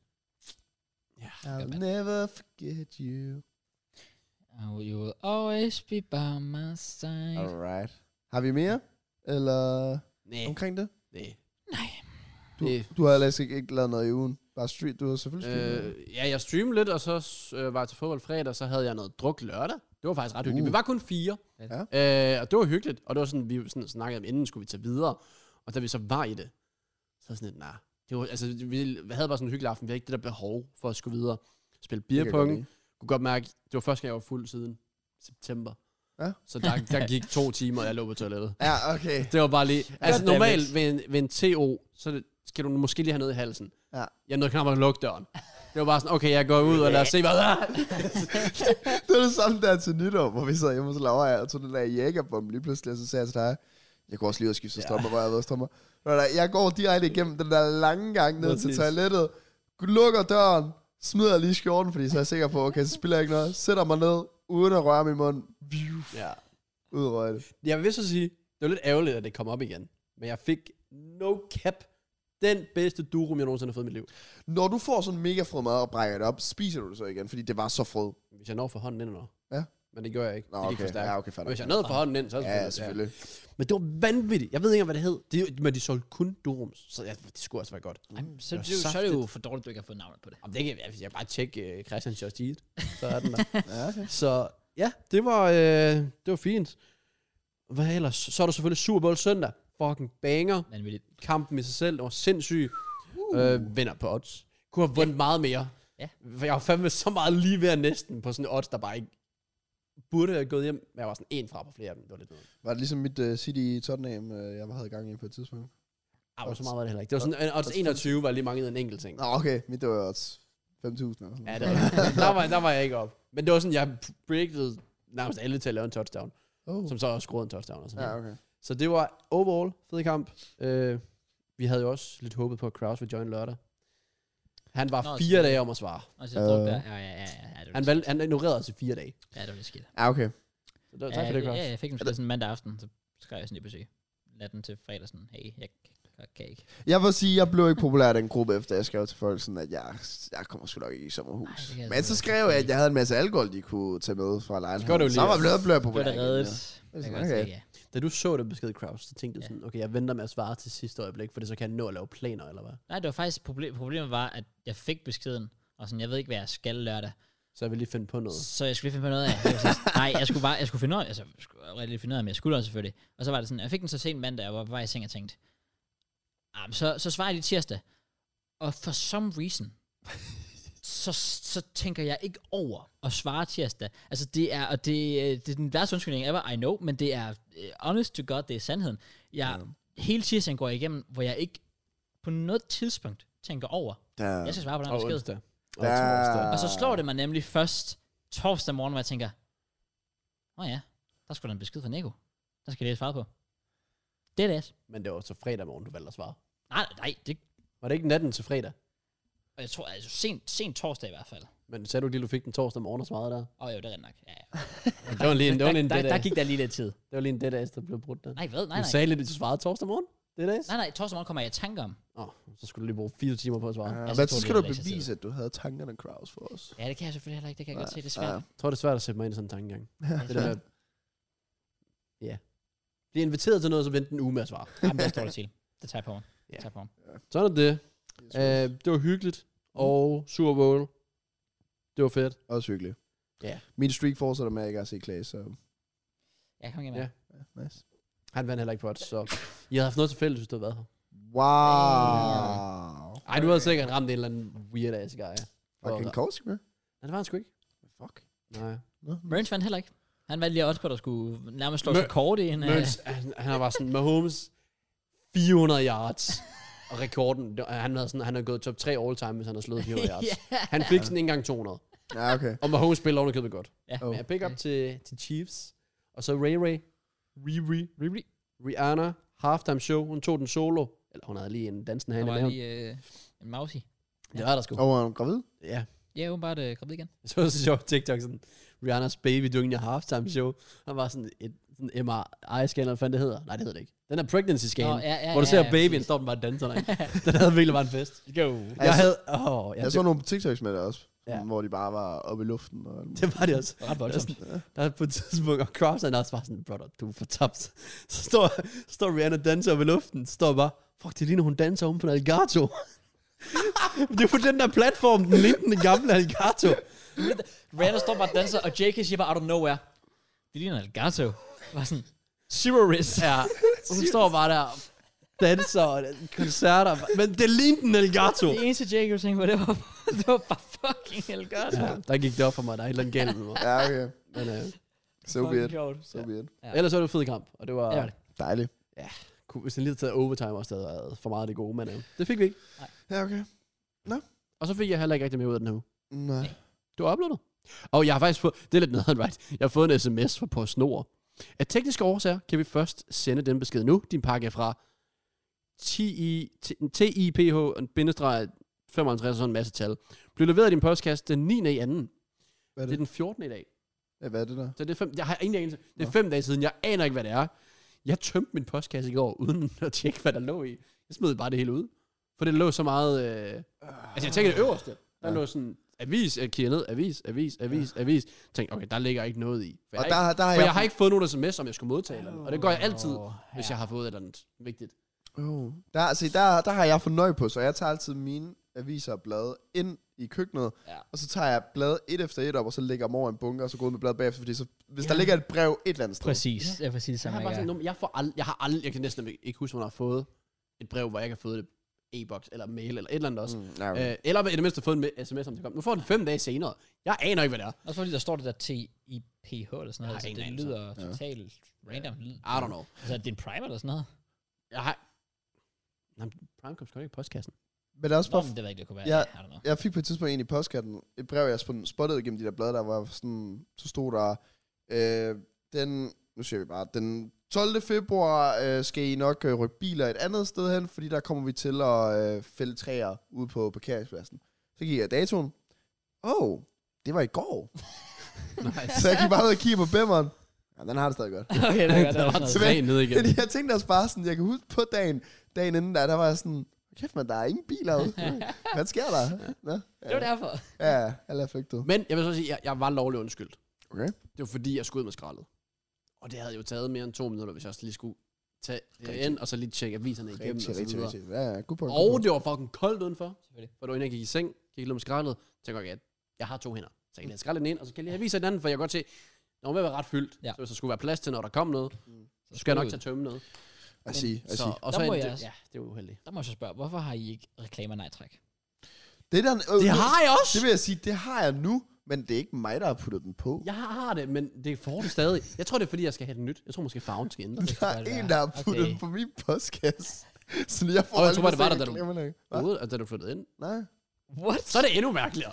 Speaker 3: I'll never forget you.
Speaker 1: Ja, Oh, you will always be by my side.
Speaker 3: Alright. Har vi mere? Eller
Speaker 2: Nej.
Speaker 3: omkring det?
Speaker 2: Nej.
Speaker 1: Nej.
Speaker 3: Du,
Speaker 2: Det-
Speaker 3: du har ellers ikke, ikke lavet noget i ugen. Bare street. Du har selvfølgelig streamet. Øh,
Speaker 2: Øh, ja, jeg streamede lidt, og så øh, var jeg til fodbold fredag, så havde jeg noget druk lørdag. Det var faktisk ret hyggeligt.
Speaker 3: Uh.
Speaker 2: Uh. Vi var kun fire, øh, og det var hyggeligt. Og det var sådan, vi sådan, snakkede om, inden skulle vi tage videre. Og da vi så var i det, så var jeg sådan lidt, nej. Det var, altså, vi havde bare sådan en hyggelig aften. Vi havde ikke det der behov for at skulle videre. Spille beerpong. kunne godt mærke, det var første gang, jeg var fuld siden september.
Speaker 3: Ja.
Speaker 2: Så der, der gik to timer, og jeg lå på toilettet.
Speaker 3: Ja, okay.
Speaker 2: Det var bare lige... Altså
Speaker 1: damn
Speaker 2: normalt
Speaker 1: it.
Speaker 2: ved en, ved en TO, så det- skal du måske lige have noget i halsen.
Speaker 3: Ja.
Speaker 2: Jeg nåede knap at lukke døren. Det var bare sådan, okay, jeg går ud, og lad os se, hvad der er.
Speaker 3: Det var det samme der til nytår, hvor vi sad hjemme hos Laura, og tog den der jægerbombe lige pludselig, og så sagde jeg til dig, jeg kunne også lige ud og skifte strømmer, hvor jeg havde været strømmer. Ved du hvad, Jeg går direkte igennem den der lange gang ned til
Speaker 2: Præcis.
Speaker 3: toilettet, lukker døren, smider lige skjorten, fordi så er jeg sikker på, okay, så spiller jeg ikke noget, sætter mig ned, uden at røre min mund,
Speaker 2: Ja.
Speaker 3: ud og røg det.
Speaker 2: Jeg vil så sige, det var lidt ærgerligt, at det kom op igen. Men jeg fik no cap den bedste durum, jeg nogensinde har fået i mit liv.
Speaker 3: Når du får sådan mega frød mad og brækker det op, spiser du det så igen, fordi det var så frød.
Speaker 2: Hvis jeg når for hånden ind under.
Speaker 3: Ja.
Speaker 2: Men det gjorde jeg ikke.
Speaker 3: Nå,
Speaker 2: det gik
Speaker 3: okay.
Speaker 2: for stærkt.
Speaker 3: Ja, okay, fair
Speaker 2: Men
Speaker 3: nok.
Speaker 2: Hvis jeg nåede for hånden ind, så er det
Speaker 3: Ja, selvfølgelig.
Speaker 2: Men det var vanvittigt. Jeg ved ikke, hvad det hed. Det, men de solgte kun durums. Så ja, det skulle også være godt.
Speaker 1: Ej, men så, er
Speaker 2: det
Speaker 1: det, jo-
Speaker 2: var
Speaker 1: så er det jo for dårligt, du ikke har fået navnet på det.
Speaker 2: Jamen, det kan, altså, jeg, jeg bare tjekke uh, Christian Just Eat. Så er den der.
Speaker 3: Ja, okay.
Speaker 2: så ja, det var, øh, det var fint. Hvad ellers? Så er der selvfølgelig Super Bowl søndag. Fucking banger.
Speaker 1: Vanvittigt.
Speaker 2: Kampen i sig selv. Det var sindssygt. Øh, vinder på odds. Kunne have vundet meget mere.
Speaker 1: Ja.
Speaker 2: For jeg var fandme så meget lige ved at næsten på sådan en odds, der bare ikke burde have gået hjem. Men jeg var sådan en fra på flere af dem. Det var lidt noget.
Speaker 3: Var det ligesom mit uh, City i Tottenham, uh, jeg havde gang i på et tidspunkt?
Speaker 2: Ej, hvor så meget var det heller ikke. Det var sådan, en odds 21 var lige mange en enkelt ting.
Speaker 3: Nå, okay, mit det var også 5.000 eller sådan noget.
Speaker 2: Ja, det var, der, var, der var jeg ikke op. Men det var sådan, jeg predicted nærmest alle til at lave en touchdown,
Speaker 3: Oh.
Speaker 2: som så også scorede en touchdown. Og sådan
Speaker 3: Ja,
Speaker 2: ja.
Speaker 3: okay.
Speaker 2: Så det var overall fed kamp. Øh, vi havde jo også lidt håbet på, at Kraus ville join lørdag. Han var
Speaker 1: Nå,
Speaker 2: Nå,
Speaker 1: selvfølgelig.
Speaker 2: fire dage om at svare.
Speaker 1: Og så druk
Speaker 3: Øh.
Speaker 1: der. Ja, ja, ja. ja, ja det var
Speaker 2: Han,
Speaker 1: lidt
Speaker 2: valg, han ignorerede os i fire dage.
Speaker 1: skidt. Ja, det var lidt skidt.
Speaker 3: Ja, okay.
Speaker 2: Så det, var- tak for det,
Speaker 1: ja,
Speaker 2: Kraus.
Speaker 1: ja, jeg fik en besked sådan mandag aften, så skrev jeg sådan lige besøg. Natten til fredag sådan, hey, jeg kan, kan ikke.
Speaker 3: Jeg vil sige, jeg blev ikke populær i den gruppe, efter jeg skrev til folk, sådan at jeg, jeg kommer sgu nok ikke
Speaker 1: Ej,
Speaker 3: i
Speaker 1: det
Speaker 3: sommerhus.
Speaker 1: kan jeg
Speaker 3: Ej,
Speaker 1: sgu
Speaker 3: Men så
Speaker 1: ikke
Speaker 3: skrev jeg, at jeg havde en masse alkohol, de kunne tage med fra lejen.
Speaker 2: Gør du lige.
Speaker 3: Så var jeg blevet, blevet
Speaker 1: Det var
Speaker 3: populær.
Speaker 1: da reddet.
Speaker 3: igen,
Speaker 1: Jeg kan
Speaker 3: sådan,
Speaker 1: godt
Speaker 3: okay.
Speaker 1: se, ja.
Speaker 2: Da du så det besked, Kraus, så tænkte du
Speaker 1: Ja.
Speaker 2: sådan, okay, jeg venter med at svare til sidste øjeblik, for det så kan jeg nå at lave planer, eller hvad?
Speaker 1: Nej, det var faktisk, proble- problemet var, at jeg fik beskeden, og sådan, jeg ved ikke, hvad jeg skal lørdag.
Speaker 2: Så jeg vil lige finde på noget.
Speaker 1: Så jeg skulle lige finde på noget af. det var sådan- Nej, jeg skulle bare, jeg skulle finde ud af, altså, jeg skulle rigtig lidt finde ud af, men jeg skulle også selvfølgelig. Og så var det sådan, jeg fik den så sent mandag, og jeg var på vej i seng og tænkte, ah, men så, så svarer jeg lige tirsdag. Og for some reason, så, så tænker jeg ikke over at svare tirsdag. Altså det er, og det, øh, det er den værste undskyldning ever, I know, men det er øh, honest to god, det er sandheden. Jeg, Hele tirsdagen går jeg igennem, hvor jeg ikke på noget tidspunkt tænker over,
Speaker 3: Der,
Speaker 1: jeg skal svare på den her
Speaker 2: Og
Speaker 1: besked.
Speaker 2: onsdag. Og
Speaker 3: Ja.
Speaker 2: torsdag.
Speaker 1: Og så slår det mig nemlig først torsdag morgen, hvor jeg tænker, åh ja, der skulle da en besked fra Nico. Der skal jeg lige svare på. Det er det.
Speaker 2: Men det var så fredag morgen, du valgte at svare.
Speaker 1: Nej, nej, det,
Speaker 2: Var det ikke natten til fredag?
Speaker 1: og jeg tror, altså sent, sent torsdag i hvert fald.
Speaker 2: Men sagde du lige, du fik den torsdag morgen og svarede der?
Speaker 1: Åh oh, jo, det er rent nok. Ja, ja.
Speaker 2: Det var lige en, det var lige
Speaker 1: der,
Speaker 2: en
Speaker 1: der,
Speaker 2: dead
Speaker 1: der,
Speaker 2: ass.
Speaker 1: gik der lige lidt tid.
Speaker 2: Det var lige en dead ass, der blev brudt der.
Speaker 1: Nej, hvad? Nej,
Speaker 2: Du
Speaker 1: nej.
Speaker 2: sagde lidt, at du svarede torsdag morgen. Det er
Speaker 1: Nej, nej, torsdag morgen kommer jeg i tanke om.
Speaker 2: Åh, så skulle du lige bruge fire timer på at svare.
Speaker 3: uh,
Speaker 1: jeg
Speaker 3: men
Speaker 1: tror,
Speaker 3: så
Speaker 1: det
Speaker 3: skal
Speaker 1: er
Speaker 3: du
Speaker 1: lidt
Speaker 3: bevise, at du havde tankerne Kraus for os.
Speaker 1: Ja, det kan jeg selvfølgelig heller ikke. Det kan jeg godt se, det er
Speaker 3: Ja,
Speaker 1: svært. Altså,
Speaker 3: ja.
Speaker 2: Jeg tror, det er svært at sætte mig ind i sådan en tankegang. Det der med,
Speaker 1: Ja,
Speaker 2: at- ja. Blive inviteret til noget, så vente en uge med at svare.
Speaker 1: Jamen, det står det til. Det tager jeg på mig. Det
Speaker 2: Ja.
Speaker 1: tager jeg på mig.
Speaker 2: Sådan er det. Øh, det var hyggeligt. Og Super Bowl. Det var fedt.
Speaker 1: Øh,
Speaker 3: Også hyggeligt.
Speaker 2: Ja.
Speaker 3: Min streak fortsætter med, at jeg ikke har set Clay, så
Speaker 1: Ja, kom igen med.
Speaker 2: Ja.
Speaker 3: ja, nice.
Speaker 2: Han vandt heller ikke på odds, så I havde haft noget til fælles, hvis du havde været her.
Speaker 3: Wow.
Speaker 2: Ej, du havde sikkert ramt en eller anden weird ass guy.
Speaker 3: Fucking Korsik med.
Speaker 2: Nej, det var han sgu ikke.
Speaker 3: Fuck.
Speaker 2: Nej.
Speaker 3: Nå.
Speaker 1: Merns vandt heller ikke. Han valgte lige også på, at der skulle nærmest slå sig
Speaker 2: Mer-
Speaker 1: kort i en... øh,
Speaker 2: Møns, han, han var sådan, Mahomes, 400 yards. Og rekorden, det var- han havde, sådan, han havde gået top 3 all time, hvis han havde slået 400 yards.
Speaker 1: ja.
Speaker 2: Han fik sådan ikke engang 200.
Speaker 3: Ja, okay.
Speaker 2: Og Mahomes spiller ovenikøbet godt.
Speaker 1: ja.
Speaker 3: Oh.
Speaker 2: Men jeg pick up til, til Chiefs. Og så Ray Ray. Riri. Riri. Rihanna. Halftime show. Hun tog den solo. Eller hun havde lige en dansen her i
Speaker 1: Der var
Speaker 2: maven.
Speaker 1: lige øh, en mouse i.
Speaker 2: Det var der sgu.
Speaker 3: Og var hun gravid?
Speaker 2: Ja.
Speaker 1: Ja, åbenbart øh, gravid igen.
Speaker 2: Jeg så så sjovt på TikTok sådan. Rihannas baby during your halftime show. Han var sådan et sådan MRI-scan, eller hvad fanden det hedder. Nej, det hedder det ikke. Den er pregnancy scan.
Speaker 1: Nå,
Speaker 2: Oh,
Speaker 1: ja, ja,
Speaker 2: hvor du
Speaker 1: ja,
Speaker 2: ser
Speaker 1: ja,
Speaker 2: babyen,
Speaker 1: præcis. [LAUGHS] Altså-
Speaker 2: står den bare og danser derinde. Den havde virkelig bare en fest.
Speaker 1: Go.
Speaker 2: Jeg
Speaker 3: så-
Speaker 2: havde... Åh, oh,
Speaker 3: Jeg så nogle på TikToks med det også.
Speaker 2: Ja.
Speaker 3: ja. hvor de bare var oppe i luften. Og,
Speaker 2: [LAUGHS] Det var det også.
Speaker 1: Ret voldsomt.
Speaker 2: Der er på et tidspunkt, og Cross han er også bare sådan, brother, du er for tabt. Så står, står Rihanna og danser op i luften, så står bare, fuck, det ligner, hun danser oven på en alligator. [LAUGHS] det er på den der platform, den lignende den gamle alligator.
Speaker 1: Rihanna står bare og danser, og JK siger bare, out of nowhere. Det ligner en Elgato. Bare sådan, zero risk.
Speaker 2: Ja,
Speaker 1: Og [LAUGHS] hun står bare der.
Speaker 2: danser og koncerter. Men det lignede en alligator.
Speaker 1: Det eneste JK tænkte på, det var, [LAUGHS] det var bare fucking Elgato.
Speaker 2: Ja, der gik det op for mig, der er et eller andet galt med mig.
Speaker 3: ja, okay.
Speaker 2: Men, øh,
Speaker 3: So be it.
Speaker 1: sjovt.
Speaker 3: So be it.
Speaker 1: Ja.
Speaker 2: ellers var det en fed kamp, og det var...
Speaker 1: Det var det.
Speaker 3: Dejligt.
Speaker 2: Kunne- Hvis den lige havde taget overtime også, det havde været for meget af det gode, men øh, det fik vi ikke.
Speaker 3: Ja, okay.
Speaker 2: Og så fik jeg heller ikke rigtig mere ud af den her uge.
Speaker 3: Nej.
Speaker 2: Du har uploadet. Og jeg har faktisk fået, det er lidt noget, right? Jeg har fået en sms fra på snor. Af tekniske årsager kan vi først sende den besked nu. Din pakke er fra TI TIPH, en bindestreg 55 og sådan en masse tal. Blev leveret i din postkasse den 9. i anden.
Speaker 3: Hvad
Speaker 2: Det er
Speaker 3: er det?
Speaker 2: den 14. i dag.
Speaker 3: Ja, hvad er det der?
Speaker 2: Så det er fem, jeg har ingen anelse. Det er
Speaker 3: Nå.
Speaker 2: fem dage siden. Jeg aner ikke, hvad det er. Jeg tømte min postkasse i går, [LAUGHS] uden at tjekke, hvad der lå i. Jeg smed bare det hele ud. For det lå så meget... Øh... Altså, jeg tænker det øverste. Der
Speaker 3: Ah. Ja.
Speaker 2: lå sådan avis, jeg kigger ned, avis, avis, avis, avis. Jeg tænkte, okay, der ligger ikke noget i. For
Speaker 3: Og
Speaker 2: jeg,
Speaker 3: der,
Speaker 2: har
Speaker 3: der har
Speaker 2: ikke, for
Speaker 3: jeg...
Speaker 2: jeg har ikke fået nogen sms, om jeg skulle modtage eller noget. Og det gør jeg altid,
Speaker 1: Åh,
Speaker 2: hvis
Speaker 1: ja.
Speaker 2: jeg har fået et eller andet vigtigt.
Speaker 3: Oh. Der, se, der, der har jeg fornøj på, så jeg tager altid mine aviser og blade ind i køkkenet,
Speaker 1: Ja.
Speaker 3: og så tager jeg blade et efter et op, og så lægger dem over i en bunker, og så går ud med bladet bagefter, fordi så, hvis
Speaker 1: Ja.
Speaker 3: der ligger et brev et eller andet sted.
Speaker 1: Præcis. Ja, præcis.
Speaker 2: Jeg
Speaker 1: Som
Speaker 2: har
Speaker 1: jeg
Speaker 2: bare sådan,
Speaker 1: er.
Speaker 2: "Nå, jeg, får ald- jeg har aldrig, jeg kan næsten ikke- ikke huske, hvornår jeg har fået et brev, hvor jeg ikke har fået det e-boks eller mail eller et eller andet også.
Speaker 3: Mm, ja, okay.
Speaker 2: Øh, eller i det mindste fået en me- sms, om det kom. Nu får den fem dage senere. Jeg aner ikke, hvad det er.
Speaker 1: Også fordi der står det der T-I-P-H eller sådan noget.
Speaker 2: Jeg har
Speaker 1: Altså,
Speaker 2: ingen
Speaker 1: det
Speaker 2: anelse.
Speaker 1: lyder
Speaker 3: Ja.
Speaker 1: totalt random. Det lyder-
Speaker 2: I don't know.
Speaker 1: Altså, er det en primer eller sådan noget?
Speaker 2: Jeg har... Jamen, Prime kom sgu ikke i postkassen.
Speaker 3: Men [LAUGHS] det er også
Speaker 1: Nå,
Speaker 3: bare
Speaker 1: men det ved jeg ikke, det kunne være.
Speaker 3: Ja.
Speaker 1: Ja. I
Speaker 3: [LAUGHS]
Speaker 1: don't know. [LAUGHS]
Speaker 3: Jeg fik på et tidspunkt en i postkatten et brev, jeg sådan spottede gennem de der blade, der var sådan, så stod der, øh, den, nu siger vi bare, den 12. februar øh, skal I nok øh, rykke biler et andet sted hen, fordi der kommer vi til at øh, fælde træer ude på parkeringspladsen. Så gik jeg datoen. Åh, oh, det var i
Speaker 1: [LAUGHS]
Speaker 3: går.
Speaker 2: Nice.
Speaker 3: Så jeg gik bare ned og kiggede på bæmmeren. Ja, den har det stadig godt.
Speaker 1: Okay,
Speaker 3: [LAUGHS]
Speaker 1: det er godt. Det
Speaker 2: der
Speaker 1: var
Speaker 2: var
Speaker 1: sådan
Speaker 3: tilbage.
Speaker 1: noget.
Speaker 2: tre nede
Speaker 3: [LAUGHS]
Speaker 2: igen.
Speaker 3: Men jeg tænkte også bare sådan, jeg kan huske på dagen, dagen inden der, der var jeg sådan, kæft man, der er ingen biler
Speaker 1: [LAUGHS]
Speaker 3: ude. Hvad sker der? Nå,
Speaker 1: Det var derfor.
Speaker 3: ja, alle er flygtet.
Speaker 2: Men jeg vil så sige, jeg, jeg var lovlig undskyldt.
Speaker 3: Okay.
Speaker 2: Det var fordi, jeg skulle ud med skraldet. Og det havde jo taget mere end to minutter, hvis jeg også lige skulle tage det ind, og så lige tjekke aviserne igennem.
Speaker 3: Rigtig,
Speaker 2: og så
Speaker 3: rigtig,
Speaker 2: videre.
Speaker 3: rigtig. Ja, ja, god point. god
Speaker 2: Og
Speaker 3: point.
Speaker 2: det var fucking koldt udenfor.
Speaker 1: Selvfølgelig.
Speaker 2: For det var inden jeg gik i seng, gik lidt med skraldet, tænkte jeg, okay, at jeg har to hænder. Så jeg kan lige skralde den ene, og så kan jeg lige have vist den anden, for jeg kan godt se, når man være ret fyldt,
Speaker 1: Ja.
Speaker 2: ja. så hvis der skulle være plads til, når der kom noget, så skulle jeg nok tage tømme noget.
Speaker 3: I see, I
Speaker 2: Så,
Speaker 3: see.
Speaker 2: og
Speaker 1: Der
Speaker 2: så
Speaker 1: må
Speaker 2: endte-
Speaker 1: jeg også-
Speaker 2: ja, det var uheldigt.
Speaker 1: Der må jeg så spørge, hvorfor har I ikke reklamer nej-træk?
Speaker 3: Det, der, øh,
Speaker 2: Det har jeg også!
Speaker 3: det vil jeg sige, det har jeg nu, men det er ikke mig, der har puttet den på.
Speaker 2: Jeg har det, men det får det stadig. Jeg tror, det er, fordi jeg skal have det nyt. Jeg tror måske, farven skal ændre.
Speaker 3: [LAUGHS] der er
Speaker 1: godt
Speaker 3: en,
Speaker 1: være.
Speaker 3: der har puttet
Speaker 1: Okay.
Speaker 3: den på min postkasse. [LAUGHS] Så jeg får
Speaker 2: Og jeg
Speaker 3: aldrig
Speaker 2: tror bare, det var
Speaker 3: set
Speaker 2: der, da du-
Speaker 3: reklamerne. Hva?
Speaker 2: Ude, at da du flyttede ind.
Speaker 3: Nej,
Speaker 1: What?
Speaker 2: Så er det endnu mærkeligere.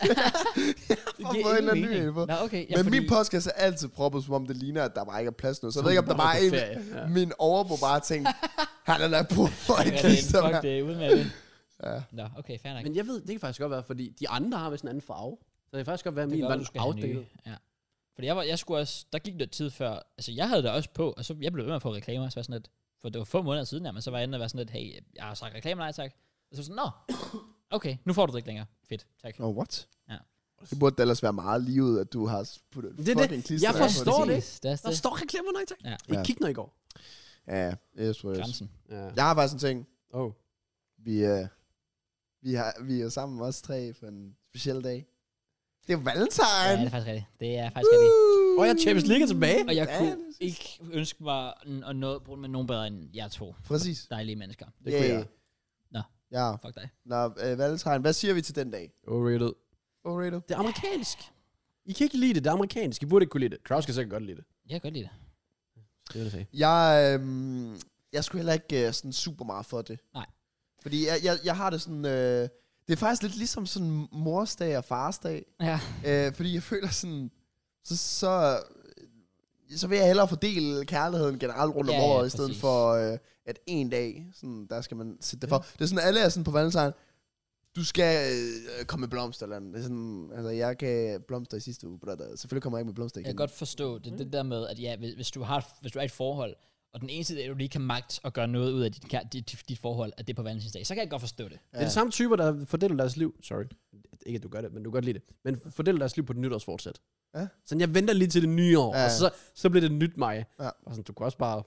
Speaker 3: jeg har fået en eller anden ny info.
Speaker 1: Nå, okay. Ja,
Speaker 3: Men
Speaker 1: fordi,
Speaker 3: min postkasse er altid proppet, som om det ligner, at der bare ikke er plads nu. Så jeg ved ikke, om der bare er en...
Speaker 2: ferie. Ja.
Speaker 3: Min overbo bare tænkte, han er der på for en
Speaker 1: Ja, det er
Speaker 3: kiste.
Speaker 1: en- fuck det, ud med det.
Speaker 3: [LAUGHS] Ja.
Speaker 1: Nå, okay, fair nok.
Speaker 2: Men jeg ved, det kan faktisk godt være, fordi de andre har vist en anden farve. Så det kan faktisk godt være, at
Speaker 1: Det
Speaker 2: min
Speaker 1: gør,
Speaker 2: var
Speaker 1: du
Speaker 2: lidt
Speaker 1: skal have nye.
Speaker 2: afdækket.
Speaker 1: Ja. Fordi jeg, var, jeg skulle også, der gik lidt tid før, altså jeg havde det også på, og så jeg blev ved med at få reklamer, så var jeg sådan lidt, for det var få måneder siden, men så var jeg inde og være sådan lidt, hey, jeg har sagt reklamer, nej tak. Og så var jeg sådan, nå, okay, nu får du det ikke længere. Fedt, tak.
Speaker 3: Oh, what?
Speaker 1: Ja.
Speaker 3: Det burde da ellers være meget livet, at du har puttet
Speaker 2: Det er det.
Speaker 3: fucking klister
Speaker 2: Jeg
Speaker 3: på
Speaker 2: forstår
Speaker 3: det.
Speaker 2: det.
Speaker 1: Præcis, Det er
Speaker 2: Der
Speaker 1: det.
Speaker 2: står reklamer, nej tak.
Speaker 1: Ja.
Speaker 2: Det
Speaker 3: Ja.
Speaker 2: gik noget i går.
Speaker 3: Ja, yes, yes.
Speaker 1: Grænsen.
Speaker 2: Ja.
Speaker 3: Jeg har faktisk en ting.
Speaker 2: Oh.
Speaker 3: Vi, øh, vi, har, vi er sammen os tre for en speciel dag. Det er
Speaker 1: Ja,
Speaker 3: valentine!
Speaker 1: det er faktisk rigtigt. Det er faktisk rigtigt.
Speaker 2: Og jeg har Champions League er tilbage.
Speaker 1: Og jeg
Speaker 3: Ja,
Speaker 1: kunne
Speaker 3: det
Speaker 1: ikke ønske mig n- at nå bruge med nogen bedre end jer to
Speaker 3: Præcis.
Speaker 1: dejlige mennesker.
Speaker 2: Det kunne
Speaker 3: Yay.
Speaker 2: jeg.
Speaker 1: Nå.
Speaker 3: Ja,
Speaker 1: Fuck dig.
Speaker 3: nå, øh, valentine. Hvad siger vi til den dag?
Speaker 2: Overrated.
Speaker 3: Overrated.
Speaker 2: Det er amerikansk. I kan ikke lide det, det er amerikansk. I burde ikke kunne lide det. Kraus kan sikkert godt lide det.
Speaker 1: Jeg kan godt lide det.
Speaker 2: Det vil jeg sige.
Speaker 3: Jeg, øh, jeg skulle heller ikke øh, sådan super meget for det.
Speaker 1: Nej.
Speaker 3: Fordi jeg, jeg, jeg har det sådan... Øh, det er faktisk lidt ligesom sådan morsdag og farsdag.
Speaker 1: Ja.
Speaker 3: Øh, fordi jeg føler sådan... Så, så, så vil jeg hellere fordele kærligheden generelt rundt om
Speaker 1: Ja, ja,
Speaker 3: året, i stedet
Speaker 1: præcis.
Speaker 3: for, øh, at en dag, sådan, der skal man sætte det for. Det er sådan, alle er sådan på valentine, du skal øh, komme med blomster eller andet. Det er sådan, altså, jeg gav blomster i sidste uge, brother. Selvfølgelig kommer jeg ikke med blomster igen.
Speaker 1: Jeg kan godt forstå det, det der med, at ja, hvis, hvis, du har, hvis du er i et forhold, og og den eneste dag, du lige kan magt at gøre noget ud af dit, kær- dit, dit, dit forhold, at det er på valentinsdag, så kan jeg godt forstå det.
Speaker 2: Det er de samme typer, der fordeler deres liv. Sorry. Ikke at du gør det, men du kan godt lide det. Men fordeler deres liv på et nytårsfortsæt.
Speaker 3: Ja.
Speaker 2: Sådan, jeg venter lige til det nye år,
Speaker 3: Ja.
Speaker 2: ja. og så, så bliver det nyt mig.
Speaker 3: Ja.
Speaker 2: Og sådan, du kan også bare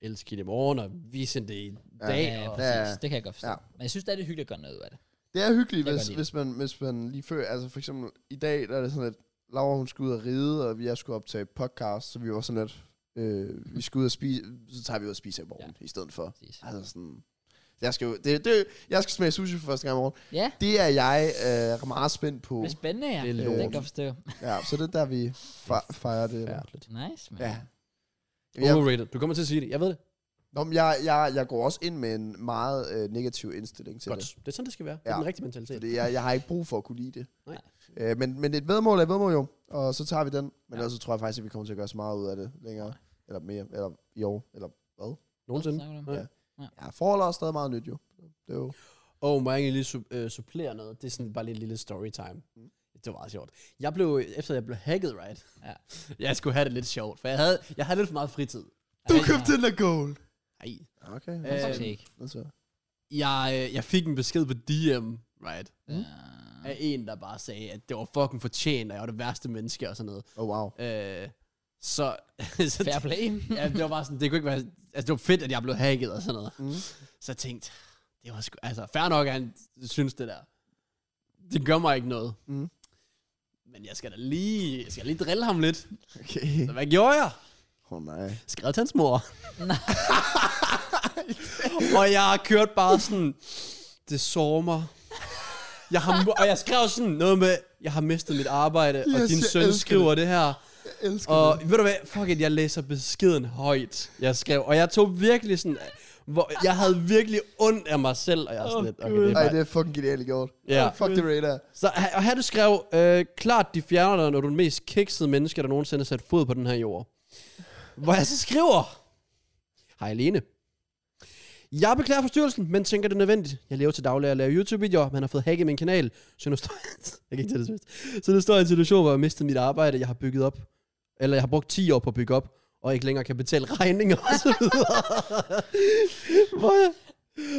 Speaker 2: elske hende i morgen, og vise hende det i
Speaker 3: Ja.
Speaker 2: dag.
Speaker 1: ja,
Speaker 2: og,
Speaker 1: præcis.
Speaker 3: ja.
Speaker 1: Det kan jeg godt forstå.
Speaker 3: Ja.
Speaker 1: Ja. Men jeg synes, det er det hyggeligt at gøre noget ud af det.
Speaker 3: Det er hyggeligt,
Speaker 1: Jeg
Speaker 3: hvis,
Speaker 1: kan godt lide
Speaker 3: hvis, man, hvis man lige før, altså for eksempel i dag, der er det sådan, at Laura hun skulle ud og ride, og vi jeg skulle optage podcast, så vi var sådan, at øh, vi skulle ud og spise, så tager vi ud og spise i morgen ja. i stedet for.
Speaker 1: Præcis.
Speaker 3: Altså sådan, jeg skal, jo- det, det, jeg skal smage sushi for første gang i morgen.
Speaker 1: Ja,
Speaker 3: Det er jeg øh, meget spændt på.
Speaker 1: det er spændende, ja.
Speaker 2: Det er
Speaker 1: Det,
Speaker 2: lort.
Speaker 1: kan jeg godt forstå.
Speaker 3: Ja, så det er der, vi fe- fejrer det. Ja.
Speaker 2: Forfærdeligt.
Speaker 1: Nice, man.
Speaker 3: ja. Jeg,
Speaker 2: Overrated. Du kommer til at sige det. Jeg ved det.
Speaker 3: nå, men jeg, jeg, jeg går også ind med en meget øh, negativ indstilling til
Speaker 2: Godt.
Speaker 3: det.
Speaker 2: Det er sådan, det skal være. Ja. Det
Speaker 3: Ja.
Speaker 2: er den rigtige mentalitet.
Speaker 3: Fordi jeg, jeg har ikke brug for at kunne lide det.
Speaker 2: Nej.
Speaker 3: Øh, men, men et vedmål er et vedmål jo, og så tager vi den. Men
Speaker 1: Ja.
Speaker 3: ja. ellers så tror jeg faktisk, at vi kommer til at gøre så meget ud af det længere. Eller mere, eller i år, eller
Speaker 2: Nogensinde.
Speaker 1: Snakker du om?
Speaker 2: Ja.
Speaker 3: Ja, forholdet er stadig meget nyt jo. Det er jo...
Speaker 2: Og må jeg egentlig lige su- øh, supplere noget? Det er sådan bare lige en lille storytime. Mm. Det var meget sjovt. Jeg blev, efter jeg blev hacket, right?
Speaker 1: Ja.
Speaker 2: [LAUGHS] jeg skulle have det lidt sjovt, for jeg havde, jeg havde lidt for meget fritid.
Speaker 1: Du Ja. købte
Speaker 3: den der gold! Altså.
Speaker 2: Ej.
Speaker 3: Okay,
Speaker 1: Nå,
Speaker 2: Øh,
Speaker 1: faktisk ikke.
Speaker 3: det så.
Speaker 2: Jeg, øh, jeg fik en besked på DM, right?
Speaker 1: Ja.
Speaker 2: Af en, der bare sagde, at det var fucking fortjent, og jeg var det værste menneske og sådan noget.
Speaker 3: Oh, wow.
Speaker 2: Øh, så, [LAUGHS] så
Speaker 1: Fair play.
Speaker 2: ja, det var bare sådan, det kunne ikke være, altså det var fedt, at jeg blev hacket og sådan noget.
Speaker 3: Mm.
Speaker 2: Så jeg tænkte, det var sgu, altså fair nok, at han synes det der. Det gør mig ikke noget.
Speaker 3: Mm.
Speaker 2: Men jeg skal da lige, jeg skal lige drille ham lidt.
Speaker 3: Okay.
Speaker 2: Så hvad gjorde jeg?
Speaker 3: Åh oh, nej.
Speaker 2: Skrev til hans mor. [LAUGHS] og jeg har kørt bare sådan, det sårer mig. Jeg har, mu- og jeg skrev sådan noget med, jeg har mistet mit arbejde, yes, og
Speaker 3: Yes,
Speaker 2: din
Speaker 3: jeg
Speaker 2: søn
Speaker 3: elsker
Speaker 2: skriver det. det her.
Speaker 3: Jeg elsker
Speaker 2: Og
Speaker 3: det.
Speaker 2: ved du hvad, fuck it, jeg læser beskeden højt, jeg skrev. Og jeg tog virkelig sådan, hvor, jeg havde virkelig ondt af mig selv, og jeg er sådan
Speaker 1: Åh,
Speaker 2: lidt, okay,
Speaker 1: Gud.
Speaker 2: det er
Speaker 3: Ej,
Speaker 2: bare,
Speaker 3: det er fucking genialt gjort.
Speaker 2: Ja.
Speaker 3: Fuck det, Raider.
Speaker 2: Så ha- og her du skrev, øh, klart de fjerner dig, når du er den mest kiksede menneske, der nogensinde har sat fod på den her jord. Hvor jeg så skriver, hej Alene. Jeg beklager forstyrrelsen, men tænker det er nødvendigt. Jeg lever til daglig og laver YouTube-videoer, men har fået hacket min kanal, så nu står jeg, [LAUGHS] jeg kan ikke tage det seriøst. så nu står jeg i en situation, hvor jeg har mistet mit arbejde, jeg har bygget op, eller jeg har brugt 10 år på at bygge op, og ikke længere kan betale regninger [LAUGHS] og så videre. hvor jeg,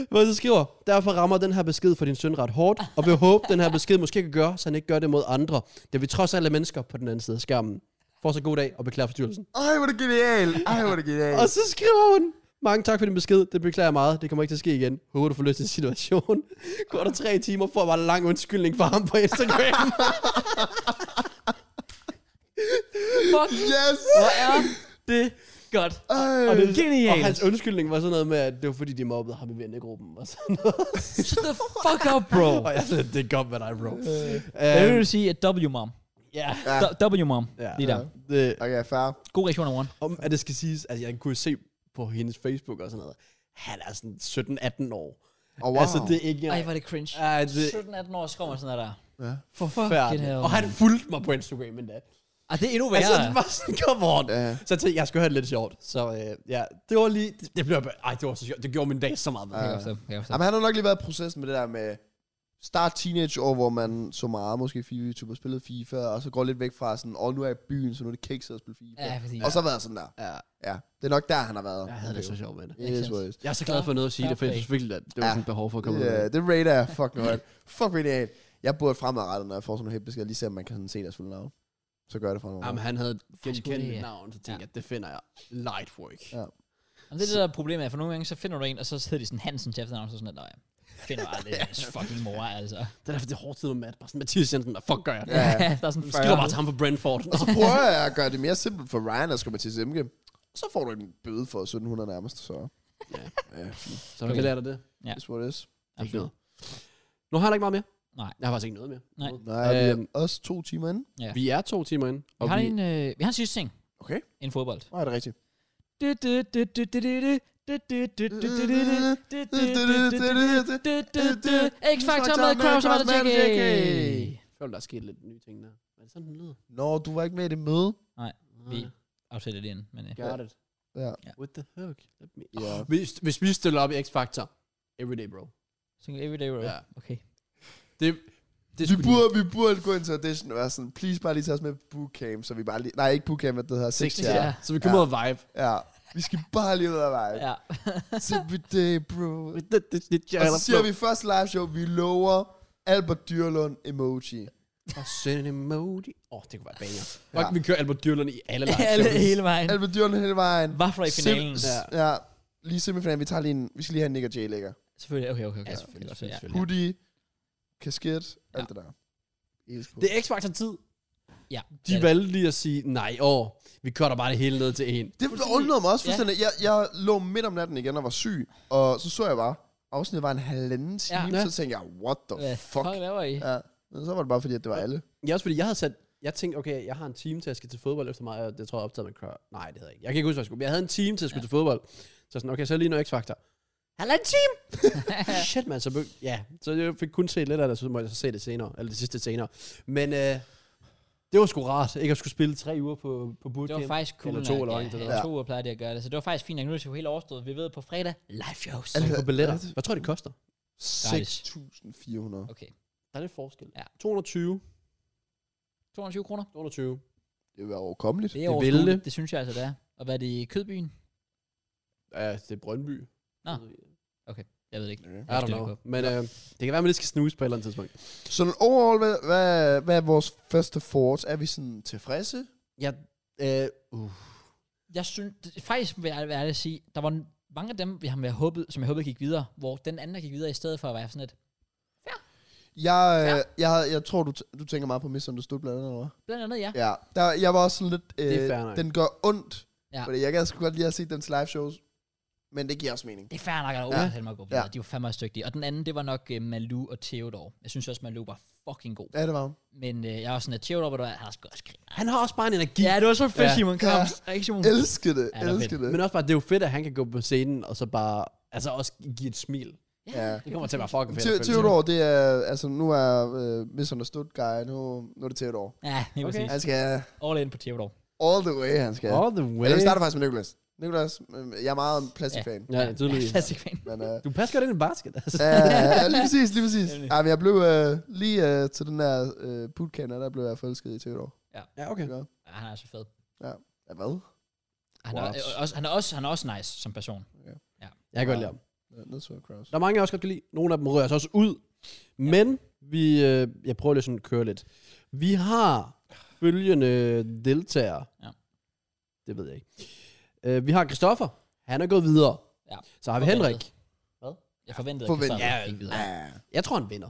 Speaker 2: hvor jeg så skriver, derfor rammer den her besked for din søn ret hårdt, og vil håbe, den her besked måske kan gøre, så han ikke gør det mod andre, da vi trods alt er mennesker på den anden side af skærmen. Fortsat god dag, og beklager forstyrrelsen.
Speaker 3: Ej, hvor er det genialt. Ej, hvor er det genialt.
Speaker 2: Og så skriver hun, mange tak for din besked, det beklager jeg meget, det kommer ikke til at ske igen. Håber du får løst din situation. [LAUGHS] Går der tre timer, får jeg bare en lang undskyldning fra ham på Instagram.
Speaker 1: Fuck,
Speaker 3: Yes!
Speaker 1: hvor er det godt.
Speaker 3: Ej.
Speaker 1: [LAUGHS] Og det er
Speaker 2: og
Speaker 1: genialt.
Speaker 2: hans undskyldning var sådan noget med, at det var fordi, de mobbede ham i vennegruppen og sådan noget.
Speaker 1: Shut the fuck up, bro.
Speaker 2: Og jeg sagde, det er godt, hvad dig, bro.
Speaker 1: Øh. Jeg
Speaker 2: Øhm,
Speaker 1: vil sige, at W-mom.
Speaker 2: Ja.
Speaker 3: Ja.
Speaker 1: W-mom.
Speaker 2: Ja.
Speaker 1: Lige der.
Speaker 2: Det,
Speaker 3: Okay, fair.
Speaker 1: God reaktion, Warren.
Speaker 2: om at det skal siges, at jeg kunne se på hendes Facebook og sådan noget, han er sådan 17-18 år.
Speaker 3: Og wow.
Speaker 2: Wow. Altså, det er ikke...
Speaker 1: Ej, hvor er det cringe.
Speaker 2: Ej, det er
Speaker 1: 17-18 år skruer sådan der.
Speaker 3: Ja.
Speaker 1: Fuck it
Speaker 2: forfærdeligt.
Speaker 1: hell,
Speaker 2: Og han
Speaker 1: man.
Speaker 2: fulgte mig på Instagram endda.
Speaker 1: Ah, det er endnu værre.
Speaker 2: Altså, det var sådan, [LAUGHS] come on.
Speaker 3: Ja.
Speaker 2: Så jeg tænkte, jeg skulle have det lidt sjovt. Så øh, ja, det var lige... Det, det blev bare... Ej, det var så sjovt. Det gjorde min dag så meget.
Speaker 1: Jeg
Speaker 2: bedre.
Speaker 1: kan forstå, jeg kan forstå.
Speaker 3: Jamen, han har nok lige været i processen med det der med start teenage år, hvor man så meget måske FIFA YouTube og spillede FIFA, og så går lidt væk fra sådan, åh, nu er jeg i byen, så nu er det kikset at spille FIFA.
Speaker 1: Ja, præcis.
Speaker 3: Og så har været sådan der.
Speaker 2: Ja,
Speaker 3: Ja, det er nok der, han har været.
Speaker 2: jeg havde det så sjovt med det.
Speaker 3: Yes, yes.
Speaker 2: Jeg er så glad for noget at sige det, for jeg synes virkelig, at det var
Speaker 3: Ja.
Speaker 2: sådan et behov for at komme ud af
Speaker 3: Ja,
Speaker 2: det.
Speaker 3: det rater jeg fucking højt. Fuck rater Jeg burde fremadrettet, når jeg får sådan noget helt besked, lige se, om man kan sådan se deres fulde navn. Så gør jeg det for
Speaker 2: Jamen,
Speaker 3: noget.
Speaker 2: han havde genkendt
Speaker 1: det,
Speaker 2: mit
Speaker 1: ja.
Speaker 2: navn, så tænkte jeg, det finder jeg. Lightwork.
Speaker 3: Ja.
Speaker 1: Jamen, det er det der problem er, for nogle gange, så finder du en, og så hedder de sådan Hansen til efternavn, så sådan, nej, finder aldrig hans fucking mor, altså.
Speaker 2: Det er derfor, det er hårdt tid med Matt. Bare sådan, Mathias Jensen, hvad fuck gør jeg?
Speaker 3: Ja.
Speaker 1: der er sådan
Speaker 2: Jeg skriver bare til ham fra Brentford. [LAUGHS]
Speaker 3: Og så prøver jeg at gøre det mere simpelt for Ryan at skrive til MG. Så får du en bøde for 1700 nærmest, så...
Speaker 2: Ja.
Speaker 3: Ja,
Speaker 2: Så du kan lære dig det.
Speaker 1: Ja.
Speaker 3: that's what it is.
Speaker 2: Ikke
Speaker 1: Absolut.
Speaker 2: noget. Nu har jeg ikke meget mere.
Speaker 1: Nej.
Speaker 2: Jeg har faktisk ikke noget mere.
Speaker 1: Nej.
Speaker 3: Nej, vi er
Speaker 2: Øhm.
Speaker 3: også to timer inde.
Speaker 1: Ja.
Speaker 2: Vi er to timer inde.
Speaker 1: Vi har, en, øh, vi har en sidste ting
Speaker 3: Okay.
Speaker 1: inden fodbold.
Speaker 3: Nej, det er rigtigt.
Speaker 1: X-Factor med Kraus og Malte JK.
Speaker 2: Jeg føler, der er sket lidt nye ting der. Er det sådan, den lyder? Ah,
Speaker 3: Nå, du var ikke med i det møde.
Speaker 1: Vi afsætter det ind, men øh,
Speaker 2: Got it.
Speaker 3: Ja.
Speaker 2: What the fuck? Let me...
Speaker 1: Ah.
Speaker 3: Ja.
Speaker 2: Hvis, hvis vi stiller op i X-Factor. Everyday, bro.
Speaker 1: single everyday roll.
Speaker 2: Ja.
Speaker 1: Okay.
Speaker 2: Det, det
Speaker 3: Vi burde, vi burde gå ind til audition og være sådan, please bare lige tage os med på bootcamp, så vi bare lige... Nej, ikke bootcamp, men det hedder 6
Speaker 1: Ja.
Speaker 3: ja.
Speaker 2: Så vi kommer
Speaker 3: Ja.
Speaker 2: ud og vibe.
Speaker 3: ja. Vi skal bare lige ud af vejen.
Speaker 1: Ja.
Speaker 3: Every day, bro.
Speaker 2: Det, det, det,
Speaker 3: Og så siger vi først live show, vi lover Albert Dyrlund emoji.
Speaker 2: Og send en emoji. Åh, oh, det kunne være banger. Fuck, vi kører Albert Dyrlund i alle live
Speaker 1: Alle,
Speaker 2: shows.
Speaker 1: hele vejen.
Speaker 3: Albert Dyrlund hele vejen.
Speaker 1: Vafler i finalen.
Speaker 3: Sim-
Speaker 2: Ja.
Speaker 3: ja. Lige semifinalen, vi tager lige en, vi skal lige have en Nick og Jay lægger.
Speaker 1: Selvfølgelig. Okay, okay, okay.
Speaker 2: Ja,
Speaker 1: okay,
Speaker 2: selvfølgelig,
Speaker 1: okay,
Speaker 2: selvfølgelig,
Speaker 1: okay.
Speaker 2: selvfølgelig.
Speaker 3: Hoodie, kasket, alt
Speaker 1: Ja.
Speaker 3: det der. Helt cool.
Speaker 2: Det er X-Factor tid.
Speaker 1: Ja.
Speaker 2: De
Speaker 1: ja.
Speaker 2: valgte lige at sige, nej, åh, vi cutter bare det hele ned til en.
Speaker 3: Det undrede mig også fuldstændig. Jeg, jeg lå midt om natten igen og var syg, og så så jeg bare, afsnittet var en halvanden time,
Speaker 2: Ja.
Speaker 3: så tænkte jeg, what the
Speaker 1: Hvad
Speaker 3: fuck?
Speaker 1: fuck laver I?
Speaker 3: Ja. Men så var det bare fordi, at det var alle.
Speaker 2: Ja, også fordi jeg havde sat, jeg tænkte, okay, jeg har en time til, at jeg skal til fodbold efter mig, og det tror jeg optaget med Crowd. Nej, det havde jeg ikke. Jeg kan ikke huske, hvad jeg skulle, men jeg havde en time til, at jeg skulle til fodbold. Så sådan, okay, så lige noget [LAUGHS] X-Factor. Halvanden time! Shit, man, så bøg. Ja, så jeg fik kun set lidt af det, så må jeg så se det senere, eller det sidste senere. Men øh, det var sgu rart, ikke at skulle spille tre uger på, på
Speaker 1: Det
Speaker 2: bootcamp.
Speaker 1: var faktisk cool.
Speaker 2: Eller
Speaker 1: nok.
Speaker 2: to, eller
Speaker 1: ja,
Speaker 2: hvad, det
Speaker 1: ja,
Speaker 2: der.
Speaker 1: to uger plejer de at gøre det. Så det var faktisk fint, at nu er det jo helt overstået. Vi ved på fredag, live shows.
Speaker 2: Så vi
Speaker 3: Altså,
Speaker 2: får billetter.
Speaker 3: altså-
Speaker 2: Hvad tror du, det koster?
Speaker 3: 6.400.
Speaker 1: Okay.
Speaker 2: Der er lidt forskel.
Speaker 1: Ja.
Speaker 2: 220.
Speaker 1: 220 kroner.
Speaker 2: 220.
Speaker 3: Det var overkommeligt.
Speaker 1: Det er
Speaker 2: Det
Speaker 1: overskueligt.
Speaker 2: ville.
Speaker 1: Det synes jeg altså, det er. Og hvad er det i Kødbyen?
Speaker 2: Ja, det er Brøndby.
Speaker 1: Nå.
Speaker 2: I
Speaker 1: Jeg ved det ikke.
Speaker 3: Ja.
Speaker 1: Jeg har
Speaker 2: don't
Speaker 1: styr
Speaker 2: know.
Speaker 1: på.
Speaker 2: Men øh, det kan være, at man lige skal snuse på et eller andet tidspunkt.
Speaker 3: Så overall, hvad, hvad, hvad er vores første thoughts? Er vi sådan tilfredse?
Speaker 2: Jeg, øh, uh,
Speaker 1: Jeg synes, det, faktisk vil jeg være ærlig at sige, der var n- mange af dem, vi har med håbet, som jeg håbede gik videre, hvor den anden, der gik videre, i stedet for at være sådan et,
Speaker 3: Jeg,
Speaker 1: Ja.
Speaker 3: ja. jeg, jeg tror, du, t- du tænker meget på Misunderstood blandt andet, eller hvad?
Speaker 1: blandt andet ja.
Speaker 3: Ja, der, jeg var også sådan lidt... Øh,
Speaker 2: Det er fair nok.
Speaker 3: den gør ondt.
Speaker 1: Ja.
Speaker 3: Ja. Fordi jeg kan sgu godt lide at se dens live shows. Men det giver også mening.
Speaker 1: Det er fair nok, at der
Speaker 3: Ja.
Speaker 1: ja. mig at gå videre.
Speaker 3: Ja.
Speaker 1: De var fandme også dygtige. Og den anden, det var nok uh, Malu og Theodor. Jeg synes også, Malu var fucking god.
Speaker 3: Ja, det var hun.
Speaker 1: Men uh, jeg var sådan, at Theodor, hvor du er, han har sgu også griner.
Speaker 2: han har også bare en energi.
Speaker 1: Ja, det var så fedt,
Speaker 2: Ja.
Speaker 1: Simon. Kom, ja. ikke Simon.
Speaker 3: Elskede Mm. det,
Speaker 1: Ja, det var
Speaker 3: elskede det.
Speaker 2: Men også bare, det er jo fedt, at han kan gå på scenen, og så bare, altså også give et smil.
Speaker 3: Ja.
Speaker 2: Det kommer til at være
Speaker 1: [LAUGHS]
Speaker 2: fucking fedt.
Speaker 3: Theo-
Speaker 2: at følge.
Speaker 3: Theodor, det er, altså nu er uh, Misunderstood guy, nu, nu er det Theodor.
Speaker 1: Ja, helt okay.
Speaker 2: Okay.
Speaker 1: præcis.
Speaker 3: Han skal
Speaker 1: All in på Theodor.
Speaker 3: all the way, han skal.
Speaker 2: All the way.
Speaker 3: Eller vi starter faktisk med Nicolas. Nicolas, øh, jeg er meget en plastikfan. Ja.
Speaker 2: Ja,
Speaker 1: [LAUGHS]
Speaker 2: tydeligvis.
Speaker 1: Classic fan.
Speaker 3: Men, uh,
Speaker 2: Du passer godt ind i basket, altså.
Speaker 3: ja, ja, ja, lige præcis, lige præcis.
Speaker 1: Nemlig.
Speaker 3: Ja, men jeg blev øh, lige øh, til den der øh, bootcamp, der blev jeg forelsket i Theodor.
Speaker 2: Ja, okay.
Speaker 1: Ja, han er så fed.
Speaker 3: Ja, hvad?
Speaker 1: Han er,
Speaker 2: Wow.
Speaker 1: øh, også, han, er også, han er også nice som person.
Speaker 2: Jeg kan godt lide ham.
Speaker 3: Ja, Nedsvær Kraus.
Speaker 2: Der er mange, jeg også godt kan lide. Nogle af dem rører sig også ud. Men vi, øh, jeg prøver lige sådan at køre lidt. Vi har følgende deltagere.
Speaker 1: Ja.
Speaker 2: Det ved jeg ikke. Øh, vi har Christoffer. Han er gået videre.
Speaker 1: Ja.
Speaker 2: Så har vi Henrik.
Speaker 1: Jeg forventede,
Speaker 3: Forvent-
Speaker 1: at Christoffer
Speaker 2: Ja,
Speaker 1: gik videre.
Speaker 3: Ja,
Speaker 2: Jeg tror, han vinder.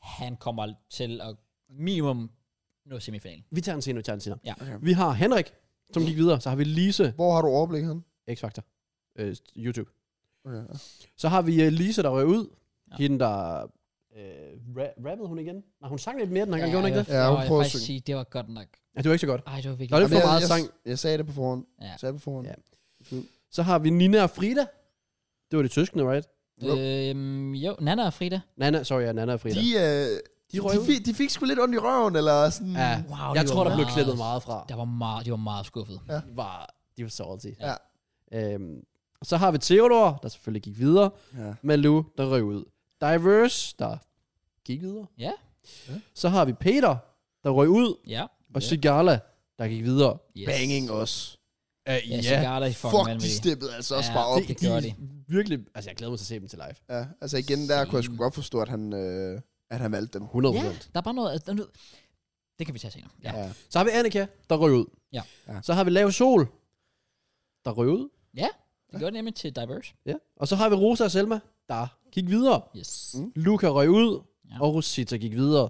Speaker 1: Han kommer til at minimum nå semifinalen.
Speaker 2: Vi tager en senere, vi tager en senere.
Speaker 3: okay.
Speaker 2: Vi har Henrik, som gik videre. Så har vi Lise,
Speaker 3: Hvor har du overblik hen?
Speaker 2: X-Factor, øh, YouTube.
Speaker 3: Okay. ja.
Speaker 2: Så har vi uh, Lise, der røg ud.
Speaker 1: Ja.
Speaker 2: Ja. Hende, der... Øh, ra- rappede hun igen? Nej, hun sang lidt mere den her gang, gjorde hun ikke det?
Speaker 1: Ja,
Speaker 3: Ja, hun
Speaker 1: jeg vil
Speaker 3: prøver at
Speaker 1: faktisk
Speaker 3: synge.
Speaker 1: sige, det var godt nok.
Speaker 2: Ja, det var ikke så godt.
Speaker 1: Ej, det var
Speaker 2: Der er
Speaker 1: virkelig
Speaker 2: lidt
Speaker 3: Jamen,
Speaker 2: for
Speaker 3: jeg-
Speaker 2: meget
Speaker 3: jeg,
Speaker 2: sang.
Speaker 3: Jeg sagde det på forhånd.
Speaker 1: Ja.
Speaker 3: Jeg sagde det på forhånd.
Speaker 2: Ja.
Speaker 3: Ja.
Speaker 2: Så har vi Nina og Frida. Det var det søskende, right?
Speaker 1: Øhm, jo, Nana og Frida.
Speaker 2: Nana, sorry, ja, Nana og Frida.
Speaker 3: De, øh, de,
Speaker 2: røg
Speaker 3: de,
Speaker 2: ud.
Speaker 3: fik, de fik sgu lidt ondt i røven, eller sådan...
Speaker 2: Ja,
Speaker 1: Wow,
Speaker 2: jeg
Speaker 1: de
Speaker 2: tror,
Speaker 1: var
Speaker 2: der blev
Speaker 1: meget-
Speaker 2: klippet meget fra.
Speaker 1: Der var meget, de var meget skuffet.
Speaker 2: De var, de var salty.
Speaker 3: Ja.
Speaker 2: Øhm, så har vi Theodor, der selvfølgelig gik videre.
Speaker 3: ja.
Speaker 2: Malou, der røg ud. Diverse, der gik videre.
Speaker 1: Ja.
Speaker 3: Ja.
Speaker 2: Så har vi Peter, der røg ud.
Speaker 1: Ja.
Speaker 2: Og
Speaker 3: Ja.
Speaker 2: Sigala, der gik videre.
Speaker 1: Yes.
Speaker 3: Banging også.
Speaker 2: Uh,
Speaker 1: Ja, Sigala i fucking
Speaker 3: Fuck, de
Speaker 1: vanvittig.
Speaker 3: steppede altså også
Speaker 1: Ja,
Speaker 3: bare op.
Speaker 1: det gør de.
Speaker 2: Virkelig, altså jeg glæder mig til at se dem til live.
Speaker 3: Ja, altså igen, der kunne jeg sgu godt forstå, at han, øh, at han valgte dem.
Speaker 2: 100%.
Speaker 1: Ja, der er bare noget... at- nu- Det kan vi tage senere. Ja.
Speaker 3: Ja.
Speaker 2: Så har vi Annika, der røg ud.
Speaker 1: Ja.
Speaker 3: Ja.
Speaker 2: Så har vi Lav Sol, der røg ud.
Speaker 1: Det gjorde det nemlig til Diverse.
Speaker 2: Ja. Og så har vi Rosa og Selma, der gik videre.
Speaker 1: Yes.
Speaker 3: Mm.
Speaker 2: Luca røg ud,
Speaker 1: Ja.
Speaker 2: ja. og Rosita gik videre.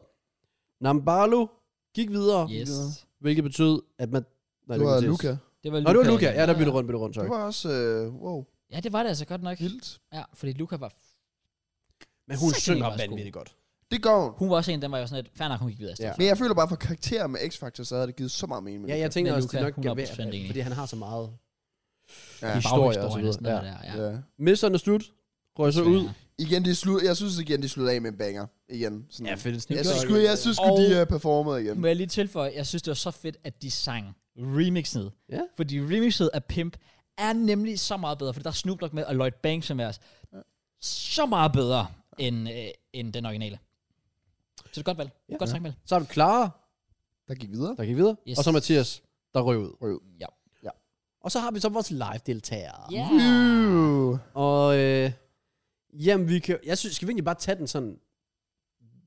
Speaker 2: Nambalu gik videre,
Speaker 1: Yes.
Speaker 2: hvilket betød, at man... Nej,
Speaker 3: Det var Luca.
Speaker 1: Det var
Speaker 2: Nå, det var Luca. Ja, der byttede rundt, byttede rundt,
Speaker 3: Det
Speaker 2: sorry.
Speaker 3: var også, øh, wow,
Speaker 1: Ja, det var det altså godt nok.
Speaker 3: vildt.
Speaker 1: Ja, fordi Luca var...
Speaker 2: Men hun
Speaker 1: Sikkert
Speaker 2: synger
Speaker 1: var sgu.
Speaker 2: vanvittigt godt.
Speaker 3: Det gør hun.
Speaker 1: Hun var også en, den var jo sådan et... Fair nok, hun gik videre. Altså, Ja.
Speaker 2: Ja.
Speaker 3: Men jeg føler bare, for karakterer med X-Factor, så havde det givet så meget mening. med
Speaker 2: Ja,
Speaker 3: Luca.
Speaker 2: jeg tænker
Speaker 1: Men
Speaker 2: også, det
Speaker 1: Luca,
Speaker 2: nok kan
Speaker 1: 100% enig.
Speaker 2: være, fordi han har så meget historie
Speaker 3: Ja.
Speaker 2: og så
Speaker 1: Baghistorien og sådan
Speaker 2: videre.
Speaker 1: noget
Speaker 2: Ja.
Speaker 1: der. Ja.
Speaker 3: ja.
Speaker 2: Misunderstood røg så ud.
Speaker 3: Igen, de slut, jeg synes igen, de slutter af med en banger. Igen. Sådan.
Speaker 2: Ja, fedt.
Speaker 3: jeg synes, sgu, jeg synes, sgu, de
Speaker 1: Og-
Speaker 3: øh, performede igen.
Speaker 1: Må jeg lige tilføje, jeg synes, det var så fedt, at de sang remixet.
Speaker 2: Ja.
Speaker 1: Fordi remixet af Pimp er nemlig så meget bedre, fordi der er Snoop Dogg med, og Lloyd Banks er med os. Så meget bedre end, øh, end den originale. Så det er godt valg. Ja.
Speaker 2: Ja.
Speaker 1: Godt sagt, Mel.
Speaker 2: Så har vi Clara,
Speaker 3: Der gik videre.
Speaker 2: der gik videre.
Speaker 1: Yes.
Speaker 2: Og så Mathias, der røg ud.
Speaker 3: Røv.
Speaker 1: Ja.
Speaker 3: Ja.
Speaker 2: Og så har vi så vores live-deltagere.
Speaker 1: Ja.
Speaker 3: Uh.
Speaker 2: Og øh, jamen, vi kan, jeg synes, skal vi egentlig bare tage den sådan,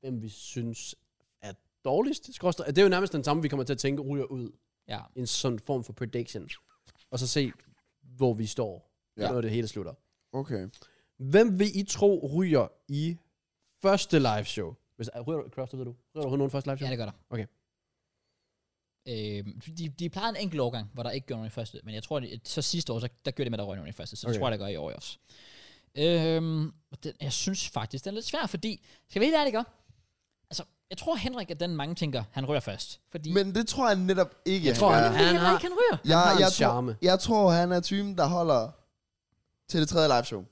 Speaker 2: hvem vi synes er dårligst? Skråstreg- Det er jo nærmest den samme, vi kommer til at tænke ryger ud.
Speaker 1: Ja.
Speaker 2: i En sådan form for prediction. Og så se, hvor vi står,
Speaker 3: Ja.
Speaker 2: ja. når det hele slutter.
Speaker 3: Okay.
Speaker 2: Hvem vil I tro ryger i første live show? Hvis, er- ryger, du- Kraus, det ved du. Ryger du nogen første live show?
Speaker 1: ja, det gør der.
Speaker 2: Okay.
Speaker 1: Øhm, de, de plejede en enkelt årgang, hvor der ikke gjorde nogen i første, men jeg tror, de, så sidste år, så, der gjorde det med, at der røg nogen i første, så okay.
Speaker 2: Okay.
Speaker 1: det tror jeg, der gør i år også. Øhm, og den, jeg synes faktisk, den er lidt svær, fordi, skal vi helt ærligt gøre? Altså, jeg tror Henrik, at den mange tænker, han røger først, fordi
Speaker 3: Men det tror jeg netop ikke,
Speaker 2: Jeg tror,
Speaker 3: han
Speaker 2: han
Speaker 3: er.
Speaker 1: Fordi
Speaker 2: Han
Speaker 1: Henrik,
Speaker 2: har-
Speaker 1: han ryger.
Speaker 3: jeg,
Speaker 2: har en
Speaker 3: Ah, jeg, tror,
Speaker 2: charme.
Speaker 3: jeg tror, han er typen, der holder til det tredje live show.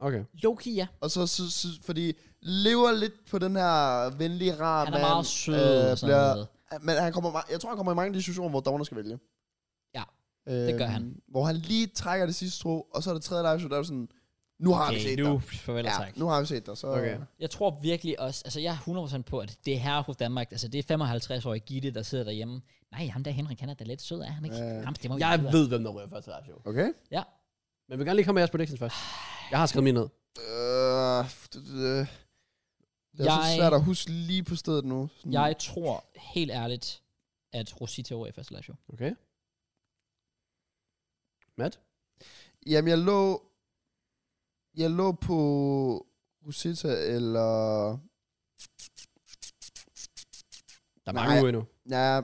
Speaker 2: Okay.
Speaker 1: Loki, ja.
Speaker 3: Og så, så, så fordi lever lidt på den her venlige, rar
Speaker 1: Han er
Speaker 3: mand, øh,
Speaker 1: meget sød og sådan
Speaker 3: bliver-
Speaker 1: noget.
Speaker 3: Men han kommer, ma- jeg tror, han kommer i mange diskussioner, hvor dommerne skal vælge.
Speaker 1: Ja,
Speaker 3: øhm,
Speaker 1: gør han.
Speaker 3: Hvor han lige trækker det sidste strå, og så er det tredje live show, der er jo sådan, nu har vi set
Speaker 1: nu,
Speaker 3: dig.
Speaker 1: farvel og tak.
Speaker 3: Ja, nu har vi set dig, så...
Speaker 2: Okay.
Speaker 1: Jeg tror virkelig også, altså jeg er 100% på, at det er her hos Danmark, altså det er 55-årige Gitte, der sidder derhjemme. Nej, ham der Henrik, han er da lidt sød, er han ikke?
Speaker 3: Ja.
Speaker 1: Ja. Ham, det må vi
Speaker 2: Jeg
Speaker 1: vide.
Speaker 2: ved, hvem der ryger første live show.
Speaker 3: Okay.
Speaker 1: Ja.
Speaker 2: Men vi vil gerne lige komme med jeres predictions
Speaker 1: [SIGHS]
Speaker 2: først. Jeg har skrevet min ned.
Speaker 3: Øh, det, det, det er
Speaker 1: Jeg-
Speaker 3: jeg... så
Speaker 1: Mm.
Speaker 3: svært at huske lige på stedet nu. Sådan,
Speaker 1: Jeg tror helt ærligt, at Rosita over i første live show.
Speaker 2: Okay. Matt?
Speaker 3: Jamen, jeg lå... Jeg lå på Rosita, eller...
Speaker 2: Der er
Speaker 3: Nej.
Speaker 2: mange uger endnu.
Speaker 3: Ja, ja,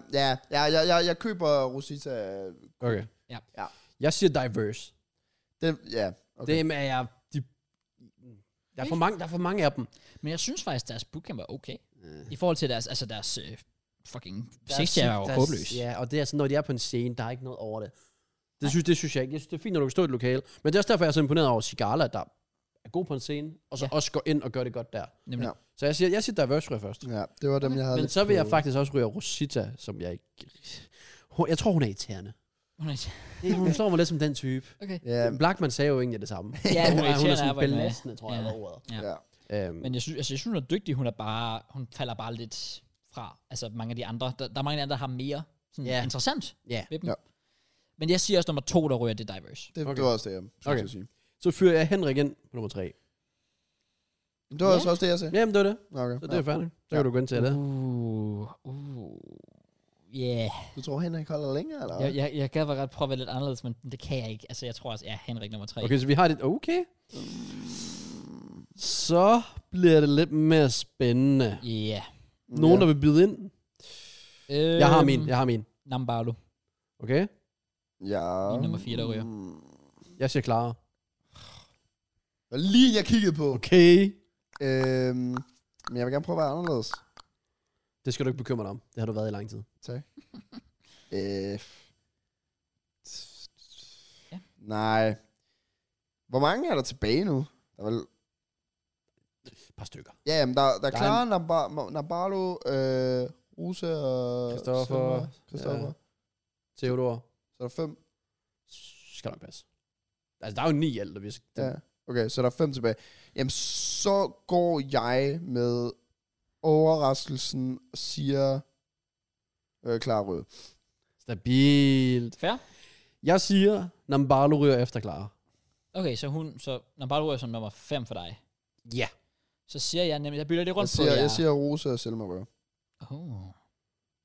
Speaker 3: ja, jeg, jeg, jeg køber Rosita.
Speaker 2: Okay.
Speaker 1: Ja.
Speaker 3: Ja.
Speaker 2: Jeg siger diverse.
Speaker 3: Det, ja, okay.
Speaker 2: Okay. Dem er jeg... De, der, er for mange, der er for mange af dem.
Speaker 1: Men jeg synes faktisk, deres bootcamp er okay.
Speaker 2: Øh.
Speaker 1: I forhold til deres, altså deres øh, fucking
Speaker 2: Der er
Speaker 1: sexstjerne er
Speaker 2: sygt-
Speaker 1: jo
Speaker 2: der
Speaker 1: håbløs.
Speaker 2: Ja, og det er sådan, når de er på en scene, der er ikke noget over det. Det synes, det synes jeg ikke. Jeg synes, det er fint, når du kan stå i et lokale. Men det er også derfor, jeg er så imponeret over Sigala, der er god på en scene, og så
Speaker 1: Ja.
Speaker 2: ja. også går ind og gør det godt der.
Speaker 1: Nemlig.
Speaker 3: Ja.
Speaker 2: Så jeg siger, jeg siger Diverse ryger først.
Speaker 3: Ja, det var dem, jeg havde
Speaker 2: Men
Speaker 3: lidt
Speaker 2: så vil jeg
Speaker 3: på-
Speaker 2: faktisk også ryge Rosita, som jeg ikke... Hun- Jeg tror, hun er irriterende. Det- Hun står mig lidt som den type.
Speaker 1: Okay.
Speaker 3: Ja,
Speaker 2: Blackman sagde jo egentlig det samme.
Speaker 1: Ja, hun
Speaker 2: hun, er, hun er
Speaker 1: irriterende
Speaker 2: sådan
Speaker 1: arbejde med.
Speaker 2: belastende, tror jeg,
Speaker 1: Ja.
Speaker 2: var ordet.
Speaker 1: Ja.
Speaker 3: ja.
Speaker 2: Øhm,
Speaker 1: Men jeg synes, altså, jeg synes, hun er dygtig. Hun, er bare, hun falder bare lidt fra altså, mange af de andre. Der, der er mange af de andre, der har mere sådan,
Speaker 2: Ja.
Speaker 1: interessant
Speaker 2: Ja.
Speaker 1: ved dem.
Speaker 3: Ja.
Speaker 1: Men jeg siger også nummer to, der rører det diverse.
Speaker 3: Det, okay. det
Speaker 2: Okay.
Speaker 3: var også det, jeg skulle
Speaker 2: Okay.
Speaker 3: til at sige.
Speaker 2: Så fyrer jeg Henrik ind på nummer tre.
Speaker 3: Men det var
Speaker 1: Ja.
Speaker 3: også, også det, jeg sagde.
Speaker 2: Jamen, det var det.
Speaker 3: Nå, Okay.
Speaker 2: Så det er
Speaker 3: ja.
Speaker 2: færdigt. Så
Speaker 3: Ja.
Speaker 2: kan du gå ind til det.
Speaker 1: Uh, uh. Yeah.
Speaker 3: Du tror, Henrik holder længere, eller
Speaker 1: Jeg, jeg, jeg gad være ret prøve at være lidt anderledes, men det kan jeg ikke. Altså, jeg tror også, ja, Henrik nummer tre.
Speaker 2: Okay, så vi har det. Okay. Så bliver det lidt mere spændende.
Speaker 1: Yeah.
Speaker 2: Nogen, der vil byde ind?
Speaker 1: Øhm,
Speaker 2: Jeg har min, jeg har min.
Speaker 1: Nambalu.
Speaker 2: Okay?
Speaker 3: Ja.
Speaker 1: Min nummer fire, der ryger.
Speaker 3: Mm.
Speaker 2: Jeg siger Clara.
Speaker 3: Og Lige jeg kiggede på.
Speaker 2: Okay.
Speaker 3: Øhm, men jeg vil gerne prøve at være anderledes.
Speaker 2: Det skal du ikke bekymre dig om. Det har du været i lang tid.
Speaker 3: Tak. øh.
Speaker 1: Ja.
Speaker 3: Nej. Hvor mange er der tilbage nu? Der er vel...
Speaker 2: Et par stykker.
Speaker 3: Ja, jamen, der, der er
Speaker 2: Der er
Speaker 3: Clara, Nambar- Nabalo, øh, Ruse og...
Speaker 2: Christoffer.
Speaker 3: Selma. Christoffer.
Speaker 2: Ja. Theodor.
Speaker 3: Så er der fem.
Speaker 2: Skal nok passe. Altså, der er jo ni i alt, og vi
Speaker 3: Ja.
Speaker 2: ja.
Speaker 3: Okay, så er der fem tilbage. Jamen, så går jeg med overraskelsen og siger... Øh, klar rød.
Speaker 2: Stabilt.
Speaker 1: Fair.
Speaker 2: Jeg siger, Nambalo ryger efter Clara.
Speaker 1: Okay, så hun, så Nambalu er som nummer fem for dig.
Speaker 2: Ja.
Speaker 1: Så siger jeg nemlig, jeg bytter det
Speaker 3: Jeg
Speaker 1: rundt
Speaker 3: siger,
Speaker 1: på jer.
Speaker 3: jeg siger Rose og Selma rød.
Speaker 1: Oh.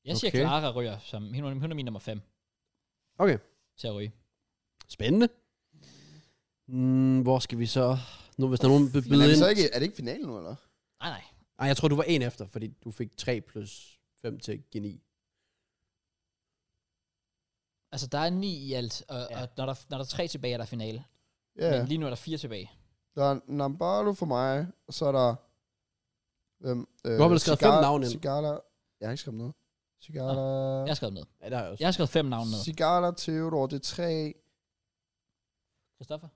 Speaker 1: Jeg siger,
Speaker 2: Okay.
Speaker 1: Clara ryger, som, hun, er- hun er min nummer fem
Speaker 2: Okay.
Speaker 1: til at ryge.
Speaker 2: Spændende. Mm, hvor skal vi så... Nu, hvis der er nogen, der vil
Speaker 3: Men er,
Speaker 2: byde
Speaker 3: vi
Speaker 2: ind...
Speaker 3: så ikke, er det ikke finalen nu, eller?
Speaker 1: Nej, nej.
Speaker 2: Ej, jeg tror, du var en efter, fordi du fik 3 plus 5 til geni.
Speaker 1: Altså, der er ni i alt, og, ja.
Speaker 2: Ja.
Speaker 1: og når, der, når der er tre tilbage, er der finale.
Speaker 3: Ja.
Speaker 1: Men lige nu er der fire tilbage.
Speaker 3: Der er Nambalo for mig, og så er der... Hvem? Øh,
Speaker 2: har vel skrevet fem navne ind.
Speaker 3: Cigala. Jeg har ikke skrevet noget. Cigala...
Speaker 1: Jeg har skrevet med.
Speaker 2: Ja, det har jeg også.
Speaker 1: Jeg har skrevet fem navne ned.
Speaker 3: Cigala, Theodor, det er tre.
Speaker 1: Christoffer?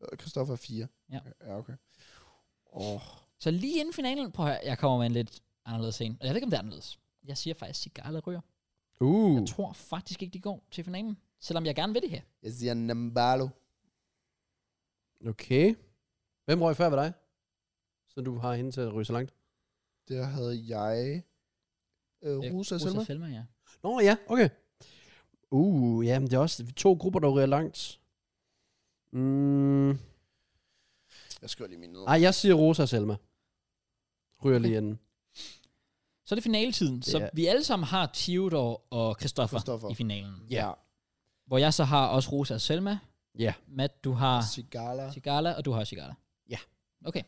Speaker 3: og Christoffer er fire.
Speaker 1: Ja.
Speaker 3: Ja, okay. Åh,
Speaker 1: Så lige inden finalen, på jeg kommer med en lidt anderledes en. Og jeg ved ikke, om det er anderledes. Jeg siger faktisk, at Cigala ryger.
Speaker 2: Uh.
Speaker 1: Jeg tror faktisk ikke, de går til finalen. Selvom jeg gerne vil det her.
Speaker 3: Jeg siger Nambalo.
Speaker 2: Okay. Hvem røg før ved dig? Så du har hende til at ryge så langt.
Speaker 3: Der havde jeg... Øh, Rosa, Rosa Selma.
Speaker 1: Selma, ja.
Speaker 2: Nå ja, okay. Uh, ja, Ja, men det er også to grupper, der ryger langt. Mm.
Speaker 3: Jeg skriver lige mine ned.
Speaker 2: Ej, jeg siger Rosa og Selma. Ryger lige inden.
Speaker 1: Så er det finaletiden. Så
Speaker 2: Ja.
Speaker 1: vi alle sammen har Theodor og Christoffer,
Speaker 3: Christoffer.
Speaker 1: i finalen.
Speaker 2: Ja.
Speaker 1: Hvor jeg så har også Rosa og Selma.
Speaker 2: Ja.
Speaker 1: Matt, du har
Speaker 3: Sigala.
Speaker 1: Sigala, og du har Sigala.
Speaker 2: Ja.
Speaker 1: Okay,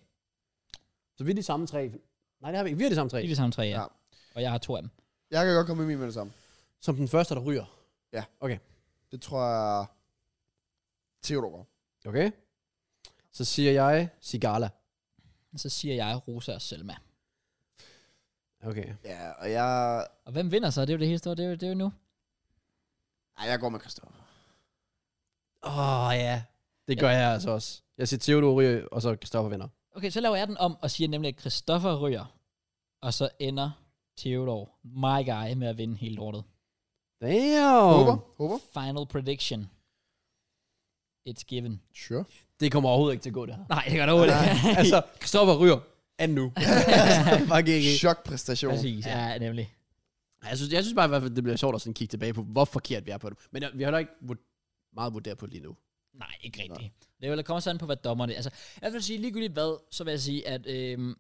Speaker 2: Så vi er de samme tre. Nej, det har vi ikke. Vi er de samme
Speaker 1: det
Speaker 2: tre.
Speaker 1: er de samme tre, ja.
Speaker 3: Ja.
Speaker 1: ja. Og jeg har to af dem.
Speaker 3: Jeg kan godt komme med min med det samme.
Speaker 2: Som den første, der ryger.
Speaker 3: Det tror jeg... Theodor. går.
Speaker 2: Okay? Så siger jeg Sigala.
Speaker 1: Så siger jeg Rosa og Selma.
Speaker 2: Okay.
Speaker 3: Ja, og jeg...
Speaker 1: Og hvem vinder så? Det er jo det hele store, det er jo, det er jo nu.
Speaker 3: Ej, jeg går med Christoffer.
Speaker 2: Åh, oh, ja. Det gør jeg altså også. Jeg siger Theodor ryger, og så Kristoffer vinder.
Speaker 1: Okay, så laver jeg den om og siger nemlig, at Christoffer ryger, og så ender Theodor, my guy, med at vinde hele lortet.
Speaker 2: Damn.
Speaker 3: Håber? Håber?
Speaker 1: Final prediction. It's given.
Speaker 3: Sure.
Speaker 2: Det kommer overhovedet ikke til at gå, det [LAUGHS] her.
Speaker 1: Nej, det gør det overhovedet [LAUGHS] ikke.
Speaker 2: altså, Kristoffer ryger er nu. [LAUGHS] Fuck ikke. Altså,
Speaker 3: Chokpræstation.
Speaker 1: Præcis, ja, nemlig.
Speaker 2: Jeg synes, jeg synes bare i hvert fald, det bliver sjovt at sådan kigge tilbage på, hvor forkert vi er på det. Men øh, vi har da ikke vurd- meget vurderet på det lige nu.
Speaker 1: Nej, ikke rigtigt. Det vil komme sådan på, hvad dommerne... Altså, jeg vil sige ligegyldigt hvad, så vil jeg sige, at... Øhm,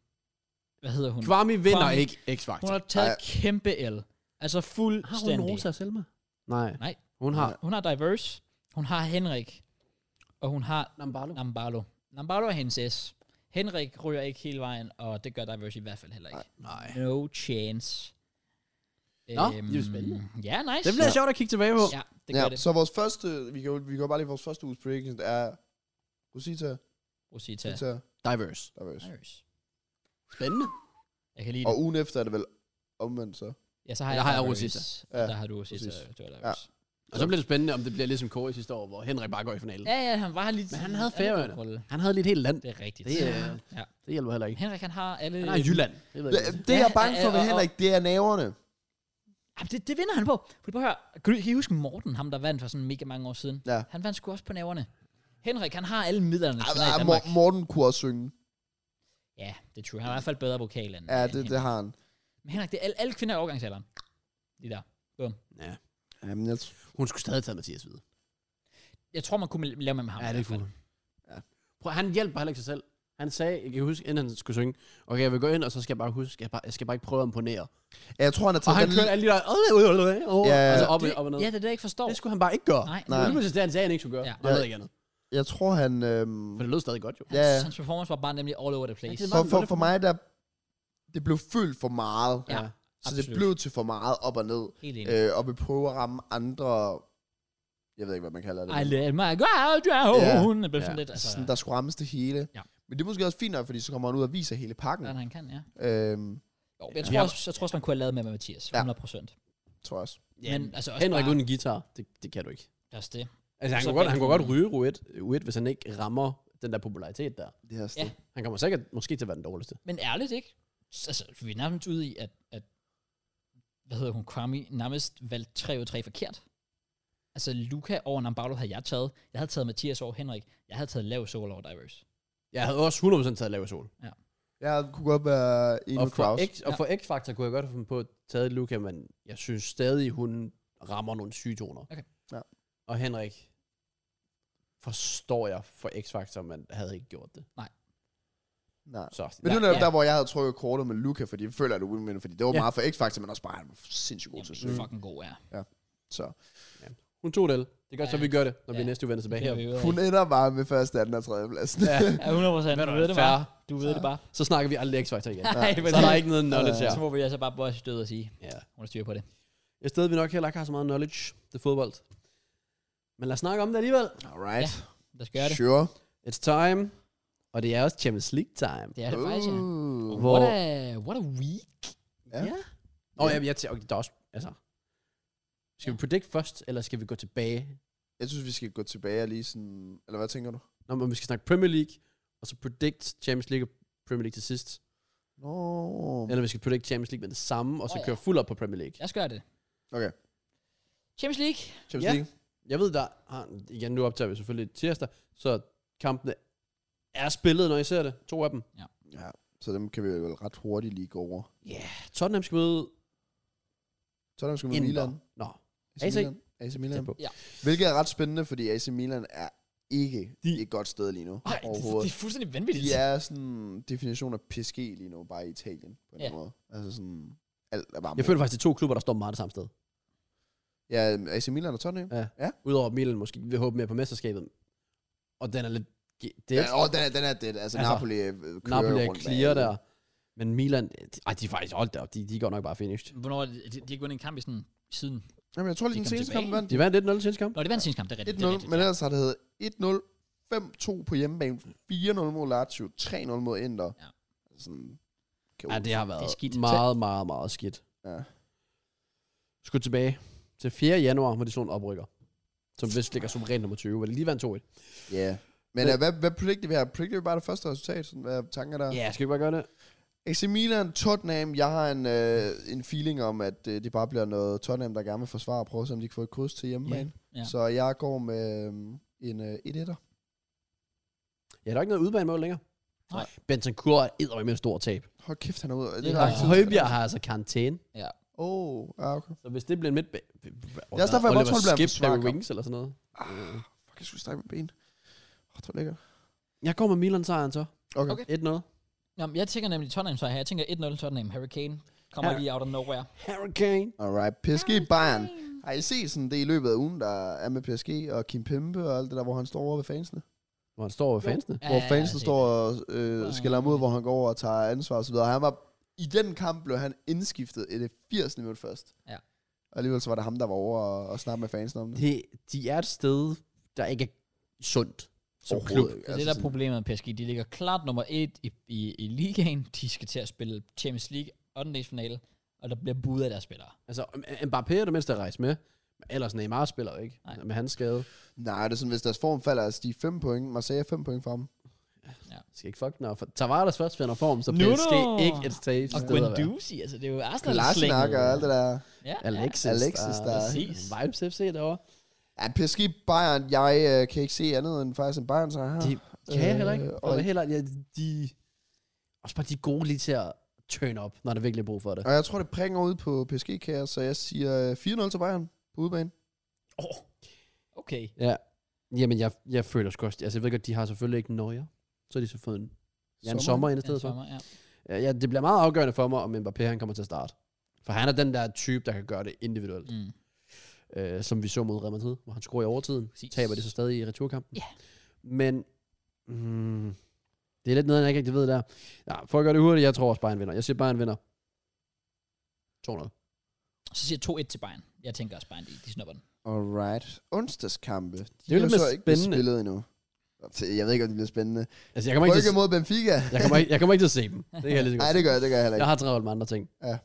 Speaker 1: hvad hedder hun?
Speaker 2: Kwame vinder
Speaker 1: Kwame-
Speaker 2: ikke X-Factor.
Speaker 1: Hun har taget
Speaker 3: Ej.
Speaker 1: kæmpe L. Altså fuldstændig.
Speaker 2: og Selma? Nej.
Speaker 1: Nej.
Speaker 2: Hun har...
Speaker 1: Hun har Diverse, hun har Henrik, og hun har
Speaker 2: Nambalo.
Speaker 1: Nambalo. Nambalo er hendes S. Henrik ryger ikke hele vejen, og det gør Diverse i hvert fald heller ikke.
Speaker 2: Nej.
Speaker 1: No chance. Øhm,
Speaker 2: Nå, det er jo spændende.
Speaker 1: Ja, nice.
Speaker 2: Det bliver sjovt at kigge tilbage på.
Speaker 1: Ja, det gør
Speaker 3: Ja,
Speaker 1: det.
Speaker 3: så vores første... Vi går, vi går bare lige vores første uges prediction. Det er... Rosita.
Speaker 1: Rosita.
Speaker 3: Rosita.
Speaker 2: Diverse.
Speaker 3: Der var
Speaker 1: Nice.
Speaker 2: Spændende.
Speaker 1: Jeg kan lide
Speaker 3: Og
Speaker 1: det.
Speaker 3: ugen efter er det vel omvendt så.
Speaker 1: Ja, så har
Speaker 2: Ja,
Speaker 1: jeg,
Speaker 2: der har jeg
Speaker 1: Diverse,
Speaker 2: Rosita.
Speaker 1: og
Speaker 3: Ja,
Speaker 1: Der har du Rosita.
Speaker 3: præcis.
Speaker 1: og Du har Diverse.
Speaker 2: Og så bliver det spændende, om det bliver ligesom Kåre sidste år, hvor Henrik bare går i finalen.
Speaker 1: Ja, ja, han var lige...
Speaker 2: Men han havde Færøerne.
Speaker 1: rolle.
Speaker 2: Han havde lidt helt land.
Speaker 1: Det er rigtigt.
Speaker 2: Det er-
Speaker 1: ja.
Speaker 2: Det hjælper heller ikke.
Speaker 1: Henrik, han har alle...
Speaker 2: Han er i Jylland. Det ved
Speaker 3: Det,
Speaker 2: jeg ikke.
Speaker 3: det jeg er
Speaker 1: Ja,
Speaker 3: bange for
Speaker 1: ja,
Speaker 3: ved
Speaker 1: og-
Speaker 3: Henrik, det er naverne.
Speaker 1: Jamen, det, det vinder han på. Fordi prøv at høre, kan, du, kan I huske Morten, ham der vandt for sådan mega mange år siden?
Speaker 3: Ja.
Speaker 1: Han vandt sgu også på næverne. Henrik, han har alle midlerne
Speaker 3: Ej,
Speaker 1: i
Speaker 3: ej,
Speaker 1: Danmark.
Speaker 3: Ah, Mor- Morten kunne også synge.
Speaker 1: Ja, det tror jeg. Han er i hvert fald bedre vokal end,
Speaker 3: Ja,
Speaker 1: end
Speaker 3: det,
Speaker 1: Henrik.
Speaker 3: det har han.
Speaker 1: Men Henrik, det er alle, alle kvinder i overgangsalderen. De der.
Speaker 2: Ja.
Speaker 3: Jamen, jeg tror,
Speaker 2: Hun skulle stadig tage Mathias videre.
Speaker 1: Jeg tror, man kunne lave med ham.
Speaker 2: Ja,
Speaker 1: i
Speaker 2: det er
Speaker 1: hvert fald.
Speaker 2: fuld. Ja. Prøv, han hjælper heller ikke sig selv. Han sagde, jeg kan huske, inden han skulle synge, okay, jeg vil gå ind, og så skal jeg bare huske, jeg, bare, jeg skal bare ikke prøve at imponere.
Speaker 3: ja, jeg tror han er
Speaker 2: Og
Speaker 3: taget
Speaker 2: han
Speaker 3: den,
Speaker 2: kørte alle de der, øh, øh, øh, øh, øh,
Speaker 3: Ja.
Speaker 2: og så op,
Speaker 1: det,
Speaker 2: og- op og ned.
Speaker 1: Ja, det er det, jeg ikke forstår.
Speaker 2: Det skulle han bare ikke gøre.
Speaker 1: Nej,
Speaker 2: Det
Speaker 3: Nej.
Speaker 2: var lige præcis det, han sagde, han ikke skulle gøre.
Speaker 1: Ja.
Speaker 2: Ja. Jeg ved ikke andet.
Speaker 3: jeg tror han... Øhm,
Speaker 2: For det lød stadig godt jo.
Speaker 1: Hans,
Speaker 3: ja, ja.
Speaker 1: hans performance var bare nemlig all over the place.
Speaker 2: Ja, det
Speaker 3: for,
Speaker 2: var-
Speaker 3: for, for mig, der... Det blev fyldt for meget.
Speaker 1: Ja,
Speaker 3: så det
Speaker 1: absolut.
Speaker 3: blev til for meget op og ned.
Speaker 1: Helt enig.
Speaker 3: Øh, og vi prøver at ramme andre... Jeg ved ikke, hvad man kalder det.
Speaker 1: I let my God down. Det blev sådan
Speaker 2: Ja.
Speaker 1: lidt, altså...
Speaker 3: Øh, Sådan, der skulle rammes det hele.
Speaker 1: Ja.
Speaker 3: Men det er måske også fint nok, fordi så kommer han ud og viser hele pakken.
Speaker 1: Sådan han kan, ja.
Speaker 3: Øhm,
Speaker 1: Jo, jeg,
Speaker 2: Ja.
Speaker 1: tror også, jeg tror også, man kunne have lavet med, med Mathias.
Speaker 3: Ja.
Speaker 1: 100 procent.
Speaker 3: tror jeg også.
Speaker 1: Men altså også
Speaker 2: Henrik
Speaker 1: bare-
Speaker 2: uden en guitar, det, det kan du ikke.
Speaker 1: Også det.
Speaker 2: Altså, han,
Speaker 1: Så
Speaker 2: kunne godt, han
Speaker 1: vandt
Speaker 2: kunne godt
Speaker 1: hun.
Speaker 2: ryge Ruet, Ruet, hvis han ikke rammer den der popularitet der.
Speaker 3: Det her sted.
Speaker 1: Ja.
Speaker 2: Han kommer sikkert måske til at være den dårligste.
Speaker 1: Men ærligt, ikke? S- Altså, vi er nærmest ude i, at, at hvad hedder hun, Kwame nærmest valgte 3 ud af 3 forkert. Altså, Luca over Nambalo havde jeg taget. Jeg havde taget Mathias over Henrik. Jeg havde taget lav sol over Divers.
Speaker 2: Jeg havde også 100% taget lave sol.
Speaker 3: Jeg kunne godt være en
Speaker 2: Og
Speaker 3: med
Speaker 2: for,
Speaker 3: Kraus.
Speaker 2: X, og for X-Factor kunne jeg godt have fundet på at tage Luca, men jeg synes stadig, hun rammer nogle syge toner.
Speaker 1: Okay.
Speaker 3: Ja.
Speaker 2: Og Henrik, forstår jeg for X-Factor, man havde ikke gjort det.
Speaker 3: Nej.
Speaker 2: Så,
Speaker 3: Men det
Speaker 2: nej,
Speaker 3: var netop
Speaker 1: ja.
Speaker 3: der, hvor jeg havde trykket kortet med Luca, fordi jeg føler, at det er win-win, fordi det var
Speaker 2: Ja.
Speaker 3: meget for X-Factor, men også bare, han var sindssygt god
Speaker 1: Jamen,
Speaker 3: til at
Speaker 1: det er
Speaker 3: synge.
Speaker 1: fucking god, ja.
Speaker 3: Så
Speaker 2: hun tog det. Det er godt,
Speaker 1: Ja.
Speaker 2: så vi gør det, når vi
Speaker 1: Ja.
Speaker 2: næste uge vender tilbage her.
Speaker 1: Det finder vi ud af.
Speaker 3: hun ender bare med første, anden og tredje pladsen.
Speaker 2: Ja.
Speaker 1: Ja, 100 procent.
Speaker 2: Hvad
Speaker 1: Du
Speaker 2: er
Speaker 1: ved
Speaker 2: der
Speaker 1: det
Speaker 2: fair?
Speaker 1: bare. Du ved det bare.
Speaker 2: Så snakker vi aldrig X-Factor [LAUGHS] igen.
Speaker 1: [LAUGHS] Nej, men
Speaker 2: så er der ikke noget knowledge her.
Speaker 1: Så må vi altså bare både støde og sige,
Speaker 2: Ja.
Speaker 1: hun har styr på det.
Speaker 2: Et sted, vi nok heller ikke har så meget knowledge, det er fodbold. Men lad os snakke om det alligevel.
Speaker 3: [LAUGHS] Alright.
Speaker 1: Lad os gøre det.
Speaker 3: Sure.
Speaker 2: It's time. Og det er også Champions League time.
Speaker 1: Det er det faktisk, ja.
Speaker 3: Uh.
Speaker 2: Hvor-
Speaker 1: What a, what a week.
Speaker 3: Ja.
Speaker 2: Nå, ja, men jeg tænker, okay, der er også, altså... Skal vi predict først, eller skal vi gå tilbage?
Speaker 3: Jeg synes, vi skal gå tilbage og lige sådan... Eller hvad tænker du?
Speaker 2: Nå, men vi skal snakke Premier League, og så predict Champions League og Premier League til sidst.
Speaker 3: Nå.
Speaker 2: Eller vi skal predict Champions League med det samme, og så
Speaker 1: Åh, ja.
Speaker 2: køre fuld op på Premier League.
Speaker 1: Lad os gøre det.
Speaker 3: Okay.
Speaker 1: Champions League.
Speaker 3: Champions
Speaker 2: Ja.
Speaker 3: League?
Speaker 2: Jeg ved, der har... Igen, nu optager vi selvfølgelig tirsdag, så kampene er spillet, når I ser det. To af dem.
Speaker 3: Ja. Så dem kan vi vel ret hurtigt lige gå over.
Speaker 2: Ja, yeah. Tottenham skal møde...
Speaker 3: Tottenham skal møde
Speaker 2: Inter.
Speaker 3: Milan.
Speaker 2: Nå,
Speaker 3: Så
Speaker 2: AC.
Speaker 3: Milan. AC Milan.
Speaker 2: på.
Speaker 1: Ja.
Speaker 3: Hvilket er ret spændende, fordi AC Milan er ikke
Speaker 2: De-
Speaker 3: de, et godt sted lige nu
Speaker 1: Ej, det, det,
Speaker 3: overhovedet.
Speaker 1: er fuldstændig vanvittigt.
Speaker 3: De er sådan definition af PSG lige nu, bare i Italien på en
Speaker 1: Ja.
Speaker 3: ja. måde. Altså sådan, alt er bare...
Speaker 2: Jeg føler faktisk, det er to klubber, der står meget det samme sted.
Speaker 3: Ja, AC Milan og Tottenham.
Speaker 2: Ja.
Speaker 3: Ja.
Speaker 2: Udover at Milan måske vil håbe mere på mesterskabet. Og den er lidt... ge- Det er
Speaker 3: Ja, og den er, den er det. Altså,
Speaker 2: Altså,
Speaker 3: altså Napoli øh, kører
Speaker 2: Napoli er
Speaker 3: rundt med
Speaker 2: clear
Speaker 3: alle.
Speaker 2: der. Men Milan... Ej, de er faktisk holdt der. De, de går nok bare finished.
Speaker 1: Hvornår er det- de, de har ikke vundet en kamp i sådan siden...
Speaker 3: Jamen, jeg tror lige,
Speaker 1: De
Speaker 3: den
Speaker 1: kom
Speaker 3: seneste
Speaker 1: tilbage.
Speaker 3: kamp vandt de
Speaker 2: De vandt 1-0 til sidste kamp.
Speaker 1: Nå, det var en seneste kamp, det er rigtigt. det er
Speaker 3: 1-0,
Speaker 1: rigtigt.
Speaker 3: men ellers har det heddet 1-0, 5-2 på hjemmebane, 4-0 mod Lazio, 3-0 mod Inter. Altså
Speaker 1: Ja.
Speaker 3: Sådan,
Speaker 2: Ja, det har
Speaker 1: Det er
Speaker 2: været
Speaker 1: skidt.
Speaker 2: skidt. meget, meget, meget skidt.
Speaker 3: Ja.
Speaker 2: Skulle tilbage til 4. januar, hvor de så en oprykker. Som vist ligger suverænt nummer 20, hvor de lige vandt 2-1.
Speaker 3: Ja. Men
Speaker 2: Men-
Speaker 3: øh, hvad, hvad predicter vi her? Predicter vi bare det første resultat? Sådan, hvad er tanker der?
Speaker 2: Ja, skal vi ikke bare gøre det?
Speaker 3: AC Milan, Tottenham. Jeg har en, øh, en feeling om, at øh, det bare bliver noget Tottenham, der gerne vil forsvare og prøve, så de kan få et kryds til hjemmebane.
Speaker 1: Ja, ja.
Speaker 3: Så jeg går med øh, en øh, 1-1'er.
Speaker 2: Ja, der er ikke noget udbanemål længere.
Speaker 1: Nej.
Speaker 2: Bentancur er eddermame med et stort tab.
Speaker 3: Hold kæft, han er ude. Det
Speaker 1: Ja.
Speaker 3: er
Speaker 2: Og
Speaker 3: lang tid.
Speaker 2: Højbjerg har altså karantæne.
Speaker 3: Åh, oh, ah, okay.
Speaker 2: Så hvis det bliver en midtbane...
Speaker 3: Det er også derfor, jeg bare tror, det bliver en
Speaker 2: Skip,
Speaker 3: svær
Speaker 2: Barry
Speaker 3: kamp.
Speaker 2: Wings eller sådan noget.
Speaker 3: Ah, fuck, jeg skulle strække mit ben. Åh, det var lækkert.
Speaker 2: Jeg går med Milan-sejren så.
Speaker 3: Okay.
Speaker 1: Okay.
Speaker 3: okay.
Speaker 2: 1-0.
Speaker 1: Nå, men jeg tænker nemlig Tottenham så her. Jeg tænker 1-0 Tottenham. Hurricane kommer
Speaker 2: Ja.
Speaker 1: lige out of nowhere.
Speaker 2: Hurricane.
Speaker 3: Alright, PSG Bayern. Har I set sådan det i løbet af ugen, der er med PSG og Kim Pembe og alt det der, hvor han står over ved fansene?
Speaker 2: Hvor han står over fansene.
Speaker 3: hvor
Speaker 1: Ja,
Speaker 3: fansen
Speaker 1: det-
Speaker 3: står og øh, skælder ham ud, hvor han går over og tager ansvar osv. Han var, I den kamp blev han indskiftet i det 80. minut først.
Speaker 1: Ja.
Speaker 3: Og alligevel så var det ham, der var over og, og snakke med fansen om det.
Speaker 2: Det, de er et sted, der ikke er sundt som klub.
Speaker 3: Overhovedet ikke. Altså,
Speaker 1: Så det der er problemet med PSG, de ligger klart nummer et i, i, i ligaen. De skal til at spille Champions League 8. finale, og der bliver budet af deres spillere.
Speaker 2: Altså, M- Mbappé er det mindste at rejse med. Men ellers Neymar spiller jo ikke.
Speaker 1: Nej.
Speaker 2: Med hans skade.
Speaker 3: sådan, nej, det er sådan, hvis deres form falder, altså de er 5 point, Marseille er 5 point frem.
Speaker 2: Skal ikke fuck den op. For Tavares først finder form, så
Speaker 1: Nu,
Speaker 2: PSG
Speaker 1: nu.
Speaker 2: ikke et safe
Speaker 1: Og
Speaker 2: sted at være.
Speaker 1: Guendouzi, altså det er jo Arsenal
Speaker 3: Larsenak og alt det der.
Speaker 1: Ja,
Speaker 2: Alexis,
Speaker 3: Alexis, der-
Speaker 1: Præcis.
Speaker 2: Vibes FC derovre.
Speaker 3: Ja, PSG Bayern, jeg øh, kan ikke se andet end faktisk en Bayern sejr her.
Speaker 2: De kan jeg heller ikke.
Speaker 3: Øh,
Speaker 2: Ah. Og
Speaker 3: og-
Speaker 2: heller, ja, de... Også bare de er gode lige til at turn up, når der virkelig er brug for det.
Speaker 3: Og jeg tror, det prikker ud på PSG, kære, så jeg siger øh, 4-0 til Bayern på udebane.
Speaker 1: Oh. Okay.
Speaker 2: Ja. Jamen, jeg, jeg føler sgu også... Altså, jeg ved godt, de har selvfølgelig ikke Nøjer. Så har de så fået en, ja, en sommer ind i stedet
Speaker 1: Jens
Speaker 2: for.
Speaker 1: Sommer, ja.
Speaker 2: Ja, ja, det bliver meget afgørende for mig, om Mbappé han kommer til at starte. For han er den der type, der kan gøre det individuelt.
Speaker 1: Mm.
Speaker 2: Mm. Øh, som vi så mod Real Madrid, hvor han scorer i overtiden.
Speaker 1: Præcis.
Speaker 2: Præcis. Taber det så stadig i returkampen.
Speaker 1: Ja.
Speaker 2: Men mm, det er lidt noget, jeg ikke rigtig ved der. Ja, for at gøre det hurtigt, jeg tror også Bayern vinder. Jeg siger Bayern vinder. 2-0.
Speaker 1: Så siger jeg 2-1 til Bayern. Jeg tænker også Bayern, de, de snupper den.
Speaker 3: Alright. Onsdagskampe. De
Speaker 2: jo lidt
Speaker 3: er jo
Speaker 2: mere
Speaker 3: så ikke blevet
Speaker 2: spændende.
Speaker 3: spillet endnu. Jeg ved ikke, om det bliver spændende.
Speaker 2: Altså, jeg kommer, ikke til,
Speaker 3: Brygge
Speaker 2: at-
Speaker 3: mod Benfica.
Speaker 2: jeg, kommer ikke, jeg kommer ikke til at se dem. Det kan jeg lige så godt
Speaker 3: Nej, det gør jeg, det gør jeg heller
Speaker 2: sige.
Speaker 3: ikke.
Speaker 2: Jeg har travlt med andre ting.
Speaker 3: Ja.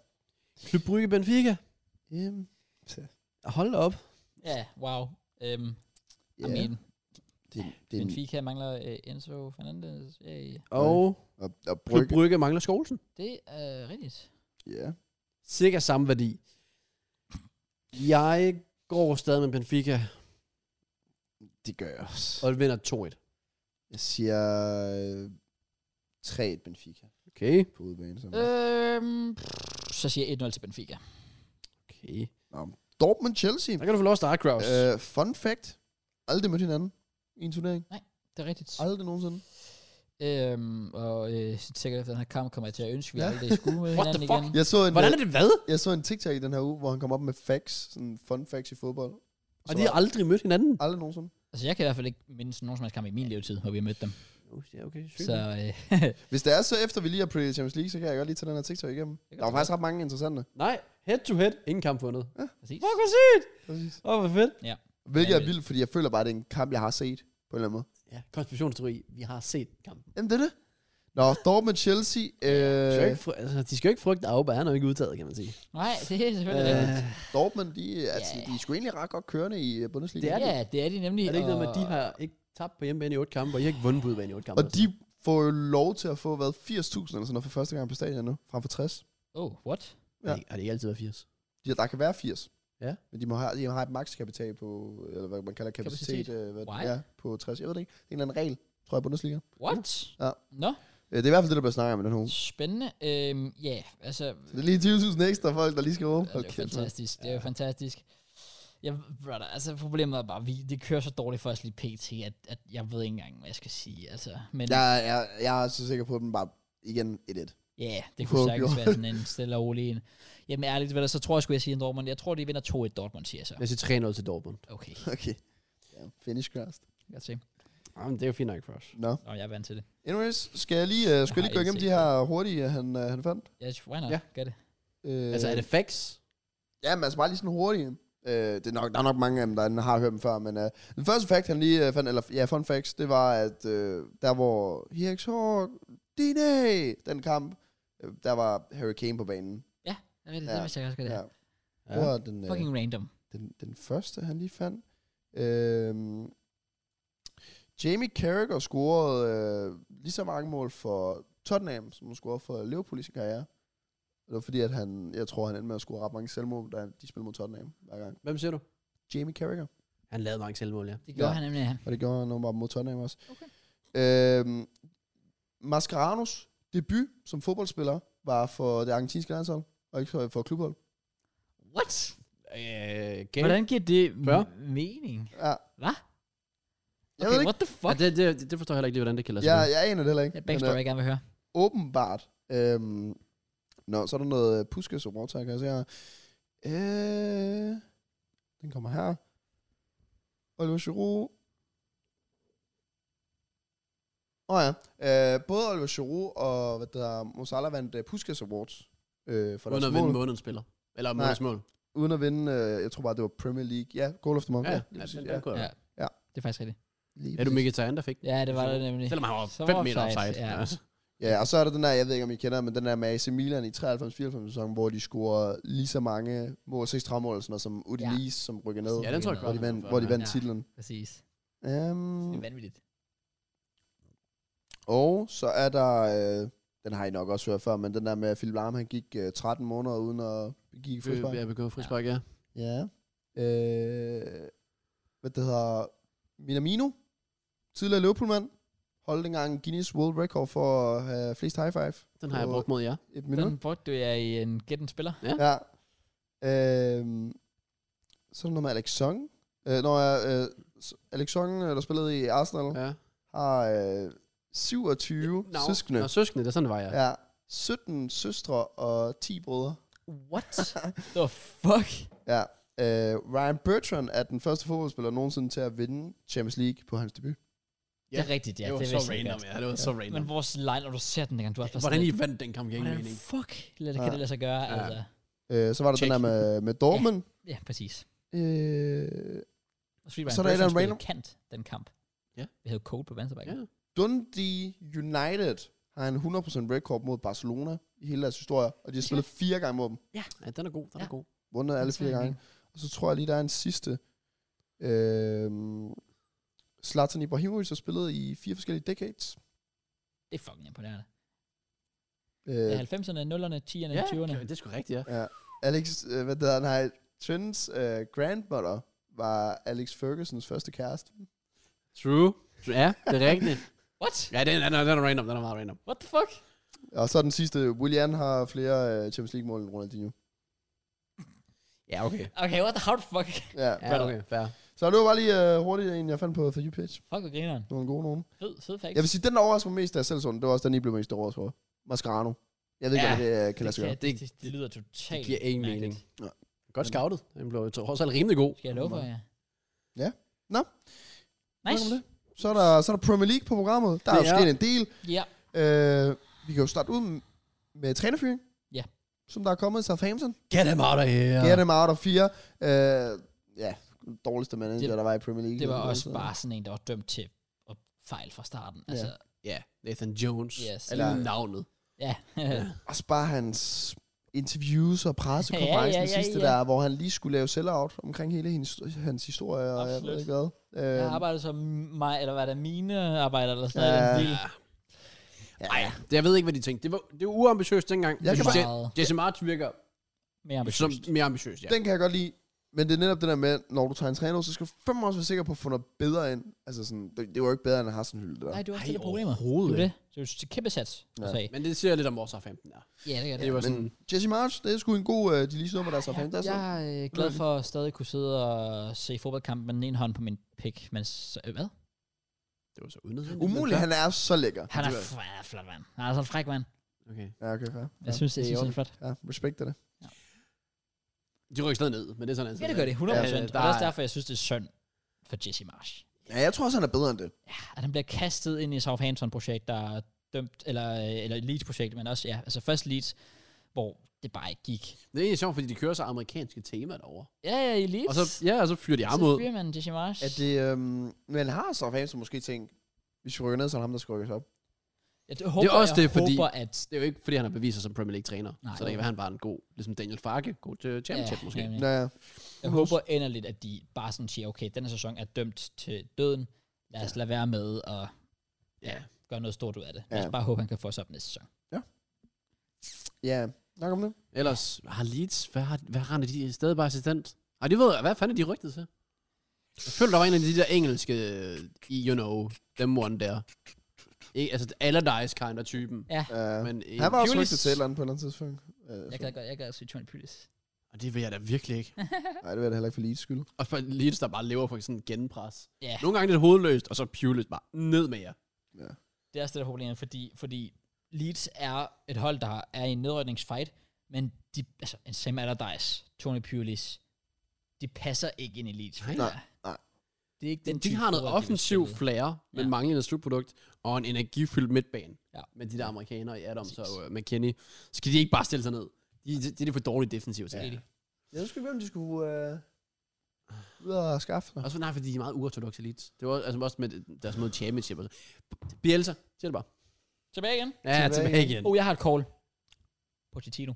Speaker 2: Klub Brygge Benfica.
Speaker 3: Jamen,
Speaker 2: Hold da op.
Speaker 1: Ja, wow. Øhm,
Speaker 3: Ja,
Speaker 1: I mean,
Speaker 3: det, det er en,
Speaker 1: Benfica mangler øh, Enzo Fernandes. Hey.
Speaker 2: Og
Speaker 3: og, og
Speaker 2: Klub
Speaker 3: Brygge.
Speaker 2: Brygge mangler Skovlsen.
Speaker 1: Det er rigtigt.
Speaker 3: Ja.
Speaker 2: cirka samme værdi. Jeg går stadig med Benfica
Speaker 3: Det gør jeg også.
Speaker 2: og vinder
Speaker 3: Jeg siger øh, 3-1 Benfica
Speaker 2: 2-1. Okay.
Speaker 3: på udebane. Som øh.
Speaker 1: Øhm, pff, så siger jeg 1-0 til Benfica.
Speaker 2: okay.
Speaker 3: Dortmund Chelsea.
Speaker 2: Så kan du få lov at starte, Kraus. Øh.
Speaker 3: Øh, fun fact. Aldrig mødt hinanden i en turnering.
Speaker 1: Det er rigtigt.
Speaker 3: Aldrig nogensinde.
Speaker 1: Øhm, og øh, sikkert efter den her kamp kommer jeg til at ønske, at vi
Speaker 3: Ja.
Speaker 1: aldrig
Speaker 2: [LAUGHS]
Speaker 1: skulle møde
Speaker 2: What the
Speaker 1: hinanden
Speaker 2: fuck?
Speaker 1: igen.
Speaker 3: Jeg så en, øh,
Speaker 2: Hvordan er det hvad?
Speaker 3: jeg så en TikTok i den her uge, hvor han kom op med facts. Sådan fun facts i fodbold.
Speaker 2: Og
Speaker 3: Så
Speaker 2: de
Speaker 3: var
Speaker 2: har aldrig mødt hinanden.
Speaker 3: det Aldrig nogensinde.
Speaker 1: Altså, jeg kan i hvert fald ikke mindes nogen som helst kamp i min levetid, hvor vi har mødt dem.
Speaker 2: Ja, okay.
Speaker 1: Så
Speaker 2: Så.
Speaker 1: øh,
Speaker 3: Hvis det er så efter, vi lige har præget Champions League, så kan jeg godt lige tage den her TikTok igennem.
Speaker 1: kan
Speaker 3: Der var
Speaker 1: du
Speaker 3: faktisk ret mange interessante.
Speaker 2: Nej, head to head. Ingen kamp fundet.
Speaker 1: præcis.
Speaker 2: Fuck, hvor sygt.
Speaker 3: Præcis.
Speaker 2: Åh, oh, hvor fedt.
Speaker 3: Hvilket er
Speaker 1: Vanvittigt.
Speaker 3: vildt, fordi jeg føler bare, at det er en kamp, jeg har set på en eller anden måde.
Speaker 2: Ja, konspirationsteori. Vi har set kampen.
Speaker 3: Jamen, det er det. Nå, Dortmund-Chelsea.
Speaker 2: De skal, jo
Speaker 3: Øh,
Speaker 2: ikke fry- altså, de skal jo ikke frygte Auba. Han er jo ikke udtaget, kan man sige.
Speaker 1: Nej, det er selvfølgelig
Speaker 2: Øh,
Speaker 1: rigtigt.
Speaker 3: Dortmund, de, altså,
Speaker 1: Ja.
Speaker 3: de er sgu egentlig ret godt kørende i øh, Bundesliga.
Speaker 2: Det er det.
Speaker 1: Ja, det er de nemlig.
Speaker 2: er det ikke noget med,
Speaker 1: og-
Speaker 2: at de har ikke tabt på hjemmebane i otte kampe, og I har ikke vundet på udebane i otte kampe?
Speaker 3: Og de får jo lov til at få, hvad, 80.000 eller sådan noget for første gang på stadion nu, frem for 60.
Speaker 1: Oh, what?
Speaker 2: ja. Har det ikke altid været 80?
Speaker 3: De, der kan være 80.
Speaker 2: Ja.
Speaker 3: Men de må have, de har et makskapital på, eller hvad man kalder kapacitet,
Speaker 1: Kapacitet.
Speaker 3: Øh, hvad,
Speaker 1: Why?
Speaker 3: ja, på 60. Jeg ved det ikke. Det er en eller anden regel, tror jeg, i Bundesliga.
Speaker 1: What?
Speaker 3: Ja.
Speaker 1: Nå,
Speaker 3: Øh, Det er i hvert fald det, der bliver snakket om i den her uge.
Speaker 1: spændende. Øhm, ja, altså...
Speaker 3: Så det er lige 20.000 ekstra folk, der lige skal råbe.
Speaker 1: det er jo fantastisk. Det er jo fantastisk. Jeg, brother, altså problemet er bare, vi, det kører så dårligt for os lige pt, at, at jeg ved ikke engang, hvad jeg skal sige. Altså, men ja,
Speaker 3: Jeg, jeg, jeg er så sikker på, at den bare igen et [LAUGHS] et.
Speaker 1: yeah, det
Speaker 3: Håber,
Speaker 1: kunne sagtens
Speaker 3: jo.
Speaker 1: være sådan en stille og rolig en. Jamen ærligt, hvad der, så tror jeg, skulle jeg sige en Dortmund. Jeg tror, de vinder 2-1 Dortmund, siger jeg så.
Speaker 2: Lad os sige 3-0 til Dortmund.
Speaker 1: Okay,
Speaker 3: Okay. Ja, finish crossed.
Speaker 1: godt se.
Speaker 2: Jamen, det er jo fint nok for os.
Speaker 3: Nå.
Speaker 1: Nå, jeg er vant til det.
Speaker 3: Anyways, skal jeg lige, uh, skal jeg
Speaker 1: har
Speaker 3: lige gå
Speaker 1: ikke
Speaker 3: igennem de
Speaker 1: set
Speaker 3: her hurtige, han, uh, han fandt?
Speaker 1: Yes, why not?
Speaker 2: Ja.
Speaker 1: Ja. Gør det.
Speaker 3: Uh,
Speaker 2: Altså, er det facts?
Speaker 3: Ja, men altså bare lige sådan hurtigt. Øh, det er nok, der er nok mange af dem, der enten har hørt dem før, men øh, den første fact, han lige øh, fandt, eller ja, fun facts, det var, at øh, der hvor Hirx Hård, DNA, den kamp, øh, der var Harry Kane på banen.
Speaker 1: Det, er rigtigt,
Speaker 3: Ja.
Speaker 1: det vidste jeg også godt, det
Speaker 3: Ja.
Speaker 1: ja.
Speaker 3: Ja. Det var den, øh,
Speaker 1: Fucking random.
Speaker 3: den, den første, han lige fandt. Øh, Jamie Carragher scorede øh, lige så mange mål for Tottenham, som han scorede for Liverpool i sin karriere. Det var fordi, at han, jeg tror, han endte med at score ret mange selvmål, da de spillede mod Tottenham hver gang.
Speaker 2: Hvem siger du?
Speaker 3: Jamie Carragher.
Speaker 2: Han lavede mange selvmål, ja.
Speaker 1: Det gjorde
Speaker 3: Ja.
Speaker 1: ja. han nemlig.
Speaker 3: Og det gjorde han åbenbart mod Tottenham også.
Speaker 1: Okay.
Speaker 3: Øhm, Mascaranos debut som fodboldspiller var for det argentinske landshold, og ikke for, for klubhold.
Speaker 1: What?
Speaker 2: Øh,
Speaker 1: Okay.
Speaker 2: Gabe?
Speaker 1: Hvordan giver det
Speaker 2: Fyrre?
Speaker 1: m- mening?
Speaker 3: Ja.
Speaker 1: Hva?
Speaker 3: Jeg ved
Speaker 1: Okay,
Speaker 3: ikke.
Speaker 1: what the
Speaker 2: Ja,
Speaker 1: fuck?
Speaker 2: det, det, det forstår jeg heller ikke lige, hvordan det kan lade sig
Speaker 3: Jeg,
Speaker 2: gøre.
Speaker 3: jeg aner det heller
Speaker 1: Det
Speaker 3: ikke.
Speaker 1: er backstory,
Speaker 3: øh,
Speaker 1: jeg gerne vil høre.
Speaker 3: åbenbart. Øhm, nå, så er der noget øh, puske som overtager, kan jeg se her. Øh, den kommer her. Oliver Giroud. Åh oh ja, øh, både Oliver Giroud og hvad der Mosala vandt øh, Puskas Awards. Øh, for
Speaker 2: Uden
Speaker 3: deres
Speaker 2: at vinde
Speaker 3: mål.
Speaker 2: månedens spiller. Eller
Speaker 3: Nej.
Speaker 2: månedens mål.
Speaker 3: Uden at vinde, øh, jeg tror bare, det var Premier League. Ja, Goal of the Month.
Speaker 2: Ja,
Speaker 3: Ja,
Speaker 2: ja,
Speaker 3: lige
Speaker 2: ja,
Speaker 3: præcis,
Speaker 2: den,
Speaker 3: ja.
Speaker 2: den kunne jeg.
Speaker 1: Ja. Det er faktisk rigtigt.
Speaker 3: Lige
Speaker 2: Er du
Speaker 3: præcis.
Speaker 2: Mkhitaryan, der fik den?
Speaker 1: Ja, det var det nemlig.
Speaker 2: Selvom han var
Speaker 1: Så
Speaker 2: 5
Speaker 1: var
Speaker 2: meter
Speaker 1: offside,
Speaker 2: offside.
Speaker 1: ja.
Speaker 2: Ja. Altså.
Speaker 3: Ja, og så er der den der, jeg ved ikke om I kender, men den der med AC Milan i 93-94 sæsonen, hvor de scorer lige så mange mål, 36 mål eller sådan noget, som Udinese, ja. som rykker ned,
Speaker 2: Ja, den tror jeg
Speaker 3: hvor
Speaker 2: godt.
Speaker 3: de
Speaker 2: han
Speaker 3: vandt,
Speaker 2: var
Speaker 3: hvor de
Speaker 2: for.
Speaker 3: vandt
Speaker 1: Ja.
Speaker 3: titlen.
Speaker 1: Præcis. Det
Speaker 3: Um,
Speaker 1: er vanvittigt.
Speaker 3: og så er der, øh, den har I nok også hørt før, men den der med, at Philip Lahm, han gik øh, 13 måneder uden at give frispark.
Speaker 2: Øh, Ja, begået frispark, ja.
Speaker 3: Ja. Øh, hvad det hedder, Minamino, tidligere Liverpool-mand, holdt engang Guinness World Record for at have flest high five.
Speaker 2: Den har jeg
Speaker 3: på
Speaker 2: brugt mod jer.
Speaker 3: Et minut.
Speaker 1: Den brugte jeg i en get en spiller.
Speaker 3: Ja. Øhm, så er der noget med Alex Song. Øh, når jeg, øh, s- Alex Song, øh, der spillede i Arsenal, ja.
Speaker 2: Ja.
Speaker 3: har øh, 27 no. søskende.
Speaker 2: Nå, søskende, det er sådan, det var, ja.
Speaker 3: Ja. 17 søstre og 10 brødre.
Speaker 1: [LAUGHS] What? the fuck?
Speaker 3: Ja. Øh, Ryan Bertrand er den første fodboldspiller nogensinde til at vinde Champions League på hans debut.
Speaker 1: Det er rigtigt, ja.
Speaker 2: det var
Speaker 1: det
Speaker 2: så
Speaker 1: vidste jeg
Speaker 2: random,
Speaker 1: godt.
Speaker 2: ja. Det var så random.
Speaker 1: Men vores line, når du ser den dengang, du har
Speaker 2: Hvordan I vandt den kamp, jeg ingen
Speaker 1: Hvordan
Speaker 2: mening.
Speaker 1: fuck lad det, kan
Speaker 3: Ja.
Speaker 1: det lade sig gøre?
Speaker 2: Ja.
Speaker 1: Altså.
Speaker 3: Øh, så var der
Speaker 2: Check.
Speaker 3: den der med, med Dortmund.
Speaker 1: Ja, præcis.
Speaker 3: Ja. Øh,
Speaker 1: Og Sweet
Speaker 3: Så er der et eller andet random-
Speaker 1: kant, den kamp.
Speaker 2: Ja.
Speaker 1: Vi havde Cole på venstrebacken.
Speaker 2: Ja.
Speaker 3: Dundee United har en 100% record mod Barcelona i hele deres historie, og de har spillet fire gange mod dem.
Speaker 2: Ja, den er god, den er
Speaker 1: Ja.
Speaker 2: god.
Speaker 3: Vundet alle fire gange. Og så tror jeg lige, der er en sidste. Øhm, Zlatan Ibrahimovic har spillet i fire forskellige decades.
Speaker 1: Det er fucking imponerende. Det
Speaker 3: Øh,
Speaker 1: er 90'erne, 0'erne, 10'erne,
Speaker 2: Ja,
Speaker 1: 20'erne.
Speaker 2: det er sgu rigtigt, ja.
Speaker 3: Alex, øh, hvad hedder han, nej, Trins øh, grandmother var Alex Fergusons første kæreste.
Speaker 2: True. Ja, det er rigtigt.
Speaker 1: What?
Speaker 2: Ja, den er, den er random, den er meget random.
Speaker 1: What the fuck?
Speaker 3: Og så den sidste, Willian har flere øh, Champions League-mål end Ronaldinho.
Speaker 2: Ja, okay.
Speaker 1: Okay, what the how the fuck?
Speaker 3: Ja.
Speaker 2: Ja, okay, fair.
Speaker 3: Så det var bare lige øh, hurtigt en, jeg fandt på For You Page.
Speaker 1: Fuck og grineren.
Speaker 3: Nogle gode nogen.
Speaker 1: Fed, fed facts.
Speaker 3: Jeg vil sige, den der overraskede mig mest, da jeg selv så den, det var også den, I blev mest overrasket over. Mascherano. Jeg ved ikke,
Speaker 2: Ja,
Speaker 3: ja, det øh, kan lade
Speaker 1: det,
Speaker 3: sig gøre.
Speaker 1: det, det, det, lyder totalt
Speaker 2: Det giver ingen mening.
Speaker 1: mærkeligt.
Speaker 2: Godt scoutet. Den blev trods alt rimelig god.
Speaker 1: Skal jeg love for jer?
Speaker 3: Ja. Nå.
Speaker 1: Nice.
Speaker 3: Hvad om Så er, der, så er der Premier League på programmet. Der er jo
Speaker 2: Det er-
Speaker 3: sket en del.
Speaker 1: Ja.
Speaker 3: Øh, vi kan jo starte ud med- med trænerfyring.
Speaker 1: Ja.
Speaker 3: Som der er kommet i Southampton.
Speaker 2: Get him out of here.
Speaker 3: Ja. Get them out of fire. Øh, ja, den dårligste manager,
Speaker 1: Det-
Speaker 3: der var i Premier League. Altså,
Speaker 1: Det var
Speaker 3: Så-
Speaker 1: også bare sådan en, der var dømt til at fejle fra starten. Altså,
Speaker 2: Ja, Nathan Jones.
Speaker 1: Yes.
Speaker 2: Eller
Speaker 3: Ja.
Speaker 2: navnet.
Speaker 1: ja.
Speaker 3: Også bare hans interviews og pressekonferencen
Speaker 1: Ja,
Speaker 3: ja,
Speaker 1: ja, ja,
Speaker 3: sidste
Speaker 1: ja.
Speaker 3: der, hvor han lige skulle lave sell-out omkring hele hendes, hans historie, og jeg ved
Speaker 1: Absolut.
Speaker 3: ikke hvad.
Speaker 1: [LAUGHS]
Speaker 3: Øh,
Speaker 1: jeg arbejdede som mig, eller var det mine arbejder, eller sådan
Speaker 3: Ja.
Speaker 1: noget. i den stil.
Speaker 2: Ja. Ej, det, jeg ved ikke, hvad de tænkte. Det var, det var uambitiøst dengang.
Speaker 3: Jeg
Speaker 1: Det
Speaker 3: kan
Speaker 1: er
Speaker 3: bare-
Speaker 2: Jesse March virker
Speaker 1: Mere
Speaker 2: som
Speaker 1: ambitiøst.
Speaker 2: mere ambitiøs, ja.
Speaker 3: den kan jeg godt lide. Men det er netop det der med, når du tager en træner, så skal du fandme også være sikker på at få noget bedre ind. Altså sådan, det, det var jo ikke bedre end at have sådan en hylde der.
Speaker 1: Nej, det var også
Speaker 2: Ej,
Speaker 1: det, der problemer.
Speaker 2: overhovedet
Speaker 1: Det er jo det. Det er jo et kæmpe sats, du
Speaker 3: Ja.
Speaker 1: sagde.
Speaker 2: Men det siger lidt om vores 15 der.
Speaker 1: Ja, det gør det.
Speaker 2: Det var
Speaker 3: men
Speaker 2: sådan,
Speaker 3: Jesse March, det er sgu en god, øh, de lige sidder med deres
Speaker 1: Jeg,
Speaker 3: erfaring. Ja,
Speaker 1: jeg
Speaker 3: ja.
Speaker 1: er øh, glad for at stadig kunne sidde og se fodboldkamp med den ene hånd på min pik, men så, øh, hvad?
Speaker 2: det var så unødvendigt.
Speaker 3: Umuligt, han er så lækker.
Speaker 1: Han er,
Speaker 2: Det var-
Speaker 1: f- han er flot, mand. Han er sådan en fræk, mand.
Speaker 2: Okay.
Speaker 3: Ja, okay, fair.
Speaker 1: Jeg synes,
Speaker 2: det
Speaker 1: det,
Speaker 2: er
Speaker 1: jeg synes,
Speaker 2: i
Speaker 1: han er flot.
Speaker 3: Ja, respekt det.
Speaker 2: De rykker stadig ned, men det er sådan,
Speaker 1: Ja, det gør det, 100%. Ja,
Speaker 2: Ja,
Speaker 1: og det er også derfor, jeg synes, det er synd for Jesse Marsh.
Speaker 3: Ja, jeg tror også, han er bedre end det.
Speaker 1: Ja, at han bliver kastet ind i Southampton-projekt, der er dømt, eller, øh, eller Leeds-projekt, men også, ja, altså først Leeds, hvor det bare ikke gik.
Speaker 2: Det er egentlig sjovt, fordi de kører så amerikanske temaer derovre.
Speaker 1: Ja, ja, i Leeds.
Speaker 2: Og så, ja, og så fyrer de arme ud.
Speaker 1: Så fyrer man Jesse Marsh.
Speaker 3: At det, øhm, men har Southampton som måske tænkt, hvis vi rykker ned, så er det ham, der skal rykkes op.
Speaker 1: Jeg d- håber, det er også det, fordi... håber, at...
Speaker 2: Det er jo ikke, fordi han har bevist sig som Premier League-træner.
Speaker 1: Nej.
Speaker 2: så det kan være, han bare er en god, ligesom Daniel Farke, god til championship
Speaker 1: Ja,
Speaker 2: ja, måske.
Speaker 1: ja,
Speaker 2: Ja,
Speaker 1: ja.
Speaker 3: Ja, ja.
Speaker 1: Jeg håber enderligt, at de bare sådan siger, okay, den her sæson er dømt til døden. Lad os lade være med at
Speaker 2: ja.
Speaker 1: gøre noget stort ud af det. Lad os
Speaker 3: Ja.
Speaker 1: bare håbe, han kan få sig op næste sæson.
Speaker 3: ja. Nok om det.
Speaker 2: Ellers, har Leeds, hvad, har, hvad render de stadig bare assistent? Ej, det ved jeg, hvad fanden er de rygtet til? Jeg følte, der var en af de der engelske, you know, dem one der. Ikke, altså Allardyce kind af typen.
Speaker 3: Uh,
Speaker 2: Men, øh,
Speaker 3: han var også
Speaker 2: Pulis-
Speaker 3: rygtet til et eller andet på et eller andet tidspunkt. Øh,
Speaker 1: Jeg kan godt, jeg kan også sige Tony Pulis.
Speaker 2: Og det vil jeg da virkelig ikke.
Speaker 3: Nej, det vil jeg da heller ikke for lige skyld.
Speaker 2: Og for Leeds, der bare lever for sådan en genpres.
Speaker 1: Ja,
Speaker 2: Nogle gange er det hovedløst, og så Pulis bare ned med jer.
Speaker 1: det er også det, der er problemet, fordi, fordi Leeds er et hold, der er i en nedrykningsfight, men de, altså, en Sam Allardyce, Tony Pulis, de passer ikke ind i Leeds.
Speaker 2: Nej.
Speaker 1: føler jeg.
Speaker 3: Nej.
Speaker 1: Det er ikke
Speaker 2: De,
Speaker 1: den
Speaker 2: de
Speaker 1: type
Speaker 2: har noget
Speaker 1: fodbold, de vil
Speaker 2: offensiv
Speaker 1: spille.
Speaker 2: flair, men
Speaker 1: Ja.
Speaker 2: ja. manglende slutprodukt, og en energifyldt midtbane.
Speaker 1: Ja.
Speaker 2: Men de der amerikanere i Adams
Speaker 1: Præcis.
Speaker 2: og øh, McKinney, så kan de ikke bare stille sig ned. De, de, de er for dårlige defensive til.
Speaker 1: Det er
Speaker 2: Ja.
Speaker 1: de.
Speaker 3: Jeg ved sgu ikke, hvem de skulle øh, ud og skaffe sig.
Speaker 2: Også for, nej, fordi de er meget uortodoxe elites. Det var altså også med deres måde championship. og så. Bielsa, siger det bare.
Speaker 1: Tilbage igen.
Speaker 2: Ja,
Speaker 3: Tilbage
Speaker 2: tilbage
Speaker 3: igen.
Speaker 2: igen.
Speaker 1: Oh, jeg har et call. Pochettino.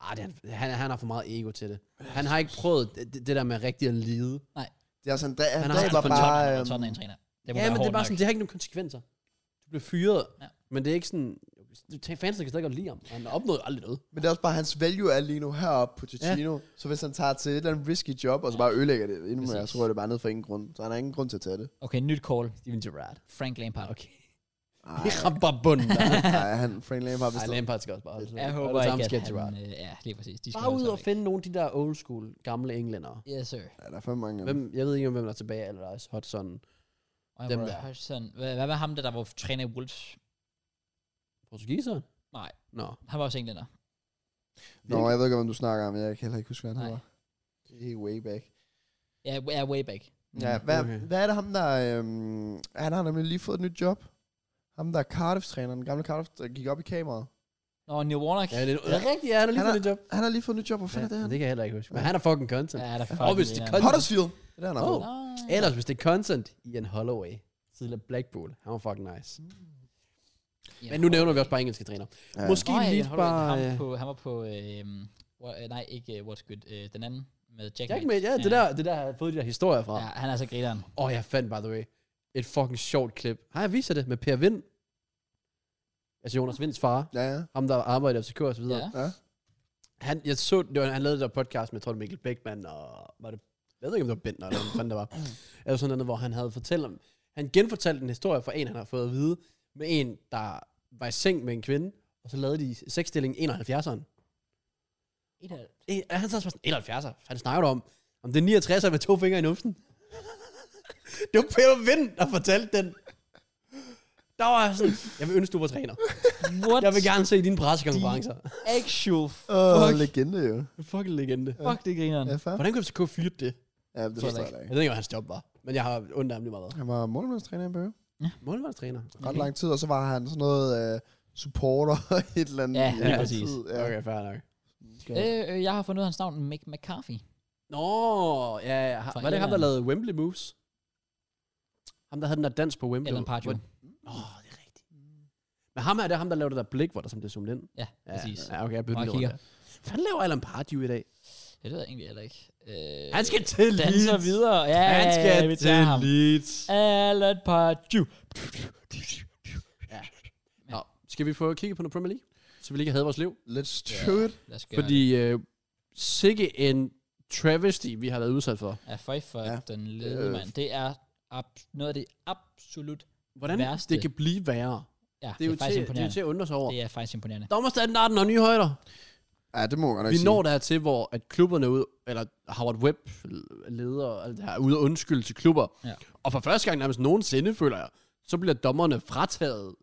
Speaker 2: Ah, det er, han, han har for meget ego til det. Han har ikke prøvet det, det der med rigtig at lide.
Speaker 3: Det er altså sådan, der, han,
Speaker 2: Han
Speaker 3: han
Speaker 2: har
Speaker 3: der
Speaker 2: også
Speaker 3: var
Speaker 2: fået
Speaker 3: bare...
Speaker 1: Tottenham,
Speaker 3: øhm,
Speaker 1: Tottenham træner. Det må
Speaker 2: Ja,
Speaker 1: være
Speaker 2: men det er
Speaker 1: hårdt
Speaker 2: bare
Speaker 1: nok.
Speaker 2: sådan, det har ikke nogen konsekvenser. Du bliver fyret,
Speaker 1: Ja.
Speaker 2: ja. men det er ikke sådan... Fansen kan stadig godt lide ham. Han opnåede aldrig noget.
Speaker 3: øhm, Men det er også bare, hans value er lige nu heroppe på Totino. Ja. Så hvis han tager til et eller andet risky job, og så bare ødelægger det endnu mere,
Speaker 1: Præcis.
Speaker 3: så tror jeg, det er bare ned for ingen grund. Så han har ingen grund til at tage det.
Speaker 1: Okay, nyt call.
Speaker 2: Steven Gerrard. [LAUGHS]
Speaker 1: Frank Lampard. Okay.
Speaker 3: Ej,
Speaker 2: Det rammer bare bunden. der.
Speaker 3: [LAUGHS] ej, han, Frank Lampard, hvis
Speaker 2: Ej, Lampard skal også bare.
Speaker 1: Jeg håber ikke, at han... Øh, ja, lige præcis. De
Speaker 2: Bare
Speaker 1: holde
Speaker 2: ud
Speaker 1: sig
Speaker 2: og
Speaker 1: væk.
Speaker 2: finde nogle af de der old school gamle englændere.
Speaker 1: Yes, sir.
Speaker 3: Ja, der er for mange. af dem.
Speaker 2: Hvem, jeg ved ikke, om hvem der er tilbage, eller der er Hudson.
Speaker 1: Og
Speaker 2: Dem
Speaker 1: Dem
Speaker 2: der.
Speaker 1: Hudson. Hvad, hvad med ham, der, der var træner i Wolves?
Speaker 2: Portugiseren?
Speaker 1: Nej.
Speaker 2: Nå.
Speaker 1: Han var også englænder.
Speaker 3: Nå, jeg ved ikke, hvem du snakker om. Jeg kan heller ikke huske, hvad han
Speaker 1: Nej.
Speaker 3: hedder. Det er way back.
Speaker 1: Ja, ja way back. Mm.
Speaker 3: Ja, hvad,
Speaker 2: okay.
Speaker 3: okay. hvad er det ham, der... Øhm, han har nemlig lige fået et nyt job. Ham, der er Cardiff-træneren, den gamle Cardiff, der gik op i kameraet.
Speaker 1: Nå, Neil Warnock.
Speaker 2: Ja,
Speaker 1: Ja,
Speaker 2: det er, det er rigtigt, ja, han er lige
Speaker 3: Han
Speaker 2: fået
Speaker 3: er-
Speaker 2: det job.
Speaker 3: Han har lige fået et nyt job. Hvor fanden er det
Speaker 2: det
Speaker 3: her?
Speaker 2: kan jeg heller ikke huske. Men han er fucking content.
Speaker 1: ja der er
Speaker 2: Og hvis det
Speaker 1: fucking
Speaker 2: kan-
Speaker 3: Huddersfield. Det er der, han har
Speaker 2: Åh.
Speaker 3: fået.
Speaker 1: englænder.
Speaker 2: Ellers, hvis det er content, Ian Holloway. Tidligere Blackpool. Han var fucking nice.
Speaker 1: Ja,
Speaker 2: Men nu nævner vi også bare engelske træner.
Speaker 3: Ja.
Speaker 2: Måske
Speaker 1: Nå, ja,
Speaker 2: lige
Speaker 1: Ian Holloway,
Speaker 2: bare...
Speaker 1: Ham
Speaker 2: øh,
Speaker 1: på, han var på... Øh, what, øh, nej, ikke uh, What's Good. Øh, den anden med Jack,
Speaker 2: Jack Mate, ja, det der, det der har jeg fået de der historier fra.
Speaker 1: Ja, han er så grineren.
Speaker 2: Åh, oh, jeg fandt, by the way, et fucking sjovt klip. Har jeg vist jer det med Per Vind? Altså Jonas Vinds far,
Speaker 3: Ja, ja.
Speaker 2: ham der arbejder i FCK og så videre.
Speaker 1: Ja.
Speaker 2: Ja.
Speaker 3: ja.
Speaker 2: Han, jeg så, det var, han lavede det der podcast med, jeg tror det var Mikkel Beckmann, og var det, jeg ved ikke, om det var Bentner, eller hvad fanden det var. [CLEARS THROAT] Eller sådan noget, hvor han havde fortalt om, han genfortalte en historie fra en, han har fået at vide, med en, der var i seng med en kvinde, og så lavede de sexstillingen 71'eren.
Speaker 1: Et af-
Speaker 2: En- E, Han sad også bare sådan, 71'er, han snakker du om, om det er 69'er med to fingre i numsen. [LAUGHS] det var Per Vind, der fortalte den. Der var jeg sådan, jeg vil ønske, du var træner.
Speaker 1: What?
Speaker 2: Jeg vil gerne se dine pressekonferencer.
Speaker 1: Actual
Speaker 3: Åh,
Speaker 1: fuck.
Speaker 3: legende jo.
Speaker 2: Du [LAUGHS] fucking legende.
Speaker 1: Fuck, det grineren.
Speaker 3: Ja, fair.
Speaker 2: Hvordan kunne FCK fyre det?
Speaker 3: Ja, det forstår jeg da
Speaker 2: Jeg
Speaker 3: ikke.
Speaker 2: ved ikke, hvad hans job var, men jeg har ondt af ham lige meget.
Speaker 3: Han var målmandstræner i en periode.
Speaker 2: Målmandstræner.
Speaker 3: Ret lang tid, og så var han sådan noget øh, supporter [LAUGHS] i et eller andet.
Speaker 1: Ja,
Speaker 3: i
Speaker 1: lige
Speaker 3: lang
Speaker 1: præcis.
Speaker 3: tid.
Speaker 2: Ja. Okay, fair nok.
Speaker 3: Skal-
Speaker 1: Øh, øh, jeg har fundet ud af hans navn, Mick McCarthy.
Speaker 2: Nå, ja, ja.
Speaker 1: Fra
Speaker 2: var det ham, der
Speaker 1: Irland.
Speaker 2: lavede Wembley Moves? Ham, der havde den der dans på Wembley.
Speaker 1: Alan Pardew.
Speaker 2: Hvor- Åh, oh, det er rigtigt. Men ham er det ham, der lavede det der blik, hvor der som det zoomet ind.
Speaker 1: Ja, præcis.
Speaker 2: Ja, okay, jeg bytter
Speaker 1: Og
Speaker 2: lige
Speaker 1: kigger.
Speaker 2: rundt. Hvad fanden laver Alan Pardew i dag?
Speaker 1: Det ved jeg egentlig heller ikke. Øh,
Speaker 2: Han skal til Leeds.
Speaker 1: danser videre. Ja,
Speaker 2: Han skal
Speaker 1: vi
Speaker 2: til
Speaker 1: tager ham.
Speaker 2: Leeds.
Speaker 1: Alan Pardew.
Speaker 2: Nå, skal vi få kigget på noget Premier League? Så vi lige kan have vores liv.
Speaker 3: Let's do it.
Speaker 1: Lad os gøre
Speaker 2: Fordi øh, sikke en travesty, vi har været udsat for.
Speaker 1: Ja, føj for ja.
Speaker 3: Ja.
Speaker 1: den lede
Speaker 3: Øh.
Speaker 1: mand. Det er ab- noget af det absolut...
Speaker 2: Hvordan
Speaker 1: Værste.
Speaker 2: det kan blive værre.
Speaker 1: Ja,
Speaker 2: Det er, jo
Speaker 1: faktisk
Speaker 2: til, det er jo
Speaker 1: imponerende.
Speaker 2: til at undre sig over.
Speaker 1: Det er faktisk imponerende.
Speaker 2: Dommerstandarden og nye højder.
Speaker 3: Ja, det må jeg godt nok
Speaker 2: Vi
Speaker 3: sige.
Speaker 2: når dertil, hvor at klubberne ud, eller Howard Webb leder og alt det her, er ude og undskylde til klubber.
Speaker 1: Ja.
Speaker 2: Og for første gang nærmest nogensinde, føler jeg, så bliver dommerne frataget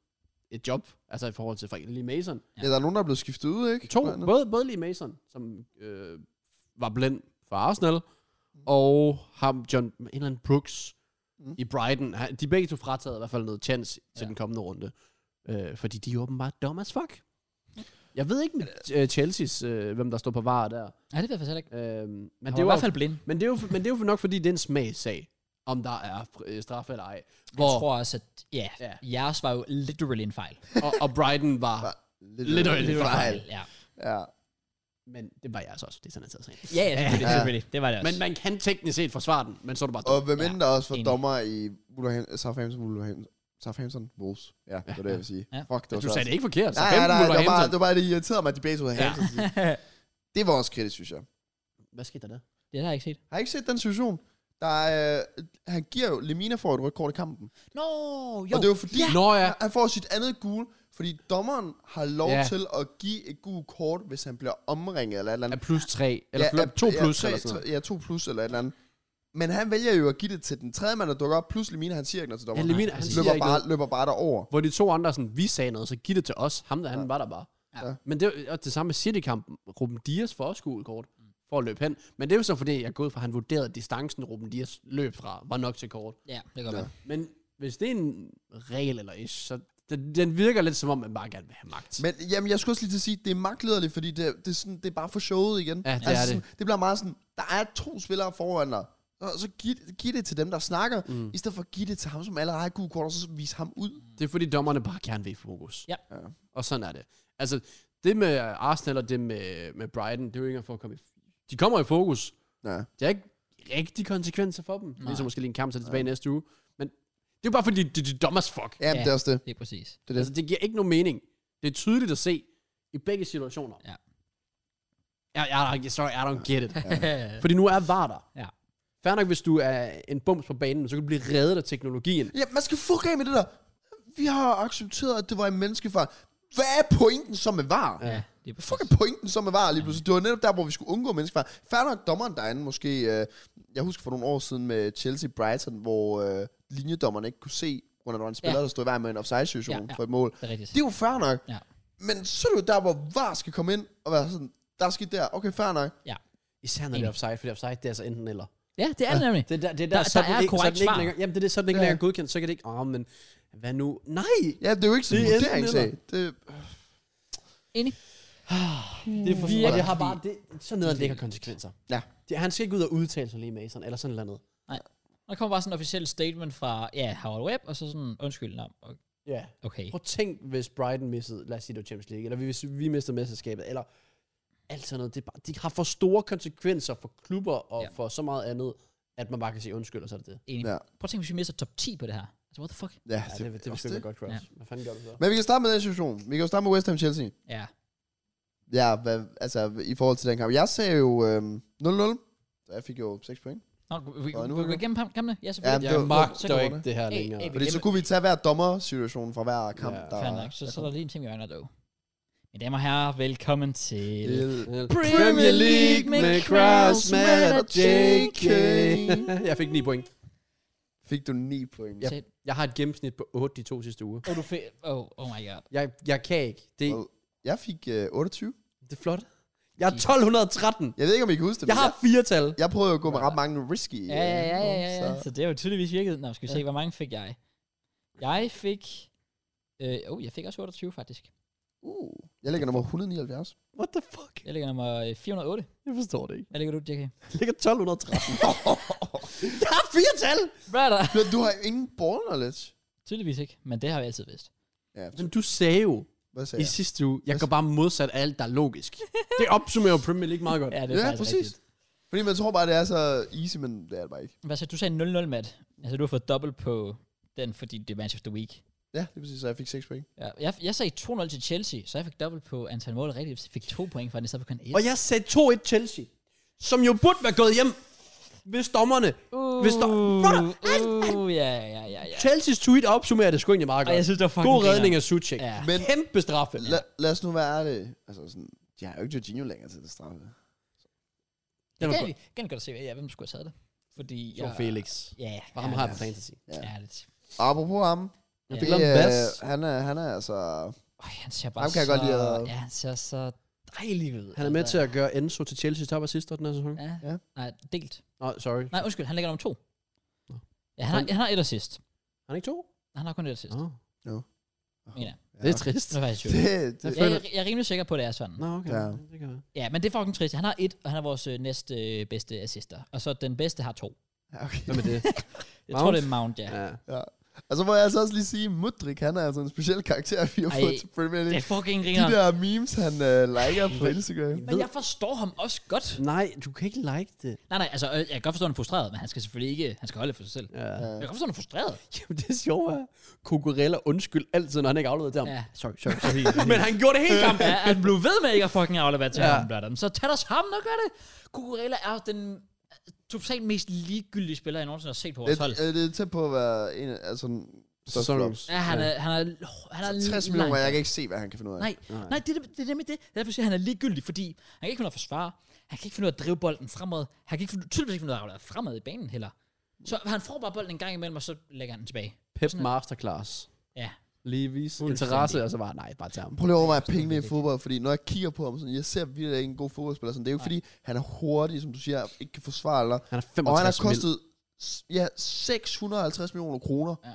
Speaker 2: et job, altså i forhold til for eksempel Lee Mason.
Speaker 3: Ja, der er nogen, der er blevet skiftet ud, ikke?
Speaker 2: To,
Speaker 3: Blandt andet.
Speaker 2: både, både Lee Mason, som øh, var blind for Arsenal, og ham, John, en eller anden Brooks
Speaker 3: Mm.
Speaker 2: i Brighton. Han- De er begge to frataget i hvert fald noget chance til
Speaker 1: Ja.
Speaker 2: den kommende runde. Øh, fordi de er åbenbart dumb as fuck. Jeg ved ikke med øh, Chelsea's, øh, hvem der står på var der.
Speaker 1: Ja, det ved jeg faktisk heller ikke.
Speaker 2: Øh, men,
Speaker 1: Han var
Speaker 2: det er
Speaker 1: i
Speaker 2: jo,
Speaker 1: hvert fald blind.
Speaker 2: men, det er jo, men det er jo nok, fordi det er en smagssag, om der er øh, straf eller ej.
Speaker 1: Jeg
Speaker 2: Hvor,
Speaker 1: tror også, at ja,
Speaker 2: Ja.
Speaker 1: jeres var jo literally en fejl.
Speaker 2: og, og Brighton var...
Speaker 3: Var Lidt,
Speaker 2: Lidt
Speaker 3: lidt,
Speaker 2: øjelig
Speaker 3: lidt fejl.
Speaker 1: Ja,
Speaker 3: Ja.
Speaker 2: Men det var jeg altså også. Det er sådan, jeg tager sagen.
Speaker 1: ja, ja, selvfølgelig,
Speaker 3: Ja.
Speaker 1: selvfølgelig. Det var det også.
Speaker 2: Men man kan teknisk set forsvare den, men så er det bare
Speaker 3: Og
Speaker 2: dumt.
Speaker 3: hvem
Speaker 1: Ja,
Speaker 3: end der også var
Speaker 1: enig.
Speaker 3: dommer i Wolverhampton, Southampton, Wolverhampton, Southampton, Wolves. Ja, det var det, jeg ville sige.
Speaker 1: Ja.
Speaker 3: Fuck, det var
Speaker 2: Du
Speaker 3: svært.
Speaker 2: sagde det ikke forkert. Så
Speaker 3: Nej, nej,
Speaker 2: femten
Speaker 3: nej, det var, bare,
Speaker 2: Wolverhampton.
Speaker 3: det var bare, det irriterede mig, at de begge to havde
Speaker 1: Ja.
Speaker 2: [LAUGHS]
Speaker 3: ja. Det var også kritisk, synes jeg.
Speaker 2: Hvad skete der der?
Speaker 1: det har jeg ikke set.
Speaker 3: Har I ikke set den situation? Der er, øh, han giver jo, Lemina får et rødt kort i kampen.
Speaker 1: Nå,
Speaker 3: Jo.
Speaker 1: jo.
Speaker 3: Og det er jo fordi,
Speaker 2: Ja. Nå ja.
Speaker 3: han får sit andet gul, fordi dommeren har lov
Speaker 2: Ja.
Speaker 3: ja. til at give et gult kort, hvis han bliver omringet eller et eller
Speaker 2: Er
Speaker 3: andet.
Speaker 2: plus 3, eller ja,
Speaker 3: ja,
Speaker 2: plus, 2
Speaker 3: ja,
Speaker 2: plus,
Speaker 3: tre-
Speaker 2: eller sådan noget.
Speaker 3: tre- Ja, to plus eller et eller andet. Men han vælger jo at give det til den tredje mand, der dukker op, plus Lemina, han siger ikke noget til
Speaker 2: Ja,
Speaker 3: dommeren.
Speaker 2: Lemina, han
Speaker 3: han
Speaker 2: siger
Speaker 3: løber,
Speaker 2: ikke
Speaker 3: bare,
Speaker 2: noget.
Speaker 3: løber bare derover.
Speaker 2: Hvor de to andre er sådan, vi sagde noget, så giv det til os. Ham der, han
Speaker 3: Ja.
Speaker 2: var der bare.
Speaker 1: Ja.
Speaker 2: Ja. Men det er det samme med City-kampen. Ruben Dias får også gult kort for at løbe hen. Men det er jo så fordi, jeg er gået fra, at han vurderede, at distancen, Ruben Dias løb fra, var nok til kort.
Speaker 1: Ja, det kan godt
Speaker 3: Ja.
Speaker 1: være.
Speaker 2: Men hvis det er en regel eller ish, så den, den virker lidt som om, man bare gerne vil have magt. Men,
Speaker 3: Men jamen, jeg skulle også lige til at sige, det er magtlederligt, fordi det, det, er sådan, det er bare for showet igen. Altså,
Speaker 2: Ja, det er
Speaker 3: sådan, det bliver meget sådan, der er to spillere foran dig, og så giv, giv det til dem, der snakker, mm. i stedet for at give det til ham, som allerede har et gult kort, og så vise ham ud.
Speaker 2: det er fordi, dommerne bare gerne vil i fokus.
Speaker 1: Ja.
Speaker 3: Ja.
Speaker 2: Og sådan er det. Altså, det med Arsenal og det med, med Brighton, det er jo ikke engang for at komme i... De kommer i fokus.
Speaker 3: Ja.
Speaker 2: Det er ikke rigtig konsekvenser for dem.
Speaker 1: Nej.
Speaker 2: Ligesom måske lige en kamp, så er de tilbage næste uge. Men det er jo bare fordi, de, de er dumme as fuck.
Speaker 3: Ja,
Speaker 1: Ja.
Speaker 3: ja. det er også det.
Speaker 1: Det er præcis.
Speaker 3: det, er det.
Speaker 2: Altså, det giver ikke nogen mening. Det er tydeligt at se i begge situationer.
Speaker 1: Ja.
Speaker 2: Jeg, jeg, jeg, sorry, I don't get it.
Speaker 1: Ja.
Speaker 2: Fordi nu er VAR der.
Speaker 1: Ja.
Speaker 2: Fair nok, hvis du er en bums på banen, så kan du blive reddet af teknologien.
Speaker 3: Ja, man skal fuck af med det der. Vi har accepteret, at det var en menneskefejl. Hvad er pointen så med var? Ja.
Speaker 1: ja, det er præcis.
Speaker 3: Fuck er pointen så med var lige pludselig? Det var netop der, hvor vi skulle undgå menneskefejl. Færdig nok dommeren derinde måske... Øh, jeg husker for nogle år siden med Chelsea-Brighton, hvor øh, linjedommeren ikke kunne se, på grund af, at der var en spiller,
Speaker 1: Ja.
Speaker 3: ja. der stod i vejen med en offside-situation
Speaker 1: Ja,
Speaker 3: ja,
Speaker 1: ja.
Speaker 3: ja. for et mål.
Speaker 1: Det er rigtigt.
Speaker 3: Det er jo fair nok.
Speaker 1: Ja.
Speaker 3: Men så er det jo der, hvor VAR skal komme ind og være sådan, der er skidt der, okay, fair nok.
Speaker 2: Især når det er offside, fordi offside, det er altså enten eller.
Speaker 1: Ja, det er det nemlig.
Speaker 2: Det er der, det er
Speaker 1: Der-
Speaker 2: der, så
Speaker 1: der
Speaker 2: er den
Speaker 1: er
Speaker 2: ikke, så er
Speaker 1: korrekt
Speaker 2: den ikke
Speaker 1: svar.
Speaker 2: længere, jamen det er det, så er den ikke
Speaker 3: Ja.
Speaker 2: længere godkendt, så kan det ikke, åh, oh, men hvad nu? Nej!
Speaker 3: Ja, det er jo ikke sådan en
Speaker 2: Det er enten
Speaker 3: vurderingssag. Det,
Speaker 1: Enig.
Speaker 2: Det er for, og det har bare, det, sådan noget lægger
Speaker 1: Virkelig.
Speaker 2: konsekvenser.
Speaker 3: Ja.
Speaker 2: Det, han skal ikke ud og udtale sig lige med sådan, eller sådan noget andet.
Speaker 1: Og der kommer bare sådan en officiel statement fra, ja, Howard Webb, og så sådan, undskyld, nå,
Speaker 2: Ja.
Speaker 1: okay.
Speaker 2: Prøv at tænk, hvis Brighton missede, lad os sige det var Champions League, eller hvis vi mistede mesterskabet, eller alt sådan noget. Det er bare, de har for store konsekvenser for klubber og
Speaker 1: Ja.
Speaker 2: ja. for så meget andet, at man bare kan sige undskyld, og så er det det.
Speaker 1: Enig. Prøv
Speaker 3: Ja.
Speaker 1: at tænke, hvis vi mister top 10 på det her. Altså, what the fuck?
Speaker 3: ja,
Speaker 2: Ja, det, det, det vil
Speaker 3: også
Speaker 2: sgu ikke være godt, Cross.
Speaker 1: Ja.
Speaker 2: Hvad fanden gør du så?
Speaker 3: Men vi kan starte med den situation. Vi kan jo starte med West Ham Chelsea.
Speaker 1: Ja.
Speaker 3: Ja, hvad, altså i forhold til den kamp. Jeg sagde jo øhm, 0-0, så jeg fik jo 6 point.
Speaker 1: Nå, vi- vi
Speaker 3: Nå, nu er
Speaker 1: kan
Speaker 3: vi-
Speaker 1: gå igennem kampene. Ja,
Speaker 3: Ja,
Speaker 1: selvfølgelig. Ja,
Speaker 3: men det var-
Speaker 2: Magter
Speaker 1: så går
Speaker 2: ikke
Speaker 3: det.
Speaker 2: det her
Speaker 1: Ey,
Speaker 2: længere.
Speaker 1: ey, vi-
Speaker 3: Fordi så kunne vi tage hver dommersituation fra hver kamp.
Speaker 2: Ja,
Speaker 3: der,
Speaker 1: Fair nok, så, så er der lige en ting, vi regner dog. Mine damer og herrer, velkommen til...
Speaker 2: Premier League med Craftsman og JK. jeg fik 9 point.
Speaker 3: Fik du 9 point.
Speaker 1: Ja.
Speaker 3: Ja.
Speaker 2: Jeg har et gennemsnit på 8 de to sidste uger.
Speaker 1: Oh, du fe- oh, oh my god.
Speaker 2: Jeg, jeg kan ikke. Det,
Speaker 3: Well. Jeg fik øh, 28.
Speaker 2: det er flot. Jeg er 1213.
Speaker 3: Jeg ved ikke, om I kan huske det,
Speaker 2: Jeg
Speaker 3: men
Speaker 2: har fire tal.
Speaker 3: jeg, jeg prøvede jo at gå med ret mange risky. øh,
Speaker 1: Ja, ja, ja, ja, ja.
Speaker 3: Så.
Speaker 1: ja. Så det har jo tydeligvis virket. Nå, skal vi se, hvor mange fik jeg? Jeg fik... Øh, oh, jeg fik også 28 faktisk.
Speaker 3: Uh, jeg ligger nummer 179.
Speaker 2: What the fuck?
Speaker 1: Jeg ligger nummer øh, 408.
Speaker 2: Jeg forstår det ikke.
Speaker 1: Hvad ligger du, JK?
Speaker 2: Jeg ligger [LAUGHS] 1213. jeg har fire tal!
Speaker 1: Brother!
Speaker 3: Men du har ingen ball knowledge.
Speaker 1: Tydeligvis ikke, men det har vi altid vidst.
Speaker 3: Ja,
Speaker 2: Men du sagde jo
Speaker 3: hvad
Speaker 2: ja.
Speaker 3: sagde
Speaker 2: i
Speaker 3: jeg?
Speaker 2: sidste uge, jeg går bare modsat af alt, der er logisk. det opsummerer jo Premier League meget godt.
Speaker 1: Ja, det er
Speaker 3: Ja,
Speaker 1: faktisk
Speaker 3: præcis.
Speaker 1: rigtigt.
Speaker 3: Fordi man tror bare, det er så easy, men det er det bare ikke.
Speaker 1: Hvad så, du sagde 0-0, Matt. Altså, du har fået dobbelt på den, fordi det er match of the week.
Speaker 3: Ja, det er præcis, så jeg fik 6 point.
Speaker 1: Ja, jeg, jeg sagde 2-0 til Chelsea, så jeg fik dobbelt på antal mål rigtigt. Jeg fik to point for den, i stedet for kun et.
Speaker 2: Og jeg sagde 2-1 Chelsea. som jo burde være gået hjem, hvis dommerne...
Speaker 1: Uh,
Speaker 2: Hvis der- Brother,
Speaker 1: uh, ja, ja, ja, ja.
Speaker 2: Chelsea's tweet opsummerer det sgu egentlig meget
Speaker 1: Og jeg
Speaker 2: godt.
Speaker 1: synes, det var fucking
Speaker 2: God redning
Speaker 1: grineren.
Speaker 2: af Suchek.
Speaker 1: Ja.
Speaker 3: Men-
Speaker 2: Kæmpe straffe.
Speaker 3: La, lad os nu være det. Altså sådan, de har jo ikke Jorginho længere til det straffe.
Speaker 2: Den
Speaker 1: Jeg
Speaker 2: var
Speaker 1: kan,
Speaker 2: god.
Speaker 1: jeg kan godt se, ja, hvem skulle have taget det. Fordi
Speaker 2: Så
Speaker 1: jeg...
Speaker 2: Felix.
Speaker 1: Ja,
Speaker 2: For ham
Speaker 1: ja,
Speaker 2: har
Speaker 1: ja.
Speaker 2: jeg på fantasy.
Speaker 3: Ja.
Speaker 1: Ærligt.
Speaker 3: Og apropos ham,
Speaker 2: Jeg
Speaker 1: Ja.
Speaker 2: fik
Speaker 3: det,
Speaker 2: lavet en bas.
Speaker 3: øh, han, er, han er altså...
Speaker 1: Øj, han ser bare
Speaker 3: Ham kan
Speaker 1: så...
Speaker 3: jeg godt lide at-
Speaker 1: Ja, han ser så dejlig ud.
Speaker 2: Han er med
Speaker 1: altså.
Speaker 2: til at gøre Enzo til Chelsea top assister den her sæson.
Speaker 1: Ja.
Speaker 3: Ja.
Speaker 1: Nej, delt.
Speaker 2: Nå, sorry.
Speaker 1: Nej, undskyld, han ligger nummer to.
Speaker 2: Nå.
Speaker 1: Ja, han har, han har et assist.
Speaker 2: Han er ikke to?
Speaker 1: Han har kun et assist.
Speaker 2: Nå,
Speaker 1: Mener jeg.
Speaker 3: Ja.
Speaker 2: det er trist.
Speaker 1: Det er faktisk jo.
Speaker 3: det, det,
Speaker 1: Jeg, jeg, jeg er rimelig sikker på, at det er sådan.
Speaker 2: Nå, okay.
Speaker 3: Ja.
Speaker 2: Det kan være.
Speaker 1: Ja, men det er fucking trist. Han har et, og han er vores øh, næste øh, bedste assister. Og så den bedste har to.
Speaker 3: ja, okay.
Speaker 2: Hvad med det?
Speaker 1: Jeg
Speaker 2: Mount?
Speaker 1: tror, det er Mount, ja.
Speaker 2: Ja.
Speaker 3: Altså må jeg altså også lige sige, Mudrik, han er altså en speciel karakter, vi har
Speaker 1: Ej,
Speaker 3: fået til Premier
Speaker 1: Det
Speaker 3: League.
Speaker 1: er fucking
Speaker 3: De
Speaker 1: ringer.
Speaker 3: der memes, han uh, liker på Instagram.
Speaker 1: Men jeg forstår ham også godt.
Speaker 2: Nej, du kan ikke like det.
Speaker 1: Nej, nej, altså, øh, jeg kan godt forstå, at han er frustreret, men han skal selvfølgelig ikke, han skal holde det for sig selv.
Speaker 2: Ja.
Speaker 3: Ja.
Speaker 1: Jeg kan godt forstå, at han er frustreret.
Speaker 2: Jamen, det er sjovt, at Kukurella undskyld altid, når han ikke afleder til ham.
Speaker 1: Ja.
Speaker 2: Sorry, sorry, sorry.
Speaker 1: [LAUGHS]
Speaker 2: Men han gjorde det helt [LAUGHS] kampen.
Speaker 1: Ja, han blev ved med ikke at fucking aflevere til
Speaker 2: Ja.
Speaker 1: ja. ham, Blatter. Så tag dig sammen og gør det. Kukurella er den øh, totalt mest ligegyldige spiller, jeg nogensinde har set på
Speaker 3: Det,
Speaker 1: vores hold.
Speaker 3: øh, det er tæt på at være en af altså, en største
Speaker 2: Sæsonen.
Speaker 3: flops.
Speaker 1: Ja, han er, han er, han er
Speaker 3: 60
Speaker 1: langt
Speaker 3: millioner, jeg
Speaker 1: væk.
Speaker 3: kan ikke se, hvad han kan finde ud af.
Speaker 1: Nej, nej, nej det, er- det er nemlig det. Derfor siger jeg, han er ligegyldig, fordi han kan ikke finde ud af at forsvare. Han kan ikke finde ud af at drive bolden fremad. Han kan ikke finde, tydeligvis ikke finde ud af at aflevere fremad i banen heller. Så han får bare bolden en gang imellem, og så lægger han den tilbage.
Speaker 2: Pep Masterclass.
Speaker 1: Ja.
Speaker 2: Lige vise
Speaker 1: Fuldstændig.
Speaker 2: interesse, og så bare, nej, bare tag ham.
Speaker 3: Prøv lige at overveje pengene i fodbold, fordi når jeg kigger på ham, sådan, jeg ser virkelig ikke en god fodboldspiller. Sådan, det er jo fordi, han er hurtig, som du siger, ikke kan forsvare eller.
Speaker 2: Han er
Speaker 3: Og han
Speaker 2: 65
Speaker 3: har kostet s- ja, 650 millioner kroner.
Speaker 1: Ja.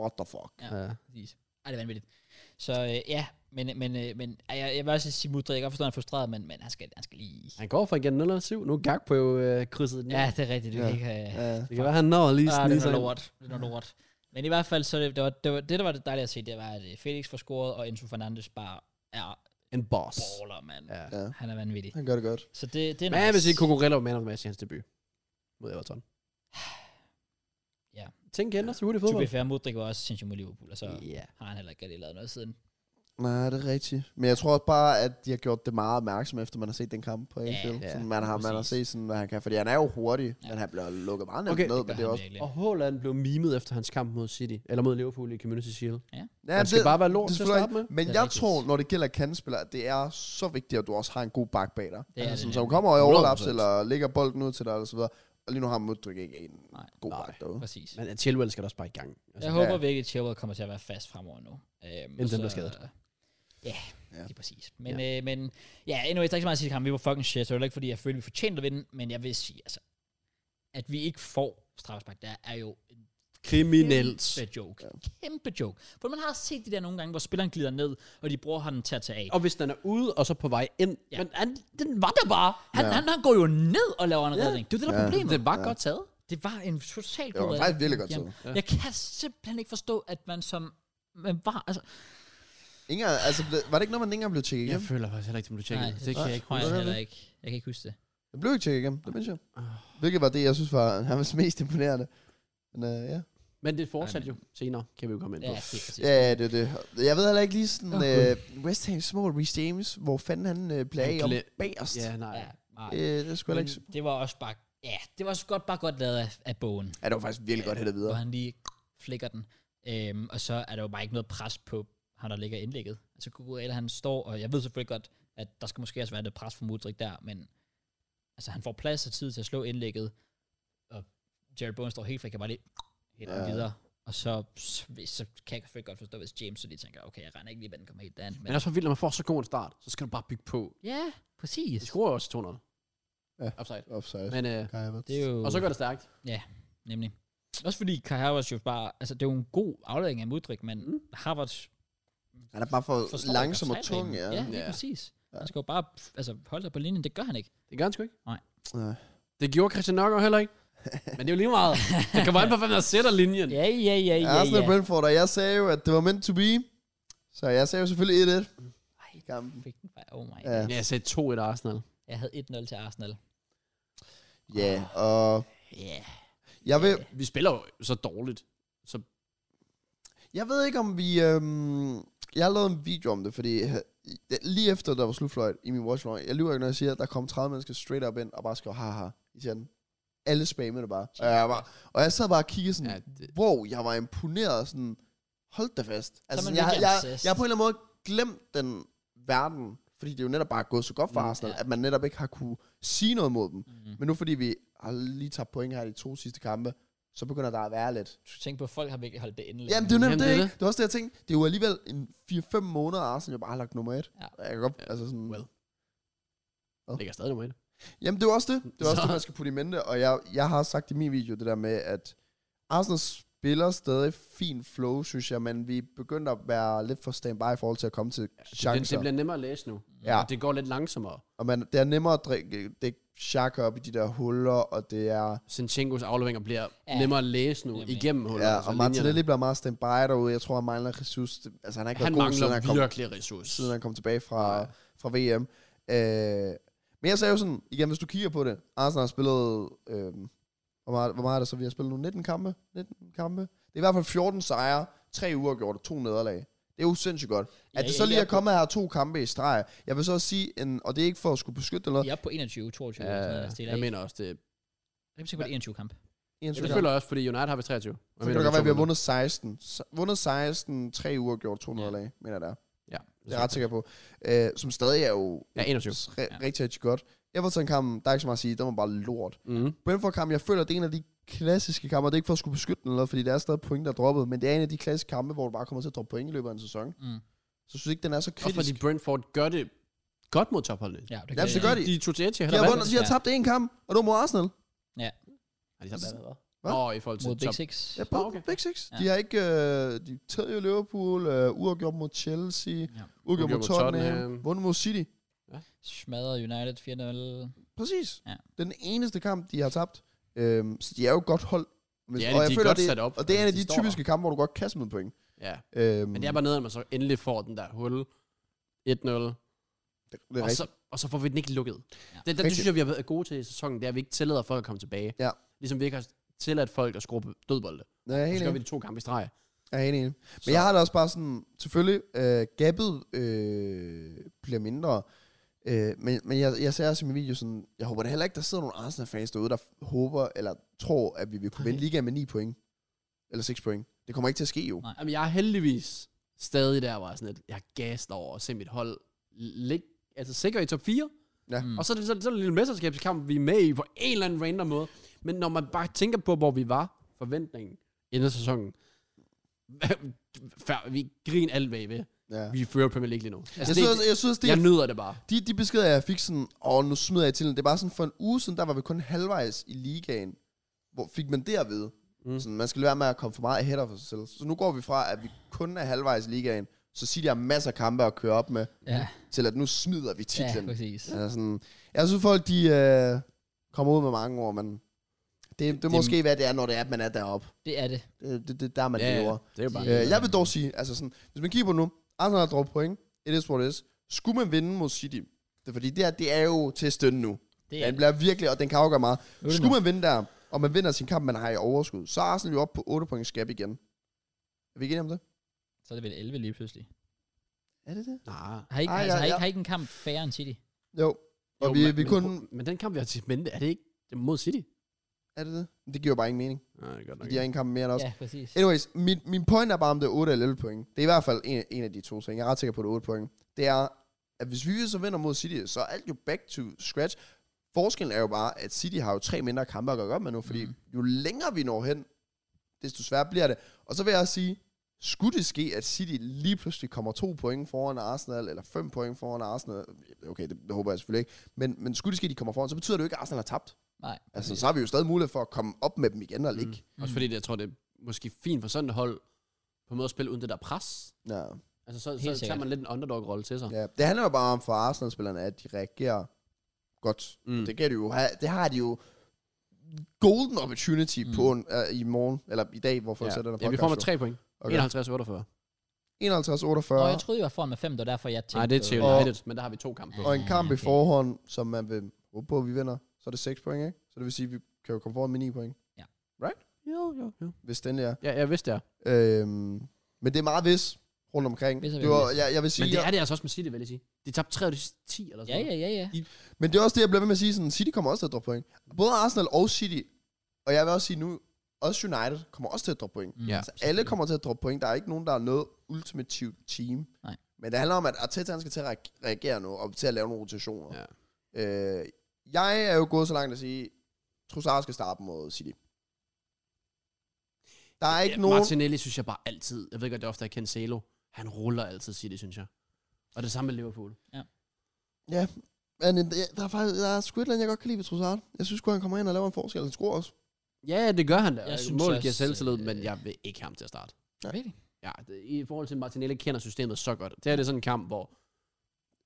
Speaker 3: What the fuck?
Speaker 1: Ja.
Speaker 2: mil. Ja.
Speaker 1: Præcis. Ej, det er vanvittigt. Så øh, ja, men, men, øh, men ej, jeg, jeg vil også sige Mudrik. Jeg kan godt forstå, at han er frustreret, men, men han, skal, han skal lige...
Speaker 2: Han går for igen 0 7. Nu er Gak på jo øh, krydset den.
Speaker 1: Ja, det er rigtigt. Det,
Speaker 3: Ja.
Speaker 1: ja. ikke, øh,
Speaker 3: Ja.
Speaker 2: Det kan være, han når lige
Speaker 1: Ah,
Speaker 2: snige
Speaker 1: det
Speaker 2: sig.
Speaker 1: er
Speaker 2: ind.
Speaker 1: lort. Det er noget lort. Men i hvert fald, så det, det, var, det, var, det, der var det dejlige at se, det var, at øh, Felix får scoret, og Enzo Fernandes bare er
Speaker 2: En boss.
Speaker 1: baller, mand.
Speaker 2: Ja.
Speaker 3: ja.
Speaker 1: Han er vanvittig.
Speaker 3: Han gør det godt.
Speaker 1: Så det, det er
Speaker 2: Men
Speaker 1: nice.
Speaker 2: jeg vil sige, Kukurella var man of the match i hans debut. Mod Everton.
Speaker 1: Ja.
Speaker 2: Tænk ændrer sig hurtigt i
Speaker 1: To be
Speaker 2: fodbold.
Speaker 1: fair, Mudrik var også sindssygt mod Liverpool, og så
Speaker 2: Ja.
Speaker 1: har han heller ikke rigtig lavet noget siden.
Speaker 3: Nej, det er rigtigt. Men jeg tror også bare, at de har gjort det meget opmærksom, efter man har set den kamp på Anfield.
Speaker 2: ja,
Speaker 3: Ja, ja, man, har, man har
Speaker 1: præcis.
Speaker 3: set, sådan, hvad han kan. Fordi han er jo hurtig,
Speaker 1: Ja.
Speaker 3: ja. men han bliver lukket meget nemt
Speaker 2: Okay.
Speaker 3: okay. ned. Men
Speaker 1: gør
Speaker 3: det er
Speaker 1: han
Speaker 3: også...
Speaker 1: virkelig.
Speaker 2: Og Haaland blev mimet efter hans kamp mod City. Eller mod Liverpool i Community Shield.
Speaker 3: Ja,
Speaker 2: han skal bare være lort
Speaker 3: det er
Speaker 2: til at
Speaker 3: selvfølgelig
Speaker 2: starte med.
Speaker 3: rigtigt. Men
Speaker 1: Det er
Speaker 3: jeg
Speaker 1: rigtigt.
Speaker 3: tror, når det gælder kandspillere, at det er så vigtigt, at du også har en god bak bag dig.
Speaker 1: Det er
Speaker 3: altså,
Speaker 1: det
Speaker 3: sådan,
Speaker 1: nemlig.
Speaker 3: som kommer i overlaps,
Speaker 2: 100%.
Speaker 3: eller lægger bolden ud til dig, eller så videre. Og lige nu har Mudrik ikke en
Speaker 1: Nej.
Speaker 3: god
Speaker 2: Nej.
Speaker 3: bak derude.
Speaker 1: Præcis.
Speaker 2: Men altså, at Chilwell skal da også bare i gang.
Speaker 1: Jeg
Speaker 3: ja.
Speaker 1: håber virkelig, at Chilwell kommer til at være fast fremover nu. Øhm,
Speaker 2: den
Speaker 1: så-
Speaker 2: bliver skadet.
Speaker 1: Ja,
Speaker 3: Ja.
Speaker 1: ja, lige præcis. Men ja, øh, men, ja anyway, der er ikke så meget at sige til kampen. Vi var fucking shit, så det var ikke, fordi jeg følte, vi fortjente at vinde. Men jeg vil sige, altså, at vi ikke får straffespark, der er jo en
Speaker 2: Kriminelt.
Speaker 1: kæmpe joke. Ja. Kæmpe joke. For man har set de der nogle gange, hvor spilleren glider ned, og de bruger ham til at tage af.
Speaker 2: Og hvis den er ude, og så på vej ind.
Speaker 1: Ja.
Speaker 2: Men han, den var der bare.
Speaker 1: Han,
Speaker 3: Ja.
Speaker 1: ja. han, han går jo ned og laver en ja. redning. Det er jo det, der er
Speaker 3: Ja.
Speaker 1: problemet.
Speaker 2: Den var godt taget.
Speaker 1: Det var en total
Speaker 3: Det var
Speaker 1: god
Speaker 3: faktisk virkelig godt
Speaker 1: Jamen,
Speaker 2: taget. Ja.
Speaker 1: Jeg kan simpelthen ikke forstå, at man som... Man var, altså,
Speaker 3: Ingen, altså, ble- var det ikke noget, man ikke engang blev tjekket
Speaker 2: Jeg
Speaker 3: igennem?
Speaker 2: føler faktisk heller ikke, det blev tjekket.
Speaker 1: nej, det kan jeg ikke,
Speaker 3: Nej,
Speaker 1: jeg
Speaker 3: det er
Speaker 1: heller
Speaker 3: det.
Speaker 1: ikke. Jeg kan ikke huske det.
Speaker 3: Det blev ikke tjekket igennem,
Speaker 1: Ah.
Speaker 3: det mindste jeg. Hvilket var det, jeg synes var hans mest imponerende. Men øh, ja.
Speaker 2: Men det fortsatte
Speaker 1: Ej,
Speaker 2: jo senere, kan vi jo komme ind
Speaker 1: Ja,
Speaker 2: på.
Speaker 1: det er præcis.
Speaker 3: ja, ja, det er det. Jeg ved heller ikke lige sådan,
Speaker 1: Åh,
Speaker 3: øh, West Ham's mål, Reece James, hvor fanden han øh, blev
Speaker 2: Han
Speaker 3: af om
Speaker 2: gled-
Speaker 3: bagerst.
Speaker 2: Ja,
Speaker 3: Yeah.
Speaker 2: nej.
Speaker 1: Ja, nej.
Speaker 3: Øh, det skulle ikke...
Speaker 1: Men det var også bare... Ja, det var også godt, bare godt lavet af, af bogen,
Speaker 3: Ja, det var faktisk virkelig godt hættet
Speaker 1: hvor
Speaker 3: videre.
Speaker 1: han lige flikker den. Øhm, og så er der jo bare ikke noget pres på ham, der ligger indlægget. Altså Kukurella, han står, og jeg ved selvfølgelig godt, at der skal måske også være lidt pres for Mudrik der, men altså, han får plads og tid til at slå indlægget, og Jerry Bowen står helt fri, kan bare lige helt
Speaker 3: Ja.
Speaker 1: ja. videre. Og så, så kan jeg selvfølgelig godt forstå, hvis James så lige tænker, okay, jeg regner ikke lige, hvad den kommer helt derhen.
Speaker 2: Men det er også for vildt, når man får så god en start, så skal du bare bygge på.
Speaker 1: ja,
Speaker 2: De
Speaker 1: præcis.
Speaker 2: scorer jo også 200.
Speaker 3: Ja.
Speaker 2: Offside.
Speaker 3: Offside.
Speaker 2: Men, øh,
Speaker 1: Det er jo...
Speaker 2: og så går det stærkt.
Speaker 1: Nemlig. Også fordi Kai Havertz jo bare, altså det er jo en god aflevering af Mudrik, men mm. Havertz
Speaker 3: Han er bare for
Speaker 1: forstår ikke
Speaker 3: langsom og
Speaker 1: at træne
Speaker 3: tung,
Speaker 1: banen.
Speaker 3: ja.
Speaker 1: Ja, lige
Speaker 2: Ja.
Speaker 1: ja. præcis.
Speaker 3: Ja.
Speaker 1: Han skal jo bare f- altså, holde sig på linjen, det gør han ikke.
Speaker 2: Det gør han sgu ikke.
Speaker 3: Ja.
Speaker 2: Det gjorde Christian Nørgaard heller
Speaker 3: [LAUGHS]
Speaker 2: ikke. Men det er jo lige meget. Det kommer an på, hvem der sætter linjen.
Speaker 1: Ja, ja, ja, ja,
Speaker 3: Arsenal
Speaker 1: ja.
Speaker 3: Brentford, og jeg sagde jo, at det var meant to be. Så jeg sagde jo selvfølgelig 1-1.
Speaker 1: Ej,
Speaker 3: Kampen.
Speaker 1: fik den bare, oh my
Speaker 3: Ja.
Speaker 1: god.
Speaker 2: Ja, jeg sagde 2-1 Arsenal.
Speaker 1: Jeg havde 1-0 til Arsenal.
Speaker 3: Ja, og
Speaker 1: Ja. Yeah.
Speaker 3: jeg vil, Mm.
Speaker 2: Vi spiller jo så dårligt. Så
Speaker 3: Jeg ved ikke, om vi... Øhm, jeg har lavet en video om det, fordi øh, lige efter der var slutfløjt i min watchlog, jeg lyver ikke, når jeg siger, at der kom 30 mennesker straight up ind og bare skrev, haha, i chatten. Alle spammede det bare. Og jeg, var, og jeg sad bare og kiggede sådan,
Speaker 2: Ja, det,
Speaker 3: wow, jeg var imponeret, sådan, hold da fast. Altså,
Speaker 1: man
Speaker 3: jeg, jeg,
Speaker 1: virkelig
Speaker 3: jeg,
Speaker 1: obsessed.
Speaker 3: jeg har på en eller anden måde glemt den verden, fordi det er jo netop bare gået så godt for
Speaker 2: Mm,
Speaker 3: Arsenal,
Speaker 1: ja.
Speaker 3: at man netop ikke har kunne sige noget mod dem.
Speaker 1: Mm.
Speaker 3: Men nu fordi vi har lige tabt point her i de to sidste kampe, så begynder der at være lidt.
Speaker 1: Du tænker på, at folk har virkelig holdt det endelig.
Speaker 3: Jamen, det er jo
Speaker 2: Jamen,
Speaker 3: nemt
Speaker 2: det
Speaker 3: det,
Speaker 2: er
Speaker 3: ikke?
Speaker 2: det.
Speaker 3: Det var også det, jeg tænkte. Det er jo alligevel en 4-5 måneder, at Arsenal jo bare har lagt nummer et.
Speaker 1: Ja.
Speaker 3: Jeg kan godt,
Speaker 2: Ja,
Speaker 3: altså sådan,
Speaker 2: well.
Speaker 3: Hvad?
Speaker 2: ligger stadig nummer et.
Speaker 3: Jamen, det er jo også det. Det er også
Speaker 2: Så-
Speaker 3: det, man skal putte i mente. Og jeg, jeg har sagt i min video det der med, at Arsenal spiller stadig fin flow, synes jeg, men vi begynder at være lidt for standby i forhold til at komme til
Speaker 2: Det, det
Speaker 3: chancer.
Speaker 2: bliver nemmere at læse nu.
Speaker 3: Ja.
Speaker 2: Og det går lidt langsommere.
Speaker 3: Og man, det er nemmere at drikke, det shakker op i de der huller, og det er...
Speaker 2: Sinchenkos afleveringer bliver
Speaker 1: Ja.
Speaker 2: ja. nemmere at læse nu
Speaker 1: Jamen, ja.
Speaker 2: igennem hullet.
Speaker 3: Ja, og Martinelli bliver meget standby derude. Jeg tror, han mangler ressource. Det- Altså, han har ikke
Speaker 2: Han
Speaker 3: været god,
Speaker 2: mangler
Speaker 3: siden han kom
Speaker 2: virkelig ressourcer.
Speaker 3: siden han kom tilbage fra,
Speaker 2: Ja.
Speaker 3: fra VM. Øh, men jeg sagde jo sådan, igen, hvis du kigger på det, Arsenal har spillet, øh, hvor, meget, hvor meget er det så, vi har spillet nu? 19 kampe? 19 kampe? Det er i hvert fald 14 sejre, 3 uger gjort og to nederlag. Det er jo sindssygt godt. At
Speaker 1: Ja,
Speaker 3: det
Speaker 1: ja,
Speaker 3: så lige
Speaker 1: jeg
Speaker 3: er
Speaker 1: er på-
Speaker 3: kommet her to kampe i streg. Jeg vil så også sige, en, og det er ikke for at skulle beskytte eller noget.
Speaker 1: Jeg er oppe på 21, 22. Ja, sådan noget, altså, det
Speaker 2: Ja,
Speaker 1: er
Speaker 2: Øh,
Speaker 1: ikke.
Speaker 2: jeg mener også, det,
Speaker 1: Jeg er sikker på, det er 21 kamp.
Speaker 3: Ja,
Speaker 2: jeg føler også, fordi United har vi 23.
Speaker 3: Så kan det godt være, at vi har vundet 16. Så- Vundet 16, 3 uger gjort, to
Speaker 1: Ja.
Speaker 3: nederlag, mener jeg det er.
Speaker 2: Ja,
Speaker 3: Det er jeg ret sikker på. Øh, som stadig er jo
Speaker 2: Ja, 21.
Speaker 3: re-
Speaker 1: Ja.
Speaker 3: rigtig, rigtig godt. Everton-kampen, der er ikke så meget at sige, den var bare lort.
Speaker 2: Mm.
Speaker 3: Brentford-kampen, jeg føler, det er en af de klassiske kampe, og det er ikke for at skulle beskytte den eller noget, fordi der er stadig point, der er droppet, men det er en af de klassiske kampe, hvor du bare kommer til at droppe point i løbet af en sæson.
Speaker 1: Mm.
Speaker 3: Så synes jeg ikke, den er så
Speaker 2: Også fordi
Speaker 3: kritisk.
Speaker 2: Brentford gør det godt mod topholdene.
Speaker 1: Ja, det,
Speaker 3: Jamen, så gør de.
Speaker 2: De tog til Etiha.
Speaker 3: De har, vundet, de har tabt én kamp, og det var mod Arsenal.
Speaker 2: Ah, Har de tabt hvad?
Speaker 3: Hvad?
Speaker 2: Nå, i forhold til
Speaker 1: Mod Big
Speaker 2: top.
Speaker 1: Six.
Speaker 3: Ja, på
Speaker 2: Nå, okay.
Speaker 3: okay. Big Six.
Speaker 1: Ja.
Speaker 3: De har ikke... Øh, de tæder jo Liverpool, øh, uafgjort mod Chelsea, ja. uafgjort mod Tottenham, Tottenham. vundet mod City.
Speaker 1: Smadrer United 4-0.
Speaker 3: Præcis.
Speaker 1: Ja.
Speaker 3: Den eneste kamp, de har tabt. Øhm, så de er jo godt hold. Men,
Speaker 2: Det er det, de er godt
Speaker 3: det,
Speaker 2: sat op,
Speaker 3: Og det er
Speaker 2: altså,
Speaker 3: en af
Speaker 2: de
Speaker 3: de,
Speaker 2: står
Speaker 3: typiske kampe, hvor du godt kan smide point.
Speaker 2: Ja,
Speaker 3: Øhm,
Speaker 2: men det er bare noget, at man så endelig får den der hul 1-0.
Speaker 3: det, det er
Speaker 2: Og
Speaker 3: rigtigt.
Speaker 2: så, og så får vi den ikke lukket.
Speaker 1: Ja.
Speaker 2: Ja. Det, det, det
Speaker 3: Rigtigt.
Speaker 2: synes jeg, vi har været gode til i sæsonen. Det er, at vi ikke tillader folk at komme tilbage.
Speaker 3: Ja.
Speaker 2: Ligesom vi ikke har tilladt folk at skrue på dødbolde.
Speaker 3: Nej, jeg er
Speaker 2: Og
Speaker 3: helt
Speaker 2: så gør vi
Speaker 3: enig.
Speaker 2: de to kampe i streg.
Speaker 3: Jeg er helt enig. Men jeg har det også bare sådan, selvfølgelig, øh, gappet øh, bliver mindre. Øh, men, men jeg, jeg sagde også i min video sådan, jeg håber da heller ikke, der sidder nogle Arsenal-fans derude, der håber eller tror, at vi vil kunne vinde ligaen med 9 point. Eller 6 point. Det kommer ikke til at ske jo.
Speaker 1: Nej.
Speaker 2: Jamen, jeg er heldigvis stadig der, hvor jeg er sådan lidt, jeg er gassed over at se mit hold lig, altså sikker i top 4.
Speaker 3: Ja.
Speaker 1: Mm.
Speaker 2: Mm. Og så er det så, så er det en lille mesterskabskamp, vi er med i på en eller anden random måde. Men når man bare tænker på, hvor vi var, forventningen inden sæsonen, [LAUGHS] Før, vi griner alt hvad I vil.
Speaker 3: Ja.
Speaker 2: Vi fører Premier League lige nu. Altså,
Speaker 3: Jeg
Speaker 2: det,
Speaker 3: synes, også- jeg synes også, det er
Speaker 2: jeg nyder det bare.
Speaker 3: De, de beskeder, jeg fik sådan, og nu smider jeg til den. Det er bare sådan, for en uge siden, der var vi kun halvvejs i ligaen. Hvor fik man det at vide? Mm.
Speaker 2: Mm.
Speaker 3: Sådan, man skal lade være med at komme for meget ahead af sig selv. Så nu går vi fra, at vi kun er halvvejs i ligaen, så siger de, at masser af kampe at køre op med,
Speaker 1: Ja,
Speaker 3: til at nu smider vi
Speaker 1: ja
Speaker 3: titlen.
Speaker 1: præcis.
Speaker 3: Ja, sådan, jeg synes, folk de, øh, kommer ud med mange ord, men det, det, det
Speaker 2: Det-
Speaker 3: måske, hvad det er, når det er, at man er deroppe.
Speaker 1: Det er det.
Speaker 3: Det, det, det der, man lever.
Speaker 2: det er jo bare.
Speaker 1: Ja.
Speaker 3: Øh, jeg vil dog sige, altså sådan, hvis man kigger på nu, Arsenal har droppet point, it is what it is. Skulle man vinde mod City, det er fordi, det, her, det er jo til at stønne nu.
Speaker 1: Det
Speaker 3: Ja.
Speaker 1: er
Speaker 3: Den bliver virkelig, og den kan afgøre meget.
Speaker 1: Nu er det
Speaker 3: Skulle
Speaker 1: nu.
Speaker 3: man vinde der, og man vinder sin kamp, man har i overskud, så er Arsenal jo op på 8 point skab igen. Er vi ikke enige om det?
Speaker 1: Så er det vel 11 lige pludselig.
Speaker 3: Er det det?
Speaker 2: Nej.
Speaker 1: Har I ikke,
Speaker 3: Ej,
Speaker 1: altså,
Speaker 3: ja,
Speaker 1: har I,
Speaker 3: ja.
Speaker 1: ikke, har I ikke en kamp færre end City?
Speaker 3: Jo. Og
Speaker 2: Jo,
Speaker 3: vi,
Speaker 2: men-
Speaker 3: vi
Speaker 2: men
Speaker 3: kun...
Speaker 2: pro- Men den kamp, vi har til vente, er det ikke det er mod City?
Speaker 3: Er det det? Men Det giver jo bare ingen mening.
Speaker 2: Nej, det er godt
Speaker 3: Okay. De har en kamp mere end os.
Speaker 1: Ja, præcis.
Speaker 3: Anyways, min, min point er bare, om det er 8 eller 11 point. Det er i hvert fald en, en af de to ting. Jeg er ret sikker på, at det er 8 point. Det er, at hvis vi så vinder mod City, så er alt jo back to scratch. Forskellen er jo bare, at City har jo tre mindre kampe at gøre op med nu, fordi mm. jo længere vi når hen, desto sværere bliver det. Og så vil jeg også sige, skulle det ske, at City lige pludselig kommer to point foran Arsenal, eller fem point foran Arsenal, okay, det, det håber jeg selvfølgelig ikke, men, men skulle det ske, at de kommer foran, så betyder det jo ikke, at Arsenal har tabt.
Speaker 1: Nej.
Speaker 3: Altså, så har vi jo stadig mulighed for at komme op med dem igen og ligge.
Speaker 2: Mm. Også fordi det, jeg tror, det er måske fint for sådan et hold, på en måde at spille uden det der pres.
Speaker 3: Mm. Ja.
Speaker 2: Altså så,
Speaker 1: Helt
Speaker 2: så tager
Speaker 1: sikkert.
Speaker 2: man lidt en underdog-rolle til sig. Mm.
Speaker 3: Ja, det handler jo bare om for Arsenal-spillerne, at de reagerer godt. Mm.
Speaker 2: Mm.
Speaker 3: Det, kan de jo have, det har de jo golden opportunity mm. på en, uh, i morgen, eller i dag, hvorfor ja. jeg sætter den
Speaker 2: ja, vi får med tre point.
Speaker 3: Okay.
Speaker 2: 51-48.
Speaker 3: 51-48,
Speaker 1: Nå, jeg troede, I var foran med 5, det var derfor, jeg tænkte...
Speaker 2: Nej, det er til
Speaker 1: på-
Speaker 3: Og-
Speaker 2: United, men der har vi to kampe.
Speaker 1: Ja.
Speaker 3: og en kamp okay. i
Speaker 1: okay.
Speaker 3: forhånd, som man vil håbe på, at vi vinder, så er det 6 point, ikke? Så det vil sige, at vi kan jo komme foran med 9 point,
Speaker 2: Jo, jo, jo.
Speaker 3: hvis den er.
Speaker 2: Ja, jeg vidste det.
Speaker 3: Øhm, men det er meget hvis. rundt omkring.
Speaker 1: Hvis jeg
Speaker 3: Det var,
Speaker 1: vil.
Speaker 3: jeg, jeg vil sige,
Speaker 2: Men det
Speaker 3: jeg-
Speaker 2: er det altså også med City, vil jeg sige. De tabte 3 af de sidste 10 eller sådan
Speaker 1: Ja,
Speaker 2: noget.
Speaker 1: ja, ja, ja.
Speaker 3: Men det er også det, jeg bliver ved med at sige, sådan, City kommer også til at droppe point. Både Arsenal og City, og jeg vil også sige nu, også United kommer også til at droppe point.
Speaker 1: Mm.
Speaker 2: Ja.
Speaker 3: Altså, alle kommer til at droppe point. Der er ikke nogen, der er noget ultimativt team.
Speaker 1: Nej.
Speaker 3: Men det handler om, at Arteta han skal til at reag- reagere nu, og til at lave nogle rotationer.
Speaker 2: Ja.
Speaker 3: Øh, jeg er jo gået så langt at sige, Trossard skal starte mod City. Der er ikke
Speaker 2: Ja,
Speaker 3: nogen...
Speaker 2: Martinelli synes jeg bare altid, jeg ved godt, det er ofte er Cancelo, han ruller altid City, synes jeg. Og det samme med Liverpool.
Speaker 3: Ja, men øh, der er faktisk der er sgu et eller andet, jeg godt kan lide ved Trossard. Jeg synes sgu, han kommer ind og laver en forskel. Han scorer også.
Speaker 2: Ja, det gør han da.
Speaker 1: Jeg
Speaker 2: Jeg
Speaker 1: synes
Speaker 2: synes Målet
Speaker 1: også,
Speaker 2: giver selvtillid,
Speaker 1: øh,
Speaker 2: men jeg vil ikke have ham til at starte.
Speaker 1: Really?
Speaker 2: Ja, det, i forhold til Martinelli kender systemet så godt. Det her det er sådan en kamp, hvor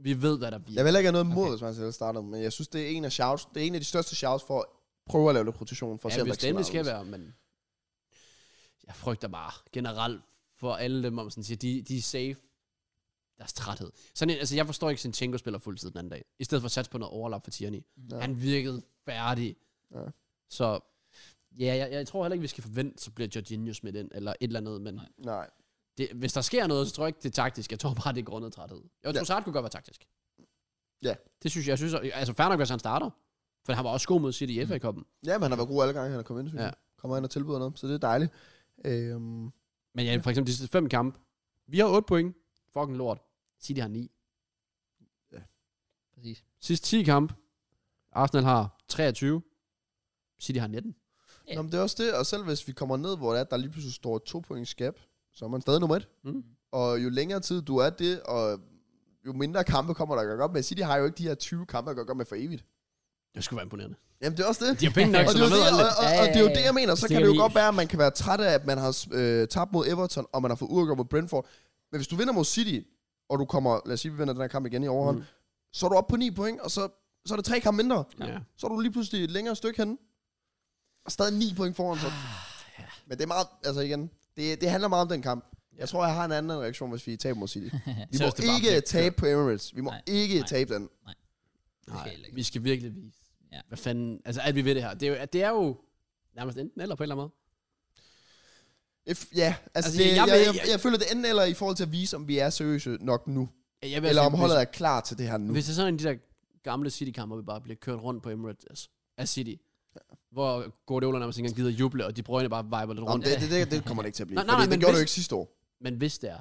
Speaker 2: vi ved, hvad der
Speaker 3: Jeg
Speaker 2: bliver.
Speaker 3: vil heller ikke have noget imod,
Speaker 2: Okay.
Speaker 3: okay. hvis man selv starter, men jeg synes, det er en af, shouts, det er en af de største shouts for at prøve at lave lidt rotation, for at se,
Speaker 2: Ja,
Speaker 3: om
Speaker 2: hvis
Speaker 3: der
Speaker 2: det endelig skal
Speaker 3: anderledes.
Speaker 2: være, men jeg frygter bare generelt for alle dem, om sådan siger, de, de er safe. Deres træthed. Sådan en, altså, jeg forstår ikke, Sinchenko spiller fuldtid den anden dag. I stedet for at satse på noget overlap for Tierney. Ja.
Speaker 3: Ja.
Speaker 2: Han virkede færdig.
Speaker 3: Ja.
Speaker 2: Så ja, jeg, jeg tror heller ikke, vi skal forvente, så bliver Jorginho smidt ind, eller et eller andet, men
Speaker 1: Nej.
Speaker 3: Nej.
Speaker 2: det, hvis der sker noget, så tror jeg ikke, det er taktisk. Jeg tror bare, det er grundet træthed. Jeg
Speaker 3: Ja.
Speaker 2: tror, ja. kunne godt være taktisk.
Speaker 3: Ja.
Speaker 2: Det synes jeg, jeg synes, altså fair nok, hvis han starter. For han var også god mod City i
Speaker 1: Mm.
Speaker 2: FA-koppen.
Speaker 3: Ja, men han har været god alle gange, han er kommet ind, synes
Speaker 2: Ja.
Speaker 3: ja. Kommer ind og tilbyder noget, så det er dejligt. Øhm,
Speaker 2: Men ja, for eksempel de sidste fem kampe. Vi har 8 point. Fucking lort. City har 9.
Speaker 1: Præcis.
Speaker 2: Sidste 10 kampe. Arsenal har 23. City har 19.
Speaker 1: Ja.
Speaker 3: ja. nå, men det er også det, og selv hvis vi kommer ned, hvor det er, der lige pludselig står et to point skab, så er man stadig nummer et.
Speaker 2: Mm.
Speaker 3: Og jo længere tid du er det, og jo mindre kampe kommer der at gøre godt med. City har jo ikke de her 20 kampe, der gør godt med for evigt.
Speaker 2: Det skulle være imponerende.
Speaker 3: Jamen det er også det.
Speaker 2: De har penge nok,
Speaker 3: Og
Speaker 2: så
Speaker 3: det, er
Speaker 2: man
Speaker 3: jo
Speaker 2: ved
Speaker 3: det, og,
Speaker 2: aldrig.
Speaker 3: og,
Speaker 1: Ja, ja,
Speaker 3: og det er jo
Speaker 1: ja,
Speaker 3: det,
Speaker 1: ja.
Speaker 3: jeg mener. Så
Speaker 2: Stikker
Speaker 3: kan det
Speaker 2: lige.
Speaker 3: jo godt være, at man kan være træt af, at man har øh, tabt mod Everton, og man har fået uafgjort mod Brentford. Men hvis du vinder mod City, og du kommer, lad os sige, vi vinder den her kamp igen i overhånd, mm. så er du oppe på 9 point, og så, så er det tre kampe mindre.
Speaker 2: Ja.
Speaker 3: Så er du lige pludselig et længere stykke henne. Og stadig 9 point foran.
Speaker 2: Ah,
Speaker 3: Så. Men det er meget, altså igen, det, det handler meget om den kamp. Jeg tror, jeg har en anden reaktion, hvis vi taber mod
Speaker 2: [LAUGHS]
Speaker 3: City. Vi
Speaker 2: Så
Speaker 3: må
Speaker 2: hvis det bare
Speaker 3: ikke
Speaker 2: bliver
Speaker 3: tabe på Emirates. Vi må
Speaker 1: Nej,
Speaker 3: ikke
Speaker 1: nej.
Speaker 3: tabe den.
Speaker 1: skal
Speaker 2: Nej,
Speaker 1: heller ikke.
Speaker 2: vi skal virkelig vise.
Speaker 1: Ja.
Speaker 2: Ja. Hvad fanden, altså at vi ved det her. Det er jo, at det er jo nærmest enten eller på en eller anden måde.
Speaker 3: If, ja, altså,
Speaker 2: Altså,
Speaker 3: altså det,
Speaker 2: jeg- jeg
Speaker 3: jeg,
Speaker 2: vil-
Speaker 3: jeg, jeg,
Speaker 2: jeg-
Speaker 3: jeg, jeg føler det enten eller i forhold til at vise, om vi er seriøse nok nu.
Speaker 2: Ja, Jeg vil
Speaker 3: Eller
Speaker 2: altså-
Speaker 3: om holdet er klar til det her nu.
Speaker 2: Hvis det er sådan en af de der gamle City-kampe, hvor vi bare bliver kørt rundt på Emirates altså, af City, hvor Guardiola nærmest ikke engang gider juble, og De Bruyne bare viber lidt
Speaker 3: Nå, men
Speaker 2: rundt.
Speaker 3: det, det, det, det kommer det ikke til at blive.
Speaker 2: Nej,
Speaker 3: Nej,
Speaker 2: nej,
Speaker 3: nej, fordi
Speaker 2: nej, men
Speaker 3: det gjorde
Speaker 2: hvis-
Speaker 3: du ikke sidste år.
Speaker 2: Men hvis det er,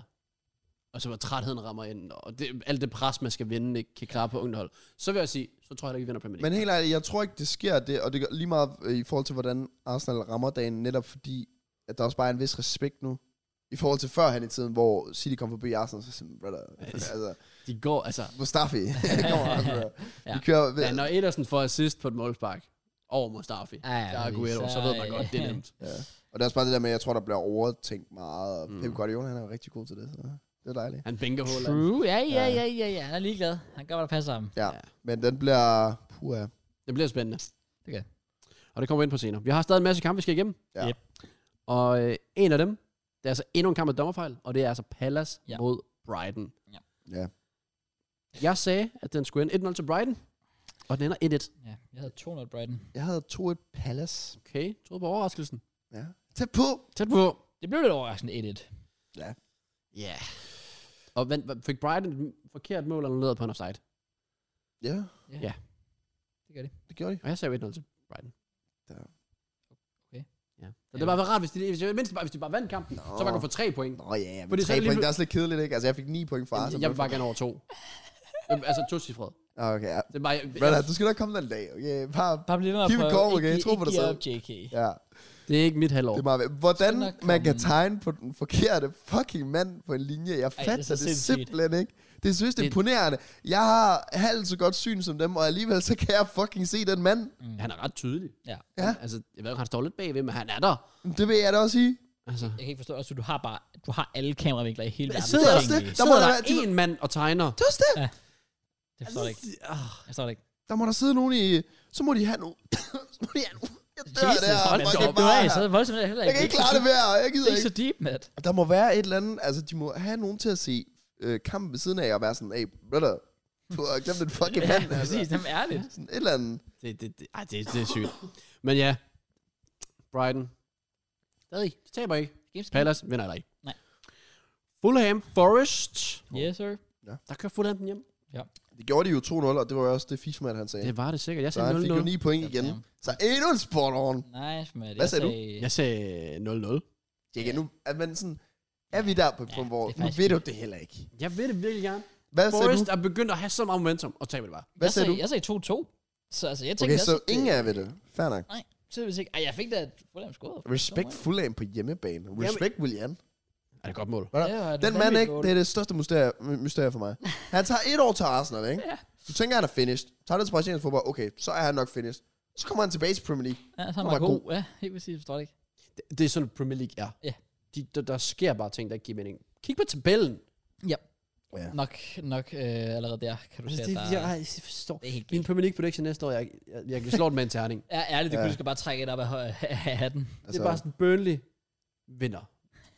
Speaker 2: og så hvor trætheden rammer ind, og det, alt det pres, man skal vinde, ikke kan klare på ungt hold, så vil jeg sige, så tror jeg heller ikke, vi vinder Premier League.
Speaker 3: Men helt ærligt, jeg tror ikke, det sker det, og det gør lige meget øh, i forhold til, hvordan Arsenal rammer dagen, netop fordi, at der også bare er en vis respekt nu, i forhold til førhen i tiden, hvor City kom forbi Arsenal, så sådan, brother, altså,
Speaker 2: De går, altså,
Speaker 3: [LAUGHS] Mustafi, kommer Arsenal.
Speaker 1: Ja.
Speaker 3: ja. altså. Vi kører, ved,
Speaker 2: ja, når Edersen får assist på et målspark over Mustafi,
Speaker 1: Ja, ja,
Speaker 2: der er
Speaker 1: præcis.
Speaker 2: Aguero, så ved man
Speaker 1: Så-
Speaker 2: godt, det er nemt.
Speaker 3: ja. og det er også bare det der med, jeg tror, der bliver overtænkt meget, og Pep Guardiola, han er jo rigtig god til det, så det er dejligt.
Speaker 2: Han bænker Håland.
Speaker 1: True, ja, ja, ja, ja, ja. Han er ligeglad. Han gør, hvad der passer ham.
Speaker 3: Ja,
Speaker 2: Ja.
Speaker 3: ja. men den bliver, puha,
Speaker 2: Det bliver spændende.
Speaker 1: Det gør.
Speaker 2: Og det kommer vi ind på senere. Vi har stadig en masse kampe, vi skal igennem.
Speaker 3: Ja.
Speaker 1: Yep.
Speaker 2: Og øh, en af dem, det er altså endnu en kamp med dommerfejl, og det er altså Palace
Speaker 1: Ja.
Speaker 2: ja. mod Brighton.
Speaker 3: ja.
Speaker 2: Jeg sagde, at den skulle ende 1-0 til Brighton, og den ender 1-1.
Speaker 1: Ja, jeg havde 200 Brighton.
Speaker 3: Jeg havde 2-1 Palace.
Speaker 2: Okay, troede på overraskelsen.
Speaker 3: Ja. Tæt på.
Speaker 2: Tæt på.
Speaker 1: Det blev lidt overraskende 1-1.
Speaker 2: Ja. Yeah. Og vent, hvad- fik Brighton et forkert mål, eller noget på en offside?
Speaker 3: Ja,
Speaker 1: Det gør det.
Speaker 3: det gjorde de.
Speaker 2: Og jeg sagde jo 1-0 til Brighton.
Speaker 3: Ja.
Speaker 1: Okay.
Speaker 2: Ja. Så det var bare rart, hvis de, hvis, de, mindst bare, hvis de bare vandt kampen, Nå. så var
Speaker 3: Nå.
Speaker 2: man få tre point.
Speaker 3: Nå ja, men
Speaker 2: Fordi så er
Speaker 3: tre
Speaker 2: det lige
Speaker 3: point,
Speaker 2: pl-
Speaker 3: det er også lidt kedeligt, ikke? Altså, jeg fik 9 point fra
Speaker 2: Jeg,
Speaker 3: Arsenal.
Speaker 2: jeg vil bare gerne over to. Jamen, altså to cifre.
Speaker 3: Nå, Ah, Okay, ja.
Speaker 2: Det er bare, jeg,
Speaker 3: Brother, du skal da komme den dag, okay? Bare,
Speaker 1: Bare blive ved med at
Speaker 3: Keep it
Speaker 1: prøve.
Speaker 3: going, okay?
Speaker 1: Ikke-
Speaker 3: Tro på
Speaker 1: ikke
Speaker 3: dig
Speaker 1: give
Speaker 3: selv.
Speaker 1: op, JK.
Speaker 3: ja,
Speaker 2: det er ikke mit halvår.
Speaker 3: det er meget væ- Hvordan
Speaker 1: Skal nok
Speaker 3: man kan
Speaker 1: komme.
Speaker 3: tegne på den forkerte fucking mand på en linje, jeg
Speaker 1: så
Speaker 3: fatter det, det
Speaker 1: sindssygt.
Speaker 3: simpelthen ikke. Det synes det er
Speaker 2: Det-
Speaker 3: imponerende. Jeg har halvt så godt syn som dem, og alligevel så kan jeg fucking se den mand.
Speaker 2: Han er ret tydelig.
Speaker 1: Ja.
Speaker 3: Ja.
Speaker 2: Altså, jeg ved ikke, han står lidt bagved, men han er der.
Speaker 3: Det vil jeg da også sige.
Speaker 2: Altså,
Speaker 1: Jeg kan ikke forstå, altså, du har bare, du har alle kameravinkler i hele verden.
Speaker 2: sidder
Speaker 1: Det er
Speaker 2: også
Speaker 1: ikke-
Speaker 3: det.
Speaker 1: Det
Speaker 2: der, må der
Speaker 3: da
Speaker 2: være
Speaker 3: være- de må-
Speaker 2: en mand og tegner.
Speaker 3: Det er også det.
Speaker 1: forstår jeg ikke.
Speaker 2: Ah,
Speaker 1: Jeg forstår det ikke.
Speaker 3: Der må der sidde nogen i... Så må de have nu. [COUGHS] så må de have nu. Jeg dør
Speaker 1: Jesus,
Speaker 3: der.
Speaker 1: hold
Speaker 3: fucking
Speaker 1: da op. Du
Speaker 3: bare
Speaker 1: er
Speaker 3: her.
Speaker 1: så voldsomt heller ikke.
Speaker 3: Jeg kan ikke klare det mere. Jeg
Speaker 1: Det
Speaker 3: gider
Speaker 1: er
Speaker 3: ikke.
Speaker 1: ikke så deep, Matt.
Speaker 3: Og Der må være et eller andet, altså de må have nogen til at se øh, kampen ved siden af og være sådan, hey, brother, du har glemt den fucking
Speaker 1: Ja,
Speaker 3: mand, altså.
Speaker 1: præcis. Jamen ærligt.
Speaker 3: Sådan et eller andet.
Speaker 2: det, det, det, ej, det, det er sygt. Men ja, Brighton. Stadig, de taber ikke.
Speaker 1: Games-
Speaker 2: Palace vinder heller ikke.
Speaker 1: Nej.
Speaker 2: Fulham Forest.
Speaker 1: Yes, sir.
Speaker 2: Der kører Fulham den hjem.
Speaker 3: Det gjorde de jo 2-0, og det var jo også det FIFA-mand, han sagde.
Speaker 2: Det var det sikkert. Jeg
Speaker 3: så han fik jo
Speaker 2: sagde 0-0.
Speaker 3: 9 point igen.
Speaker 1: Damn.
Speaker 3: Så endnu en spot on.
Speaker 1: Nice, Matt.
Speaker 3: Hvad
Speaker 1: Jeg
Speaker 3: sagde du?
Speaker 2: Jeg sagde 0-0.
Speaker 3: Det er igen, nu er man sådan, er vi der på et
Speaker 1: Ja,
Speaker 3: punkt, hvor
Speaker 1: det er
Speaker 3: nu
Speaker 1: faktisk-
Speaker 3: ved du det heller ikke.
Speaker 2: Jeg ved det virkelig gerne.
Speaker 3: Hvad sagde du?
Speaker 2: Forest er begyndt at have så meget momentum, og taber det bare.
Speaker 3: Hvad
Speaker 1: jeg
Speaker 3: sagde du?
Speaker 1: Jeg sagde 2-2. Så altså, jeg tænkte
Speaker 3: Okay,
Speaker 1: også,
Speaker 3: så
Speaker 1: at det-
Speaker 3: ingen af jer ved det. Fair nok.
Speaker 1: Nej, så hvis ikke. Ej, jeg fik da et Fulham scoret.
Speaker 3: Respekt Fulham på hjemmebane. Respekt William.
Speaker 2: Er det et godt mål?
Speaker 3: Hvad der? Den mand, ikke, det er det største mysterie, my- mysterie for mig. Han tager et år til
Speaker 1: [LAUGHS]
Speaker 3: Arsenal, ikke?
Speaker 1: Ja.
Speaker 3: Du tænker, han er finished. Tager det altså til brasiliansk fodbold, okay, så er han nok finished. Så kommer han tilbage til Premier League.
Speaker 1: Ja, så er
Speaker 3: Han
Speaker 1: man
Speaker 3: var
Speaker 1: god. Ja, helt præcis. Forstår det ikke.
Speaker 2: Det, det er sådan, Premier League er.
Speaker 1: Ja.
Speaker 2: De, der, der sker bare ting, der ikke giver mening. Kig på tabellen.
Speaker 3: Ja.
Speaker 1: Nok, nok øh, allerede der, kan du se,
Speaker 2: Altså,
Speaker 1: at
Speaker 2: det,
Speaker 1: der
Speaker 2: jeg,
Speaker 1: er...
Speaker 2: jeg forstår.
Speaker 1: Det er helt
Speaker 2: Min
Speaker 1: vildt.
Speaker 2: Premier League prediction næste år, jeg, jeg, jeg kan slå den med en
Speaker 3: [LAUGHS]
Speaker 2: terning.
Speaker 1: Ja, ærligt, du
Speaker 3: Ja.
Speaker 1: kunne lige så bare trække et op af, hø- af hatten.
Speaker 2: Det
Speaker 3: Altså,
Speaker 2: er bare sådan, Burnley vinder.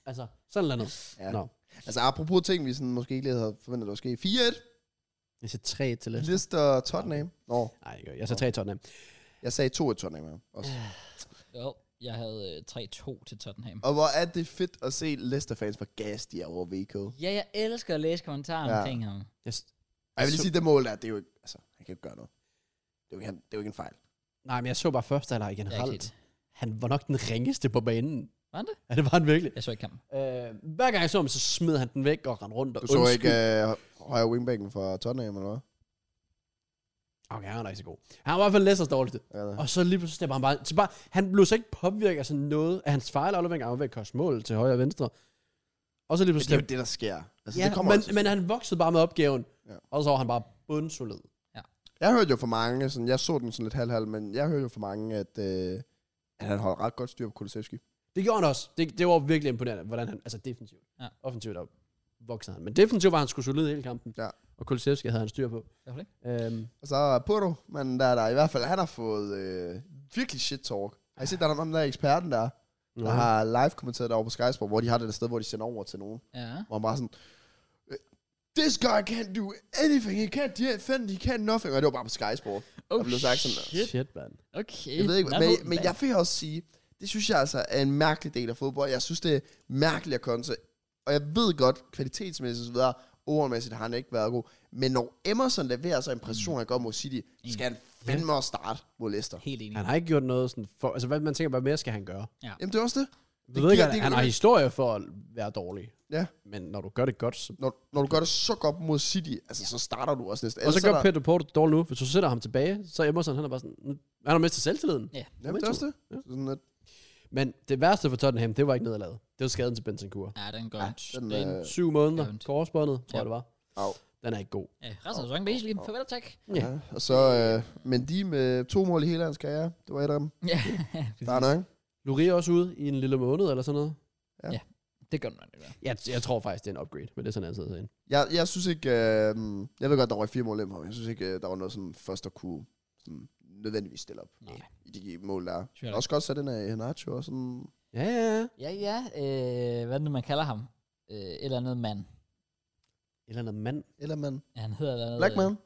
Speaker 2: Altså, sådan eller andet.
Speaker 3: Ja.
Speaker 2: Nå.
Speaker 3: altså apropos ting, vi sådan, måske ikke lige havde forventet, der var sket. 4-1,
Speaker 2: Jeg sagde 3 til Leicester.
Speaker 3: Leicester Tottenham. Nå,
Speaker 2: Nej, jeg gør ikke. jeg sagde 3 Tottenham.
Speaker 3: jeg sagde 2-1 Tottenham her også.
Speaker 1: Jo, jeg havde øh, 3-2 til Tottenham.
Speaker 3: Og hvor er det fedt at se Leicester-fans for gas, de er over VK.
Speaker 1: Ja, jeg elsker at læse kommentarer
Speaker 3: Ja.
Speaker 1: omkring ham.
Speaker 2: Jeg, s-
Speaker 3: Og jeg vil
Speaker 2: Så-
Speaker 3: lige sige, det mål der, det er jo ikke, altså, han kan jo ikke gøre noget. Det er jo ikke, han, det er jo ikke en fejl.
Speaker 2: nej, men jeg så bare første halvleg
Speaker 1: Jeg, har ikke
Speaker 2: generelt.
Speaker 1: set.
Speaker 2: Han var nok den ringeste på banen. [LAUGHS]
Speaker 1: Var han det?
Speaker 2: Ja, det var han virkelig.
Speaker 1: jeg så ikke kampen.
Speaker 2: Øh, hver gang jeg så ham, så smed han den væk og rendte rundt. Og
Speaker 3: Du så ikke
Speaker 2: undskyld.
Speaker 3: øh, højre wingbacken fra Tottenham, eller hvad?
Speaker 2: Okay, han var ikke så god. Han var i hvert fald Leicesters dårligste.
Speaker 3: Ja, det-
Speaker 2: Og så lige pludselig stepper han bare, så bare han blev så ikke påvirket af sådan noget, af hans fejl aflevering afvæk koste mål til højre og venstre. Og så lige
Speaker 3: Men det er
Speaker 2: pludselig,
Speaker 3: jo det, der sker. Altså,
Speaker 2: ja,
Speaker 3: det kommer
Speaker 2: men,
Speaker 3: også.
Speaker 2: men han voksede bare med opgaven,
Speaker 3: Ja.
Speaker 2: ja. og så var han bare bundsolid.
Speaker 3: Jeg hørte jo for mange, sådan, jeg så den sådan lidt halv-halv, men jeg hørte jo for mange, at, øh, at han holdt ret godt styr på Kulusevski.
Speaker 2: Det gjorde han også. Det, det var virkelig imponerende, hvordan han, altså defensivt,
Speaker 1: Ja.
Speaker 2: ja. offensivt op, voksede han. Men defensivt var han sgu solid hele kampen,
Speaker 3: Ja.
Speaker 2: og Kulusevski havde han styr på.
Speaker 1: Hvorfor ikke?
Speaker 2: Øhm,
Speaker 3: Og så er Porto, men der er der i hvert fald, han har fået øh, virkelig shit talk. Har I set, der er ham der eksperten der, der
Speaker 2: Aha.
Speaker 3: har live kommenteret derovre på Sky Sport, hvor de har det der sted, hvor de sender over til nogen.
Speaker 1: Ja.
Speaker 3: Hvor han bare sådan, "Øh, This guy can't do anything, he can't defend, he can't nothing. Og det var bare på Sky Sport.
Speaker 1: Oh,
Speaker 3: Der blev sagt sådan der.
Speaker 1: shit.
Speaker 2: Shit, mand.
Speaker 1: Okay.
Speaker 3: Jeg ved ikke,
Speaker 1: Nå,
Speaker 3: men,
Speaker 1: hvad-
Speaker 3: men jeg vil også sige, det synes jeg altså er en mærkelig del af fodbold. Jeg synes, det er mærkeligt at konse. Og jeg ved godt, kvalitetsmæssigt osv., ordmæssigt har han ikke været god. Men når Emerson leverer sig en præstation, han gør mod City, skal han fandme også starte mod Leicester.
Speaker 1: Helt enig.
Speaker 2: Han har ikke gjort noget sådan, for, altså hvad, man tænker, hvad mere skal han gøre?
Speaker 3: Jamen, det er også det.
Speaker 2: Du ved ikke,
Speaker 3: giver-
Speaker 2: han,
Speaker 3: det
Speaker 2: han
Speaker 3: giver-
Speaker 2: har historie for at være dårlig.
Speaker 3: Ja.
Speaker 2: Men når du gør det godt, så
Speaker 3: Når, når du gør det så godt mod City, altså, så starter du også næste.
Speaker 2: Og så
Speaker 3: Ellers er
Speaker 2: gør
Speaker 3: der-
Speaker 2: Peter Porter det dårligt nu. Hvis du sætter ham tilbage, så er Emerson, han er bare sådan... nu- Han har mistet selvtilliden.
Speaker 1: Ja.
Speaker 3: Jamen, det er også det. Sådan, at,
Speaker 2: Men det værste for Tottenham, det var ikke nederlaget. Det var skaden til Bentancur.
Speaker 1: Ja, den går
Speaker 3: Ja,
Speaker 1: ja,
Speaker 3: den,
Speaker 1: den,
Speaker 3: øh,
Speaker 2: Syv måneder,
Speaker 1: det er ondt.
Speaker 2: korsbåndet,
Speaker 1: Ja.
Speaker 2: tror jeg det var.
Speaker 3: Au.
Speaker 2: Den er ikke god.
Speaker 1: ja, resten af sæsonen, basically. Farvel og tak.
Speaker 2: Ja.
Speaker 3: ja. Og så, øh, men de med to mål i hele hans karriere, det var et af dem.
Speaker 1: Ja,
Speaker 3: Der er nok.
Speaker 2: Lurie er også ude i en lille måned eller sådan noget.
Speaker 1: det gør den nok. det der.
Speaker 2: Jeg, jeg tror faktisk, det er en upgrade, men det er sådan, jeg sidder ind.
Speaker 3: Jeg, jeg synes ikke, øh, jeg ved godt, der var fire mål ind på, men jeg synes ikke, øh, der var noget sådan først at kunne sådan, nødvendigvis stille op
Speaker 1: Nej.
Speaker 3: i de mål, der er.
Speaker 1: Synes jeg
Speaker 3: Jeg
Speaker 1: da.
Speaker 3: også godt sat den af Henacho og sådan.
Speaker 2: Ja, ja, ja.
Speaker 1: Ja, ja. Øh, hvad er det nu, man kalder ham? Øh, et eller andet mand.
Speaker 2: Eller noget mand.
Speaker 3: Eller man.
Speaker 1: Ja, Han hedder et eller andet...
Speaker 3: Blackman.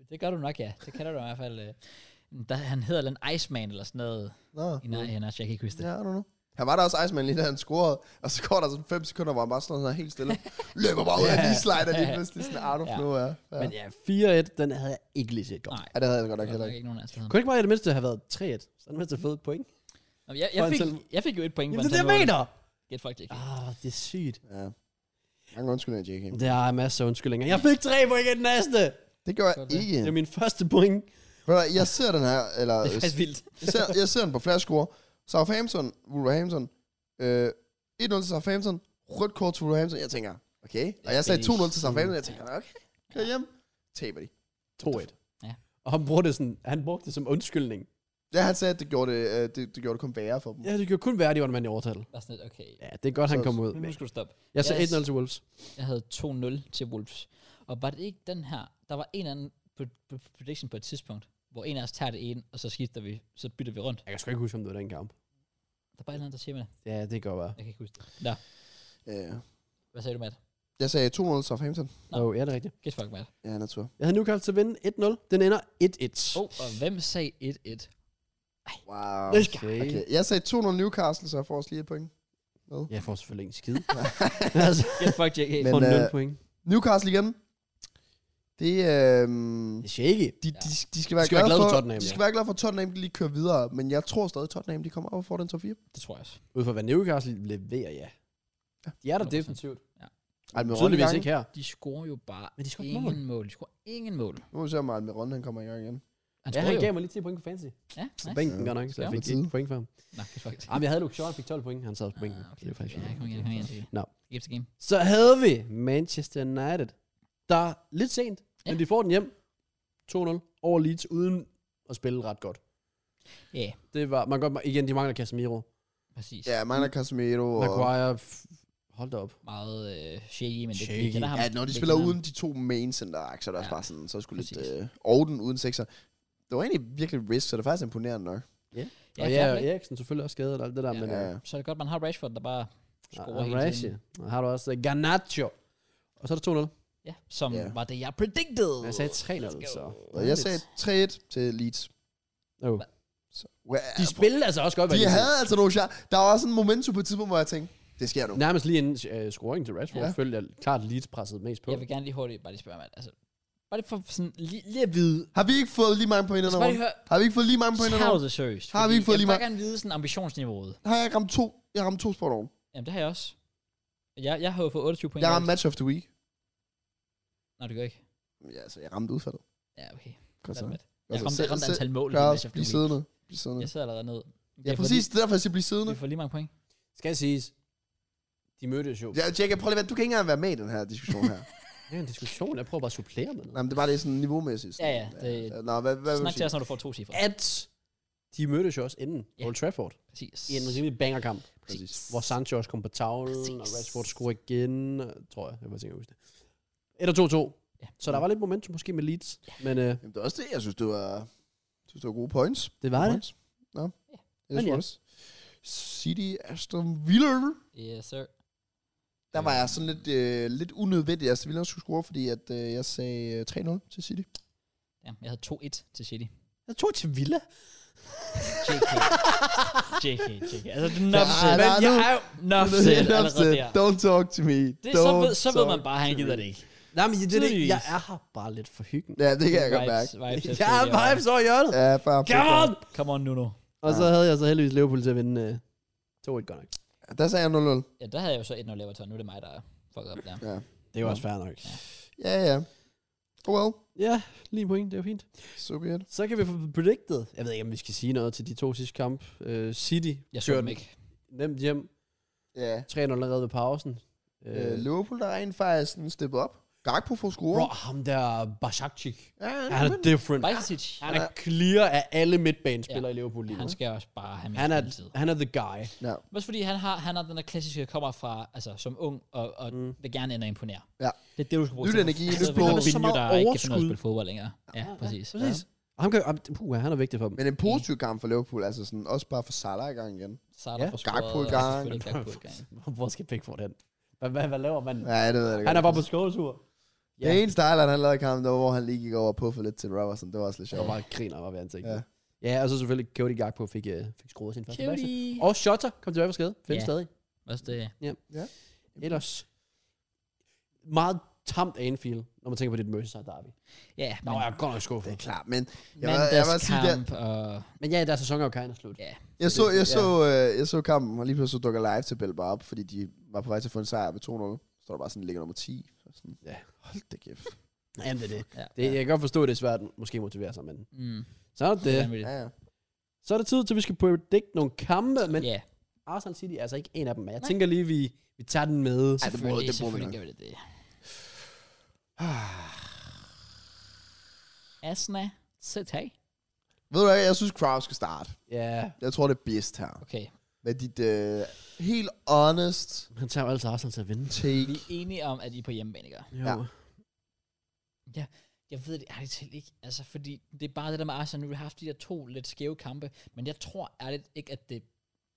Speaker 1: Øh, det gør du nok, ja. Det kan du i hvert fald. Øh. Der, han hedder den Iceman eller sådan noget.
Speaker 3: Nå.
Speaker 1: I nej, nej, jeg kan ikke huske det.
Speaker 3: Ja, I don't know. Han var der også Iceman lige da han scorede, og så går der sådan 5 sekunder, hvor han bare står sådan
Speaker 1: [LAUGHS]
Speaker 3: helt stille. Løber bare ud af
Speaker 1: Ja.
Speaker 3: lige slider lige pludselig sådan out of
Speaker 1: Ja.
Speaker 3: nowhere. Ja.
Speaker 2: Men ja, 4-1, den havde jeg ikke lige set godt.
Speaker 1: Nej,
Speaker 3: ja, det havde jeg godt
Speaker 1: der
Speaker 3: nok
Speaker 1: er
Speaker 3: heller
Speaker 1: nok
Speaker 3: ikke.
Speaker 1: ikke nogen af os, der hedder
Speaker 2: Kunne det ikke bare i det mindste have været 3-1? Så er det mindste fået et point.
Speaker 1: Nå, men Jeg, jeg,
Speaker 2: For en
Speaker 1: fik,
Speaker 2: selv-
Speaker 1: jeg fik jo et point.
Speaker 2: Jamen,
Speaker 1: for
Speaker 2: det
Speaker 1: en
Speaker 2: er det, jeg
Speaker 1: selvmål.
Speaker 2: mener!
Speaker 1: Get fucked, ikke?
Speaker 2: Ah, det er sygt.
Speaker 3: Ja. Mange undskyldninger, JK.
Speaker 2: Der er masser af undskyldninger. Jeg fik 3 point i den næste!
Speaker 3: Det gør jeg
Speaker 1: Godt, ja.
Speaker 3: ikke.
Speaker 2: Det er min første point.
Speaker 3: Ved du hvad, Jeg ser den her, eller
Speaker 1: Det er faktisk vildt.
Speaker 3: jeg, ser, jeg ser den på flashscore. Southampton, Wolverhampton. Øh, 1-0 til Southampton. Rødt kort til Wolverhampton. Jeg tænker, okay. Og jeg sagde
Speaker 2: det er
Speaker 3: 2-0 til Southampton. Jeg tænker, okay. Kør hjem. Taber de.
Speaker 2: 2-1.
Speaker 1: Ja.
Speaker 2: Ja. Og han brugte, det sådan, han brugte det som undskyldning.
Speaker 3: Ja, han sagde, at det gjorde det, øh, det, det, gjorde det kun værre for dem.
Speaker 2: Ja, det gjorde kun værd, at de var en mand i overtal.
Speaker 1: Bare sådan lidt, okay.
Speaker 2: Ja, det er godt,
Speaker 3: Så-
Speaker 2: han kom ud.
Speaker 1: Nu skal du stoppe.
Speaker 2: Jeg sagde
Speaker 1: Yes.
Speaker 2: 1-0 til Wolves.
Speaker 1: Jeg havde 2-0 til Wolves. Og var det ikke den her, der var en anden p- p- prediction på et tidspunkt, hvor en af os tager det ene, og så skifter vi, så bytter vi rundt.
Speaker 2: Jeg kan sgu ikke huske, om det var den kamp.
Speaker 1: Der er bare et eller andet, der siger mig det.
Speaker 2: Ja, det går bare.
Speaker 1: Jeg kan ikke huske det. Nå,
Speaker 3: Ja.
Speaker 1: hvad sagde du, Matt? jeg
Speaker 3: Øh, Jeg sagde 2-0 til Southampton.
Speaker 1: Nå.
Speaker 2: Åh, oh, ja, det er rigtigt.
Speaker 1: Get fuck, Matt.
Speaker 3: Ja, natur.
Speaker 2: Jeg havde Newcastle til at vinde 1-0. Den ender 1-1.
Speaker 1: Oh, og hvem sagde 1-1?
Speaker 3: Wow.
Speaker 2: Okay.
Speaker 3: Okay. Jeg sagde 2-0 Newcastle, så jeg får også lige et point. Hvad?
Speaker 2: [LAUGHS] Jeg får selvfølgelig ikke en skid. altså,
Speaker 1: Get fucked, JK.
Speaker 2: jeg
Speaker 3: Men,
Speaker 2: får
Speaker 3: øh,
Speaker 2: 0 point.
Speaker 3: Newcastle igen. Det, øh,
Speaker 2: Det er shaky.
Speaker 3: de, de, de, skal være
Speaker 2: De skal være
Speaker 3: glade
Speaker 2: glade for
Speaker 3: for,
Speaker 2: Tottenham,
Speaker 3: de
Speaker 2: ja.
Speaker 3: skal være glade for, at Tottenham de lige kører videre. Men jeg tror stadig, at Tottenham de kommer op og får den top 4.
Speaker 1: Det tror jeg også.
Speaker 2: Ud fra hvad Newcastle leverer, ja.
Speaker 3: Ja.
Speaker 2: De er der
Speaker 1: 100%.
Speaker 2: definitivt.
Speaker 3: Ej, men
Speaker 2: Tydeligvis ikke her.
Speaker 1: De scorer jo bare
Speaker 2: Men de scorer
Speaker 1: ingen
Speaker 2: mål.
Speaker 1: mål. De scorer ingen mål.
Speaker 3: Nu må vi se, om Almiron han kommer i gang igen.
Speaker 1: Han
Speaker 2: Ja,
Speaker 1: scorer
Speaker 2: han
Speaker 1: jo.
Speaker 2: gav mig lige 10 point på fantasy.
Speaker 1: Ja,
Speaker 2: Så
Speaker 1: nice.
Speaker 2: bænken gør nok, så jeg
Speaker 3: Ja.
Speaker 2: fik
Speaker 3: Tid.
Speaker 2: 1 point for ham.
Speaker 1: Nå, det er faktisk.
Speaker 2: Ah, men jeg havde Luke Shaw, han fik 12 point. Han sad på bænken.
Speaker 1: Ah,
Speaker 2: Det er faktisk
Speaker 1: ja, kom igen, kom igen. JK.
Speaker 2: Nå.
Speaker 1: Giv det game.
Speaker 2: Så havde vi Manchester United, der er lidt sent, ja. men
Speaker 1: Ja.
Speaker 2: de får den hjem 2-0 over Leeds, uden at spille ret godt.
Speaker 1: Ja,
Speaker 2: Det var, man kan godt, igen, de mangler Casemiro.
Speaker 1: præcis.
Speaker 3: Ja, mangler Casemiro. Og...
Speaker 2: Maguire, f- hold da op.
Speaker 1: Meget øh, shaky, men det,
Speaker 2: Shaky.
Speaker 1: det kender ham.
Speaker 3: Ja, når de
Speaker 1: Det
Speaker 3: spiller
Speaker 1: kender
Speaker 3: uden de to main center akser, der ja. er
Speaker 1: Ja,
Speaker 3: bare sådan, så skulle lidt
Speaker 1: præcis.
Speaker 3: øh, Orden uden sekser. Det var egentlig virkelig risk, så det er faktisk imponerende nok.
Speaker 1: ham.
Speaker 2: Ja, og
Speaker 1: fair
Speaker 2: ja,
Speaker 1: play.
Speaker 2: og Eriksen selvfølgelig også skadet og alt det der,
Speaker 1: Ja.
Speaker 2: ja, men...
Speaker 3: Ja,
Speaker 2: Ja.
Speaker 3: ja.
Speaker 1: Så er det godt, man har Rashford, der bare scorer
Speaker 2: Og
Speaker 1: hele
Speaker 2: Rashi.
Speaker 1: tiden.
Speaker 2: Og har du også uh, Garnacho. Og så er der 2-0.
Speaker 1: Ja, som
Speaker 3: Ja.
Speaker 1: var det, jeg predicted.
Speaker 2: Men Jeg sagde 3-0, så...
Speaker 3: Og jeg sagde 3-1 til Leeds.
Speaker 2: Oh.
Speaker 3: Så, well,
Speaker 2: De spillede altså også godt, hvad
Speaker 3: de
Speaker 2: de sagde.
Speaker 3: havde altså nogle shot. Der var også en momentum på et tidspunkt, hvor jeg tænkte, det sker nu.
Speaker 2: Nærmest lige inden uh, scoringen til Rashford,
Speaker 3: Ja.
Speaker 2: ja. følte jeg klart Leeds pressede mest på.
Speaker 1: Jeg vil gerne lige hurtigt bare lige spørge, mand. Altså, bare lige for sådan, lige, lige at vide.
Speaker 3: Har vi ikke fået lige mange point
Speaker 1: Altså,
Speaker 3: endnu?
Speaker 1: bare lige høre,
Speaker 3: Har vi ikke fået lige mange point endnu?
Speaker 1: Tavlet seriøst.
Speaker 3: Har vi
Speaker 1: fordi
Speaker 3: ikke fået
Speaker 1: jeg
Speaker 3: lige
Speaker 1: vil bare gerne vide sådan ambitionsniveauet.
Speaker 3: Har jeg ramt to? Jeg ramte to sport over.
Speaker 1: Jamen, det har jeg også. Jeg, jeg har jo fået 28 point.
Speaker 3: Jeg ramte match of the week.
Speaker 1: Nej, det gør ikke.
Speaker 3: Ja, altså, jeg ramte udfaldet. Altså,
Speaker 1: Ja, okay.
Speaker 3: Godt så.
Speaker 1: Godt jeg
Speaker 3: Godt så.
Speaker 1: ramte, jeg ramte
Speaker 3: Se-
Speaker 1: antal mål. i
Speaker 3: Gør
Speaker 1: den
Speaker 3: os.
Speaker 1: match, jeg
Speaker 3: Bliv
Speaker 1: fik.
Speaker 3: siddende. Bliv siddende.
Speaker 1: Jeg sidder allerede ned. Det
Speaker 3: Ja,
Speaker 1: er
Speaker 3: præcis. Det er derfor, jeg siger, bliv
Speaker 1: Fordi,
Speaker 3: siddende.
Speaker 1: vi får lige mange point.
Speaker 2: Skal siges, de mødtes jo. Ja.
Speaker 3: Ja, Jack, jeg prøver lige at være- Du kan ikke engang være med i den her diskussion
Speaker 1: [LAUGHS]
Speaker 3: her.
Speaker 2: Det er en diskussion, jeg prøver bare at supplere med
Speaker 3: Nej,
Speaker 2: noget.
Speaker 3: men det er bare det er sådan niveaumæssigt.
Speaker 1: Ja, ja, det-
Speaker 3: Nå, hvad, hvad
Speaker 1: Snak
Speaker 3: vil du
Speaker 1: til
Speaker 3: sige?
Speaker 1: os, når du får to cifre.
Speaker 2: At de mødtes jo også inden
Speaker 1: Ja.
Speaker 2: ja. Old Trafford.
Speaker 1: Præcis.
Speaker 2: I en rimelig bangerkamp,
Speaker 3: Præcis.
Speaker 2: hvor Sancho også kom på tavlen,
Speaker 1: Præcis.
Speaker 2: Præcis. og Rashford scorede igen, og- tror jeg. Jeg var tænker, huske det. 1 og 2-2.
Speaker 1: Ja.
Speaker 2: Ja. Så der var lidt momentum måske med Leeds, men øh,
Speaker 3: Jamen, det er også det, jeg synes, det var, synes, det var gode points.
Speaker 2: det var det.
Speaker 3: Points. Nå,
Speaker 1: Ja.
Speaker 3: det er
Speaker 2: Men ja.
Speaker 3: også. City Aston Villa.
Speaker 1: Yes, sir.
Speaker 3: Der var jeg sådan lidt, øh, lidt unødvendig, at Aston Villa skulle score, fordi at, øh, jeg sagde øh, 3-0 til City.
Speaker 1: Ja, jeg havde 2-1 til City.
Speaker 2: Jeg tog til Villa.
Speaker 1: JK. JK, JK. Altså, det er
Speaker 3: Ja,
Speaker 1: nuff said.
Speaker 3: nej,
Speaker 1: Jeg
Speaker 3: nu-
Speaker 1: er jo nuff said allerede der.
Speaker 3: Don't talk to me.
Speaker 1: Det,
Speaker 3: Don't
Speaker 1: så, ved, så ved
Speaker 3: talk
Speaker 1: man bare, at han
Speaker 3: to
Speaker 1: gider
Speaker 3: me.
Speaker 1: det ikke.
Speaker 2: Nej, men det, er det,
Speaker 1: Tydeligvis.
Speaker 2: jeg er her bare lidt for hyggen.
Speaker 3: Ja, det kan jeg godt mærke.
Speaker 1: Vibes,
Speaker 2: [LAUGHS] Jeg er vibes over hjørnet.
Speaker 3: Ja, bare
Speaker 2: Come on!
Speaker 1: Come on, Nuno.
Speaker 2: Og så havde jeg så heldigvis Liverpool til at vinde øh, 2-1 godt nok.
Speaker 3: Der sagde jeg 0-0.
Speaker 1: Ja, der havde jeg jo så 1-0 Everton. Nu er det mig, der er fucked op der.
Speaker 3: Ja,
Speaker 2: Det var også fair nok.
Speaker 3: ja. ja. Oh well.
Speaker 2: Ja, lige point, det var fint.
Speaker 3: So be it.
Speaker 2: Så kan vi få predicted. Jeg ved ikke, om vi skal sige noget til de to sidste kampe. Uh, City
Speaker 1: Jeg så
Speaker 2: kører
Speaker 1: dem
Speaker 2: den
Speaker 1: ikke.
Speaker 2: nemt hjem.
Speaker 3: Ja.
Speaker 2: 3-0 allerede ved pausen.
Speaker 3: Øh, Liverpool, der rent faktisk sådan steppet op. Gakpo får score.
Speaker 2: bro, ham der Bashakchik.
Speaker 3: Ja,
Speaker 2: Ja, han er different.
Speaker 1: Bajsic,
Speaker 2: Han er clear af alle midtbanespillere i Liverpool lige nu.
Speaker 1: han skal også bare have
Speaker 2: Han er,
Speaker 1: mindst tid.
Speaker 2: han er the guy.
Speaker 3: ja.
Speaker 1: Også fordi han har, han har den der klassiske, der kommer fra, altså som ung, og, og mm. vil gerne ende og imponere.
Speaker 3: Ja.
Speaker 1: Det er det, du skal bruge
Speaker 3: Nyt
Speaker 1: til.
Speaker 3: energi,
Speaker 1: Altså,
Speaker 3: nyt
Speaker 1: hvis
Speaker 3: blod.
Speaker 1: man er
Speaker 2: Så
Speaker 1: Binjo,
Speaker 2: meget
Speaker 1: der ikke kan finde ud af at
Speaker 2: overskud.
Speaker 1: spille fodbold længere. Ja, præcis.
Speaker 2: præcis. Og ham kan, ah, puh, han er vigtig
Speaker 1: [LAUGHS]
Speaker 2: for dem.
Speaker 3: Men en positiv kamp for Liverpool, altså sådan, også bare for Salah i gang igen.
Speaker 1: Sartre
Speaker 2: Ja.
Speaker 1: får
Speaker 3: Gakpo i
Speaker 1: scoret, og
Speaker 3: gang.
Speaker 1: selvfølgelig Gakpo i gang.
Speaker 2: [LAUGHS] Hvor skal Pickford hen? Hvad, hvad, hvad laver man?
Speaker 3: Ja, det ved jeg da godt.
Speaker 2: Han er bare på skovtur.
Speaker 3: Ja. Den eneste Island, han lavede i kampen, det var, hvor han lige gik over og puffede lidt til Robertson. Det var også lidt
Speaker 2: Jeg var
Speaker 3: sjovt.
Speaker 2: bare griner bare ved ansigtet.
Speaker 3: Ja.
Speaker 2: Ja. ja, og så selvfølgelig Cody Gakpo fik, uh, fik skruet sin første
Speaker 1: Cutie.
Speaker 2: masse. Og Shotter kom tilbage fra skade. Findes
Speaker 1: Ja.
Speaker 2: stadig.
Speaker 1: Også det.
Speaker 2: Ellers meget tamt Anfield, når man tænker på dit Merseyside derby.
Speaker 1: Ja,
Speaker 2: Der
Speaker 1: men
Speaker 2: var jeg godt nok skuffet.
Speaker 3: Det er klart, men jeg, var, jeg, var sige, jeg,
Speaker 1: mandagskamp og...
Speaker 2: Men ja, deres sæson er jo kind slut.
Speaker 1: Ja,
Speaker 3: jeg, så, jeg,
Speaker 2: Ja.
Speaker 3: så, øh, jeg så kampen, og lige pludselig så dukker live-tabellen bare op, fordi de var på vej til at få en sejr ved 2-0. Så står der bare sådan, ligger nummer 10. Så Sådan,
Speaker 2: Ja.
Speaker 3: Hold da kæft.
Speaker 2: Jamen, det er det.
Speaker 1: ja.
Speaker 2: det. Jeg kan godt forstå, at det er svært at måske motivere sig, men
Speaker 1: Mm.
Speaker 2: så er det.
Speaker 1: Det.
Speaker 3: Ja, ja.
Speaker 2: Så er det tid til, at vi skal predict nogle kampe, men
Speaker 1: Ja,
Speaker 2: Arsenal City er altså ikke en af dem. Jeg
Speaker 1: Nej.
Speaker 2: tænker lige, vi, vi tager den med.
Speaker 3: Ej, det må-
Speaker 1: selvfølgelig,
Speaker 3: det må vi
Speaker 1: selvfølgelig
Speaker 3: nok.
Speaker 1: gør vi det. det. Asna, sæt hey.
Speaker 3: Ved du hvad, jeg synes, Kraus skal starte.
Speaker 2: Ja,
Speaker 3: Jeg tror, det er bedst her.
Speaker 1: Okay,
Speaker 3: Med dit øh, helt honest
Speaker 2: han tager jo altid Arsenal til at vinde.
Speaker 3: take.
Speaker 1: vi er enige om, at I er på hjemmebane, ikke?
Speaker 2: Jo.
Speaker 3: Ja.
Speaker 2: Ja.
Speaker 1: Jeg ved det ærligt talt ikke, altså fordi det er bare det der med Arsenal, nu har vi haft de der to lidt skæve kampe, men jeg tror ærligt ikke, at det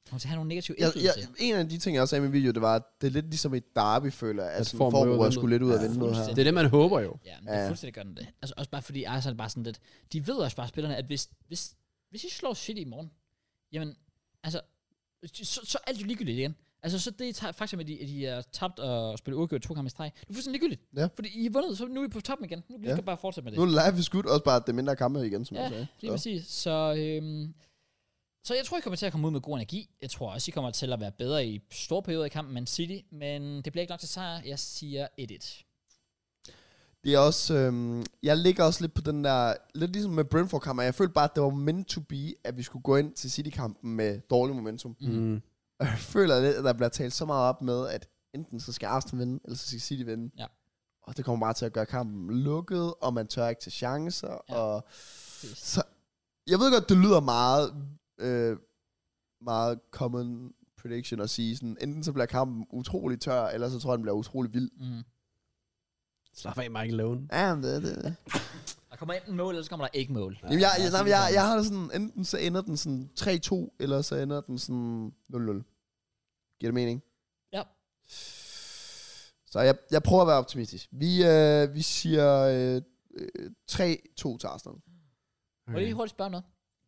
Speaker 1: kommer til at have nogen negativ
Speaker 3: Jeg, jeg,
Speaker 1: indflydelse.
Speaker 3: en af de ting, jeg også sagde i min video, det var, at det er lidt ligesom et derby, føler jeg. Altså,
Speaker 2: formen
Speaker 3: form,
Speaker 2: ryger
Speaker 3: hvor jeg
Speaker 2: lidt
Speaker 3: skulle lidt ud af vinde noget her.
Speaker 1: fuldstændig.
Speaker 2: Det er det, man håber jo.
Speaker 1: Ja, men det
Speaker 3: Ja.
Speaker 1: er fuldstændig godt det. Altså også bare fordi Arsenal er bare sådan lidt, de ved også bare spillerne, at hvis, hvis, hvis I slår City i morgen, jamen, altså, så, så er alt jo ligegyldigt igen. Altså, så det er faktisk med, at I, at I er tabt og spillet uafgjort to kampe i streg. Det er fuldstændig ligegyldigt.
Speaker 3: Ja.
Speaker 1: Fordi I er vundet, så nu er I på toppen igen. Nu kan
Speaker 3: Ja.
Speaker 1: I bare fortsætte med det.
Speaker 3: Nu er live is good, også bare, at det er mindre kampe igen, som jeg
Speaker 1: Ja,
Speaker 3: sagde.
Speaker 1: lige
Speaker 3: Så.
Speaker 1: præcis. Så, øhm, så jeg tror, I kommer til at komme ud med god energi. Jeg tror også, I kommer til at være bedre i store perioder i kampen med Man City, men det bliver ikke nok til sejr. Jeg siger 1-1.
Speaker 3: Det er også, øhm, jeg ligger også lidt på den der, lidt ligesom med Brentford-kampen, jeg følte bare, at det var meant to be, at vi skulle gå ind til City-kampen med dårlig momentum.
Speaker 1: Mm.
Speaker 2: Mm.
Speaker 3: Og jeg føler lidt, at der bliver talt så meget op med, at enten så skal Arsenal vinde, eller så skal City vinde.
Speaker 1: Ja.
Speaker 3: Og det kommer bare til at gøre kampen lukket, og man tør ikke til chancer,
Speaker 1: Ja.
Speaker 3: ja. og
Speaker 1: Præcis.
Speaker 3: så, jeg ved godt, det lyder meget, øh, meget common prediction at sige sådan, enten så bliver kampen utrolig tør, eller så tror jeg, den bliver utrolig vild.
Speaker 1: Mm.
Speaker 2: Slap af, Michael Lowen.
Speaker 3: Ja, men det, det, det.
Speaker 1: Der kommer enten mål, eller så kommer der ikke mål.
Speaker 3: Jamen, jeg, jeg,
Speaker 2: sådan
Speaker 3: jeg, jeg,
Speaker 2: sådan.
Speaker 3: jeg har det sådan, enten så ender den sådan 3-2, eller så ender den sådan 0-0. Giver det mening?
Speaker 1: Ja.
Speaker 3: Så jeg, jeg prøver at være optimistisk. Vi, øh, vi siger øh, øh, 3-2 til Arsenal.
Speaker 1: Okay. Må jeg lige hurtigt spørge om noget?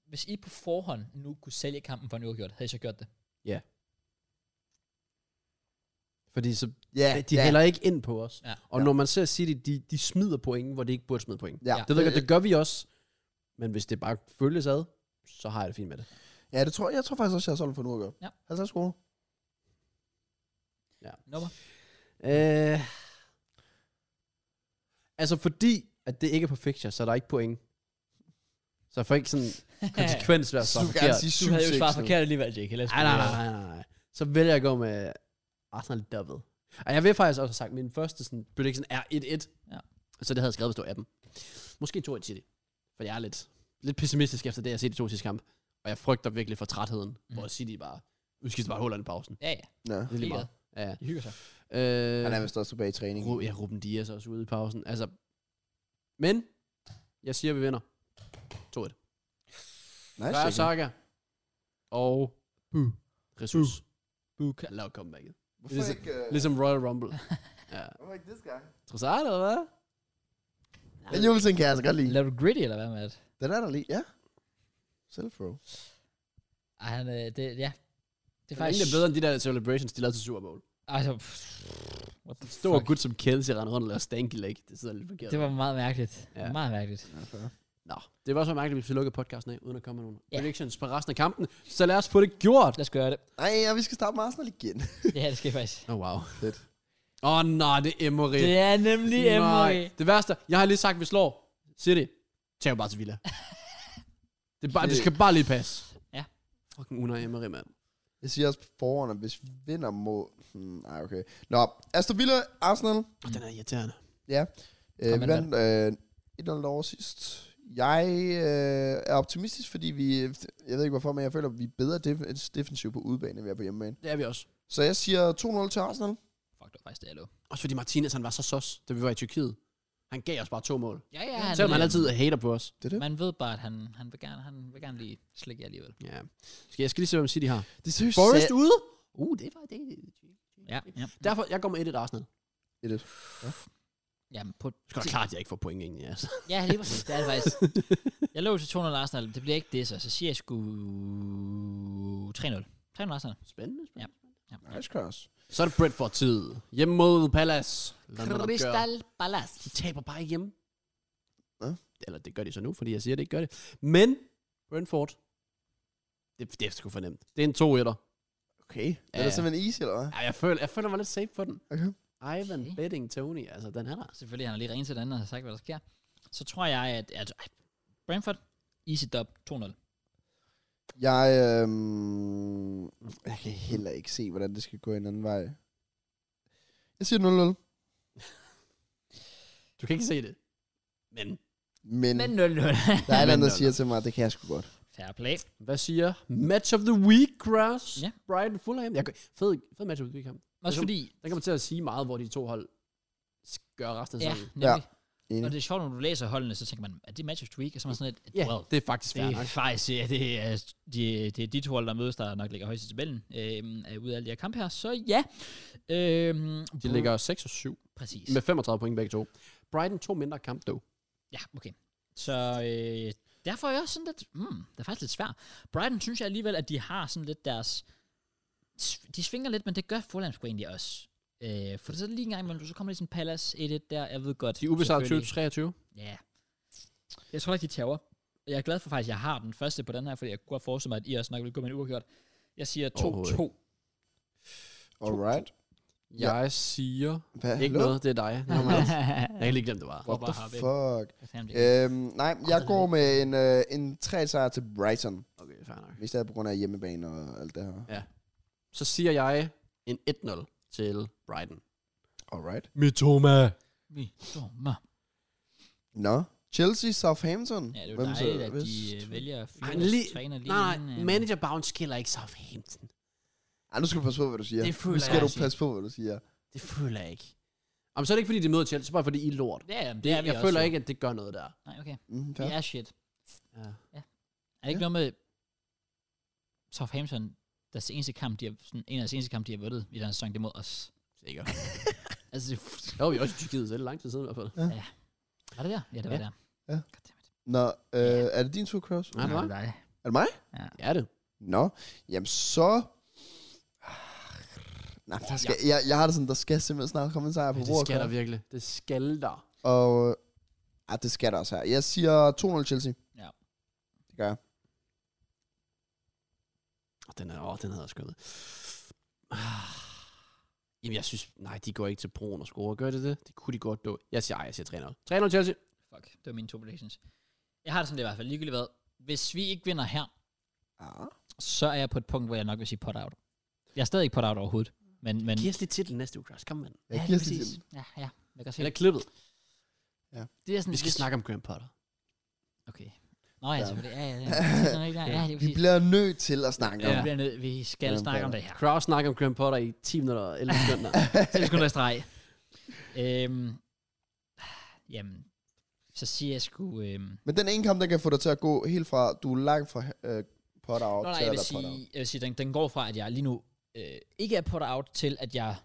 Speaker 1: Hvis I på forhånd nu kunne sælge kampen for en uafgjort, havde I så gjort det?
Speaker 2: Fordi så,
Speaker 3: Ja,
Speaker 2: de
Speaker 3: ja.
Speaker 2: hælder ikke ind på os.
Speaker 1: Ja.
Speaker 2: Og
Speaker 3: Ja.
Speaker 2: når man ser City, de, de smider point, hvor de ikke burde smide point.
Speaker 3: Ja.
Speaker 1: Ja.
Speaker 2: Det, ved jeg, godt, det gør vi også. Men hvis det bare følges ad, så har jeg det fint med det.
Speaker 3: ja, det tror jeg, jeg tror faktisk også, jeg har solgt for nu at gøre.
Speaker 1: Ja.
Speaker 3: 50 kroner.
Speaker 1: Nummer?
Speaker 2: Øh, altså fordi, at det ikke er på fixture, så er der ikke point. Så får ikke sådan konsekvens ved at
Speaker 3: Så
Speaker 2: svare
Speaker 3: du kan gerne
Speaker 2: forkert.
Speaker 3: sige 7
Speaker 1: du havde jo svaret forkert alligevel, Jake. Ellers
Speaker 2: Nej, nej, nej, nej, nej. Så vælger jeg at gå med Arsenal double. Og jeg vil faktisk også have sagt, at min første sådan, prediction er 1-1.
Speaker 1: Ja.
Speaker 2: Så det havde jeg skrevet, hvis det var 18. Måske 2-1 City. For jeg er lidt, lidt pessimistisk efter det, jeg har set i to sidste kamp. Og jeg frygter virkelig for trætheden, mm. hvor
Speaker 1: Mhm.
Speaker 2: City bare udskifter bare hullerne i pausen.
Speaker 1: Ja, ja.
Speaker 3: Ja.
Speaker 2: Det er lige
Speaker 1: Ligeglad.
Speaker 2: meget. Ja.
Speaker 1: I hygger sig.
Speaker 2: Øh,
Speaker 3: Han er vist også tilbage i træning.
Speaker 2: Ru- ja, Ruben Dias er også ude i pausen. Altså, men, jeg siger, vi vinder. 2-1.
Speaker 3: Nej,
Speaker 2: Rør
Speaker 3: sikkert.
Speaker 2: Saka. Og Bu. Jesus.
Speaker 1: Buka.
Speaker 2: Kan lave comebacket.
Speaker 3: Hvorfor
Speaker 2: Ligesom-
Speaker 3: ikke, øh,
Speaker 2: Ligesom Royal [LAUGHS] Rumble. ja.
Speaker 3: hvorfor ikke this guy?
Speaker 2: Trossard, eller hvad?
Speaker 3: Den juleting kan jeg altså godt lide.
Speaker 1: Laver du gritty, eller hvad, Matt?
Speaker 3: Den er der lige, ja. Self-row.
Speaker 1: Ej, han, øh, det, ja. Det
Speaker 2: Det
Speaker 1: er
Speaker 2: er
Speaker 1: faktisk...
Speaker 2: egentlig bedre end de der celebrations, de lavede til Super Bowl.
Speaker 1: Altså, pff, what the
Speaker 2: Det var
Speaker 1: fuck?
Speaker 2: gut som Kelsey rende rundt og lavede stanky leg. Det sidder lidt forkert.
Speaker 1: Det var meget mærkeligt.
Speaker 2: Ja.
Speaker 1: Ja. Meget mærkeligt.
Speaker 2: Nå, det var så mærkeligt, hvis vi lukkede podcasten af, uden at komme med nogle
Speaker 1: Ja.
Speaker 2: predictions på resten af kampen. Så lad os få det gjort.
Speaker 1: Lad os gøre det.
Speaker 3: Nej, ja, vi skal starte med Arsenal igen.
Speaker 1: Ja, det skal
Speaker 2: [LAUGHS]
Speaker 1: faktisk.
Speaker 2: Oh, wow.
Speaker 3: Fedt.
Speaker 2: Åh oh, nej, det er Emery.
Speaker 1: Det er nemlig
Speaker 2: Nej,
Speaker 1: Emery.
Speaker 2: Det værste, jeg har lige sagt, at vi slår City. Tag bare
Speaker 1: [LAUGHS]
Speaker 2: til Villa. det, er bare, det skal bare lige passe.
Speaker 1: Ja.
Speaker 2: Fucking Unai Emery, mand.
Speaker 3: Jeg siger også på forhånd, at hvis vi vinder mod... Hmm, nej, okay. Nå, Aston Villa, Arsenal.
Speaker 2: Oh, den er irriterende.
Speaker 3: Ja.
Speaker 1: Kom
Speaker 3: Øh, vi
Speaker 1: ind,
Speaker 3: vandt øh, 1-0 over sidst. Jeg øh, er optimistisk, fordi vi... Jeg ved ikke hvorfor, men jeg føler, at vi er bedre def- defensiv på udebane, end vi er på hjemmebane.
Speaker 2: Det er vi også.
Speaker 3: Så jeg siger 2-0 til Arsenal.
Speaker 1: Fuck, det var faktisk det, jeg lå.
Speaker 2: Også fordi Martinez, han var så sos, da vi var i Tyrkiet. Han gav os bare to mål.
Speaker 1: Ja, ja. Han,
Speaker 2: Selvom han
Speaker 1: øh,
Speaker 2: altid hater på os.
Speaker 3: Det er det.
Speaker 1: Man ved bare, at han, han, vil, gerne, han vil gerne lige slikke jer alligevel.
Speaker 2: Ja. Skal jeg skal lige se, hvem City har.
Speaker 3: det er seriøst.
Speaker 2: Forrest ude? Uh, det var det.
Speaker 1: Ja, ja.
Speaker 2: Derfor, jeg går med 1-1 Arsenal.
Speaker 3: Det er det.
Speaker 1: Jamen, på,
Speaker 2: Det skal være klart, at jeg ikke får point egentlig, altså.
Speaker 1: ja, lige præcis. Det er det faktisk. Jeg lå til 200 Arsenal. Det bliver ikke det, så, så siger jeg sgu 3-0. 3-0 Arsenal.
Speaker 2: Spændende, spændende.
Speaker 1: Ja.
Speaker 3: Nice cross.
Speaker 2: Så er det Brentford-tid. Hjemme mod Palace. London opgør.
Speaker 1: Crystal Palace.
Speaker 2: De taber bare hjemme.
Speaker 3: Hvad?
Speaker 2: Eller det gør de så nu, fordi jeg siger, at det ikke gør det. Men Brentford, det, det er sgu fornemt. Det er en 2 1
Speaker 3: Okay. Er
Speaker 2: Ja.
Speaker 3: det simpelthen easy, eller hvad?
Speaker 2: ja, jeg, føler, jeg føler mig lidt safe for den.
Speaker 3: Okay.
Speaker 2: Ivan
Speaker 1: Okay.
Speaker 2: Betting Tony, altså den her der.
Speaker 1: Selvfølgelig, han har lige ringet til den anden og sagt, hvad der sker. Så tror jeg, at, at ej, Brentford, easy dub, 2-0.
Speaker 3: Jeg, øh, jeg kan heller ikke se, hvordan det skal gå en anden vej. Jeg siger 0-0.
Speaker 2: Du kan ikke se det. Men
Speaker 1: Men
Speaker 3: Men, men
Speaker 1: 0-0.
Speaker 3: der er et
Speaker 2: men
Speaker 3: andet, der
Speaker 2: 0-0.
Speaker 3: siger til mig, at det kan jeg sgu godt.
Speaker 1: [LAUGHS] Fair play.
Speaker 2: hvad siger Match of the Week, Grass?
Speaker 1: Ja.
Speaker 2: Brighton Fulham. Jeg, kan- fed, fed match of the week kamp.
Speaker 1: Også
Speaker 2: så-
Speaker 1: fordi,
Speaker 2: Den kommer til at sige meget, hvor de to hold sk- gør resten af
Speaker 1: ja,
Speaker 2: sæsonen.
Speaker 1: nemlig.
Speaker 3: Enig.
Speaker 1: Og det er sjovt, når du læser holdene, så tænker man, er det match of the week? Og så er man sådan lidt,
Speaker 2: Ja,
Speaker 1: well,
Speaker 2: det er faktisk
Speaker 1: det
Speaker 2: fair
Speaker 1: er
Speaker 2: nok.
Speaker 1: faktisk, ja, det er, de, det er de to hold, der mødes, der nok ligger højst i tabellen, øh, ud af alle de her kampe her. Så ja. Øh, uh,
Speaker 2: De ligger 6 og 7
Speaker 1: Præcis.
Speaker 2: med 35 point begge to. Brighton to mindre kamp dog.
Speaker 1: Ja, okay. Så øh, derfor hmm, er jeg også sådan lidt, mm, det er faktisk lidt svært. Brighton synes jeg alligevel, at de har sådan lidt deres sv- de svinger lidt, men det gør Fulham sgu egentlig også. Øh, for så lige en gang imellem, så kommer der sådan en Palace 1-1 der, jeg ved godt.
Speaker 2: De er ubesejret
Speaker 1: selvfølgelig-
Speaker 2: 20-23.
Speaker 1: Ja. Jeg tror ikke, de tager Jeg er glad for faktisk, at jeg har den første på den her, fordi jeg kunne godt forestille mig, at I også nok vil gå med en uafgjort. Jeg siger 2-2.
Speaker 3: Alright. Ja.
Speaker 2: Jeg siger...
Speaker 3: Hvad?
Speaker 2: Ikke
Speaker 3: Hallo?
Speaker 2: noget, det er dig.
Speaker 3: Nå,
Speaker 1: [LAUGHS]
Speaker 3: men altså,
Speaker 2: Jeg kan lige glemme, det var.
Speaker 1: Hvor
Speaker 3: What
Speaker 1: bare
Speaker 3: the
Speaker 1: har vi-
Speaker 3: fuck?
Speaker 1: Øh,
Speaker 3: Øhm, nej, jeg går med en, øh, en 3 sejr til Brighton.
Speaker 2: Okay, fair nok.
Speaker 3: Mest af alt på grund af hjemmebane og alt det her.
Speaker 2: Så siger jeg en 1-0 til Brighton.
Speaker 3: Alright.
Speaker 2: Mitoma. Øh.
Speaker 1: vi dommer.
Speaker 3: Nå. No. Chelsea, Southampton.
Speaker 1: Ja, det er jo dejligt, at de øh, vælger at fyre
Speaker 2: Ej,
Speaker 1: deres
Speaker 2: lige-
Speaker 1: træner lige
Speaker 2: Nej,
Speaker 1: inden,
Speaker 2: nej.
Speaker 1: øh,
Speaker 2: Manager bounce killer ikke Southampton.
Speaker 3: Ej, nu skal du passe på, hvad du siger.
Speaker 2: Det føler
Speaker 3: nu skal
Speaker 2: jeg
Speaker 3: du
Speaker 2: også
Speaker 3: passe på, hvad du siger.
Speaker 2: Det føler jeg ikke. Jamen, så er det ikke, fordi de møder Chelsea, så bare fordi I er lort.
Speaker 1: Ja, jamen, det
Speaker 2: Det,
Speaker 1: er vi
Speaker 2: jeg
Speaker 1: også,
Speaker 2: føler
Speaker 1: jo.
Speaker 2: ikke, at det gør noget der.
Speaker 1: Nej, okay.
Speaker 3: Mm,
Speaker 1: Det
Speaker 3: fair.
Speaker 1: er shit.
Speaker 2: Ja.
Speaker 1: Er det ikke noget med Southampton, deres eneste kamp, de har, sådan, en af deres eneste kamp, de har vundet i den her sæson, det er mod os.
Speaker 2: Sikkert.
Speaker 1: Altså, det,
Speaker 2: Der var vi også i Tyrkiet selv lang tid siden i hvert fald.
Speaker 1: var det der? Ja, det var
Speaker 2: Ja.
Speaker 1: der.
Speaker 3: Ja.
Speaker 1: Goddammit.
Speaker 3: Nå, øh, er det din tur, Cross?
Speaker 2: Nej, det var.
Speaker 1: Nej, nej.
Speaker 3: Er det mig?
Speaker 2: Det er det.
Speaker 3: Nå. Jamen, så... Ah, Nej, men der skal, jeg, jeg har det sådan, der skal simpelthen snart komme en sejr på
Speaker 2: Det
Speaker 3: bordet.
Speaker 2: skal der
Speaker 3: Cross.
Speaker 2: virkelig. Det skal der.
Speaker 3: Og... Ah, det skal der også her. Jeg siger 2-0 Chelsea.
Speaker 1: Ja.
Speaker 3: Det gør jeg.
Speaker 2: Og den er, åh, den havde jeg skønt. Ah. Jamen, jeg synes, nej, de går ikke til broen og scorer. Gør de det? Det kunne de godt do. Jeg siger, ej, jeg siger 3-0. 3-0 Chelsea.
Speaker 1: Fuck, det var mine to predictions. Jeg har det sådan, det er i hvert fald ligegyldigt hvad. Hvis vi ikke vinder her,
Speaker 3: Ah.
Speaker 1: så er jeg på et punkt, hvor jeg nok vil sige pot out. Jeg er stadig ikke pot out overhovedet. Men, men...
Speaker 2: Giv os lidt titel næste uge, Cross. Kom med. den.
Speaker 3: Jeg
Speaker 1: ja,
Speaker 3: giver
Speaker 1: lige
Speaker 3: sig
Speaker 1: præcis.
Speaker 3: til.
Speaker 1: Ja, ja. Jeg kan se.
Speaker 2: Den er klippet.
Speaker 1: det er sådan,
Speaker 2: Vi skal
Speaker 1: hvis-
Speaker 2: snakke om Graham Potter.
Speaker 1: Okay. Nå ja,
Speaker 3: Ja.
Speaker 1: selvfølgelig. Ja, ja, ja. Det er sådan rigtig- ja, det er
Speaker 3: Vi
Speaker 1: præcis.
Speaker 3: bliver nødt til at snakke
Speaker 1: Vi
Speaker 3: om
Speaker 1: bliver nødt. Vi skal
Speaker 3: Jamen,
Speaker 1: snakke om
Speaker 3: fair.
Speaker 1: det her.
Speaker 2: Cross snakker om Graham Potter i 10 minutter og 11 sekunder.
Speaker 1: Så det skulle være streg. Øhm, jamen, så siger jeg sgu... Øhm,
Speaker 3: Men den ene kamp, den kan få dig til at gå helt fra, du er langt fra øh, potter out
Speaker 1: Nå, nej,
Speaker 3: til
Speaker 1: jeg
Speaker 3: at
Speaker 1: vil
Speaker 3: være potter out.
Speaker 1: sige, jeg vil sige den, den går fra, at jeg lige nu øh, ikke er put out, til at jeg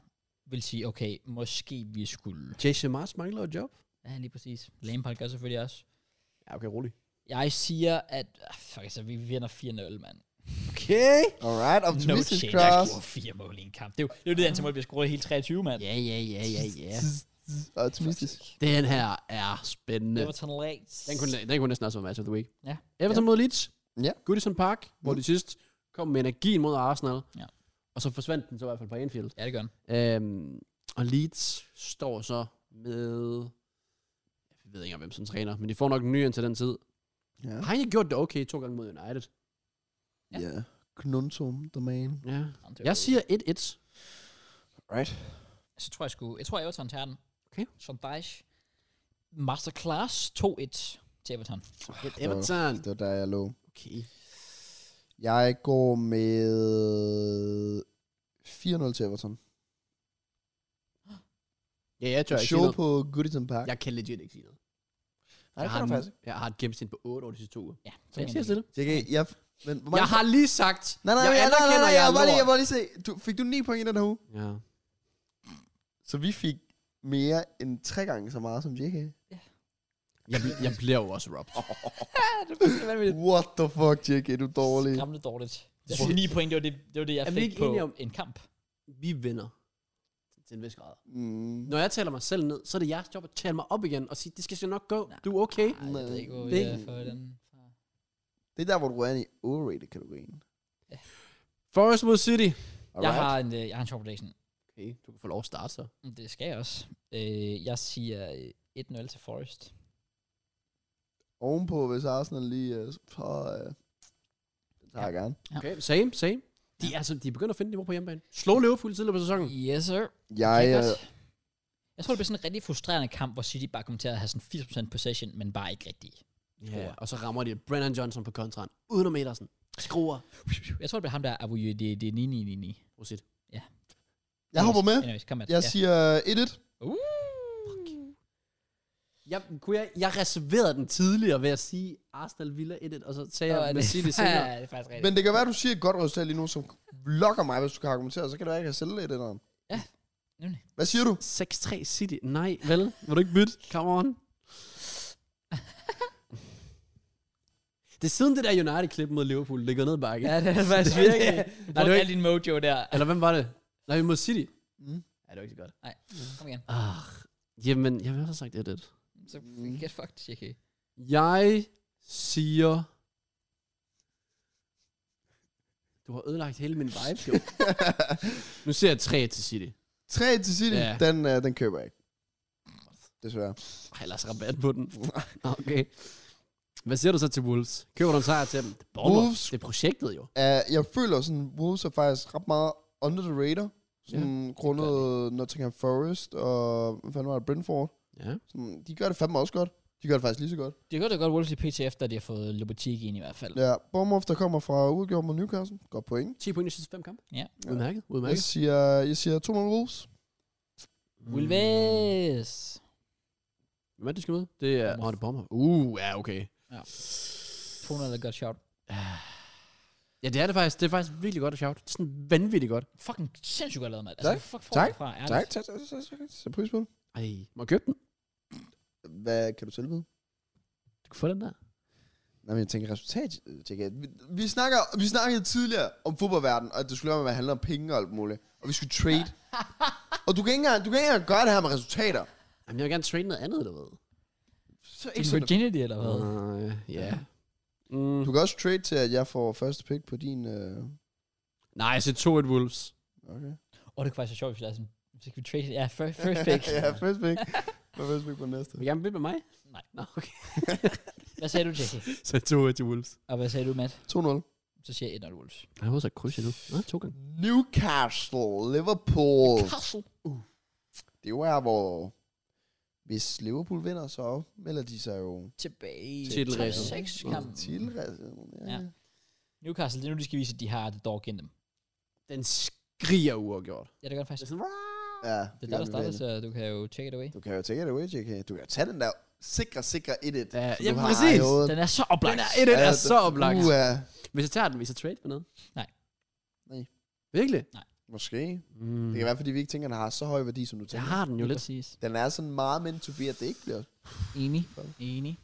Speaker 1: vil sige, okay, måske vi skulle...
Speaker 2: [LAUGHS] Jason Mars mangler et job.
Speaker 1: Ja, lige præcis. Lampard gør selvfølgelig også.
Speaker 2: Ja, okay, rolig.
Speaker 1: Jeg siger, at... ah, Fuck, altså, vi vinder 4-0, mand.
Speaker 2: Okay.
Speaker 3: Alright,
Speaker 1: No
Speaker 3: optimistisk
Speaker 1: chance. Jeg
Speaker 3: cross.
Speaker 1: scorer fire mål i en kamp. Det er jo det, er jo det antal mål, vi har scoret i hele 23, mand.
Speaker 2: Ja, ja, ja, ja, ja.
Speaker 3: Optimistisk.
Speaker 2: Den her er spændende.
Speaker 1: Everton Leeds.
Speaker 2: Den kunne, den kunne næsten også være match of the week.
Speaker 1: Ja.
Speaker 2: Everton ja. mod Leeds.
Speaker 3: Ja.
Speaker 2: Goodison Park, hvor
Speaker 3: Mm.
Speaker 2: de sidst kom med energien mod Arsenal.
Speaker 1: Ja.
Speaker 2: Og så forsvandt den så i hvert fald på Anfield.
Speaker 1: Ja, det gør den.
Speaker 2: Øhm, og Leeds står så med... Jeg ved ikke engang, hvem som træner, men de får nok en ny ind til den tid.
Speaker 3: Ja.
Speaker 2: Har egentlig gjort det okay to gange mod United?
Speaker 1: Ja.
Speaker 3: ja. Knuntum, the man.
Speaker 2: Ja.
Speaker 1: Jamen, det er
Speaker 2: Jeg
Speaker 1: jo-
Speaker 2: siger 1-1.
Speaker 3: Right.
Speaker 1: Så tror jeg sgu... Jeg tror, Everton tager den.
Speaker 2: Okay.
Speaker 1: Som Deich. Masterclass 2-1 til Everton.
Speaker 2: Everton.
Speaker 3: Det var der, jeg lå.
Speaker 2: Okay.
Speaker 3: Jeg går med 4-0 til Everton.
Speaker 2: Ja, jeg tør ikke sige
Speaker 3: Show
Speaker 2: noget.
Speaker 3: på Goodison Park.
Speaker 2: Jeg kan legit ikke sige noget.
Speaker 3: Nej,
Speaker 2: jeg,
Speaker 3: det
Speaker 2: har
Speaker 3: kan du faktisk.
Speaker 2: en, jeg har et gennemsnit på 8 over de sidste to uger.
Speaker 1: Ja,
Speaker 2: Så jeg siger stille.
Speaker 3: ikke. Jeg, kan- jeg, men, hvor mange-
Speaker 2: Jeg har lige sagt,
Speaker 3: Nej, nej,
Speaker 2: jeg
Speaker 3: nej, nej, nej,
Speaker 2: anerkender,
Speaker 3: nej,
Speaker 2: jeg
Speaker 3: jeg
Speaker 2: er
Speaker 3: vil bare lige, jeg
Speaker 2: lort.
Speaker 3: vil bare lige se. Du, fik du 9 point i den her uge?
Speaker 2: Ja.
Speaker 3: Så vi fik mere end tre gange så meget som
Speaker 1: [LAUGHS]
Speaker 3: JK.
Speaker 2: Jeg, bl- jeg bliver jo også robbed.
Speaker 3: What the fuck, JK, du er dårlig.
Speaker 1: Skræmmende dårligt.
Speaker 2: Jeg
Speaker 1: Jeg
Speaker 2: tror-
Speaker 1: tror, 9 point, det var det, det, var det jeg
Speaker 2: Er vi
Speaker 1: fik
Speaker 2: ikke
Speaker 1: på
Speaker 2: enige om-
Speaker 1: en kamp.
Speaker 2: Vi vinder. Til en vis grad.
Speaker 3: Mm.
Speaker 2: Når jeg taler mig selv ned, så er det jeres job at tale mig op igen og sige, det skal sgu nok gå. Du er okay.
Speaker 1: Ej, jeg ved ikke, hvor
Speaker 2: Det-
Speaker 1: vi er for den.
Speaker 3: Det er der, hvor du er i overrated-kategorien.
Speaker 2: Forest mod City.
Speaker 1: Jeg har, en, øh, jeg har en sjov prediction.
Speaker 2: Okay, du kan få lov at starte så.
Speaker 1: Mm, Det skal jeg også. Øh, jeg siger øh, 1-0 til Forest.
Speaker 3: Ovenpå, hvis Arsenal lige... Uh, for, uh, det tager
Speaker 1: Ja.
Speaker 3: jeg gerne.
Speaker 1: Ja.
Speaker 2: Okay, same, same. De er, altså, de er begyndt at finde niveau på hjemmebane. Slå Liverpool tidligere på sæsonen.
Speaker 1: Yes, sir. altså.
Speaker 3: Jeg,
Speaker 1: Jeg,
Speaker 3: uh,
Speaker 1: jeg tror, det bliver sådan en rigtig frustrerende kamp, hvor City bare kommer til at have sådan 80% possession, men bare ikke rigtig.
Speaker 2: Ja, og så rammer de Brennan Johnson på kontraen. Uden om Ederson. Skruer.
Speaker 1: Jeg tror, det bliver ham der, Abu det, det er 9 9 9 9
Speaker 2: Prosit.
Speaker 3: jeg hopper med.
Speaker 1: Anyways, kom med.
Speaker 3: Jeg siger øh, 1-1.
Speaker 1: Uh.
Speaker 2: Jeg, kunne jeg, jeg reserverede den tidligere ved at sige Arsenal Villa 1-1, og så sagde jeg med City senere.
Speaker 1: [LAUGHS] ja, det er faktisk rigtigt.
Speaker 3: Men det kan være, du siger et godt resultat lige nu, som lokker mig, hvis du kan argumentere. Så kan det være, at jeg kan sælge det eller andet.
Speaker 1: Ja, nemlig.
Speaker 3: Hvad siger du?
Speaker 2: 6-3 City. Nej, vel? Vil du ikke bytte? Come on. [LAUGHS] Det er siden det der United-klip mod Liverpool, det går ned bakke. [LAUGHS]
Speaker 1: Ja, det er [LAUGHS] faktisk virkelig. Du
Speaker 2: Nej, det var
Speaker 1: brugte al
Speaker 2: ikke,
Speaker 1: din mojo der.
Speaker 2: eller hvem var det? Nej, mod City.
Speaker 1: Mm.
Speaker 2: Ja, det var ikke så godt.
Speaker 1: Nej, kom igen.
Speaker 2: Ah, jamen, jeg har sagt det lidt.
Speaker 1: Så get fucked, JK.
Speaker 2: Jeg siger... Du har ødelagt hele min vibe, [LAUGHS] jo. nu siger jeg 3 til City.
Speaker 3: 3 til City,
Speaker 2: Ja.
Speaker 3: yeah. den, øh, den køber jeg ikke. Desværre.
Speaker 2: Ej, lad os rabat på den. [LAUGHS] Okay. Hvad siger du så til Wolves? Køber du en sejr til dem? Det er Bournemouth.
Speaker 3: Wolves-
Speaker 2: Det er projektet jo.
Speaker 3: Uh, jeg føler sådan, Wolves er faktisk ret meget under the radar. Sådan yeah,
Speaker 2: gør
Speaker 3: grundet Nottingham Forest og, hvad fanden var det, Brentford.
Speaker 2: Ja.
Speaker 3: Sådan, de gør det fandme også godt. De gør det faktisk lige så godt.
Speaker 1: Det er godt, det er godt Wolves i PT, efter de har fået Lopetegui ind i hvert fald.
Speaker 3: Ja, Bournemouth, der kommer fra udgjort mod Newcastle. Godt point.
Speaker 2: 10 point i sidste fem kampe.
Speaker 1: Ja.
Speaker 2: Udmærket,
Speaker 3: Jeg
Speaker 2: udmærket.
Speaker 3: siger, jeg siger 2 mod Wolves.
Speaker 1: Wolves.
Speaker 2: Hvem er det, de skal møde? Det er... Åh,
Speaker 1: Bournemouth.
Speaker 2: det er Bournemouth. Uh, ja, okay.
Speaker 1: Ja. 200 er et godt shout.
Speaker 2: Ja, det er det faktisk. Det er faktisk virkelig godt at shout. Det er sådan vanvittigt godt.
Speaker 1: Fucking sindssygt godt lavet, mand.
Speaker 3: Tak.
Speaker 1: Altså, fuck får
Speaker 3: Tak.
Speaker 1: det fra, ærligt.
Speaker 3: Tak, tak, tak, tak, tak, tak. Så pris på det.
Speaker 2: Ej, må jeg købe den?
Speaker 3: Hvad kan du tilbyde?
Speaker 2: Du kan få den der.
Speaker 3: Nej, men jeg tænker resultat, øh, tænker jeg. Vi, vi, snakker, vi snakkede tidligere om fodboldverdenen, og at det skulle være med at handle om penge og alt muligt. Og vi skulle [LAUGHS] trade. og du kan, ikke engang, du kan ikke engang gøre det her med resultater.
Speaker 2: Jamen, jeg vil gerne trade noget andet, du ved.
Speaker 3: Så
Speaker 1: Din
Speaker 3: ikke sådan,
Speaker 1: virginity, eller hvad?
Speaker 2: Uh, ja. Mm.
Speaker 3: du kan også trade til, at jeg får første pick på din... Øh...
Speaker 2: Nej, jeg siger 2-1 Wolves.
Speaker 3: Okay.
Speaker 1: Åh, det kunne faktisk være sjovt, hvis jeg er sådan, hvis ikke vi trade, ja,
Speaker 3: [LAUGHS]
Speaker 1: first, [LAUGHS] first pick.
Speaker 3: ja, første
Speaker 1: [LAUGHS]
Speaker 3: pick. Og første pick på den næste.
Speaker 2: Vil du gerne bytte med mig?
Speaker 1: Nej.
Speaker 2: Nå, okay.
Speaker 1: Hvad sagde du, Jackie?
Speaker 2: Så 2-1 til Wolves.
Speaker 1: Og hvad sagde du, Matt?
Speaker 3: 2-0.
Speaker 1: Så siger jeg 1-0 Wolves.
Speaker 2: Jeg har også et kryds endnu. Nå, to gange.
Speaker 3: Newcastle, Liverpool.
Speaker 1: Castle.
Speaker 3: Det er jo her, hvor... Hvis Liverpool vinder, så melder de sig jo
Speaker 1: Tilbage. i
Speaker 2: Titelræset.
Speaker 1: top seks kampen.
Speaker 3: til.
Speaker 1: Ja. Newcastle, det er nu, de skal vise, at de har det dog gennem dem.
Speaker 2: Den skriger uafgjort.
Speaker 1: Ja, det gør det
Speaker 2: Det
Speaker 1: faktisk.
Speaker 2: er sådan...
Speaker 3: ja
Speaker 1: Det er dig, der
Speaker 3: vi
Speaker 1: startede,
Speaker 3: vinde.
Speaker 1: så du kan jo take it away.
Speaker 3: Du kan jo take it away, JK. Du kan jo tage den der sikre, sikre 1-1. Ja,
Speaker 2: Ja, ja præcis.
Speaker 1: Den er så oplagt.
Speaker 2: Den er, den er så oplagt.
Speaker 3: Uh, uh,
Speaker 2: Hvis jeg tager den, hvis jeg trade med noget?
Speaker 1: Nej.
Speaker 3: Nej.
Speaker 2: Virkelig?
Speaker 3: måske.
Speaker 2: Mm.
Speaker 3: Det kan være, fordi vi ikke tænker, at den har så høj værdi, som du
Speaker 2: Jeg
Speaker 3: tænker.
Speaker 2: har den jo
Speaker 1: Lige
Speaker 2: lidt.
Speaker 1: Præcis.
Speaker 3: Den er sådan meget meant to be, at det ikke bliver...
Speaker 1: Enig. Enig.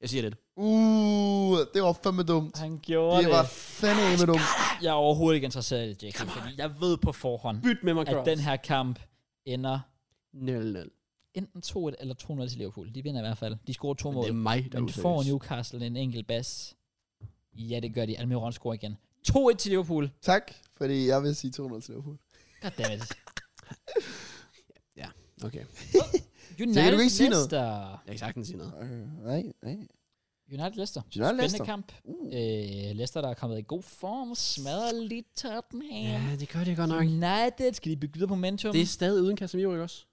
Speaker 2: Jeg siger det.
Speaker 3: Uh, det var fandme dumt.
Speaker 1: Han gjorde
Speaker 3: Det var fandme dumt.
Speaker 1: Jeg er overhovedet ikke interesseret i det, Jackie, fordi jeg ved på forhånd,
Speaker 2: Byt med mig,
Speaker 1: at
Speaker 2: Cross.
Speaker 1: den her kamp ender
Speaker 2: 0-0.
Speaker 1: enten 2-1 eller 2-0 til Liverpool. De vinder i hvert fald. De scorer to
Speaker 2: Men
Speaker 1: mål.
Speaker 2: det er mig, der
Speaker 1: Men
Speaker 2: er
Speaker 1: får
Speaker 2: useriøs.
Speaker 1: Newcastle en enkelt bas? Ja, det gør de. Almiron scorer igen. 2-1 til Liverpool.
Speaker 3: Tak, fordi jeg vil sige 200 til Liverpool.
Speaker 1: Goddammit. [LAUGHS]
Speaker 2: Okay.
Speaker 1: United
Speaker 3: Så kan du ikke sige noget?
Speaker 1: Leicester.
Speaker 2: Jeg kan sagtens sige noget.
Speaker 3: Okay, nej, nej.
Speaker 1: United Leicester.
Speaker 3: United
Speaker 1: Spændende
Speaker 3: Leicester.
Speaker 1: kamp.
Speaker 3: Uh.
Speaker 1: Øh, Leicester, der er kommet i god form, smadrer lige Tottenham.
Speaker 2: det gør det godt
Speaker 1: United, skal de bygge videre på momentum?
Speaker 2: Det er stadig uden Casemiro, ikke også?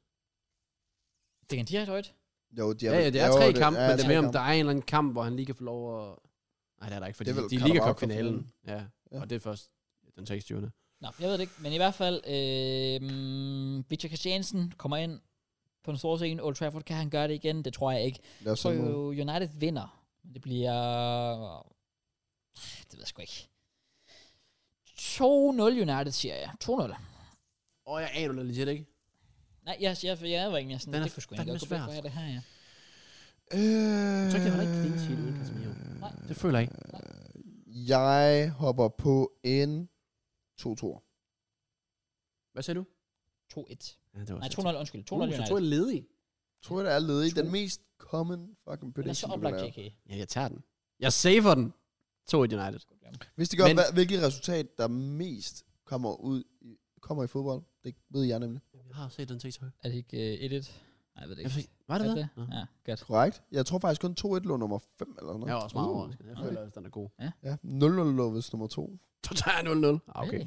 Speaker 1: det kan de have højt.
Speaker 3: Jo, de
Speaker 2: Ja,
Speaker 3: har,
Speaker 2: ja, det er tre kampe, men det er
Speaker 3: tre
Speaker 2: mere om,
Speaker 3: kampe.
Speaker 2: der er en eller anden kamp, hvor han lige kan få lov at... Nej, det er der ikke, fordi
Speaker 3: Det er vel
Speaker 2: de er
Speaker 3: Carabao
Speaker 2: Liga Cup-finalen. Ja.
Speaker 3: Ja.
Speaker 2: og det er først den 26.
Speaker 1: Nå, jeg ved det ikke, men i hvert fald, øh, mm, Victor Christiansen kommer ind på den store scene. Old Trafford, kan han gøre det igen? Det tror jeg ikke.
Speaker 3: Lad os
Speaker 1: Jeg tror
Speaker 3: sådan noget.
Speaker 1: jo, United vinder. Men det bliver... Det ved jeg sgu ikke. 2-0 United, siger jeg. 2-0.
Speaker 2: Åh, oh, jeg aner det legit ikke.
Speaker 1: Nej, jeg, jeg, jeg var egentlig sådan,
Speaker 2: Den er
Speaker 1: det kunne sgu egentlig
Speaker 2: fandme
Speaker 1: godt gå begge veje,
Speaker 2: svært.
Speaker 1: det her, ja.
Speaker 3: Øh,
Speaker 2: Jeg tror ikke, jeg holder ikke clean sheet uden Casemiro.
Speaker 1: Nej.
Speaker 2: Det føler jeg ikke.
Speaker 3: Jeg hopper på en 2-2.
Speaker 2: Hvad sagde du?
Speaker 1: 2-1.
Speaker 2: Ja, det var
Speaker 1: Nej, 2-0, undskyld. 2-0
Speaker 2: Uh, så to
Speaker 1: United.
Speaker 2: er ledig.
Speaker 3: tror jeg, der er ledig.
Speaker 2: To.
Speaker 3: Den mest common fucking
Speaker 1: Den er så
Speaker 3: prediction, du kan
Speaker 1: oplagt,
Speaker 3: lave.
Speaker 1: JK.
Speaker 2: Ja, jeg tager den. Jeg saver den. 2 United.
Speaker 3: Hvis det gør,
Speaker 2: Men-
Speaker 3: Men... hvilket resultat, der mest kommer ud i, kommer i fodbold, det ved jeg nemlig.
Speaker 2: Jeg har set den TikTok.
Speaker 1: Er det ikke øh, 1-1? Nej, jeg ved det
Speaker 2: Jeg
Speaker 1: ikke.
Speaker 2: fik... Var det
Speaker 1: Er
Speaker 2: det?
Speaker 1: det?
Speaker 2: Nå.
Speaker 1: Ja, godt.
Speaker 3: Korrekt. Jeg tror faktisk kun 2-1 lå nummer 5 eller sådan
Speaker 2: Jeg
Speaker 3: noget.
Speaker 2: var også meget
Speaker 3: Uh.
Speaker 2: overrasket. Jeg føler, at den er god.
Speaker 3: Ja, 0-0 lå vist nummer 2.
Speaker 2: Så tager jeg 0-0. Ah, okay.
Speaker 1: Really?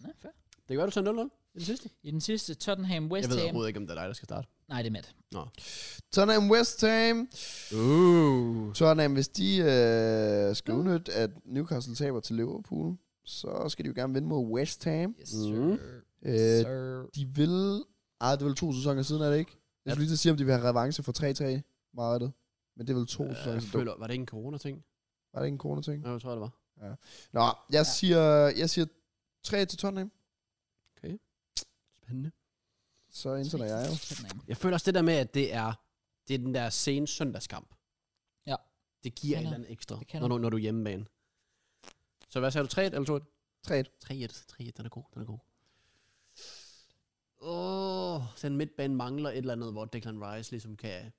Speaker 1: Nå, fair.
Speaker 2: Det kan være, du tager 0-0 i den sidste.
Speaker 1: I den sidste, Tottenham West
Speaker 2: Jeg ved
Speaker 1: Ham.
Speaker 2: overhovedet ikke, om det er dig, der skal starte.
Speaker 1: Nej, det er Matt.
Speaker 3: Tottenham West Ham.
Speaker 2: Uh.
Speaker 3: Tottenham, hvis de øh, skal udnytte, at Newcastle taber til Liverpool, så skal de jo gerne vinde mod West Ham.
Speaker 1: Yes, sir.
Speaker 2: Mm.
Speaker 3: Øh,
Speaker 1: sir.
Speaker 3: De vil... Ej, det er vel to sæsoner siden, er det ikke? Jeg skulle lige til at sige, om de vil have revanche for 3-3 meget det. Men det er vel to
Speaker 2: Øh,
Speaker 3: sæsoner
Speaker 2: Jeg
Speaker 3: siden.
Speaker 2: føler, var det ikke en corona-ting?
Speaker 3: Var det ikke en corona-ting?
Speaker 2: Ja, jeg tror, det var.
Speaker 3: Nå, jeg
Speaker 1: Ja.
Speaker 3: siger, jeg siger 3 til Tottenham.
Speaker 2: Spændende.
Speaker 3: Så indsætter jeg jo.
Speaker 1: Tottenham.
Speaker 2: Jeg føler også det der med, at det er, det er den der sene søndagskamp.
Speaker 1: Ja.
Speaker 2: Det giver
Speaker 1: Kan
Speaker 2: et
Speaker 1: noget.
Speaker 2: eller andet ekstra,
Speaker 1: Det kan
Speaker 2: når,
Speaker 1: noget.
Speaker 2: du, når du er hjemmebane. Så hvad sagde du? 3-1 eller 2-1?
Speaker 3: 3-1.
Speaker 2: 3-1. 3-1, den er god, den er god. Åh, oh, den midtbane mangler et eller andet, hvor Declan Rice ligesom kan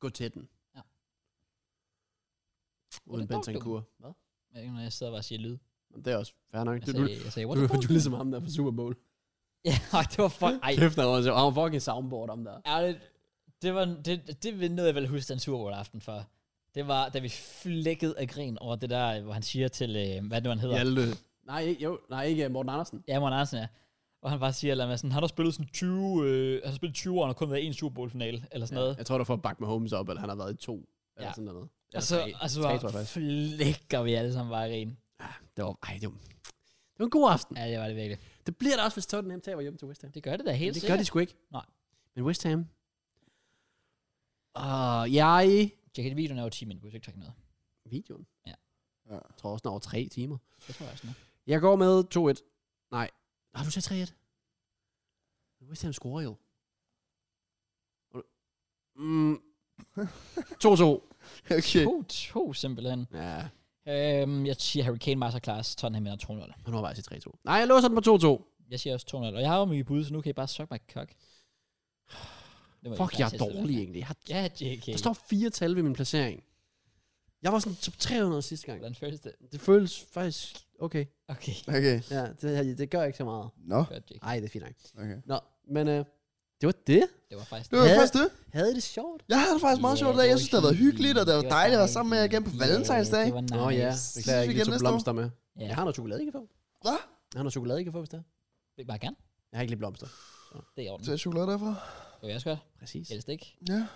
Speaker 2: gå til den.
Speaker 1: Ja.
Speaker 2: Uden
Speaker 1: What a dog,
Speaker 2: Bentancur. Hvad?
Speaker 1: Jeg, ved ikke, når jeg sidder og bare siger lyd.
Speaker 2: Jamen, Det er også fair nok.
Speaker 1: Jeg
Speaker 2: Du, du,
Speaker 1: sagde, jeg sagde, what
Speaker 2: [LAUGHS] du,
Speaker 1: the
Speaker 2: du,
Speaker 1: fuck?
Speaker 2: er ligesom ham der fra Super Bowl.
Speaker 1: [LAUGHS] Ja, ej, det var fuck. Ej,
Speaker 2: [LAUGHS] Kæft, der var så oh, fucking soundboard om der.
Speaker 1: ærligt. Det var det, det var noget, jeg ville huske den Super Bowl aften for. Det var, da vi flækkede af grin over det der, hvor han siger til, øh, hvad er det nu han hedder?
Speaker 2: Hjalte. Nej, ikke, jo, nej, ikke øh, Morten Andersen.
Speaker 1: Ja, Morten Andersen, ja. Og han bare siger, eller sådan, han har spillet sådan 20, øh, han har spillet 20 år, og han har kun været i en Super Bowl-finale, eller sådan ja, noget.
Speaker 2: Jeg tror, du får Back Mahomes op, eller han har været i to. Eller
Speaker 1: Ja.
Speaker 2: sådan noget.
Speaker 1: Og så,
Speaker 2: Eller tre.
Speaker 1: og så
Speaker 2: tre, tror jeg
Speaker 1: bare
Speaker 2: faktisk.
Speaker 1: flækker vi alle sammen bare i grin.
Speaker 2: Det var, ej, det var, det var en god aften.
Speaker 1: Ja, det var det virkelig.
Speaker 2: Det bliver der også, hvis Tottenham taber hjemme til West Ham.
Speaker 1: Det gør det da
Speaker 2: Men
Speaker 1: helt
Speaker 2: det gør
Speaker 1: sikkert.
Speaker 2: de sgu ikke.
Speaker 1: Nej.
Speaker 2: Men West Ham... Og jeg...
Speaker 1: Tjek, at videoen er jo 10 minutter, hvis ikke trække noget.
Speaker 2: Videoen?
Speaker 1: Ja.
Speaker 3: Ja.
Speaker 2: Jeg tror også, den er over tre timer.
Speaker 1: Det tror jeg
Speaker 3: Øh.
Speaker 1: også nu.
Speaker 2: Jeg går med 2-1. Nej. Har du set 3-1? Men West Ham scorer jo. Og- Mm. 2-2.
Speaker 3: Okay.
Speaker 1: 2-2 simpelthen.
Speaker 2: Ja,
Speaker 1: Øhm, jeg siger Hurricane Masterclass, Tottenham vinder 200.
Speaker 2: og nu er jeg til 3-2. Nej, jeg låser den på 2-2.
Speaker 1: Jeg siger også 200, og jeg har jo mye bud, så nu kan I bare suck mig kok. Det må I
Speaker 2: Fuck,
Speaker 1: faktisk
Speaker 2: jeg er
Speaker 1: selv selv
Speaker 2: dårlig
Speaker 1: vælge.
Speaker 2: egentlig. Jeg har
Speaker 1: Ja, JK.
Speaker 2: Der står fire tal ved min placering. Jeg var sådan top 300 sidste gang.
Speaker 1: Hvordan føles det?
Speaker 2: Det føles faktisk okay.
Speaker 1: Okay.
Speaker 3: Okay.
Speaker 2: Ja, det, det gør ikke så meget.
Speaker 3: Nå.
Speaker 1: Godt, JK.
Speaker 2: Nej, det er fint nok.
Speaker 3: Okay.
Speaker 2: Nå, men øh, det var det.
Speaker 1: Det var faktisk
Speaker 3: Det var
Speaker 2: Ja.
Speaker 3: faktisk det.
Speaker 2: Havde I det sjovt?
Speaker 3: Jeg havde det faktisk meget
Speaker 1: Ja,
Speaker 3: sjovt i dag. Jeg
Speaker 1: var
Speaker 3: synes, det har været hyggeligt, og det var dejligt at være sammen med jer igen på
Speaker 1: Ja,
Speaker 3: Valentinsdag.
Speaker 1: Det var nice.
Speaker 2: Nå ja,
Speaker 1: Det
Speaker 2: beklager jeg
Speaker 3: Vi
Speaker 2: ikke,
Speaker 3: ses igen
Speaker 2: jeg tog
Speaker 3: næste år.
Speaker 2: blomster med.
Speaker 1: Ja.
Speaker 2: Jeg har noget chokolade, I kan få.
Speaker 3: Hvad?
Speaker 2: Jeg har noget chokolade, I kan få, hvis det er.
Speaker 1: vil bare gerne.
Speaker 2: Jeg har ikke lige blomster.
Speaker 1: Det er i orden.
Speaker 3: Så er chokolade derfra.
Speaker 1: Det vil jeg også godt.
Speaker 2: Præcis.
Speaker 1: Helst ikke.
Speaker 3: Ja.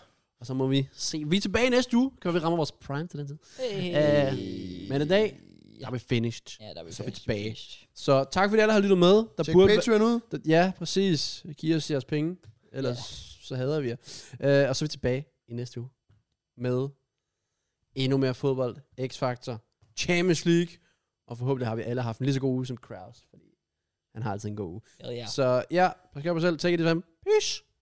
Speaker 2: Og så må vi se. Vi er tilbage næste uge. Kan vi ramme vores prime til den tid?
Speaker 1: Hey.
Speaker 2: Øh, men i dag
Speaker 1: Ja.
Speaker 2: er vi finished.
Speaker 1: Ja, der er vi
Speaker 2: så er
Speaker 1: finished.
Speaker 2: vi tilbage. Så tak fordi alle har lyttet med. Der
Speaker 3: Tjek
Speaker 2: burde væ-
Speaker 3: Patreon ud.
Speaker 2: Der- Ja, præcis. Giv os jeres penge, ellers yeah. så hader vi jer. Uh, og så er vi tilbage i næste uge med endnu mere fodbold, X-Factor, Champions League, og forhåbentlig har vi alle haft en lige så god uge som Kraus, fordi han har altid en god uge.
Speaker 1: Ja, ja.
Speaker 2: Så ja, pas godt på jer selv. Take it, fam. Peace.